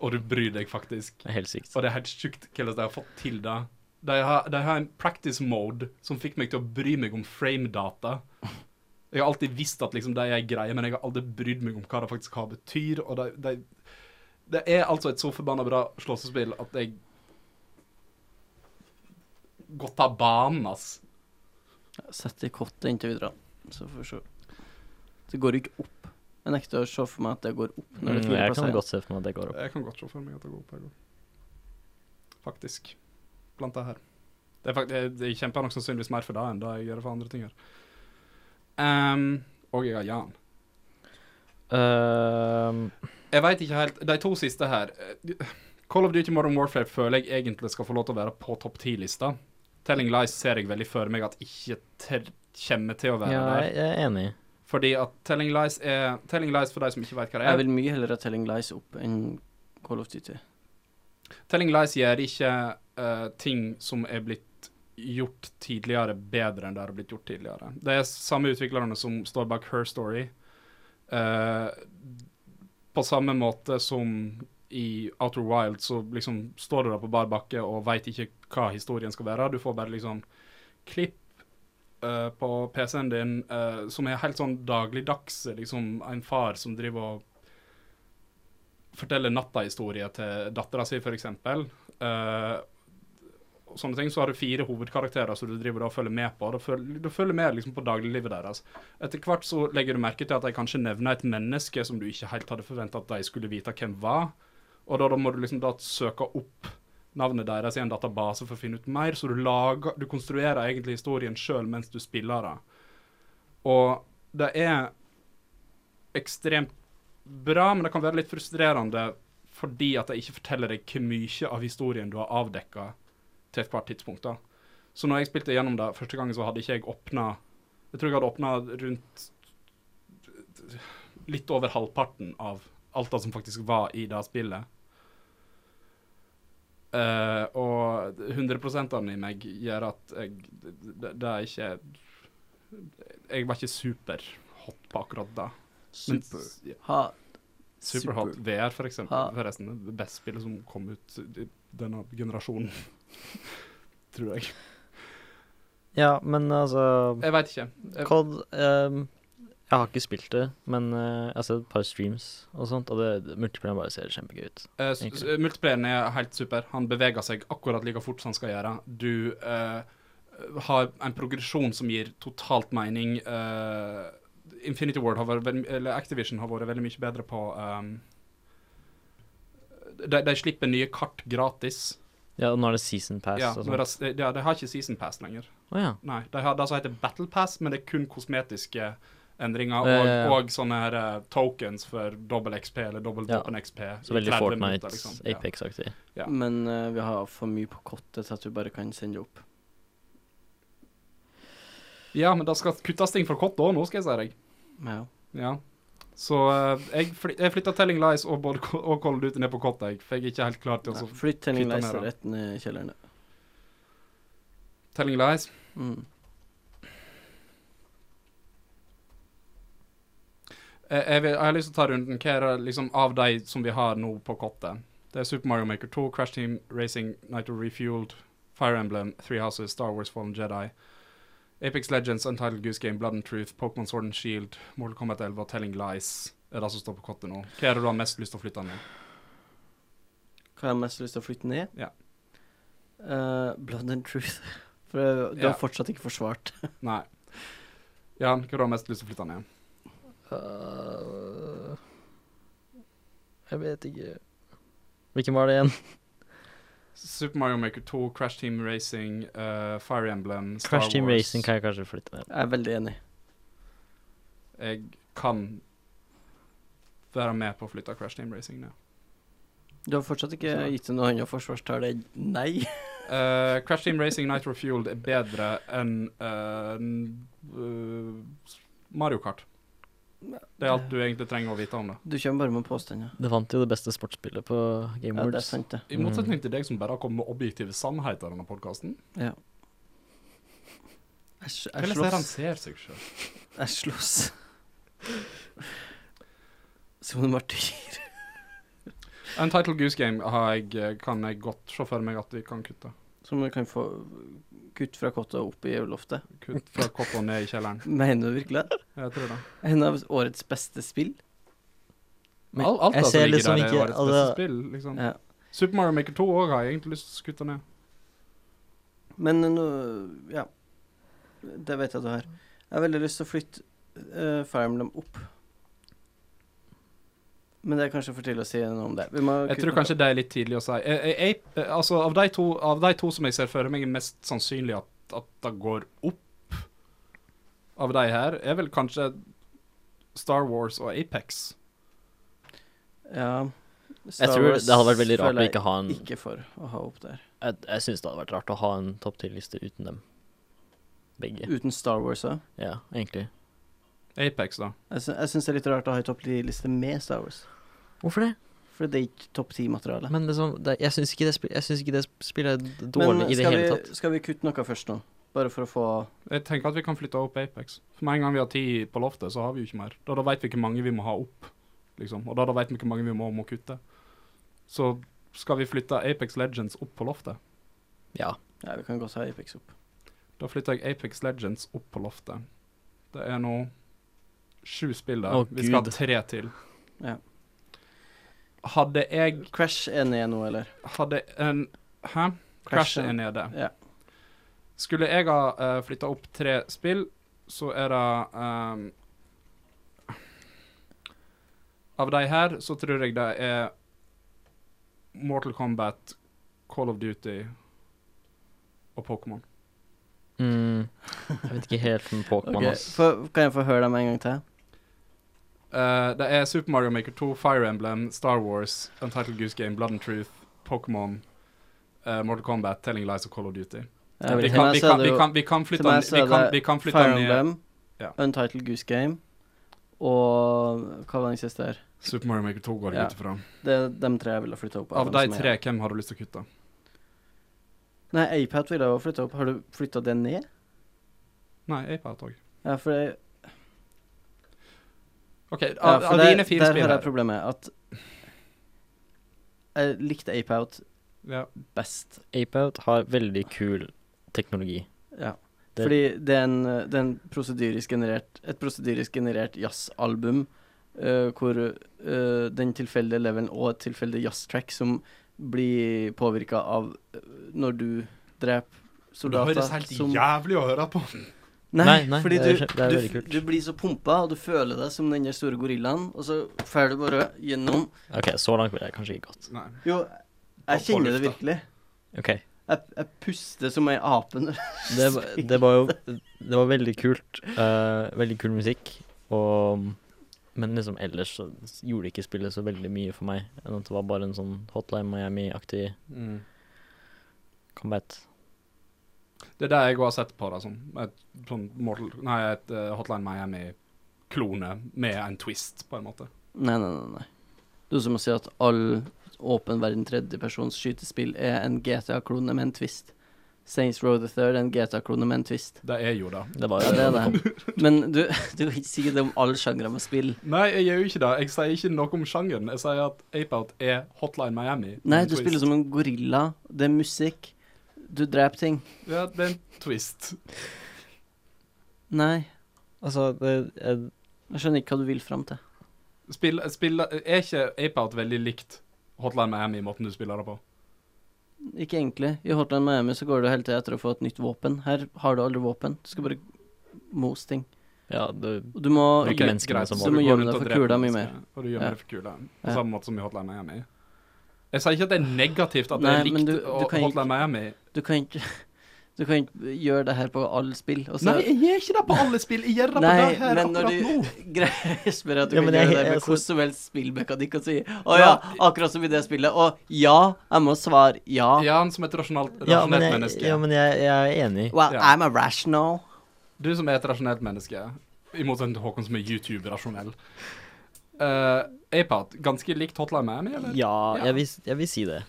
B: og du bryr deg faktisk.
A: Det er helt sykt.
B: Og det er helt sjukt hvordan de har fått til det. De har, de har en practice mode som fikk meg til å bry meg om frame-data. Jeg har alltid visst at liksom, det er en greie, men jeg har aldri brydd meg om hva det faktisk har betyr. Og det, det, det er altså et så forbanna bra slåssespill at jeg Godt av banen, ass.
C: Sett det i kottet inntil vi drar. Så får vi se. Det går jo ikke opp. Jeg nekter å se for meg at det går opp
A: Mm,
C: når det er fire
A: jeg
C: plasser
A: kan
C: igjen.
A: godt se for meg at det går opp.
B: Jeg kan godt se for meg at det går opp. Jeg går. Faktisk. Blant det her. Det er fakt jeg, jeg kjemper nok sannsynligvis mer for det enn det jeg gjør for andre ting her. Ehm, og jeg har Jan.
A: Ehm,
B: Jeg veit ikke helt De to siste her eh, Call of Duty Modern Warfare føler jeg egentlig skal få lov til å være på topp ti-lista. Telling Lies ser jeg veldig for meg at ikke ter kommer til å være
A: ja, jeg
B: der.
A: jeg er enig.
B: Fordi at Telling Lies er Telling Lies for de som ikke veit hva det er.
C: Jeg vil mye heller ha Telling Lies opp enn Call of Duty.
B: Telling Lies gjør ikke eh, ting som er blitt gjort tidligere, bedre enn det har blitt gjort tidligere. Det er samme utviklerne som står bak Her Story. Eh, på samme måte som i Outer Wild, så liksom står du der på bar bakke og veit ikke hva historien skal være. Du får bare liksom klipp eh, på PC-en din eh, som er helt sånn dagligdagse. Liksom en far som driver og forteller natta-historie til dattera si, f.eks. Uh, og sånne ting, så har du fire hovedkarakterer som du driver da og følger med på. Du følger, du følger med liksom på dagliglivet deres. Etter hvert så legger du merke til at de kanskje nevner et menneske som du ikke helt hadde forventa at de skulle vite hvem var. Og da, da må du liksom da søke opp navnet deres i en database for å finne ut mer, så du lager Du konstruerer egentlig historien sjøl mens du spiller det. Og det er ekstremt bra, men det kan være litt frustrerende fordi at de ikke forteller deg hvor mye av historien du har avdekka til ethvert tidspunkt. da. Så når jeg spilte gjennom det første gangen, så hadde ikke jeg åpna Jeg tror jeg hadde åpna rundt litt over halvparten av alt det som faktisk var i det spillet. Eh, og 100%-ene i meg gjør at jeg Det, det er ikke Jeg var ikke superhot på akkurat da. Men-
C: Super.
B: ja,
C: Ha.
B: Superhot VR, for eksempel.
C: Ha.
B: Forresten, det beste spillet som kom ut i denne generasjonen. Tror jeg.
A: Ja, men altså
B: Jeg veit ikke. Jeg-
A: COD ehm, Jeg har ikke spilt det, men eh, jeg har sett et par streams og sånt, og det multiplayer bare ser kjempegøy ut.
B: Eh, s-
A: Egentlig.
B: s- Multiplayeren er helt super. Han beveger seg akkurat like fort som han skal gjøre. Du eh, har en progresjon som gir totalt mening. Eh, Infinity Ward har vært, veldig- eller Activision har vært veldig mye bedre på ehm, de, de slipper nye kart gratis.
A: Ja, og nå er det season pass
B: Ja,
A: og
B: men
A: sånt.
B: de, ja, de har ikke Season Pass lenger.
A: Å ja.
B: Nei, De har det som heter Battle Pass, men det er kun kosmetiske endringer.
A: Ja,
B: Og,
A: ja, ja.
B: og sånne her, eh, tokens for dobbel XP eller dobbel
A: Ja.
B: våpen XP.
A: Så veldig Fortnite,
B: liksom. Ja.
A: Apex-aktig.
B: Ja.
C: Men eh, vi har for mye på kottet til at vi bare kan sende det opp.
B: Ja, men det skal kuttes ting fra kott òg, nå skal jeg si deg.
C: Ja.
B: Ja. Så eh, jeg, fly jeg flytta Telling Lies og, både, Ko- og Cold Duty ned på kott, jeg. For jeg er ikke helt klar til å
C: Nei,
B: så-
C: Flytt Telling
B: flytta
C: Lies
B: ned, da.
C: rett ned i kjelleren. da.
B: Telling Lies.
C: Mm.
B: Jeg, Eh, jeg, vil, jeg har lyst til å ta runden. Hva er det liksom av de som vi har nå på kottet? Det er Super Mario Maker 2, Crash Team Racing, Nitro Refueled, Fire Emblem, Three Houses, Star Wars Fallen Jedi, Apex Legends, Untitled Goose Game, Blood and Truth, Pokémon Sword and Shield, Mortal Kombat 11 og Telling Lies er det som står på kottet nå. Hva er det du har mest lyst til å flytte ned?
C: Hva har jeg mest lyst til å flytte ned?
B: Ja.
C: Eh, Blood and Truth. For eh, du
B: Ja.
C: har fortsatt ikke forsvart.
B: Nei. Jan, hva har du mest lyst til å flytte ned?
A: Øh, jeg vet ikke Hvilken var det igjen?
B: Super Mario Maker 2, Crash Team Racing, eh, Fire Emblem, Star
A: Crash Team
B: Wars.
A: Racing kan jeg kanskje flytte ned.
C: Jeg er veldig enig.
B: Jeg kan være med på å flytte Crash Team Racing ned.
C: Du har fortsatt ikke
B: Så-
C: gitt noe annet forsvarstall enn nei.
B: Eh, Crash Team Racing Nitro Fueled er bedre enn eh, n- eh, Mario Kart. Det er alt du egentlig trenger å vite om det.
C: Du kommer bare med påstander.
A: Det vant jo det beste sportsspillet på Game
C: Ja, det er
A: Awards.
C: sant, det.
B: I motsetning til deg som bare har kommet med objektive sannheter i denne podkasten.
C: Ja. Jeg, s- jeg
B: Hvordan er det han
C: slåss.
B: ser seg selv?
C: Jeg slåss. Som en martyr.
B: Untitled Goose Game har jeg, eh, kan jeg godt se for meg at vi kan kutte.
C: Som du kan få kutt fra kottet og opp i loftet.
B: Kutt fra kopp og ned i kjelleren.
C: Mener du virkelig det?
B: Jeg tror det.
C: En av årets beste spill?
A: Men
B: Al- alt
A: jeg
B: altså
A: ser
B: ligger
A: liksom
B: der i
A: ikke-
B: årets
A: altså-
B: beste spill, liksom.
C: Ja.
B: Super Mario Maker 2 òg har jeg egentlig lyst til å skutte ned.
C: Men eh, nå Ja. Det vet jeg at du har. Jeg har veldig lyst til å flytte uh, Fire Emblem opp. Men det er kanskje for tidlig å si noe om det. Vi må
B: Jeg
C: kutte
B: tror
C: noe.
B: kanskje det er litt tidlig å si. Jeg, jeg, jeg, eh, altså, av, de to, av de to som jeg ser for meg er mest sannsynlig at, at det går opp av de her, er vel kanskje Star Wars og Apex.
C: Ja. Star
A: Jeg tror
C: Wars
A: det hadde vært veldig rart
C: føler
A: å
C: jeg
A: ikke ha en
C: Ikke for å ha opp der.
A: Jeg, jeg syns det hadde vært rart å ha en topp 10-liste uten dem. Begge.
C: Uten Star Wars òg.
A: Ja, egentlig.
B: Apex, da.
C: Jeg, sy- jeg syns det er litt rart å ha en topp 10-liste med Star Wars.
A: Hvorfor det?
C: For det er ikke topp 10-materiale.
A: Men liksom, det, jeg syns ikke, det spi- jeg synes ikke det spillet er d- dårlig i det
C: skal,
A: hele
C: vi-
A: tatt.
C: skal vi kutte noe først nå? Bare for å få
B: Jeg tenker at vi kan flytte opp Apex. For med en gang vi har ti på loftet, så har vi jo ikke mer. Da, da veit vi hvor mange vi må ha opp, liksom. Og da, da veit vi hvor mange vi må, må kutte. Så skal vi flytte Apex Legends opp på loftet.
A: Ja.
C: Ja, vi kan godt ha Apex opp.
B: Da flytter jeg Apex Legends opp på loftet. Det er nå sju spill der.
A: Å,
B: Vi skal ha
A: Gud.
B: tre til.
C: Ja.
B: Hadde jeg
C: Crash er ned nå, eller?
B: Hadde en Hæ? Crash
C: er-
B: er nede.
C: Ja.
B: Skulle jeg ha uh, flytta opp tre spill, så er det ehm, Av de her så tror jeg det er Mortal Kombat, Call of Duty og Pokémon.
A: Mm, jeg vet ikke helt med Pokémon,
C: Ok,
A: ass.
C: få- Kan jeg få høre dem en gang til?
B: Eh, det er Super Mario Maker 2, Fire Emblem, Star Wars, Untitled Goose Game, Blood and Truth, Pokémon, eh, Mortal Kombat, Telling Lies og Call of Duty.
A: Ja,
B: Vi
A: til
B: kan,
C: meg
B: vi
C: så er
B: kan,
C: det
B: vi
C: jo-
B: kan, vi kan
C: til
B: flytte
C: meg
B: den
C: så
B: vi
C: er
B: kan,
C: det
B: vi kan flytte
C: Fire
B: den ned
C: Emblem,
B: Ja.
C: Untitled Goose Game og Hva var den siste her?
B: Super Mario Maker 2 går jeg
C: Ja.
B: ut ifra.
C: Det er de tre jeg ville flytta opp.
B: Av
C: dem
B: de
C: som er
B: tre, hvem har du lyst til å kutte?
C: igjen. Nei, iPad ville jeg også flytte opp. Har du flytta det ned?
B: Nei, iPad òg.
C: Ja, for det
B: OK,
C: Ja,
B: av,
C: for
B: av
C: der,
B: dine fire
C: der
B: spill
C: har jeg
B: her.
C: problemet at jeg likte Ape Out
B: Ja.
C: best.
A: Apeout har veldig kul teknologi.
C: Ja.
A: Det-
C: Fordi det er en, det er en prosedyrisk generert, et prosedyrisk generert jazzalbum eh, hvor eh, den tilfeldige levelen og et tilfeldig jazztrack som blir påvirka av eh, når du dreper
B: Det
C: soldater
B: høres helt jævlig å høre på.
C: Nei,
A: Nei, nei,
C: fordi
A: det
C: du,
A: er skjø- det er
C: du,
A: veldig kult.
C: du blir så pumpa, og du føler deg som den der store gorillaen, og så drar du bare gjennom
A: OK, så langt ville jeg kanskje ikke gått.
B: Nei.
C: Jo,
B: Bare
C: jeg
B: på
C: kjenner det
B: lufta.
C: virkelig.
A: OK.
C: Jeg, jeg puster som ei ape når
A: Det, var- det var jo Det var veldig kult. eh, veldig kul musikk. Og Men liksom ellers så gjorde ikke spillet så veldig mye for meg. Enn at det var bare en sånn Hotline Miami-aktig
B: Mm.
A: combat.
B: Det er det jeg òg har sett på. Da, sånn. Et, sånn Mortal, nei, et eh, Hotline Miami-klone med en twist, på en måte.
C: Nei, nei, nei. nei. Du som må si at all åpen verden tredjepersons skytespill er en GTA-klone med en twist. Saints Row the Third er en GTA-klone med en twist.
B: Det er jo det.
A: Det var
C: Ja,
A: jo
C: det er det. Men du, du kan ikke si det om alle sjangre med spill.
B: Nei, jeg gjør jo ikke det. Jeg sier ikke noe om sjangeren. Jeg sier at Apeout er Hotline Miami. med
C: Nei,
B: en
C: du
B: twist.
C: spiller som en gorilla. Det er musikk. Du dreper ting.
B: Ja, det er en twist.
C: Nei,
A: Altså, det, jeg,
C: jeg skjønner ikke hva du vil fram til.
B: Spill, spill, er ikke Apeout veldig likt Hotline Miami i måten du spiller det på?
C: Ikke egentlig. I Hotline Miami så går du hele tida etter å få et nytt våpen. Her har du aldri våpen. Du skal bare mose ting.
A: ja, det
C: Og du må
A: Det er ikke
B: Ok,
A: menneskene
B: greit,
A: som
B: så
A: var-
B: du
C: Du må
B: går
C: gjemme
B: rundt
C: deg
B: og
C: for
B: dreper
C: kula mi
B: mennesker, Og du gjemmer
C: Ja.
B: deg for kula. På
C: Ja.
B: samme måte som i Hotline Miami. Jeg sier ikke at det er negativt at det
C: Nei,
B: er
C: men
B: likt
C: du- du
B: å-
C: kan ikke-
B: Hotline Miami.
C: Du kan ikke Du kan ikke gjøre det her på alle spill. Og så
B: Nei, jeg gjør ikke det på alle spill. Jeg gjør det på
C: Nei,
B: det her
C: men når
B: akkurat
C: du-
B: nå.
C: greier spør at du
A: Ja,
C: kan
A: men jeg-
C: gjøre det
A: jeg-
C: med
A: altså-
C: hvordan som helst spillmekanikk og si Å
B: Nei.
C: ja, akkurat som i det spillet. Og ja, jeg må svare ja.
B: Jan som et rasjonalt,
A: Ja, men
B: rasjonelt
A: jeg,
B: menneske.
A: ja, men jeg, jeg er enig.
C: Well,
B: Ja.
C: I'm a rational.
B: Du som er et rasjonelt menneske, i motsetning til Håkon som er YouTube-rasjonell. Uh, Apat, ganske likt Hotline Miami, eller?
A: Ja,
B: Ja.
A: jeg vil, jeg vil si det.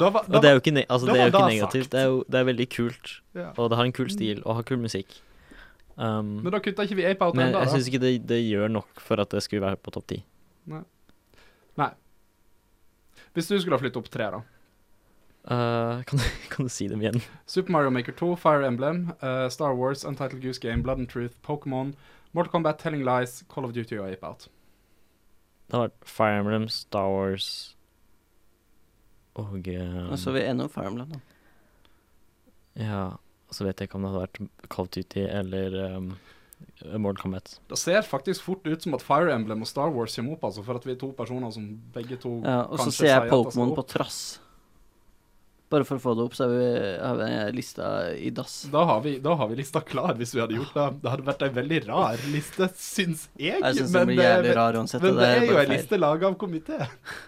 B: Da var, da
A: Og det er jo ikke, ne altså,
B: da
A: det er jo ikke
B: var det sagt.
A: negativt. Det er jo det er veldig kult,
B: var- ja.
A: og det har en kul stil, og har kul musikk. Um,
B: Men da kutta ikke vi Apat
A: men
B: ennå,
A: jeg
B: da.
A: syns ikke det, det gjør nok for at det skulle være på topp ti.
B: Hvis du skulle ha flyttet opp tre, da.
A: Uh, kan, du- kan du si dem igjen?
B: Super Mario Maker 2, Fire Emblem, eh, Star Wars, Untitled Goose Game, Blood and Truth, Pokémon, Mortal Kombat, Telling Lies, Call of Duty og Apeout.
A: Det har vært Fire Emblem, Star Wars og um,
C: Og så er vi enige om Farmland. da.
A: Ja, og så vet jeg ikke om det hadde vært Call of Duty eller um, Mortal Kombat.
B: Det ser faktisk fort ut som at Fire Emblem og Star Wars kommer opp, altså, for at vi er to personer som begge to
C: Ja, og
B: Mm.
C: så
B: Kanskje
C: ser jeg
B: sier at det skal
C: Pokémon på
B: opp.
C: trass. Bare for å få det opp, så har vi, har vi lista i dass.
B: da har, vi, da har vi lista klar, hvis vi hadde gjort det. Det hadde vært ei veldig rar liste, syns jeg.
C: Jeg syns den blir
B: eh,
C: jævlig rar uansett.
B: men
C: og
B: det er jo
C: bare
B: ei
C: feil.
B: liste laga av komité.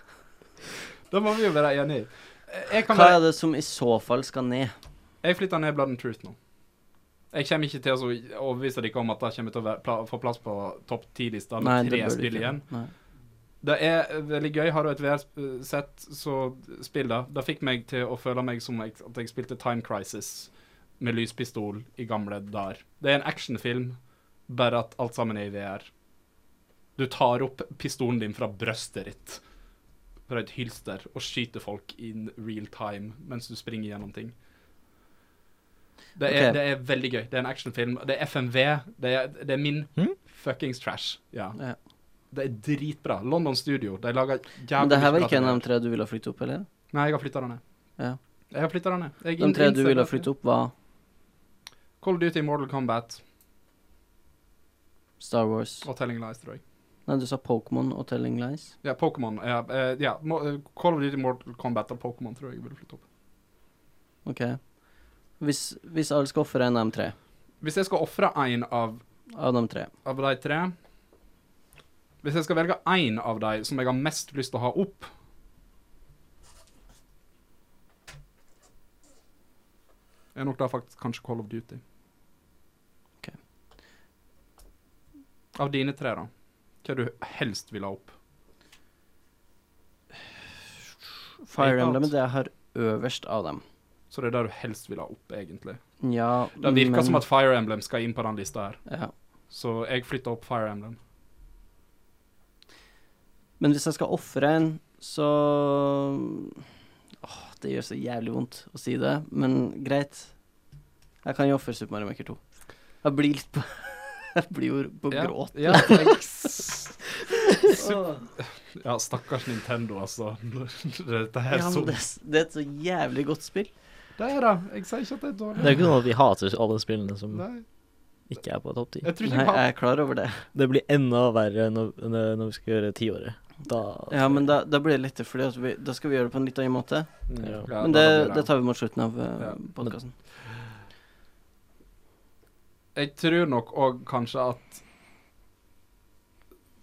B: Da må vi jo være enige. Eh, Jeg, kan
C: Hva
B: være,
C: er det som i så fall skal ned?
B: jeg flytter ned Blood and Truth nå. Jeg kommer ikke til å overbevise dere om at det kommer til å være, pla, få plass på topp ti-lista
C: Nei,
B: med
C: det
B: tre
C: bør du
B: spill
C: ikke.
B: igjen.
C: Nei.
B: Det er veldig gøy. Har du et VR-sett, så spill det. Det fikk meg til å føle meg som jeg, at jeg spilte Time Crisis med lyspistol i gamle dager. Det er en actionfilm, bare at alt sammen er i VR. Du tar opp pistolen din fra brøstet ditt, fra et hylster, og skyter folk in real time mens du springer gjennom ting. Det er,
C: Ok.
B: det er veldig gøy. Det er en actionfilm. Det er FMV. Det er, det er min
A: Hm?
B: fuckings trash. Ja.
C: Ja.
B: Det er dritbra. London Studio. De lager jævlig
C: Men det her var
B: mye
C: ikke en
B: bra
C: av de tre du ville ha flyttet opp, eller?
B: TV. Nei, jeg har flytta den ned.
C: Ja.
B: Jeg har flyttet den ned. Jeg
C: De tre du
B: innser
C: ville ha
B: det.
C: flyttet opp, var
B: Call of Duty, Mortal Kombat
C: Star Wars.
B: og Telling Lies, tror jeg.
C: Nei, du sa Pokémon og Telling Lies.
B: Ja, Pokémon. Ja, eh, ja, Mo- eh, Call of Duty, Mortal Kombat og Pokémon tror jeg jeg ville flytte opp.
C: Ok. Hvis, hvis alle skal ofre en av de tre,
B: Hvis jeg skal ofre én av,
C: av de tre
B: av de tre Hvis jeg skal velge én av de som jeg har mest lyst til å ha opp Er nok da faktisk kanskje Call of Duty.
C: Ok.
B: Av dine tre, da. Hva du helst vil ha opp?
C: Fire
B: Ape Out.
C: Emblem, det jeg har øverst av dem.
B: Så det er det du helst vil ha opp, egentlig.
C: Ja,
B: Det virker som at Fire Emblem skal inn på den lista her,
C: ja.
B: så jeg flytter opp Fire Emblem.
C: Men hvis jeg skal ofre en, så Åh, det gjør så jævlig vondt å si det, men greit. Jeg kan jo ofre Super Mario Maker 2. Jeg blir litt på Jeg blir jo på
B: Ja,
C: gråt.
B: Ja, jeg s-
C: Åh.
B: ja, stakkars Nintendo, altså. Dette her
C: Ja,
B: så
C: men det, er s- det er et så jævlig godt spill.
B: Det er det. Jeg sier ikke at det er dårlig.
A: Det er jo ikke noe at vi hater alle spillene som
B: Nei,
A: ikke er på topp 10.
B: jeg tror ikke
C: Nei,
B: jeg har
C: jeg er klar over det.
A: Det blir enda verre når, når når vi skal gjøre tiåret. Da
C: Ja, men da, da blir det lettere, for da skal vi gjøre det på en litt annen måte.
A: Ja.
B: Ja,
C: Men
B: da
C: det,
B: blir
C: det tar vi mot slutten av uh,
B: Ja.
C: podkasten.
B: Jeg tror nok òg kanskje at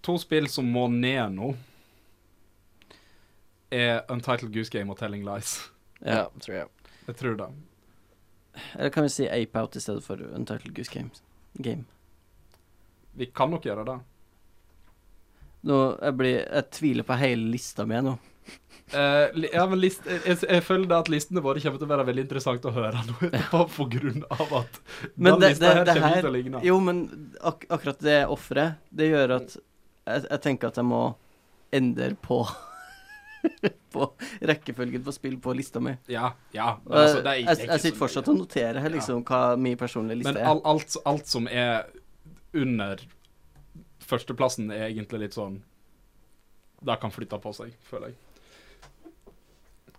B: To spill som må ned nå, er Untitled Goose Game og Telling Lies.
C: Ja, tror jeg.
B: Jeg tror det.
C: Eller kan vi si Ape Out i stedet for Untitled Goose Games? Game.
B: Vi kan nok gjøre det.
C: Nå, jeg, blir, jeg tviler på hele lista mi nå.
B: Eh, li- ja, men list, jeg, jeg- jeg føler det at listene våre kommer til å være veldig interessant å høre nå etterpå, på grunn av at
C: Men
B: den
C: det-
B: lista
C: det-
B: her
C: det
B: kommer
C: her-
B: til å ligne.
C: Jo, men ak akkurat det offeret, det gjør at jeg, jeg tenker at jeg må endre på På rekkefølgen på spill på lista mi.
B: Ja, ja. men altså,
C: Jeg,
B: det er ikke-
C: jeg,
B: det er ikke
C: jeg
B: så
C: sitter fortsatt
B: nøye.
C: og noterer her liksom hva min personlige liste
B: Men
C: er.
B: all, alt, alt som er under førsteplassen, er egentlig litt sånn Det kan flytte på seg, føler jeg.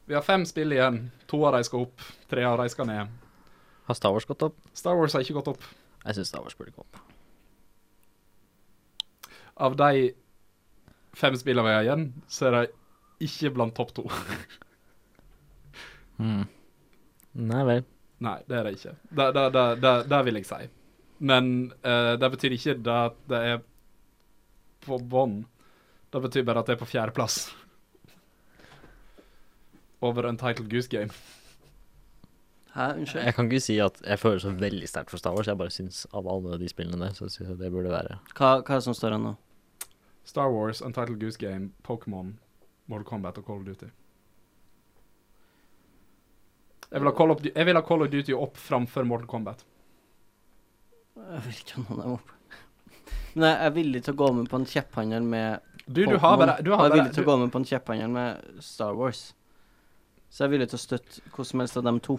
B: Vi har fem spill igjen. To av de skal opp, tre av de skal ned.
A: Har Star Wars gått opp?
B: Star Wars har ikke gått opp.
A: Jeg syns Star Wars burde gå opp.
B: Av de fem spillene vi har igjen, så er de ikke blant topp to.
A: Nei vel.
B: Nei, det er det ikke. Det, det, det, det, det vil jeg si. Men eh, det betyr ikke det at det er på bånn. Det betyr bare at det er på fjerdeplass. Over Untitled Goose Game.
C: Hæ, unnskyld?
A: Jeg kan ikke si at jeg føler så veldig sterkt for Star Wars. Jeg bare syns av alle de spillene der, så syns jeg det burde være
C: Hva, hva er det som står her nå?
B: Star Wars, Untitled Goose Game, Pokémon, Mortal Kombat og Call of Duty. Jeg vil ha Call of, Du- jeg vil ha Call of Duty opp framfor Mortal Kombat.
C: Jeg vet ikke om noen er oppe. Men jeg er villig til å gå med på en kjepphandel med
B: Du, du har
C: Pokémon,
B: bare, du har
C: og jeg er
B: bare
C: villig til å
B: du,
C: gå med på en kjepphandel med Star Wars. Så jeg er villig til å støtte hvor som helst av dem to.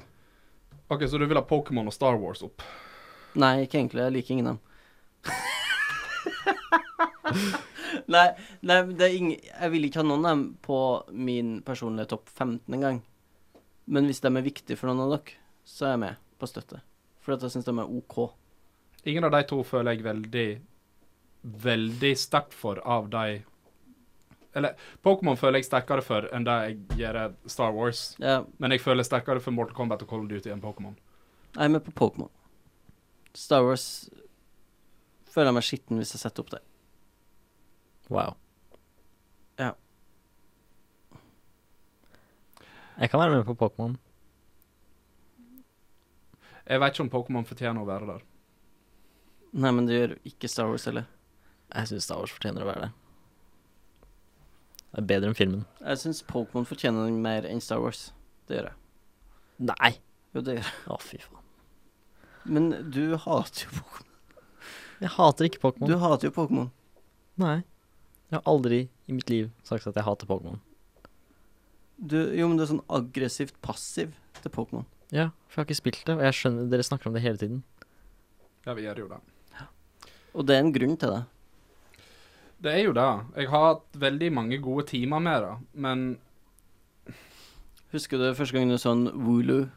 B: Ok, Så du vil ha Pokémon og Star Wars opp?
C: Nei, ikke egentlig. Jeg liker ingen av dem. nei, nei men det er ingen, jeg vil ikke ha noen av dem på min personlige topp 15 engang. Men hvis de er viktige for noen av dere, så er jeg med på støtte. Fordi at jeg syns de er OK.
B: Ingen av de to føler jeg veldig veldig sterkt for av de Eller Pokémon føler jeg sterkere for enn det jeg gjør Star Wars.
C: Ja,
B: Men jeg føler sterkere for Mortal Kombat og Call of Duty enn Pokémon.
C: Jeg er med på Pokémon. Star Wars føler jeg meg skitten hvis jeg setter opp det.
A: wow.
C: Ja.
A: Jeg kan være med på Pokémon.
B: Jeg vet ikke om Pokémon fortjener å være der.
C: Nei, men det gjør ikke Star Wars heller.
A: Jeg syns Star Wars fortjener å være det. Det er bedre enn filmen.
C: Jeg syns Pokémon fortjener den mer enn Star Wars. Det gjør jeg.
A: Nei!
C: Jo, det gjør jeg.
A: Å, fy faen.
C: Men du hater jo Pokémon.
A: Jeg hater ikke Pokémon.
C: Du hater jo Pokémon.
A: Nei. Jeg har aldri i mitt liv sagt at jeg hater Pokémon.
C: Du, jo, men du er sånn aggressivt passiv til Pokémon.
A: Ja, for jeg har ikke spilt det, og jeg skjønner dere snakker om det hele tiden.
B: Ja, vi gjør jo det.
C: Og det er en grunn til det.
B: Det er jo det. Jeg har hatt veldig mange gode timer med det, men
C: Husker du første gang du så en Wooloo?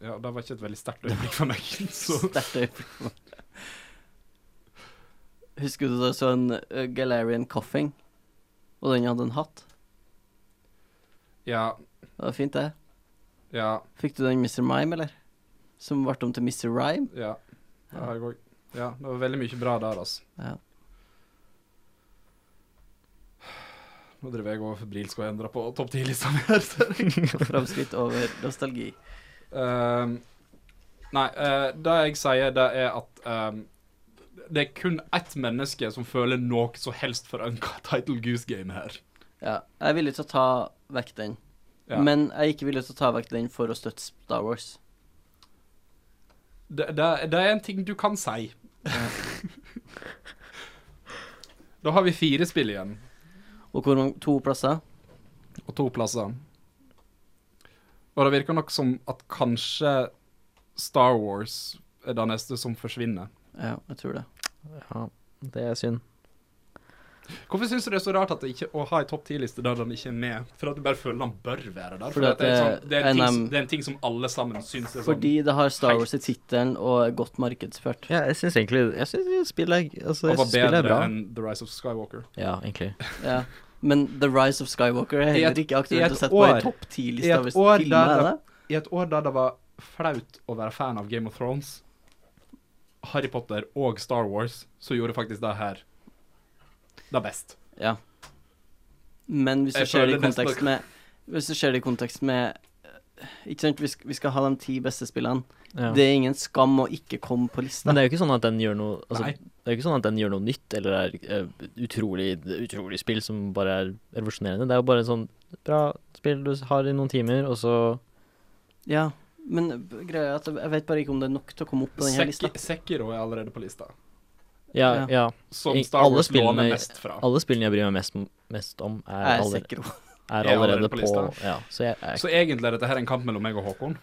B: ja, det var ikke et veldig sterkt øyeblikk for meg. Så
C: Sterkt øyeblikk. for meg. Husker du da du så en uh, Galarian Coffing? Og den hadde en hatt?
B: ja,
C: Det var fint, det.
B: ja,
C: Fikk du den Mr. Mime, eller? Som ble om til Mr. Rhyme?
B: ja. Det har jeg òg. Ja, det var veldig mye bra der, altså.
C: Ja.
B: Nå driver jeg over febrilsk og endrer på topp 10-lista mi her. så-
C: Framskritt over nostalgi.
B: Ehm, nei, eh, det jeg sier, det er at ehm, det er kun ett menneske som føler noe så helst for Unca Title Goose Game her.
C: Ja. Jeg er villig til å ta vekk den.
B: Ja.
C: Men jeg er ikke villig til å ta vekk den for å støtte Star Wars.
B: Det, det, det er en ting du kan si. da har vi fire spill igjen,
C: Og hvor mange To plasser.
B: og to plasser. Og det virker nok som at kanskje Star Wars er det neste som forsvinner.
C: Ja, jeg tror det.
A: Ja, det er synd.
B: Hvorfor syns du det er så rart at det ikke, å ha ei topp ti-liste der den ikke er med? For at du bare føler den bør være der? For
C: Fordi
B: at det, er
C: at
B: sånn, det, er en ting,
C: NM
B: som- det er en ting som alle sammen syns er sånn
C: Fordi det har Star
B: helt-
C: Wars i tittelen og er godt markedsført.
A: Ja, jeg syns egentlig Jeg syns spillet er- altså,
B: Det
A: jeg
B: var
A: synes spillet er
B: bedre
A: bra.
B: enn The Rise of Skywalker.
A: Ja, egentlig.
C: Ja. Men The Rise of Skywalker er
B: I et-
C: heller ikke
B: i
C: aktuelt
B: et
C: å sette på
B: år-
C: ei topp
B: i
C: ti-liste
B: et
C: hvis
B: år
C: filmen
B: der
C: er
B: det- I
C: det.
B: et år der det var flaut å være fan av Game of Thrones, Harry Potter og Star Wars, så gjorde faktisk det her det best.
C: Ja. Men hvis du
B: Jeg
C: ser det
B: føler
C: i
B: nesten
C: kontekst
B: dere-
C: med Hvis du ser det i kontekst med eh, Ikke sant, vi skal, vi skal ha de ti beste spillene.
A: Ja.
C: Det er ingen skam å ikke komme på lista.
A: Men det er jo ikke sånn at den gjør noe altså,
B: Nei.
A: Det er jo ikke sånn at den gjør noe nytt eller er eh, utrolig, utrolig spill som bare er revolusjonerende. Det er jo bare sånn bra spill du har i noen timer, og så
C: Ja, men b- greia er at jeg vet bare ikke om det er nok til å komme opp på denne lista.
B: Sek Sekiro er allerede på lista,
A: Ja,
C: Ja.
A: ja.
B: som
A: I-
B: Star
A: alle
B: Wars låner
A: spillene-
B: mest fra.
A: Alle spillene jeg bryr meg mest, mest om, er,
C: Jeg er
A: aller,
C: sikker på
A: er
B: er allerede
A: allerede
B: på
A: på,
B: lista.
A: Ja, så jeg er,
B: Så egentlig er dette her en kamp mellom meg og Håkon.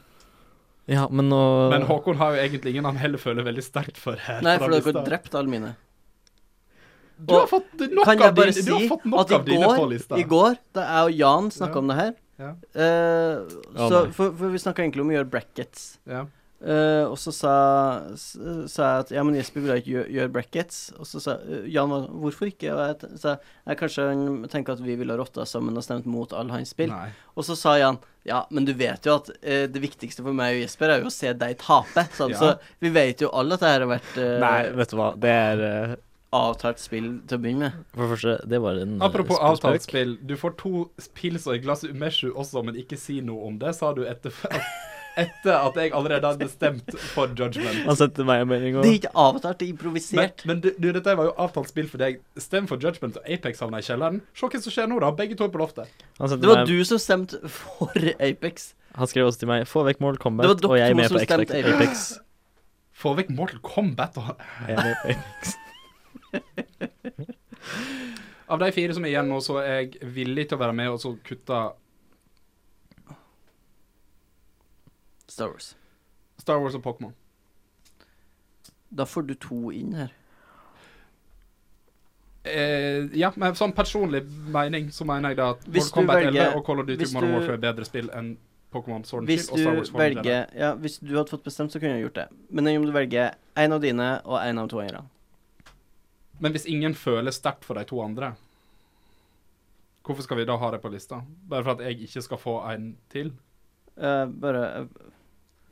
A: ja men nå
B: Men Håkon har jo egentlig ingen han heller føler veldig sterkt for her.
C: Nei,
B: på
C: for
B: den
C: dere
B: lista.
C: har drept alle mine.
B: Du har fått nok
C: Kan
B: av
C: jeg
B: dine,
C: bare
B: du har
C: si
B: fått nok
C: at i
B: av dine på
C: går,
B: lista.
C: i går, da jeg og Jan
B: Ja.
C: snakka om det her
B: Ja.
C: eh,
A: Å,
C: så,
A: nei.
C: for, for vi snakka egentlig om å gjøre brackets.
B: Ja.
C: Eh, og så sa, s- sa jeg at ja, men Jesper ville ikke gjøre, gjøre brackets. Og så sa eh, Jan var- hvorfor ikke? Og jeg t- sa jeg kanskje han tenker at vi ville ha rotta sammen og stemt mot alle hans spill.
B: Nei.
C: Og så sa Jan ja, men du vet jo at eh, det viktigste for meg og Jesper er jo å se deg tape. sa han.
B: Ja.
C: Så vi vet jo alle at det her har vært eh,
A: Nei, vet du hva, det er eh,
C: avtalt spill til å begynne med.
A: For det første, det var en eh,
B: Apropos
A: spøk.
B: avtalt spill. Du får to pils og et glass Umeshu også, men ikke si noe om det, sa du etter, etter at jeg allerede hadde stemt for
C: Altså,
B: judgment.
A: Han sendte meg en melding
C: Det er
A: og
C: ikke avtalt, det er
B: Men,
C: improvisert.
B: men du, du, dette var jo avtalt spill for deg. Stem for judgment, og Apex havna i kjelleren. Se hva som skjer nå, da. Begge to er på loftet.
A: han, sendte
C: det
A: meg,
C: var du som stemte for Apex.
A: han skrev også til meg 'Få vekk Mortal
C: Det var
A: Kombat',
C: dere
A: og jeg er
C: to
A: med
C: som
A: på Apex.
C: stemte
A: Apex.
B: Få vekk Mortal Kombat. Og...
A: Jeg er med på Apex.
B: Av de fire som er igjen nå, så er jeg villig til å være med og så kutte
C: Star Wars.
B: Star Wars og Pokémon.
C: Da får du to inn her.
B: Eh, ja, men sånn personlig mening så mener jeg da at
C: Hvis
B: Mortal Kombat
C: du
B: 11
C: velger-
B: og Call of Duty
C: hvis
B: Modern
C: du-
B: Warfare er bedre spill enn Pokémon Sword and
C: Hvis
B: Shield og Star Wars
C: du
B: Formel 11.
C: velger Ja, hvis du hadde fått bestemt, så kunne jeg gjort det. Men om du velger én av dine og én av to andre
B: Men hvis ingen føler sterkt for de to andre, hvorfor skal vi da ha det på lista? Bare for at jeg ikke skal få en til?
C: Eh, Bare eh,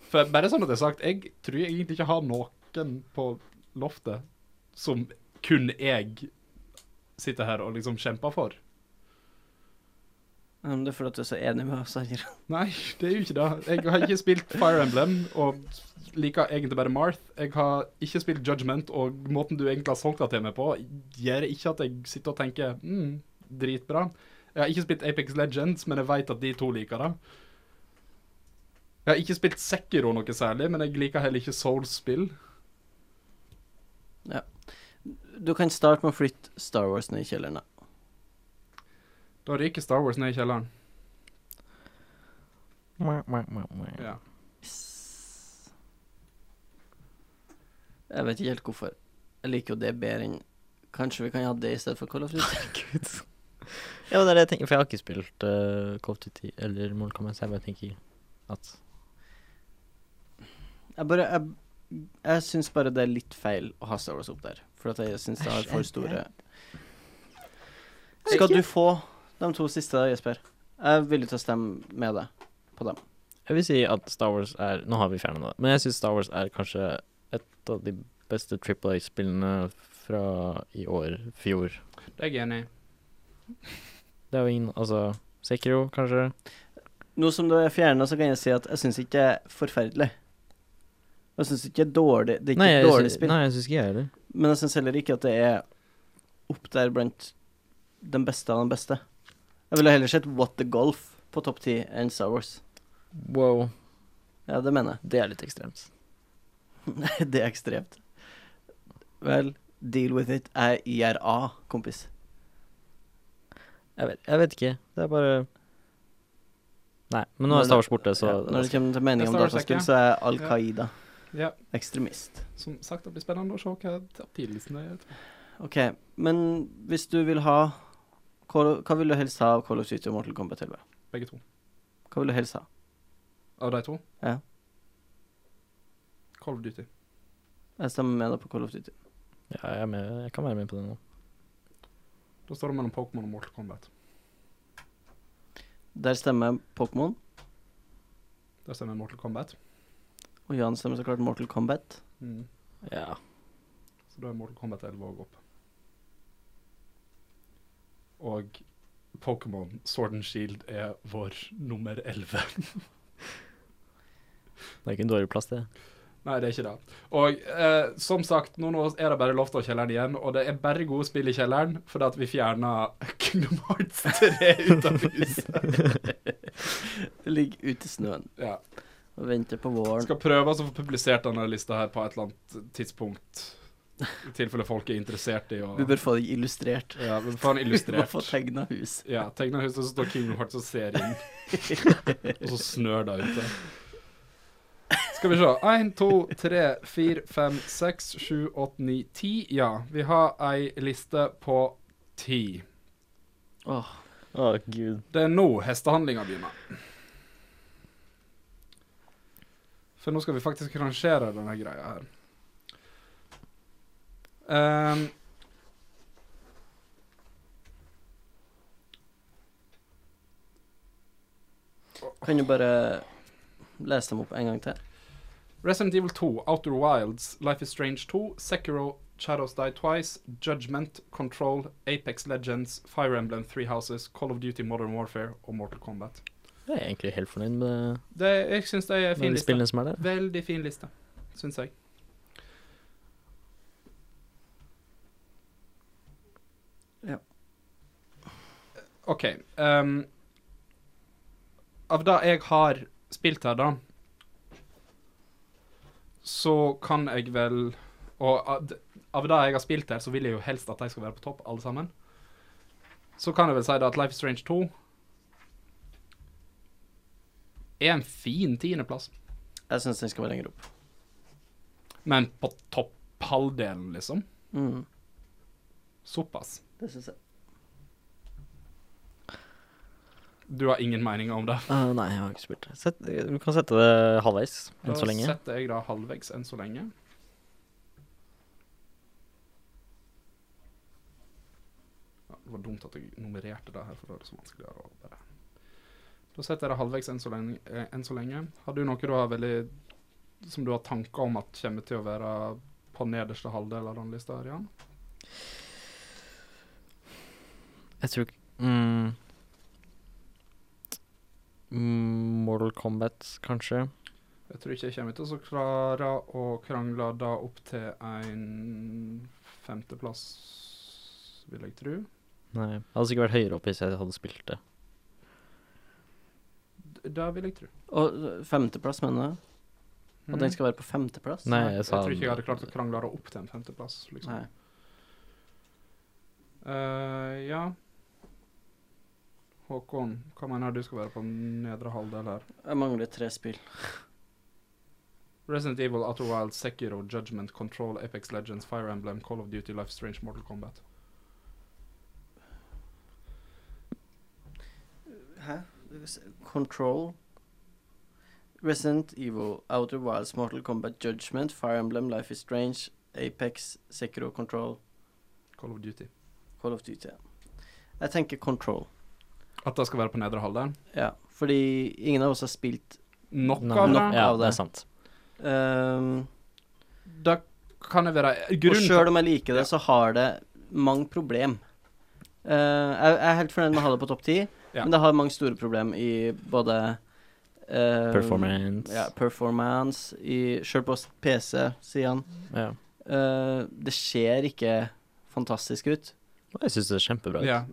B: For bare sånn at det er sagt, jeg tror jeg egentlig ikke har noen på loftet som kun jeg sitter her og liksom kjemper for.
C: eh, Det er fordi at du er så enig med oss andre.
B: Nei, det er jo ikke det. Jeg har ikke spilt Fire Emblem og liker egentlig bare Marth. Jeg har ikke spilt Judgment, og måten du egentlig har solgt det til meg på, gjør ikke at jeg sitter og tenker mm, dritbra. Jeg har ikke spilt Apex Legends, men jeg vet at de to liker det. Jeg har ikke spilt Sekiro noe særlig, men jeg liker heller ikke Souls-spill.
C: Du kan starte med å flytte Star Wars ned i kjelleren. da.
B: Da ryker Star Wars ned i kjelleren. Ja.
C: Yes. Jeg vet ikke helt hvorfor. Jeg liker jo det bedre enn Kanskje vi kan ha det i stedet for Call of Duty?
A: Gud. Ja, men det er det jeg tenker, for jeg har ikke spilt uh, Call of Duty eller Mortal Kombat, så jeg bare tenker at
C: Jeg bare Jeg, jeg syns bare det er litt feil å ha Star Wars opp der. For at jeg syns det har for store Skal du få de to siste, Jesper? Jeg er villig til å stemme med deg på dem.
A: Jeg vil si at Star Wars er Nå har vi fjernet det, men jeg syns Star Wars er kanskje et av de beste Triple A-spillene fra i år, fjor.
B: Det er jeg enig i.
A: Det er jo ingen Altså Sekiro, kanskje?
C: Nå som det er fjerna, så kan jeg si at jeg syns ikke det er forferdelig. Jeg syns ikke det er dårlig Det er ikke
A: Nei,
C: et
A: jeg
C: dårlig
A: sy-
C: spill,
A: Nei, jeg syns ikke jeg heller.
C: men jeg syns heller ikke at det er opp der blant den beste av den beste. Jeg ville heller sett What the Golf på topp ti enn Star Wars.
A: Wow,
C: Ja, det mener
A: det er litt ekstremt.
C: jeg. det er ekstremt. Vel, deal with it er IRA, kompis.
A: Jeg vet, jeg vet ikke. Det er bare Nei, men nå
C: Når
A: er
C: det-
A: Star Wars borte, så altså,
C: ja, når det kommer til mening om
B: Star Wars er
C: dataspill,
B: ikke-
C: så er Al Qaida
B: Ja,
C: ekstremist.
B: som sagt, det blir spennende å se hva tidligsten er.
C: OK, men hvis du vil ha Hva hva vil du helst ha av Call of Duty og Mortal Kombat 11?
B: Begge to.
C: Hva vil du helst ha?
B: Av de to.
C: Ja.
B: Call of Duty.
C: Jeg stemmer med deg på Call of Duty.
A: Ja, jeg, er med, jeg kan være med på det nå.
B: Da står det mellom Pokémon og Mortal Kombat.
C: Der stemmer Pokémon,
B: Der stemmer Mortal Kombat.
C: og Jan stemmer så klart Mortal Kombat.
B: Mm.
A: Ja.
B: Så da er Mortal Kombat 11 òg opp. Og Pokémon Sword and Shield er vår nummer 11.
A: Det er ikke en dårlig plass, det.
B: Nei, det er ikke det. Og eh, som sagt, nå, nå er det bare Loft og kjelleren igjen, og det er bare gode spill i kjelleren fordi at vi fjerna Kingdom Hearts 3 ut av huset.
C: Ligg ute i snøen
B: Ja.
C: og venter på våren.
B: Skal prøve altså, å få publisert denne lista her på et eller annet tidspunkt, i tilfelle folk er interessert i å
C: Vi bør få det illustrert.
B: ja, vi bør få den
C: Vi må få
B: illustrert.
C: tegna hus.
B: Ja, tegna huset, så står Kingdom Hearts og ser inn, og så snør det ute. Skal vi se. Én, to, tre, fire, fem, seks, sju, åtte, ni, ti. Ja, vi har ei liste på ti.
C: Åh,
A: Å, gud.
B: Det er nå hestehandlinga begynner. For nå skal vi faktisk rangere denne greia her. Ehm.
C: kan du bare lese dem opp en gang til?
B: Resident Evil 2, Outer Wilds, Life is Strange 2, Sekiro, Shadows Die Twice, Judgment, Control, Apex Legends, Fire Emblem Three Houses, Call of Duty Modern Warfare og Mortal Kombat.
A: Jeg er egentlig helt fornøyd med,
B: Det, jeg syns det er en
A: med
B: fin
A: de
B: liste.
A: spillene som er der.
B: Veldig fin liste, syns jeg.
C: Ja.
B: OK. ehm, av det jeg har spilt her, da, så kan jeg vel Og av d- av det jeg har spilt her, så vil jeg jo helst at de skal være på topp, alle sammen. Så kan jeg vel si da at Life is Strange 2 er en fin tiendeplass.
C: Jeg syns den skal være lenger opp.
B: Men på topp halvdelen, liksom.
C: Mm,
B: Såpass.
C: det syns jeg.
B: Du har ingen meninger om det.
A: Eh, nei, jeg har ikke spilt det. Sett, du kan sette det halvveis enn så lenge.
B: Da setter jeg da halvveis enn så lenge. Ja, det var dumt at jeg nummererte det her, for da er det så vanskeligere å bare Da setter jeg det halvveis enn så lenge. eh, Enn så lenge. Har du noe du har veldig som du har tanker om at kommer til å være på nederste halvdel av den lista her, Jan?
A: Jeg tror ikke mm. Mm, Mortal Kombat, kanskje.
B: Jeg tror ikke jeg kommer til å så klare å krangle da opp til en femteplass, vil jeg tro.
A: Nei. Jeg hadde sikkert vært høyere oppe hvis jeg hadde spilt det.
B: D- Det vil jeg tro.
C: Og øh, femteplass, mener jeg. At
B: Mm.
C: den skal være på femteplass?
A: Nei,
B: jeg,
A: jeg sa
B: tror ikke jeg hadde klart å krangle det opp til en femteplass, liksom.
C: Nei.
B: Eh, ja. Håkon, hva mener du skal være på den nedre halvdel her?
C: Jeg mangler tre spill.
B: Resident Evil, Outer Wild, Sekiro, Judgment, Control, Apex Legends, Fire Emblem, Call of Duty, Life is Strange, Mortal Kombat.
C: Hæ? Control, Resident Evil, Outer Wilds, Mortal Kombat, Judgment, Fire Emblem, Life is Strange, Apex, Sekiro, Control,
B: Call of Duty.
C: Call of Duty. Jeg tenker Control,
B: At det skal være på nedre halvdel?
C: ja. Fordi ingen av oss har spilt
B: Nok
A: Nei,
B: av det?
C: Nok
A: Ja,
C: av
A: det
C: det.
A: er sant.
C: ehm,
B: Da kan det være
C: Og
B: grunnen
C: sjøl om jeg liker det, så har det mange problem. Eh, jeg, jeg er helt fornøyd med å ha det på topp ti,
B: Ja.
C: men det har mange store problem i både eh,
A: Performance.
C: Ja, performance i Sjøl på s- PC, sier han.
A: Ja.
C: Eh, det ser ikke fantastisk ut.
A: Og jeg syns det er kjempebra. ut.
B: Ja.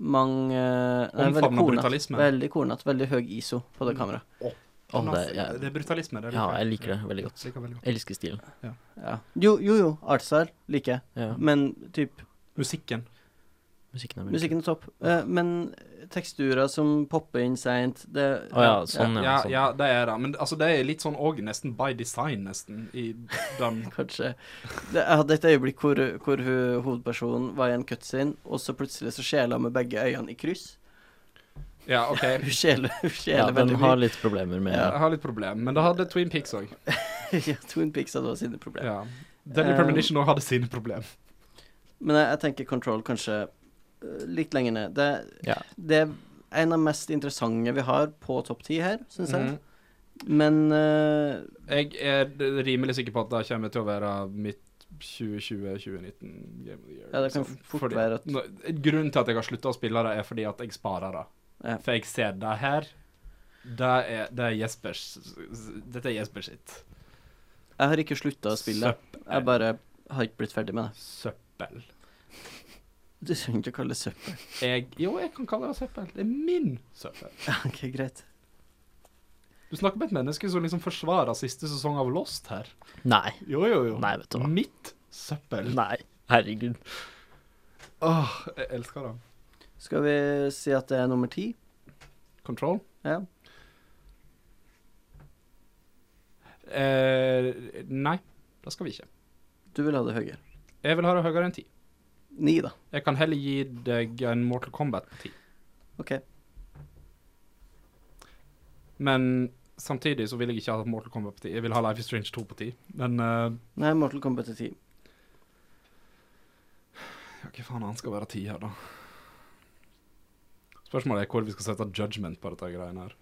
C: mange eh, nei, veldig
B: Omfavner
C: kornete.
B: brutalismen.
C: Veldig kornete. Veldig høy ISO på det kameraet.
A: Å, det,
B: det,
A: jeg,
B: er brutalisme. Det
A: ja, jeg liker det veldig godt.
B: Jeg liker veldig godt.
A: Elsker stilen.
C: Ja. Jo, jo, jo. Artstyle liker jeg.
A: Ja,
C: Men typ
B: Musikken.
A: musikken er veldig
C: Musikken er topp. Eh, men teksturer som popper inn seint, det
A: kul. Å ja, sånn, ja.
B: Ja,
A: sånn.
B: ja, det er det. Men altså, det er litt sånn òg nesten by design, nesten, i den
C: Kanskje. Det, jeg hadde et øyeblikk hvor, hvor hun, hovedpersonen var i en cutscene, og så plutselig så skjela hun med begge øynene i kryss.
B: Ja, OK.
C: Hun skjeler, hun
A: Ja,
C: skjeler
A: den
C: veldig
A: har
C: mye.
A: litt problemer med
B: Jeg har litt problem, men det hadde Twin Peaks òg.
C: ja, Twin Pics hadde også sine problemer.
B: Ja. Deadly
C: Eh,
B: Premonition òg hadde sine problem.
C: Men jeg, jeg tenker Control kanskje eh, litt lenger ned. Det,
A: Ja.
C: det er en av de mest interessante vi har på topp ti her, syns jeg.
B: Mhm.
C: Men eh,
B: Jeg er rimelig sikker på at det kommer til å være mitt 2020-2019 Game of the Year.
C: Ja, det kan
B: liksom.
C: fort
B: Fordi-
C: være at-
B: Nå- Grunnen til at jeg har slutta å spille det, er fordi at jeg sparer det.
C: Ja.
B: For jeg ser det her. Det er, det er Jespers Dette er Jespers sitt.
C: jeg har ikke slutta å spille. Jeg bare har ikke blitt ferdig med det.
B: Søppel.
C: Du trenger ikke å kalle det søppel.
B: Jeg Jo, jeg kan kalle det søppel. Det er min søppel.
C: ok, greit.
B: Du snakker med et menneske som liksom forsvarer siste sesong av Lost her.
A: Nei.
B: Jo, jo, jo.
A: Nei, vet du hva.
B: Mitt søppel.
A: Nei. Herregud.
B: Åh, jeg elsker det.
C: Skal vi si at det er nummer ti?
B: Control.
C: Ja.
B: Eh, nei, det skal vi ikke.
C: Du vil ha det høyere.
B: Jeg vil ha det høyere enn 10.
C: Ni, da.
B: Jeg kan heller gi deg en Mortal Kombat på 10.
C: OK.
B: Men samtidig så vil jeg ikke ha Mortal Kombat på 10. Jeg vil ha Life is Strange 2 på 10. Men eh,
C: Nei, Mortal Kombat er ti.
B: ja, hva faen annet skal være 10 her, da? Spørsmålet er hvor vi skal sette judgment på dette greiene her.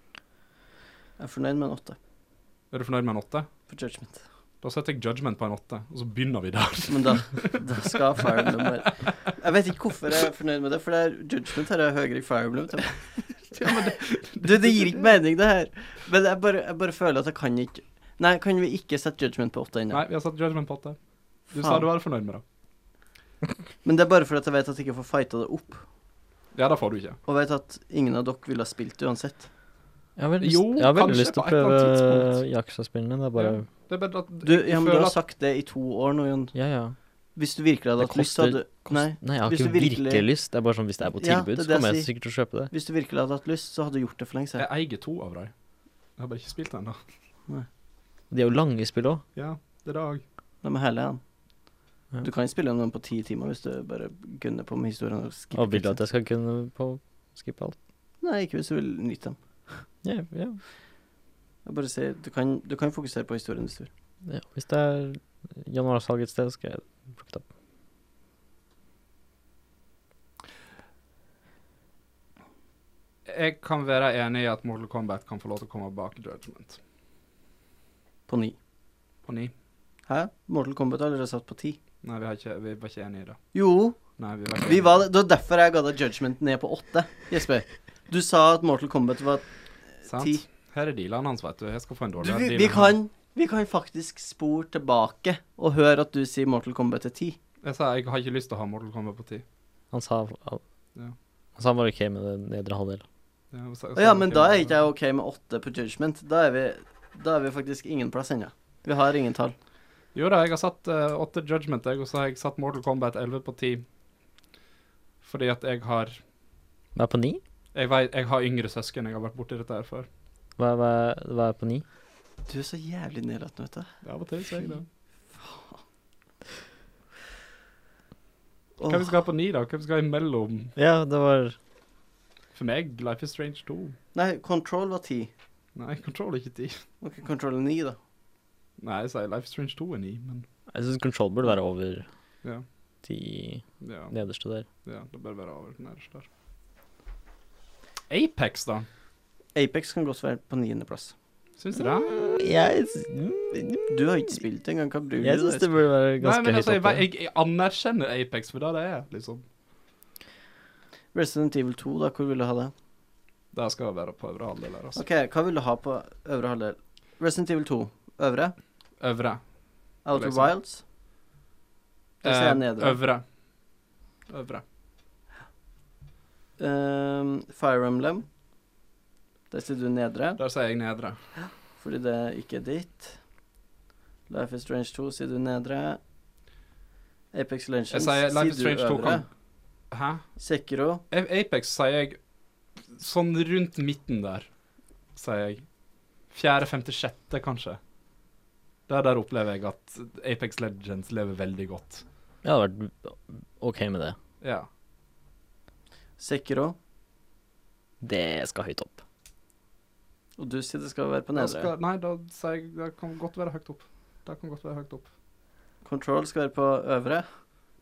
C: Jeg er fornøyd med en åtte
B: Er du fornøyd med en 8?
C: for judgment.
B: Da setter jeg judgment på en 8, og så begynner vi der.
C: Men da, da skal Fire Emblem være Jeg vet ikke hvorfor jeg er fornøyd med det, for det er judgment her er høyere i Fire Emblem. tror jeg. Du, det gir ikke mening, det her. Men jeg bare, jeg bare føler at jeg kan ikke Nei, kan vi ikke sette judgment på åtte ennå?
B: Nei, vi har satt judgment på 8. Du sa
C: Faen.
B: du var fornøyd med det.
C: Men det er bare fordi at jeg vet at jeg ikke får fighta det opp,
B: Ja, det får du ikke.
C: og vet at ingen av dere ville ha spilt det uansett.
A: Jeg har veldig,
B: Jo,
A: lyst- jeg har veldig
B: kanskje
A: lyst til å
B: på et eller annet
A: prøve
B: tidspunkt.
A: Yakuza-spillene. Det er bare
B: Det er bedre at
C: Du,
B: jeg
C: ja, men du
B: føler
C: har
B: at-
C: sagt det i to år nå, Jon.
A: Ja, ja.
C: Hvis du virkelig hadde
A: Det
C: hatt lyst, så
A: koster-
C: hadde
A: Kost-
C: Nei,
A: Nei, jeg har
C: hvis
A: ikke
C: du virkelig-
A: virkelig lyst. Det er bare sånn hvis det er på
C: Ja,
A: tilbud,
C: det er
A: så
C: det
A: kommer
C: jeg
A: jeg sikkert til å kjøpe det.
C: hvis du virkelig hadde hatt lyst, så hadde du gjort det for lenge siden.
B: Jeg eier to av dem. Jeg har bare ikke spilt den, da.
A: De er jo lange spill òg.
B: Ja, det er dag.
C: De er herlige, han.
A: Ja.
C: Du kan spille gjennom dem på ti timer hvis du bare gunner på med historien. Og skipper
A: Og vil du
C: teksten.
A: at jeg skal kunne på skippe alt?
C: Nei, ikke hvis du vil nyte dem.
A: Ja, ja.
C: Jeg bare sier, du kan, du kan fokusere på historien hvis du vil.
A: ja. Hvis det er januarsalg et sted, skal jeg plukke det opp.
B: Jeg kan være enig i at Mortal Kombat kan få lov til å komme bak Judgment.
C: På ni.
B: På ni.
C: Hæ? Mortal Kombat har allerede satt på ti.
B: Nei, vi, har ikke, vi var ikke enige i det.
C: Jo,
B: Nei, vi var ikke
C: vi
B: enige.
C: var det. Det var derfor jeg ga deg judgment ned på åtte, Jesper. Du sa at Mortal Kombat var
B: Sant?
C: ti.
B: Her er dealene hans, vet du. Jeg skal få en
C: Du,
B: dårligere
C: vi,
B: deal
C: vi,
B: enn han.
C: kan, vi kan faktisk spore tilbake og høre at du sier Mortal Kombat er ti.
B: Jeg sa jeg har ikke lyst til å ha Mortal Kombat på ti.
A: Han sa al-
B: Ja.
A: Han sa han var OK med det nedre halvdel.
B: Ja, jeg sa- jeg
C: Å
B: sa
C: ja,
B: det
C: men
B: til
C: da er
B: meg.
C: ikke jeg OK med åtte på judgment. Da er vi, da er vi faktisk ingen plass ennå. Vi har ingen tall.
B: Jo da, jeg har satt eh, åtte Judgment, jeg, og så har jeg satt Mortal Kombat 11 på ti. Fordi at jeg har
A: Hva er på ni?
B: Jeg, vet, jeg har yngre søsken. Jeg har vært borti dette her før.
A: Hva, hva, hva er på ni?
C: Du er så jævlig nedlatende, vet du.
B: Av og til så er jeg det.
C: Åh,
B: Hvem skal ha på ni, da? Hvem skal ha imellom?
A: Ja, det var
B: For meg, Life is Strange 2.
C: Nei, Control var ti.
B: Nei, Control er ikke 10.
C: Ok, Control er ni, da.
B: Nei, jeg sier Life is Strange 2 er 9, men
A: Jeg syns Control burde være over
B: ja.
A: de
B: Ja,
A: nederste der.
B: ja det bør være over den nærmeste der. Apex, da?
C: Apex kan godt være på niendeplass.
B: Syns du det?
A: Jeg, s- mm,
C: Du har ikke spilt engang. Hva bruker
A: jeg
C: du
A: syns
C: det
A: det
C: til?
A: burde være
B: Nei,
A: ganske
B: men
A: høyt
B: altså, jeg,
A: oppe.
B: jeg, jeg anerkjenner Apex for det det er, liksom.
C: Resident Evil 2, da. Hvor vil du ha det?
B: Det skal være på øvre halvdel her, altså.
C: OK, hva vil du ha på øvre halvdel? Resident Evil 2. Øvre?
B: Øvre.
C: Outer
B: Liksom.
C: Wilds? Da sier jeg
B: Eh,
C: nedre.
B: øvre. Øvre.
C: Ehm, Fire Emblem. Der sier du nedre,
B: Der sier jeg nedre.
C: fordi det ikke er ditt. Life is Strange 2 sier du nedre. Apex
B: Jeg
C: Legends
B: sier Life is Strange
C: sier du
B: 2
C: øvre.
B: kan Hæ?
C: Sekiro.
B: A- Apex sier jeg sånn rundt midten der, sier jeg. Fjerde, femte, sjette, kanskje. Der, der opplever jeg at Apex Legends lever veldig godt.
A: Jeg hadde vært OK med det.
B: Ja.
C: Sekiro.
A: Det skal høyt opp.
C: Og du sier det skal være på
B: Da
C: nedre.
B: skal, nei, da sier jeg det kan godt være høyt opp. Det kan godt være høyt opp.
C: Control skal være på øvre.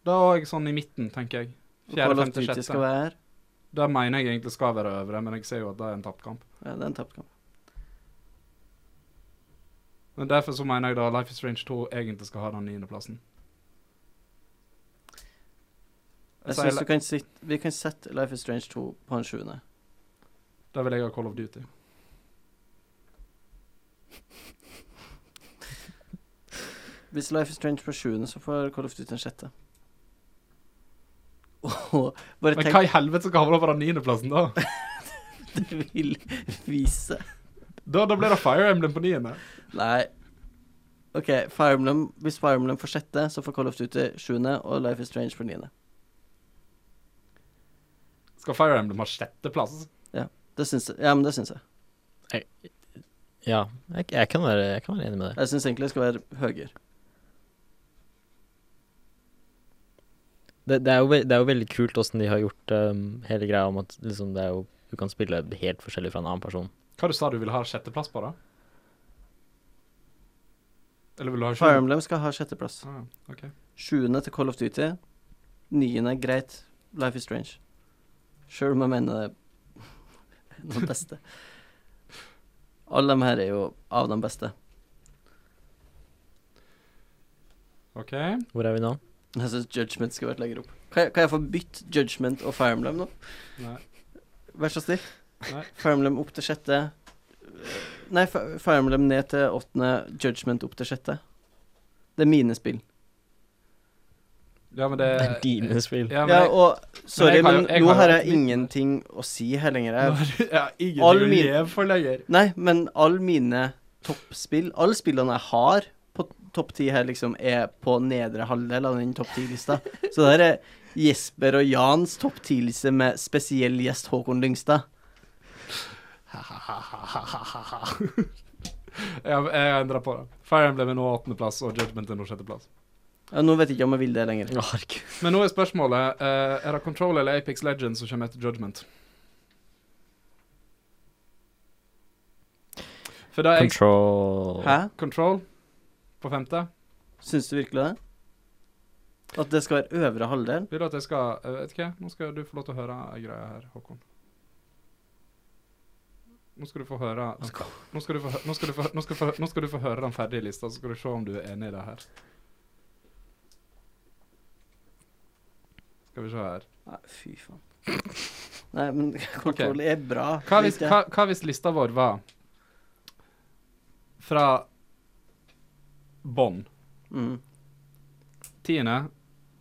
B: Da er jeg sånn i midten, tenker jeg.
C: Og
B: Fjerde,
C: Call of
B: femte,
C: Duty
B: sjette.
C: skal være her.
B: Det mener jeg egentlig skal være øvre, men jeg ser jo at det er en tapt kamp.
C: Ja, det er en tapt kamp.
B: Men derfor så mener jeg da Life is Strange 2 egentlig skal ha den niendeplassen.
C: Jeg
B: sier
C: synes du kan sitt- Vi kan sette Life is Strange 2 på en sjuende.
B: Da vil jeg ha Call of Duty.
C: Hvis Life is Strange på sjuende, så får Call of Duty en sjette. Og bare
B: Men hva
C: tenk
B: i helvete skal havne på den niendeplassen, da?
C: det vil vise
B: da? Da blir det Fire Emblem på niende.
C: Nei. OK, Fire Emblem, hvis Fire Emblem får sjette, så får Call of Duty sjuende, og Life is Strange på niende.
B: Skal Fire Emblem ha sjetteplass?
C: Det syns jeg. Ja, men det syns jeg.
A: Ja, jeg, jeg, kan være, jeg kan være enig med det.
C: Jeg syns egentlig det skal være høyere.
A: Det, det, er jo, ve- det er jo veldig kult åssen de har gjort um, hele greia om at liksom, det er jo, du kan spille helt forskjellig fra en annen person.
B: Hva du sa du ville ha sjetteplass på, da? Eller vil du ha
C: Fire
B: sju?
C: Emblem skal ha sjetteplass.
B: Ah, ok.
C: Sjuende til Call of Duty. Niende, greit. Life is Strange. Sjøl om jeg mener det er den beste. Alle de her er jo av de beste.
B: OK.
A: Hvor er vi nå?
C: Jeg syns Judgment skulle vært lenger opp. Kan jeg, kan jeg få bytte Judgment og Fire Emblem nå?
B: Nei.
C: Vær så snill.
B: Nei.
C: Fire Emblem opp til sjette. Nei, Fi- Fire Emblem ned til åttende, Judgment opp til sjette. Det er mine spill.
B: Ja, men det
A: Det er dine spill.
B: Ja, men
C: Ja,
B: jeg,
C: og
B: har
C: sorry,
B: jo-
C: men
B: jeg
C: nå
B: har jo
C: har
B: hatt
C: jeg
B: mitt-
C: ingenting å si her lenger. Jeg
B: jeg, jeg,
C: All
B: jeg,
C: min-
B: lever for lenger.
C: Nei, men alle mine toppspill, alle spillene jeg har på topp ti her, liksom, er på nedre halvdel av den topp ti-lista. Så der er Jesper og Jans topp ti-liste med spesiell gjest Håkon Lyngstad.
B: Jeg, jeg endrer på det. Fire Emblem er nå åttendeplass, og Judgment er nå sjetteplass.
C: Ja, Nå vet jeg ikke om jeg vil det lenger.
A: Å, herregud.
B: Men nå er spørsmålet eh, Er det Control eller Apex Legends som kommer etter Judgment? For da er jeg
A: Control
C: Hæ?
B: Control på femte.
C: Syns du virkelig det? At det skal være øvre halvdel?
B: Vil du at jeg skal eh, Vet ikke, nå skal du få lov til å høre ei greie her, Håkon. Nå skal du få høre den- Nå skal du få, hø- nå skal du få, nå skal du få, nå skal du få høre den ferdige lista, så skal du se om du er enig i det her. Skal vi se her
C: Nei, fy faen. Nei, men kontroll er bra.
B: Hva hvis,
C: liker jeg.
B: hva, hva hvis lista vår var fra bånn?
C: Mm.
B: Tiende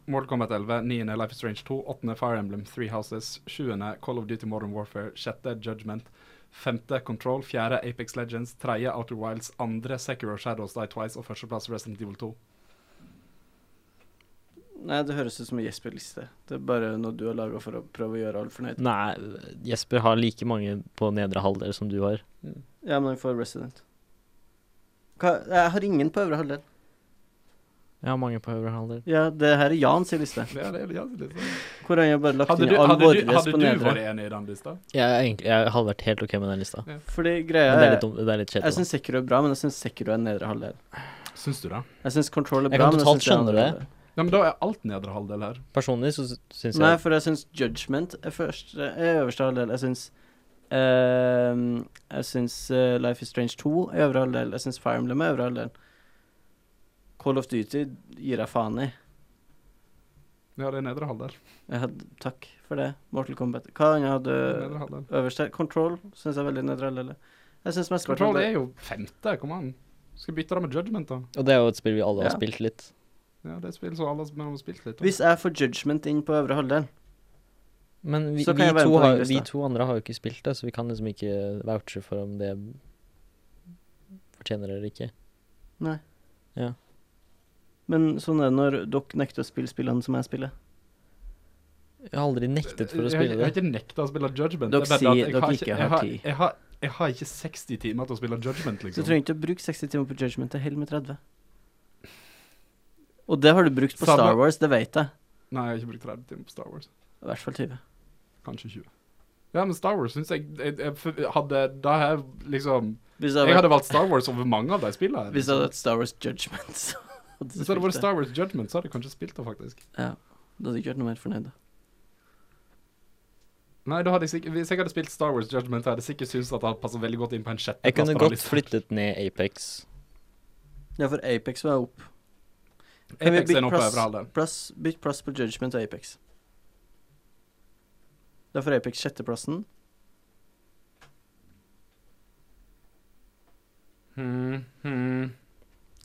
B: Mortal Kombat 11, niende Life is Strange 2, åttende Fire Emblem Three Houses, sjuende Call of Duty Modern Warfare, sjette Judgment, femte Control, fjerde Apex Legends, tredje Outer Wilds, andre Secure Shadows Die Twice og førsteplass Resident Evil 2.
C: Nei, det høres ut som en Jesper-liste. Det er bare noe du har laga for å prøve å gjøre alle fornøyd.
A: Nei, Jesper har like mange på nedre halvdel som du har.
C: Ja, men vi får Resident. Hva? Jeg har ingen på øvre halvdel.
A: Jeg har mange på øvre halvdel.
C: Ja, det her er Jans i liste.
B: Ja, det er det, ja, det er litt sånn.
C: Hvor han har bare lagt
B: Hadde
C: inn
B: du,
C: all
B: hadde du,
C: våres
B: hadde
C: på
B: du
C: nedre.
B: vært enig i den lista?
A: Jeg, er egentlig, jeg hadde vært helt OK med den lista.
C: Fordi
A: Men
C: greia
A: det er
C: er
A: litt, dum- det er litt
C: Jeg
A: kjedelig.
C: syns Sekiro er bra, men jeg syns Sekiro er nedre halvdel.
B: Syns du det?
C: Jeg syns Control er
A: Jeg
C: bra,
A: kan
C: men jeg
A: totalt
C: syns det er
A: skjønne
C: andre
A: det.
C: halvdel.
B: Ja, men da er alt nedre halvdel her.
A: da. Personlig så syns
C: Nei,
A: jeg
C: for jeg syns Judgment er, første, er øverste halvdel. Jeg syns ehm, Jeg syns eh, Life is Strange 2 er øvre halvdel. Jeg syns Fire Emblem er øvre halvdel. Call of Duty gir jeg faen i.
B: Ja, det er nedre halvdel.
C: Jeg hadde, takk for det. Mortal Kombat. Hva annet hadde
B: Nedre halvdel.
C: Øverst her. Control syns jeg er veldig nøytral. eller? Jeg syns mest
B: Control
C: det
B: er jo femte, kom an. Skal bytte det med Judgment, da.
A: Og det er jo et spill vi alle har
C: Ja.
A: spilt litt.
B: Ja, det er et spill som alle som har spilt litt. om.
C: Hvis jeg får judgment inn på øvre halvdel,
A: Men vi,
C: Så kan
A: vi,
C: jeg være
A: to
C: på den
A: har,
C: lista.
A: vi to andre har jo ikke spilt det, så vi kan liksom ikke vouche for om det fortjener det eller ikke.
C: Nei.
A: Ja.
C: Men sånn er det når dere nekter å spille spillene som jeg spiller.
A: Jeg har aldri nektet for å
B: Jeg-
A: spille
B: Jeg har
A: det.
B: ikke nekta å spille Judgment.
C: Dere
B: det er bare
C: sier
B: at jeg
C: dere ikke
B: jeg
C: har
B: har,
C: tid.
B: jeg, har, jeg har ikke 60 timer til å spille Judgment,
C: Så du
B: liksom.
C: trenger ikke å bruke 60 timer på Judgment, det holder med 30. Og det har du brukt på
B: Samme.
C: Star Wars, det vet jeg.
B: Nei, jeg har ikke brukt 30 timer på Star Wars.
C: I hvert fall 20.
B: Kanskje 20. Ja, men Star Wars syns jeg, jeg, jeg f- hadde Da har jeg liksom
C: Hvis det
B: Jeg
C: hadde
B: hadde
C: vært,
B: valgt Star Wars over mange av de spillene. her,
C: hvis det hadde
B: liksom.
C: vært Star Wars Judgment, så hadde du
B: Hvis det hadde
C: spilt
B: vært
C: det.
B: Star Wars Judgment, så hadde jeg kanskje spilt det, faktisk.
C: Da hadde du ikke vært noe mer fornøyd. da.
B: Nei, da hadde jeg sikkert, Hvis jeg hadde spilt Star Wars Judgment, hadde jeg sikkert syntes at det hadde passet veldig godt inn på en sjetteplass.
A: Jeg kunne
B: på den
A: godt
B: listen.
A: flyttet ned Apex.
C: Ja, for Apex var opp. Kan vi
B: Apex er nå på
C: bytte
B: øvre halvdel.
C: Plass, bytt plass på Judgment og Apex. Da får Apex sjetteplassen.
B: Hmm, hmm.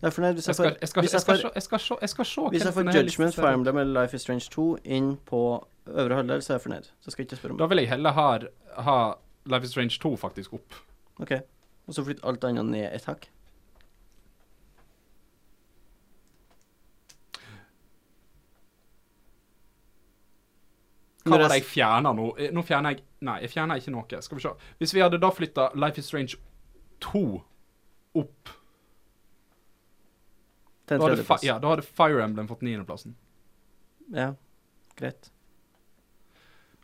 C: Jeg er fornøyd hvis
B: Jeg
C: jeg
B: skal
C: får
B: jeg skal-
C: hvis jeg
B: jeg skal
C: får-
B: se- jeg skal se- jeg skal se
C: Hvis
B: hvem
C: jeg
B: som
C: får
B: liksom, er
C: Judgment
B: listeseier.
C: Fire Emblem eller Life is Strange 2 inn på øvre halvdel, så er jeg fornøyd. Så skal jeg ikke spørre om
B: Da vil jeg heller ha, ha Life is Strange 2 faktisk opp.
C: OK. Og så flytt alt annet ned et hakk.
B: Hva
C: Når
B: var det
C: jeg-
B: jeg fjerna nå? Eh, Nå fjerner jeg Nei, jeg fjerner ikke noe. Skal vi se. Hvis vi hadde da flytta Life is Strange 2 opp,
C: Til
B: da
C: en
B: hadde,
C: tredjeplass.
B: Fi- ja, da hadde Fire Emblem fått niendeplassen.
C: ja. Greit.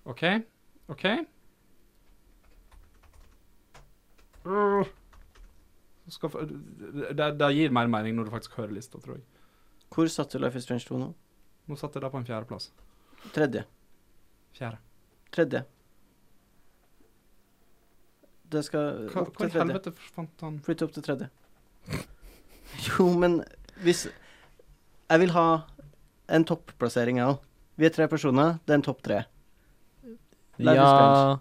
B: OK? OK? Uh. Skal, få- det, det gir mer mening når du faktisk hører lista, tror jeg.
C: Hvor satt du Life is Strange 2 nå?
B: Nå satt jeg da på en fjerdeplass.
C: Tredje.
B: Fjerde.
C: Tredje. Det skal
B: Hva,
C: opp
B: hva
C: til
B: i
C: tredje.
B: helvete forsvant han
C: Flytte opp til tredje. Jo, men hvis Jeg vil ha en topplassering, jeg òg. Vi er tre personer. Det er en topp tre. Life is
A: Ja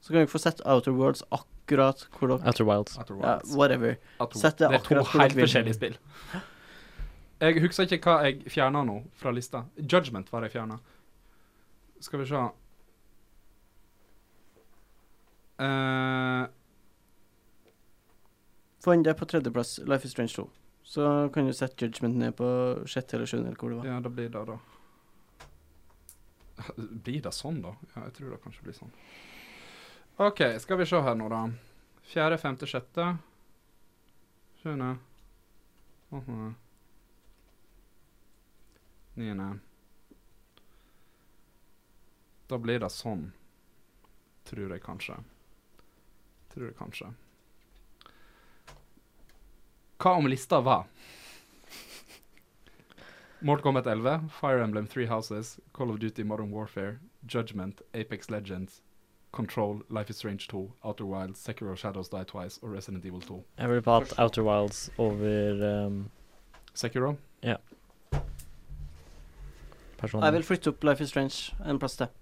C: Så kan dere få sett Outer Worlds akkurat hvor dere
A: Outer Wilds.
B: Outer
C: Ja,
B: Wilds?
C: whatever.
B: At hun-
C: Sett det
B: det er to
C: akkurat hvor
B: helt
C: dere vil.
B: forskjellige spill. Jeg husker ikke hva jeg fjerna nå fra lista. Judgment var jeg fjerna. Skal vi se Eh,
C: Få inn det på tredjeplass, Life is Strange 2. Så kan du sette Judgment ned på sjette eller sjuende, eller hvor det var.
B: Ja, det blir det, da. Blir det sånn, da? Ja, jeg tror det kanskje blir sånn. OK, skal vi se her nå, da. Fjerde, femte, sjette. Sjuende. Åttende. Niende. Da blir det sånn. Tror jeg kanskje. Tror jeg kanskje. Hva om lista var Mortal Kombat 11, Fire Emblem Three Houses, Call of Duty Modern Warfare, Judgment, Apex Legends, Control, Life is Strange 2, Outer Wilds, Sekiro Shadows Die Twice og Resident Evil 2.
A: Jeg ville hatt Outer Wilds over um,
B: Sekiro?
A: personen.
C: Jeg vil flytte opp Life is Strange en plass til.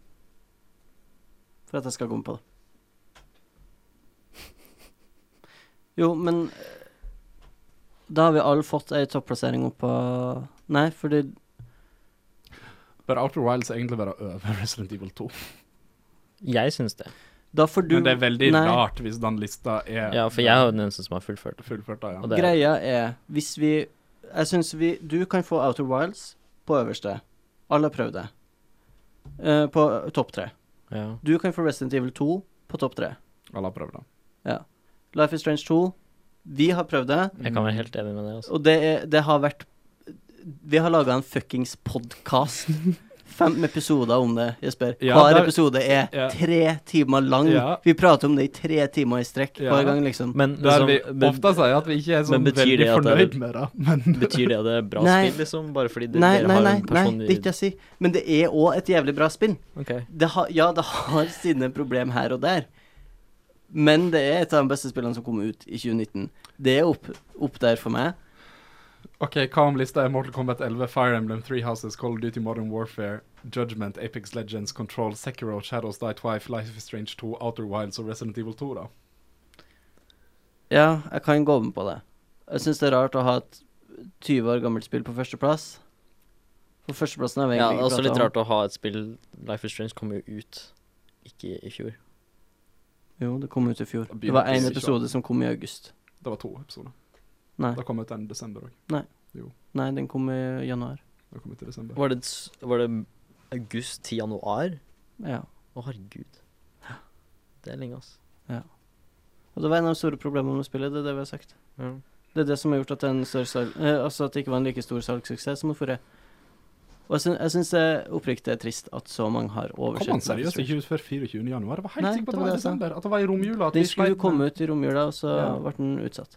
C: For at jeg skal komme på det. Jo, men eh, Da har vi alle fått ei topplassering opp på Nei, fordi
B: Bør Outer Wilds egentlig være over Resident Evil 2?
A: Jeg syns det.
C: da får du
B: Men det er veldig
C: Nei.
B: rart hvis den lista er
A: Ja, for jeg er jo den eneste som har fullført.
B: fullført, da,
A: Og
B: ja.
A: det- er-
C: Greia er, hvis vi Jeg syns vi Du kan få Outer Wilds på øverste. Alle har prøvd det. Eh, på topp tre.
A: Ja.
C: Du kan få Resident Evil 2 på topp tre.
B: Alle har prøvd det.
C: Life is Strange 2. Vi har prøvd det,
A: Jeg kan være helt enig med det. Altså.
C: og det, er, det har vært Vi har laga en fuckings podkast. Fem episoder om det, Jesper.
B: Ja,
C: Hver
B: det er-
C: episode er
B: Ja.
C: tre timer lang.
B: Ja.
C: Vi prater om det i tre timer i strekk
B: Ja.
C: hver gang, liksom.
A: Men
B: Der vi
A: liksom, be-
B: ofte sier at vi ikke er sånn
A: men betyr
B: veldig
A: det at det er-
B: fornøyd med det, men
A: betyr det at det er bra
C: Nei.
A: spill, liksom? Bare fordi det,
C: Nei,
A: dere
C: nei,
A: har
C: nei,
A: en
C: nei,
A: person
C: det er ikke det jeg sier. Men det er òg et jævlig bra spill.
A: Ok.
C: det har, ja, det har sine problem her og der. Men det er et av de beste spillene som kom ut i 2019. Det er opp, opp der for meg.
B: OK, hva om lista er Mortal Kombat 11, Fire Emblem, Three Houses, Call of Duty Modern Warfare, Judgment, Apex Legends, Control, Sekiro, Shadows Die Twice, Life is Strange 2, Outer Wilds og Resident Evil 2, da?
C: Ja, jeg kan gå med på det. Jeg syns det er rart å ha et 20 år gammelt spill på førsteplass. På førsteplassen har vi
A: Ja, det
C: egentlig
A: er også
C: ikke
A: litt
C: pratet
A: rart å ha et spill Life is Strange kom jo ut ikke i fjor.
C: om. Jo, det kom ut i fjor.
B: Da
C: Det var
B: begynner
C: én
A: sånn.
B: vi ikke.
C: episode som kom i august.
B: Det var to episoder.
C: Nei.
B: Da kom ut en i desember òg.
C: Nei, den kom i januar.
B: Da kom ut i desember.
A: Var det, s- var det august til januar?
C: Ja.
A: Å, herregud. Det er lenge, ass.
C: Og det var en av de store problemene med spillet, det er det vi har sagt. Det er det som har gjort at, det er en større salg, eh, altså at det ikke var en like stor salgssuksess som den forrige. Og jeg syn- jeg syns det oppriktig er trist at så mange har oversett
B: Kom han
C: Life is
B: seriøst
C: Strange.
B: ikke ut før 24. januar? Jeg var helt
C: Nei,
B: sikker på
C: det
B: at det var
C: var det
B: i
C: jeg sa.
B: desember. At det var i romjula. at
C: Den
B: vi
C: skulle jo
B: sleit
C: komme
B: med-
C: ut i romjula, og så
B: Ja.
C: ble den utsatt.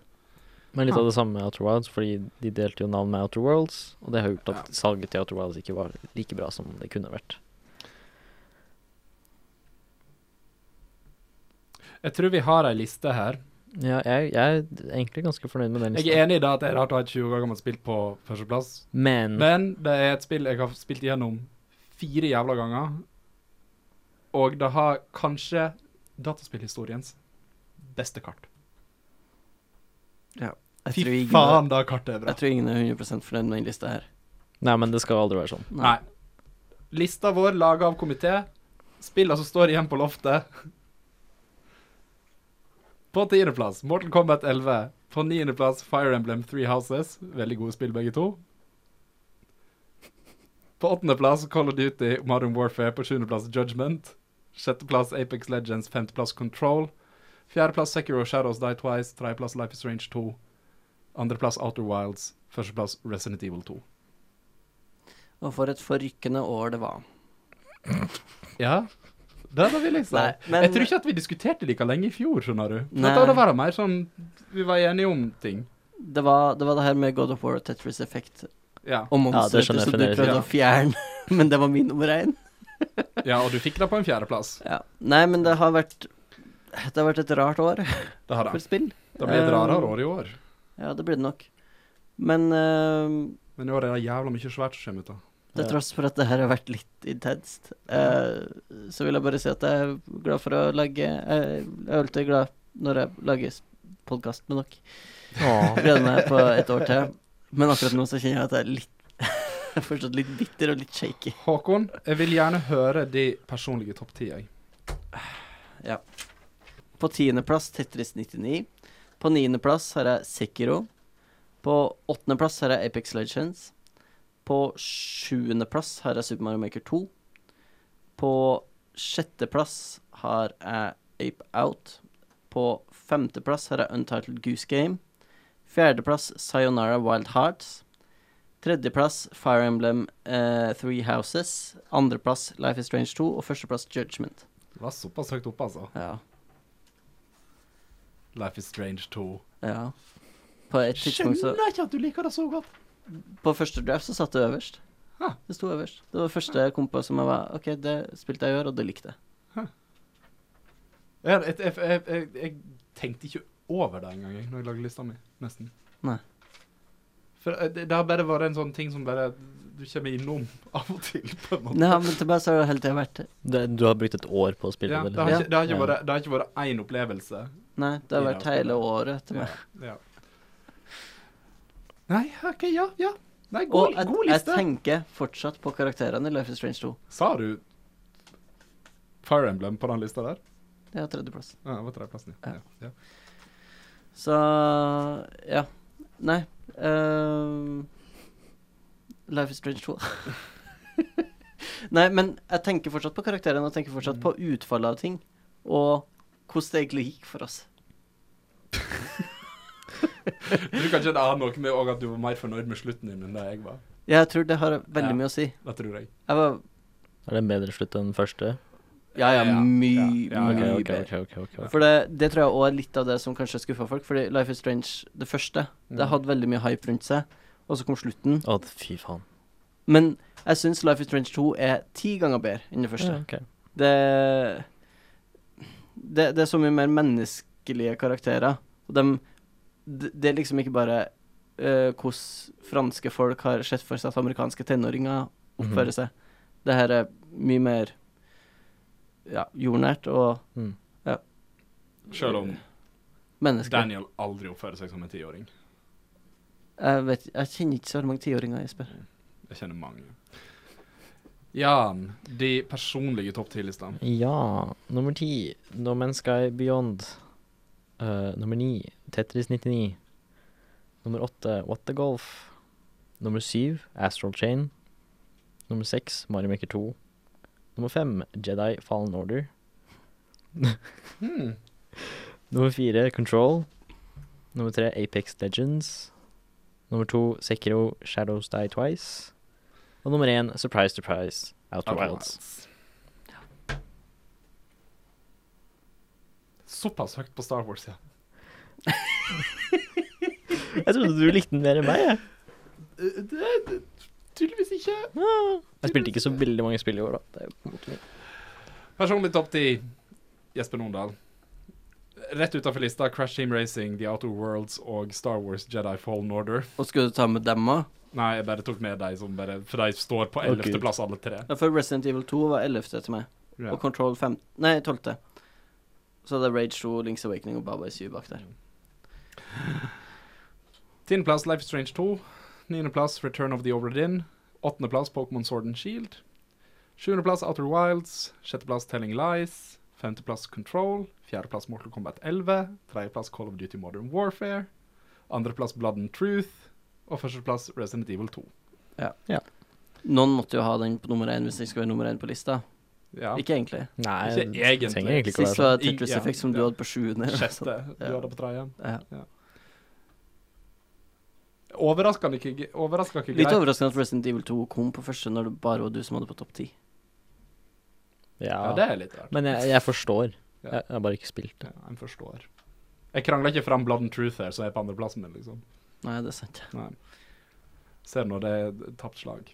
A: Men litt
B: Ah.
A: av det samme med Outer Wilds, fordi de delte jo navn med Outer Worlds, og det har gjort at
B: Ja.
A: salget til Outer Wilds ikke var like bra som det kunne vært.
B: Jeg tror vi har ei liste her.
A: Ja, jeg, jeg er egentlig ganske fornøyd med den
B: Jeg
A: lista.
B: er enig i det at det er rart å ha et 20 år gammelt spill på førsteplass,
A: Men
B: men det er et spill jeg har spilt gjennom fire jævla ganger, og det har kanskje dataspillhistoriens beste kart.
C: Jeg
B: Fy
C: tror ingen-
B: faen, da kartet er bra.
C: Jeg tror ingen er 100 fornøyd med den lista her.
A: Nei, men det skal aldri være sånn.
B: Nei. Lista vår laga av komité. Spillene som står igjen på loftet. På tiendeplass Mortal Kombat 11. På niendeplass Fire Emblem Three Houses. Veldig gode spill, begge to. På åttendeplass Call of Duty Modern Warfare. På sjuendeplass Judgment. Sjetteplass Apex Legends. Femteplass Control. Fjerdeplass Sekiro Shadows Die Twice. Tredjeplass Life is Strange 2. Andreplass Outer Wilds. Førsteplass Resident Evil 2.
C: Og for et forrykkende år det var.
B: Ja, det, det vil jeg si.
C: Nei, men-
B: jeg tror ikke at vi diskuterte like lenge i fjor, skjønner du. For
C: Nei.
B: Dette hadde vært mer sånn Vi var enige om ting.
C: Det var, det var det her med God of War og Tetris Effect
B: Ja,
C: og
A: det
C: monsteret
A: skjønner jeg
C: som du
A: fremdeles,
C: prøvde
B: ja.
C: å fjerne, men det var min nummer én.
B: ja og du fikk det på en fjerdeplass.
C: Ja. Nei, men det har vært Det har vært et rart år
B: Det har
C: for
B: det.
C: spill.
B: Det blir et rarere
C: Eh,
B: år i år.
C: Ja, det blir det nok. Men eh,
B: Men i år er det jævla mye svært som kommer ut av.
C: Til
A: Ja.
C: tross for at det her har vært litt intenst, eh, så vil jeg bare si at jeg er glad for å lage eh, Jeg er alltid glad når jeg lager podkast med dere. Jeg Gleder meg på et år til. Men akkurat nå så kjenner jeg at jeg er litt jeg er fortsatt litt bitter og litt shaky.
B: Håkon, jeg vil gjerne høre de personlige topp ti, jeg.
C: På tiendeplass Tetris 99. På niendeplass har jeg Sekiro. På åttendeplass har jeg Apex Legends. På sjuendeplass har jeg Super Mario Maker 2. På sjetteplass har jeg Ape Out. På femteplass har jeg Untitled Goose Game. Fjerdeplass Sayonara Wild Hearts. Tredjeplass Fire Emblem eh, Three Houses. Andreplass Life is Strange 2. Og førsteplass Judgment.
B: Det var såpass høyt oppe, altså.
C: Ja.
B: Life is Strange 2.
C: Ja. På et tidspunkt så
B: Skjønner ikke at du liker det så godt.
C: På første draft så satt det øverst.
B: Huh.
C: Det sto øverst. Det var det første jeg kom på som jeg var OK, det spilte jeg i år, og det likte jeg.
B: Jeg, jeg, jeg, jeg, jeg, jeg tenkte ikke over det engang jeg, når jeg lagde lista mi, nesten.
C: Nei.
B: For eh, det, det har bare vært en sånn ting som bare du kommer innom av og til, på en måte.
C: Nei, men til meg så har det hele tida vært
A: Det, du har brukt et år på å spille
B: Ja,
A: det? liksom.
B: det har ikke, det har ikke
A: Ja.
B: vært- det har ikke vært én opplevelse.
C: Nei, det har vært
B: Ja,
C: hele året til meg.
B: Ja. Nei, OK, ja, ja. Nei,
C: Og
B: god,
C: jeg,
B: god
C: jeg
B: liste.
C: tenker fortsatt på karakterene i Life is Strange 2.
B: Sa du Fire Emblem på den lista der?
C: Det er tredjeplass.
B: Ja, det var tredjeplassen, ja.
C: Ja.
B: ja. ja.
C: Så ja. Nei. ehm, Life is Strange 2. Nei, men jeg tenker fortsatt på karakterene og tenker fortsatt på utfallet av ting. Og hvordan det egentlig gikk for oss.
B: Du kan ikke ha noe med også at du var mer fornøyd med slutten din enn det jeg var.
C: Jeg tror det har veldig
B: Ja.
C: mye å si.
B: Det tror jeg.
C: Jeg var
A: Er det en bedre slutt enn den første?
C: Ja,
B: Ja,
C: ja,
B: ja.
C: mye,
B: Ja,
A: Ok,
B: ja,
C: mye
A: ok,
C: bedre.
A: ok, ok, ok, ok.
C: For det, det tror jeg også er litt av det som kanskje skuffa folk. Fordi Life is Strange, det første, det
B: Mm.
C: hadde veldig mye hype rundt seg. Og så kom slutten.
A: Å, fy faen.
C: Men jeg syns Life is Strange 2 er ti ganger bedre enn det første.
A: Ja, ok.
C: Det, det Det er så mye mer menneskelige karakterer. Og dem Det det er liksom ikke bare eh, hvordan franske folk har sett for seg at amerikanske tenåringer
A: Mhm.
C: oppføre seg. Det her er mye mer ja, jordnært og
A: Mm.
B: Selv om
C: menneskelig.
B: Daniel aldri oppfører seg som en tiåring.
C: Jeg, vet, jeg kjenner ikke så mange tiåringer, Jesper.
B: Jeg kjenner mange. Jan, de personlige topp ti-listene.
A: Ja, nummer ti, No Man's Sky Beyond. Eh, nummer ni, Tetris 99. Nummer åtte, What the Golf. Nummer syv, Astral Chain. Nummer seks, Mario Maker 2. Nummer fem, Jedi Fallen Order.
B: Hmm.
A: Nummer fire, Control. Nummer tre, Apex Legends. Nummer to, Sekiro Shadows Die Twice. Og nummer én, Surprise Surprise, Outer Wilds.
B: Såpass høyt på Star Wars, ja.
A: Jeg trodde du likte den mer enn meg, jeg.
B: Det, det, tydeligvis ikke.
A: Jeg spilte ikke så veldig mange spill i år, da. Det er jo på en måte mye.
B: Personlig topp ti Jesper Nordahl. Rett utafor lista Crash Team Racing, The Outer Worlds og Star Wars Jedi Fallen Order.
C: Og skulle du ta med dem òg?
B: Nei, jeg bare tok med de som bare For de står på
A: Å, Gud.
B: ellevteplass, alle tre.
C: Ja, for Resident Evil 2 var 11. etter meg,
B: Ja.
C: og Control 5 Nei, 12. Så hadde jeg Rage 2, Links Awakening og Baba Is You bak der.
B: Tiendeplass Life is Strange 2. Niendeplass Return of the Obra Dinn. Åttendeplass Pokémon Sword and Shield. Sjuendeplass Outer Wilds. Sjetteplass Telling Lies. Femteplass Control. Fjerdeplass Mortal Kombat 11. Tredjeplass Call of Duty Modern Warfare. Andreplass Blood and Truth. Og førsteplass Resident Evil 2.
C: Noen måtte jo ha den på nummer én hvis den skulle være nummer én på lista.
B: Ja.
C: Ikke egentlig.
A: Nei,
B: Ikke
A: det
B: egentlig.
A: trenger egentlig ikke å være sånn.
C: Sist var Tetris
B: I- ja,
C: Effect, som du
B: ja.
C: hadde på sjuende. eller noe sånt.
B: Sjette. Du hadde på tredje.
C: sånn, Ja.
B: Overraskende ikke, overrasker ikke
C: Litt
B: greit.
C: overraskende at Resident Evil 2 kom på første når det bare var du som hadde på topp ti.
A: Ja.
B: Ja, det er litt rart.
A: Men jeg, jeg forstår.
B: Ja.
A: Jeg jeg har bare ikke spilt det.
B: Ja, jeg forstår. Jeg krangler ikke fram Blood and Truth her, så jeg er på andreplassen min, liksom.
C: Nei, det er sant.
B: Nei. Ser når det er tapt slag.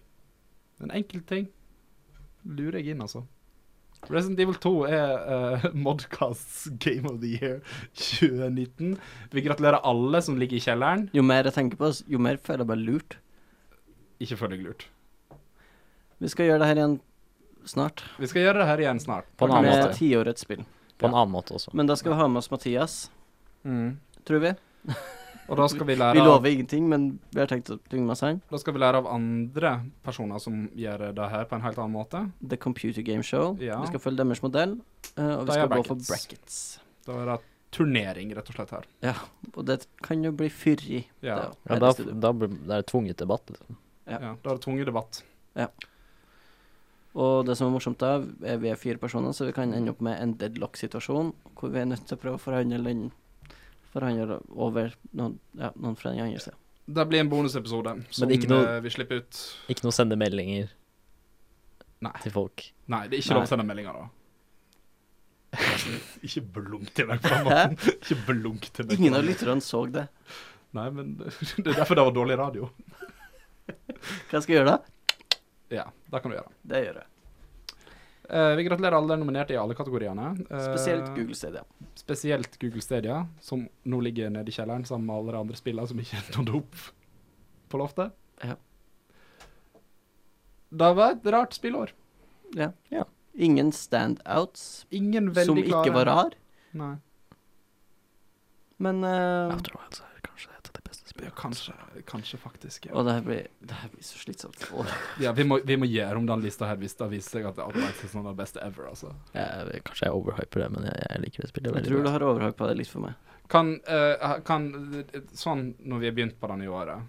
B: En enkel ting lurer jeg inn, altså. Resident Evil 2 er eh, Modcasts Game of the Year 2019. Vi gratulerer alle som ligger i kjelleren.
C: Jo mer jeg tenker på det, jo mer føler jeg bare lurt.
B: Ikke følg deg lurt.
C: Vi skal gjøre det her igjen snart,
B: Vi skal gjøre det her igjen snart.
A: På en annen
C: med
A: måte.
C: tiårets spill.
A: På en annen måte også.
C: Men da skal vi ha med oss Mathias,
B: Mm.
C: tror vi.
B: Og da skal vi lære
C: Vi
B: av-
C: lover ingenting, men vi har tenkt å tynge med oss han.
B: Da skal vi lære av andre personer som gjør det her på en helt annen måte.
C: The Computer Game Show.
B: Ja.
C: Vi skal følge deres modell, eh,
B: Da
C: og vi skal
B: er
C: gå for
B: brackets.
C: brackets.
B: Da er det turnering, rett og slett, her.
C: Og det kan jo bli fyrig.
B: Ja.
C: det er jo
A: Ja,
C: her
A: da,
C: i studio.
A: da blir det er tvunget debatt, liksom.
C: Ja.
B: Ja, da er det tvunget debatt.
C: Og det som er morsomt da, er vi er fire personer, så vi kan ende opp med en deadlock-situasjon, hvor vi er nødt til å prøve å forhandle den forhandle over noen, ja, noen fra den andre siden.
B: Det blir en bonusepisode som
A: ikke noe-
B: eh, vi slipper ut.
A: Ikke noe sende meldinger
B: Nei.
A: til folk.
B: Nei, det er ikke
C: Nei.
B: lov å sende meldinger, da. ikke blunk til meg på den måten. Ikke blunk til meg. på
C: Ingen
B: den
C: av
B: måten.
C: lytterne så det.
B: Nei, men det er derfor det var dårlig radio.
C: Hva skal jeg gjøre da?
B: Ja, det kan du gjøre.
C: Det gjør jeg.
B: Eh, vi gratulerer alle nominerte i alle kategoriene. Eh,
C: Spesielt Google Stadia.
B: Spesielt Google Stadia, som nå ligger nede i kjelleren sammen med alle de andre spillene som ikke nådde opp på loftet.
C: Ja.
B: Det var et rart spillår.
C: Ja.
A: Ja.
C: Ingen standouts
B: Ingen veldig
C: som
B: klare
C: ikke var rar,
B: Nei.
C: men eh,
A: Outer Wilds er altså, kanskje et av de beste
B: Ja,
A: spillene.
B: kanskje, kanskje faktisk. Ja.
C: Og det her blir, det her blir så slitsomt. Åh,
B: Ja, vi, må, vi må gjøre om den lista her hvis det viser seg at Outlights er sånn den beste ever. Altså.
A: Jeg, kanskje jeg overhyper det, men jeg, jeg liker det spillet
C: Jeg
A: veldig
C: tror du
A: bra.
C: har overhøy på det litt for meg.
B: Kan, eh, kan Sånn når vi har begynt på det nye året,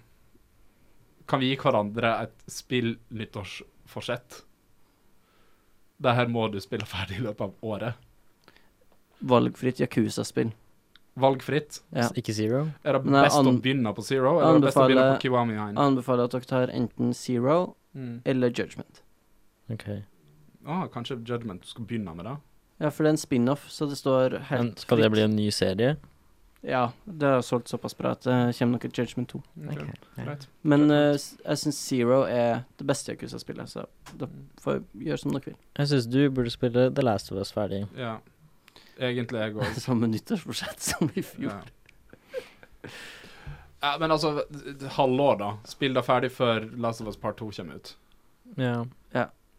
B: kan vi gi hverandre et spill-nyttårsforsett? Det her må du spille ferdig i løpet av året.
C: Valgfritt Yakuza-spill.
B: Valgfritt.
C: Ja.
A: Ikke Zero?
B: Er det
C: Men jeg
B: best å
C: an-
B: begynne på Zero, eller er det best å begynne på Kiwami Hein?
C: Anbefaler at dere tar enten Zero
B: Mm.
C: eller Judgment.
A: OK.
B: Ah, kanskje Judgment du skal begynne med det?
C: Ja, for det er en spin-off, så det står
A: Men
C: helt
A: skal det
C: fritt.
A: bli en ny serie?
C: Ja, det har solgt såpass bra at det kommer nok et Judgment 2.
B: Ok, Greit.
C: Men
B: Judgment.
C: eh, s- jeg syns Zero er det beste Yakuza-spillet, så da
B: Mm.
C: får jeg gjøre som dere vil.
A: Jeg syns du burde spille The Last of Us ferdig.
B: Ja. Egentlig jeg òg.
C: Samme nyttårsforsett som i fjor.
B: Ja. Ja, men altså, d- d- halvår, da. Spill det ferdig før Last of Us Part 2 kommer ut.
A: Ja.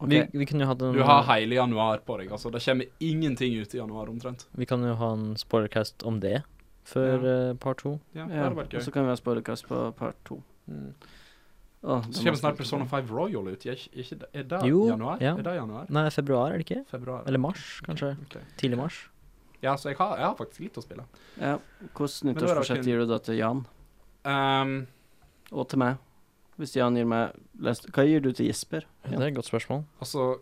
C: Ok,
A: Vi, vi kunne jo hatt en
B: Du har hele januar på deg, altså. Det kommer ingenting ut i januar, omtrent.
A: Vi kan jo ha en spoilercast om det før eh, part to.
B: Ja, det
C: ja,
B: hadde vært
C: og så
B: gøy.
C: kan vi ha spoilercast på part to.
B: Mm.
C: Åh, det
B: Så kommer
C: må-
B: snart Persona 5 Royal ut. Er, ikke- er, ikke det- er det
A: Jo,
B: januar?
A: ja.
B: Er det januar?
A: Nei, februar er det ikke?
B: Februar?
A: Eller mars, kanskje.
B: Ok.
A: Tidlig mars.
B: Ja, så jeg har, jeg har faktisk litt å spille.
C: Ja. Hvordan
B: Men da er det
C: nyttårsforsett
B: kun-
C: gir du da til Jan?
B: Ehm,
C: Og til meg. Hvis Jan gir meg lest, Hva gir du til Jesper?
A: Det er et godt spørsmål.
B: altså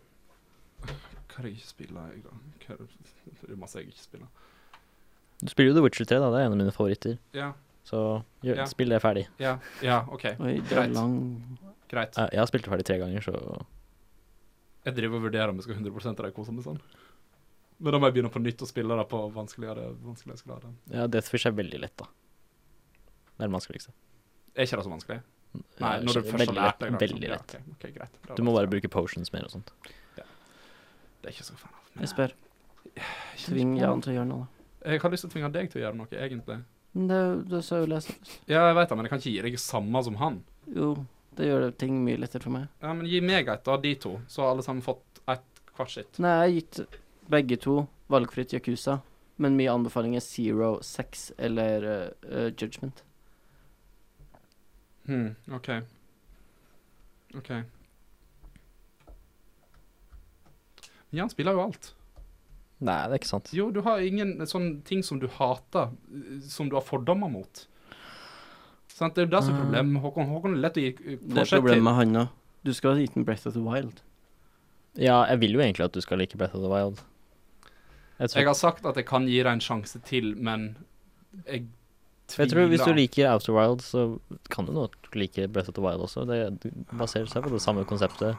B: Hva er det jeg ikke spiller, jeg, da? Hva er det, det er masse jeg ikke spiller.
A: Du spiller jo The Witcher 3, da. Det er en av mine favoritter.
B: Ja,
A: Så gjør,
B: Ja.
A: spill det ferdig.
B: ja, ja, OK.
C: Oi, det er
B: Greit.
C: lang
B: Greit.
A: Jeg, jeg har spilt det ferdig tre ganger, så
B: Jeg driver og vurderer om jeg skal 100 av det kose meg sånn. Men da må jeg begynne på nytt og spille det på vanskeligere, vanskeligere skala.
A: Ja, Deathwish er veldig lett, da. Det er det vanskeligste.
B: Er ikke det så vanskelig? Nei,
A: Det er
B: når du
A: ikke-
B: først har
A: veldig
B: lært deg
A: lett,
B: det.
A: Veldig lett.
B: Ja, ok, ok, greit. Da
A: Du må
B: vet
A: bare
B: jeg.
A: bruke potions mer og sånt.
B: Det er ikke så fan av. men-
C: Jesper,
B: Jeg kjenner
C: tving
B: ikke på
C: Jan til å gjøre noe, da.
B: det. Jeg har lyst til å tvinge deg til å gjøre noe, egentlig.
C: Men det, det sa jo lest.
B: Ja, jeg vet det, men jeg kan ikke gi deg samme som han.
C: Jo, det gjør ting mye lettere for meg.
B: Ja, men gi meg et av de to, så har alle sammen fått et hvert sitt.
C: Nei, jeg har gitt begge to valgfritt Yakuza, men mye anbefaling er Zero, Sex eller eh, eh, Judgment.
B: Hmm, OK. OK. Men Jan spiller jo alt.
A: Nei, det er ikke sant.
B: Jo, du har ingen sånne ting som du hater, eh, som du har fordommer mot. Sant? Det er jo det som
A: Mm.
B: er problemet med Håkon. Håkon er lett å gi eh,
C: Det er
B: forsett til.
C: problemet med han òg. Du skal ha gitt den Breath of the Wild.
A: Ja, jeg vil jo egentlig at du skal like Breath of the Wild. Jeg tror,
B: Jeg har sagt at jeg kan gi deg en sjanse til, men jeg tviler.
A: jeg tror hvis du liker Outer Wild, så kan du nok like Breath of the Wild også. Det det baserer seg på det samme konseptet.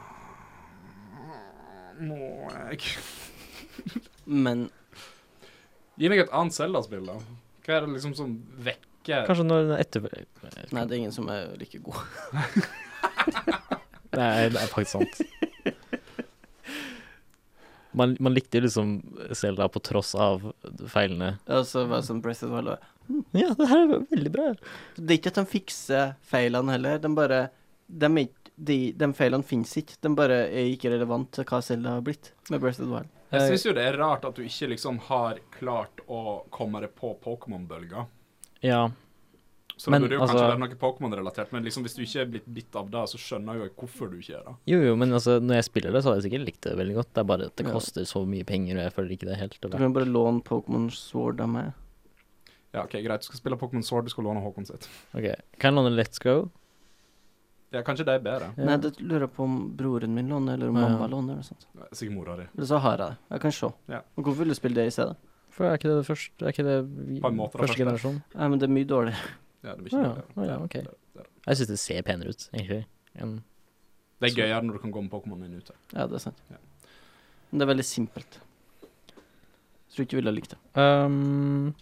B: Må jeg
C: Men
B: Gi meg et annet Zelda-spill, da. Hva er det liksom som vekker
A: Kanskje når den etter...
C: nei, det er ingen som er like god.
A: Nei, det er faktisk sant. Man, man likte jo liksom Selda på tross av feilene.
C: Altså, hva som Breath of the Wild var.
A: Ja, det her er veldig bra.
C: Det er ikke at de fikser feilene heller. De bare De, er ikke- de, de feilene finnes ikke. De bare er ikke relevant til hva Zelda har blitt med Breath of the Wild.
B: Jeg syns jo det er rart at du ikke liksom har klart å komme deg på Pokémon-bølga.
A: Ja,
B: Så det
A: Men,
B: burde jo
A: altså-
B: kanskje være noe Pokémon-relatert, men liksom hvis du ikke er blitt bitt av det, så skjønner jeg jo hvorfor du ikke er det.
A: Jo, jo, men altså, når jeg spiller det, så hadde jeg sikkert likt det veldig godt. Det er bare at det
C: Ja.
A: koster så mye penger, og jeg føler ikke det er helt
C: Du
A: verdt
C: kan bare låne Pokémon Sword av meg.
B: Ja, OK, greit, du skal spille Pokémon Sword, du skal låne Håkon sitt.
A: OK. Kan jeg låne Let's Go?
B: Ja, kanskje det er bedre.
A: Ja.
C: Nei, det lurer jeg på om broren min låner, eller om
A: Ja.
C: mamma låner. Eller sånt.
B: Sikkert mora di.
C: Eller så har jeg det. Jeg kan se.
B: Ja.
C: Og hvorfor vil du spille det i stedet?
A: For er ikke det det første, er ikke det vi-
B: På en måte det
A: første
B: første.
A: generasjon?
C: Nei, men det er mye dårligere.
B: Ja, det
A: Å
B: blir
A: ja,
B: ikke
A: å ja, ok.
B: det, det, det.
A: Jeg syns det ser penere ut, egentlig. enn-
B: det er gøyere når du kan gå med Pokémon inn ute.
C: Ja, det er sant.
B: Ja.
C: Men det er veldig simpelt. Jeg tror ikke du ville ha likt det.
A: Ehm,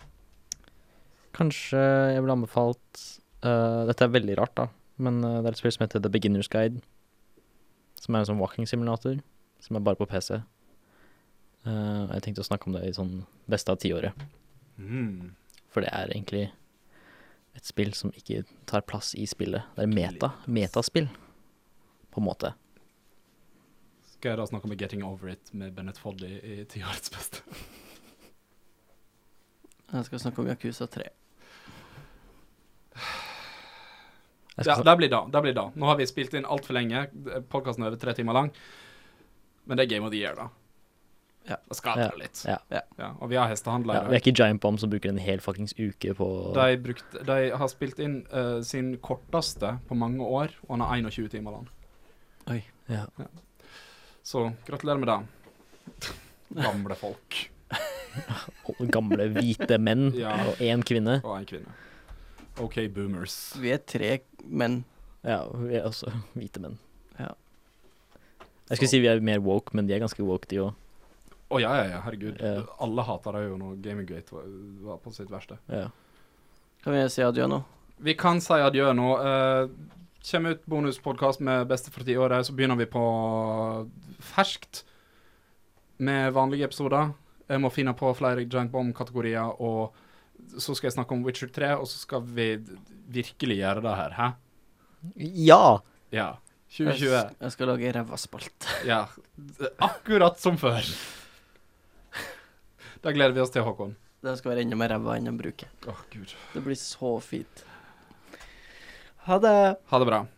A: kanskje jeg ville anbefalt eh, Dette er veldig rart, da, men eh, det er et spill som heter The Beginner's Guide. Som er en sånn walking simulator, som er bare på PC. Eh, og jeg tenkte å snakke om det i sånn beste av tiåret.
B: Mm.
A: For det er egentlig et spill som ikke tar plass i spillet. Det er meta. Metaspill, på en måte.
B: Skal jeg da snakke om Getting Over It med Bennett Foddy i tiårets beste?
C: Jeg skal snakke om Yakuza 3.
A: Jeg
B: Ja,
A: skal
B: det blir da, det blir da. Nå har vi spilt inn altfor lenge, podkasten er over tre timer lang. Men det er Game of the Year, da.
C: Ja.
B: Det skal ta litt.
A: Ja.
C: Ja.
B: Og vi har hestehandla
A: ja,
B: i
A: vi er
B: dag.
A: ikke Giant Bomb som bruker en hel fuckings uke på
B: De, brukte, de har spilt inn eh, sin korteste på mange år, og han har 21 timer lang.
A: ja.
B: Så gratulerer med det. Gamle folk
A: Og Gamle hvite menn
B: Ja.
A: og én kvinne.
B: og ei kvinne. OK, boomers.
C: Vi er tre menn.
A: Ja, vi er også hvite menn.
C: Ja.
A: Jeg skulle
B: Så-
A: si vi er mer woke, men de er ganske woke, de òg.
B: Å ja, ja, ja, herregud.
A: Ja.
B: Alle hata det jo når Gamingate var, var på sitt verste.
A: Ja.
C: Kan vi si adjø nå?
B: Vi kan si adjø nå. Eh, Kjem ut bonuspodkast med Beste for tiåret, så begynner vi på ferskt med vanlige episoder. Jeg må finne på flere Giant Bomb-kategorier, og så skal jeg snakke om Witcher 3, og så skal vi virkelig gjøre det her, hæ?
A: ja!
B: Ja.
C: Jeg,
B: 2020.
C: s- jeg skal lage rævaspalt.
B: Ja. Akkurat som før. Da gleder vi oss til, Håkon.
C: Det skal være enda mer ræva enn jeg bruker.
B: Åh, gud.
C: Det blir så fint. Ha det.
B: Ha det bra.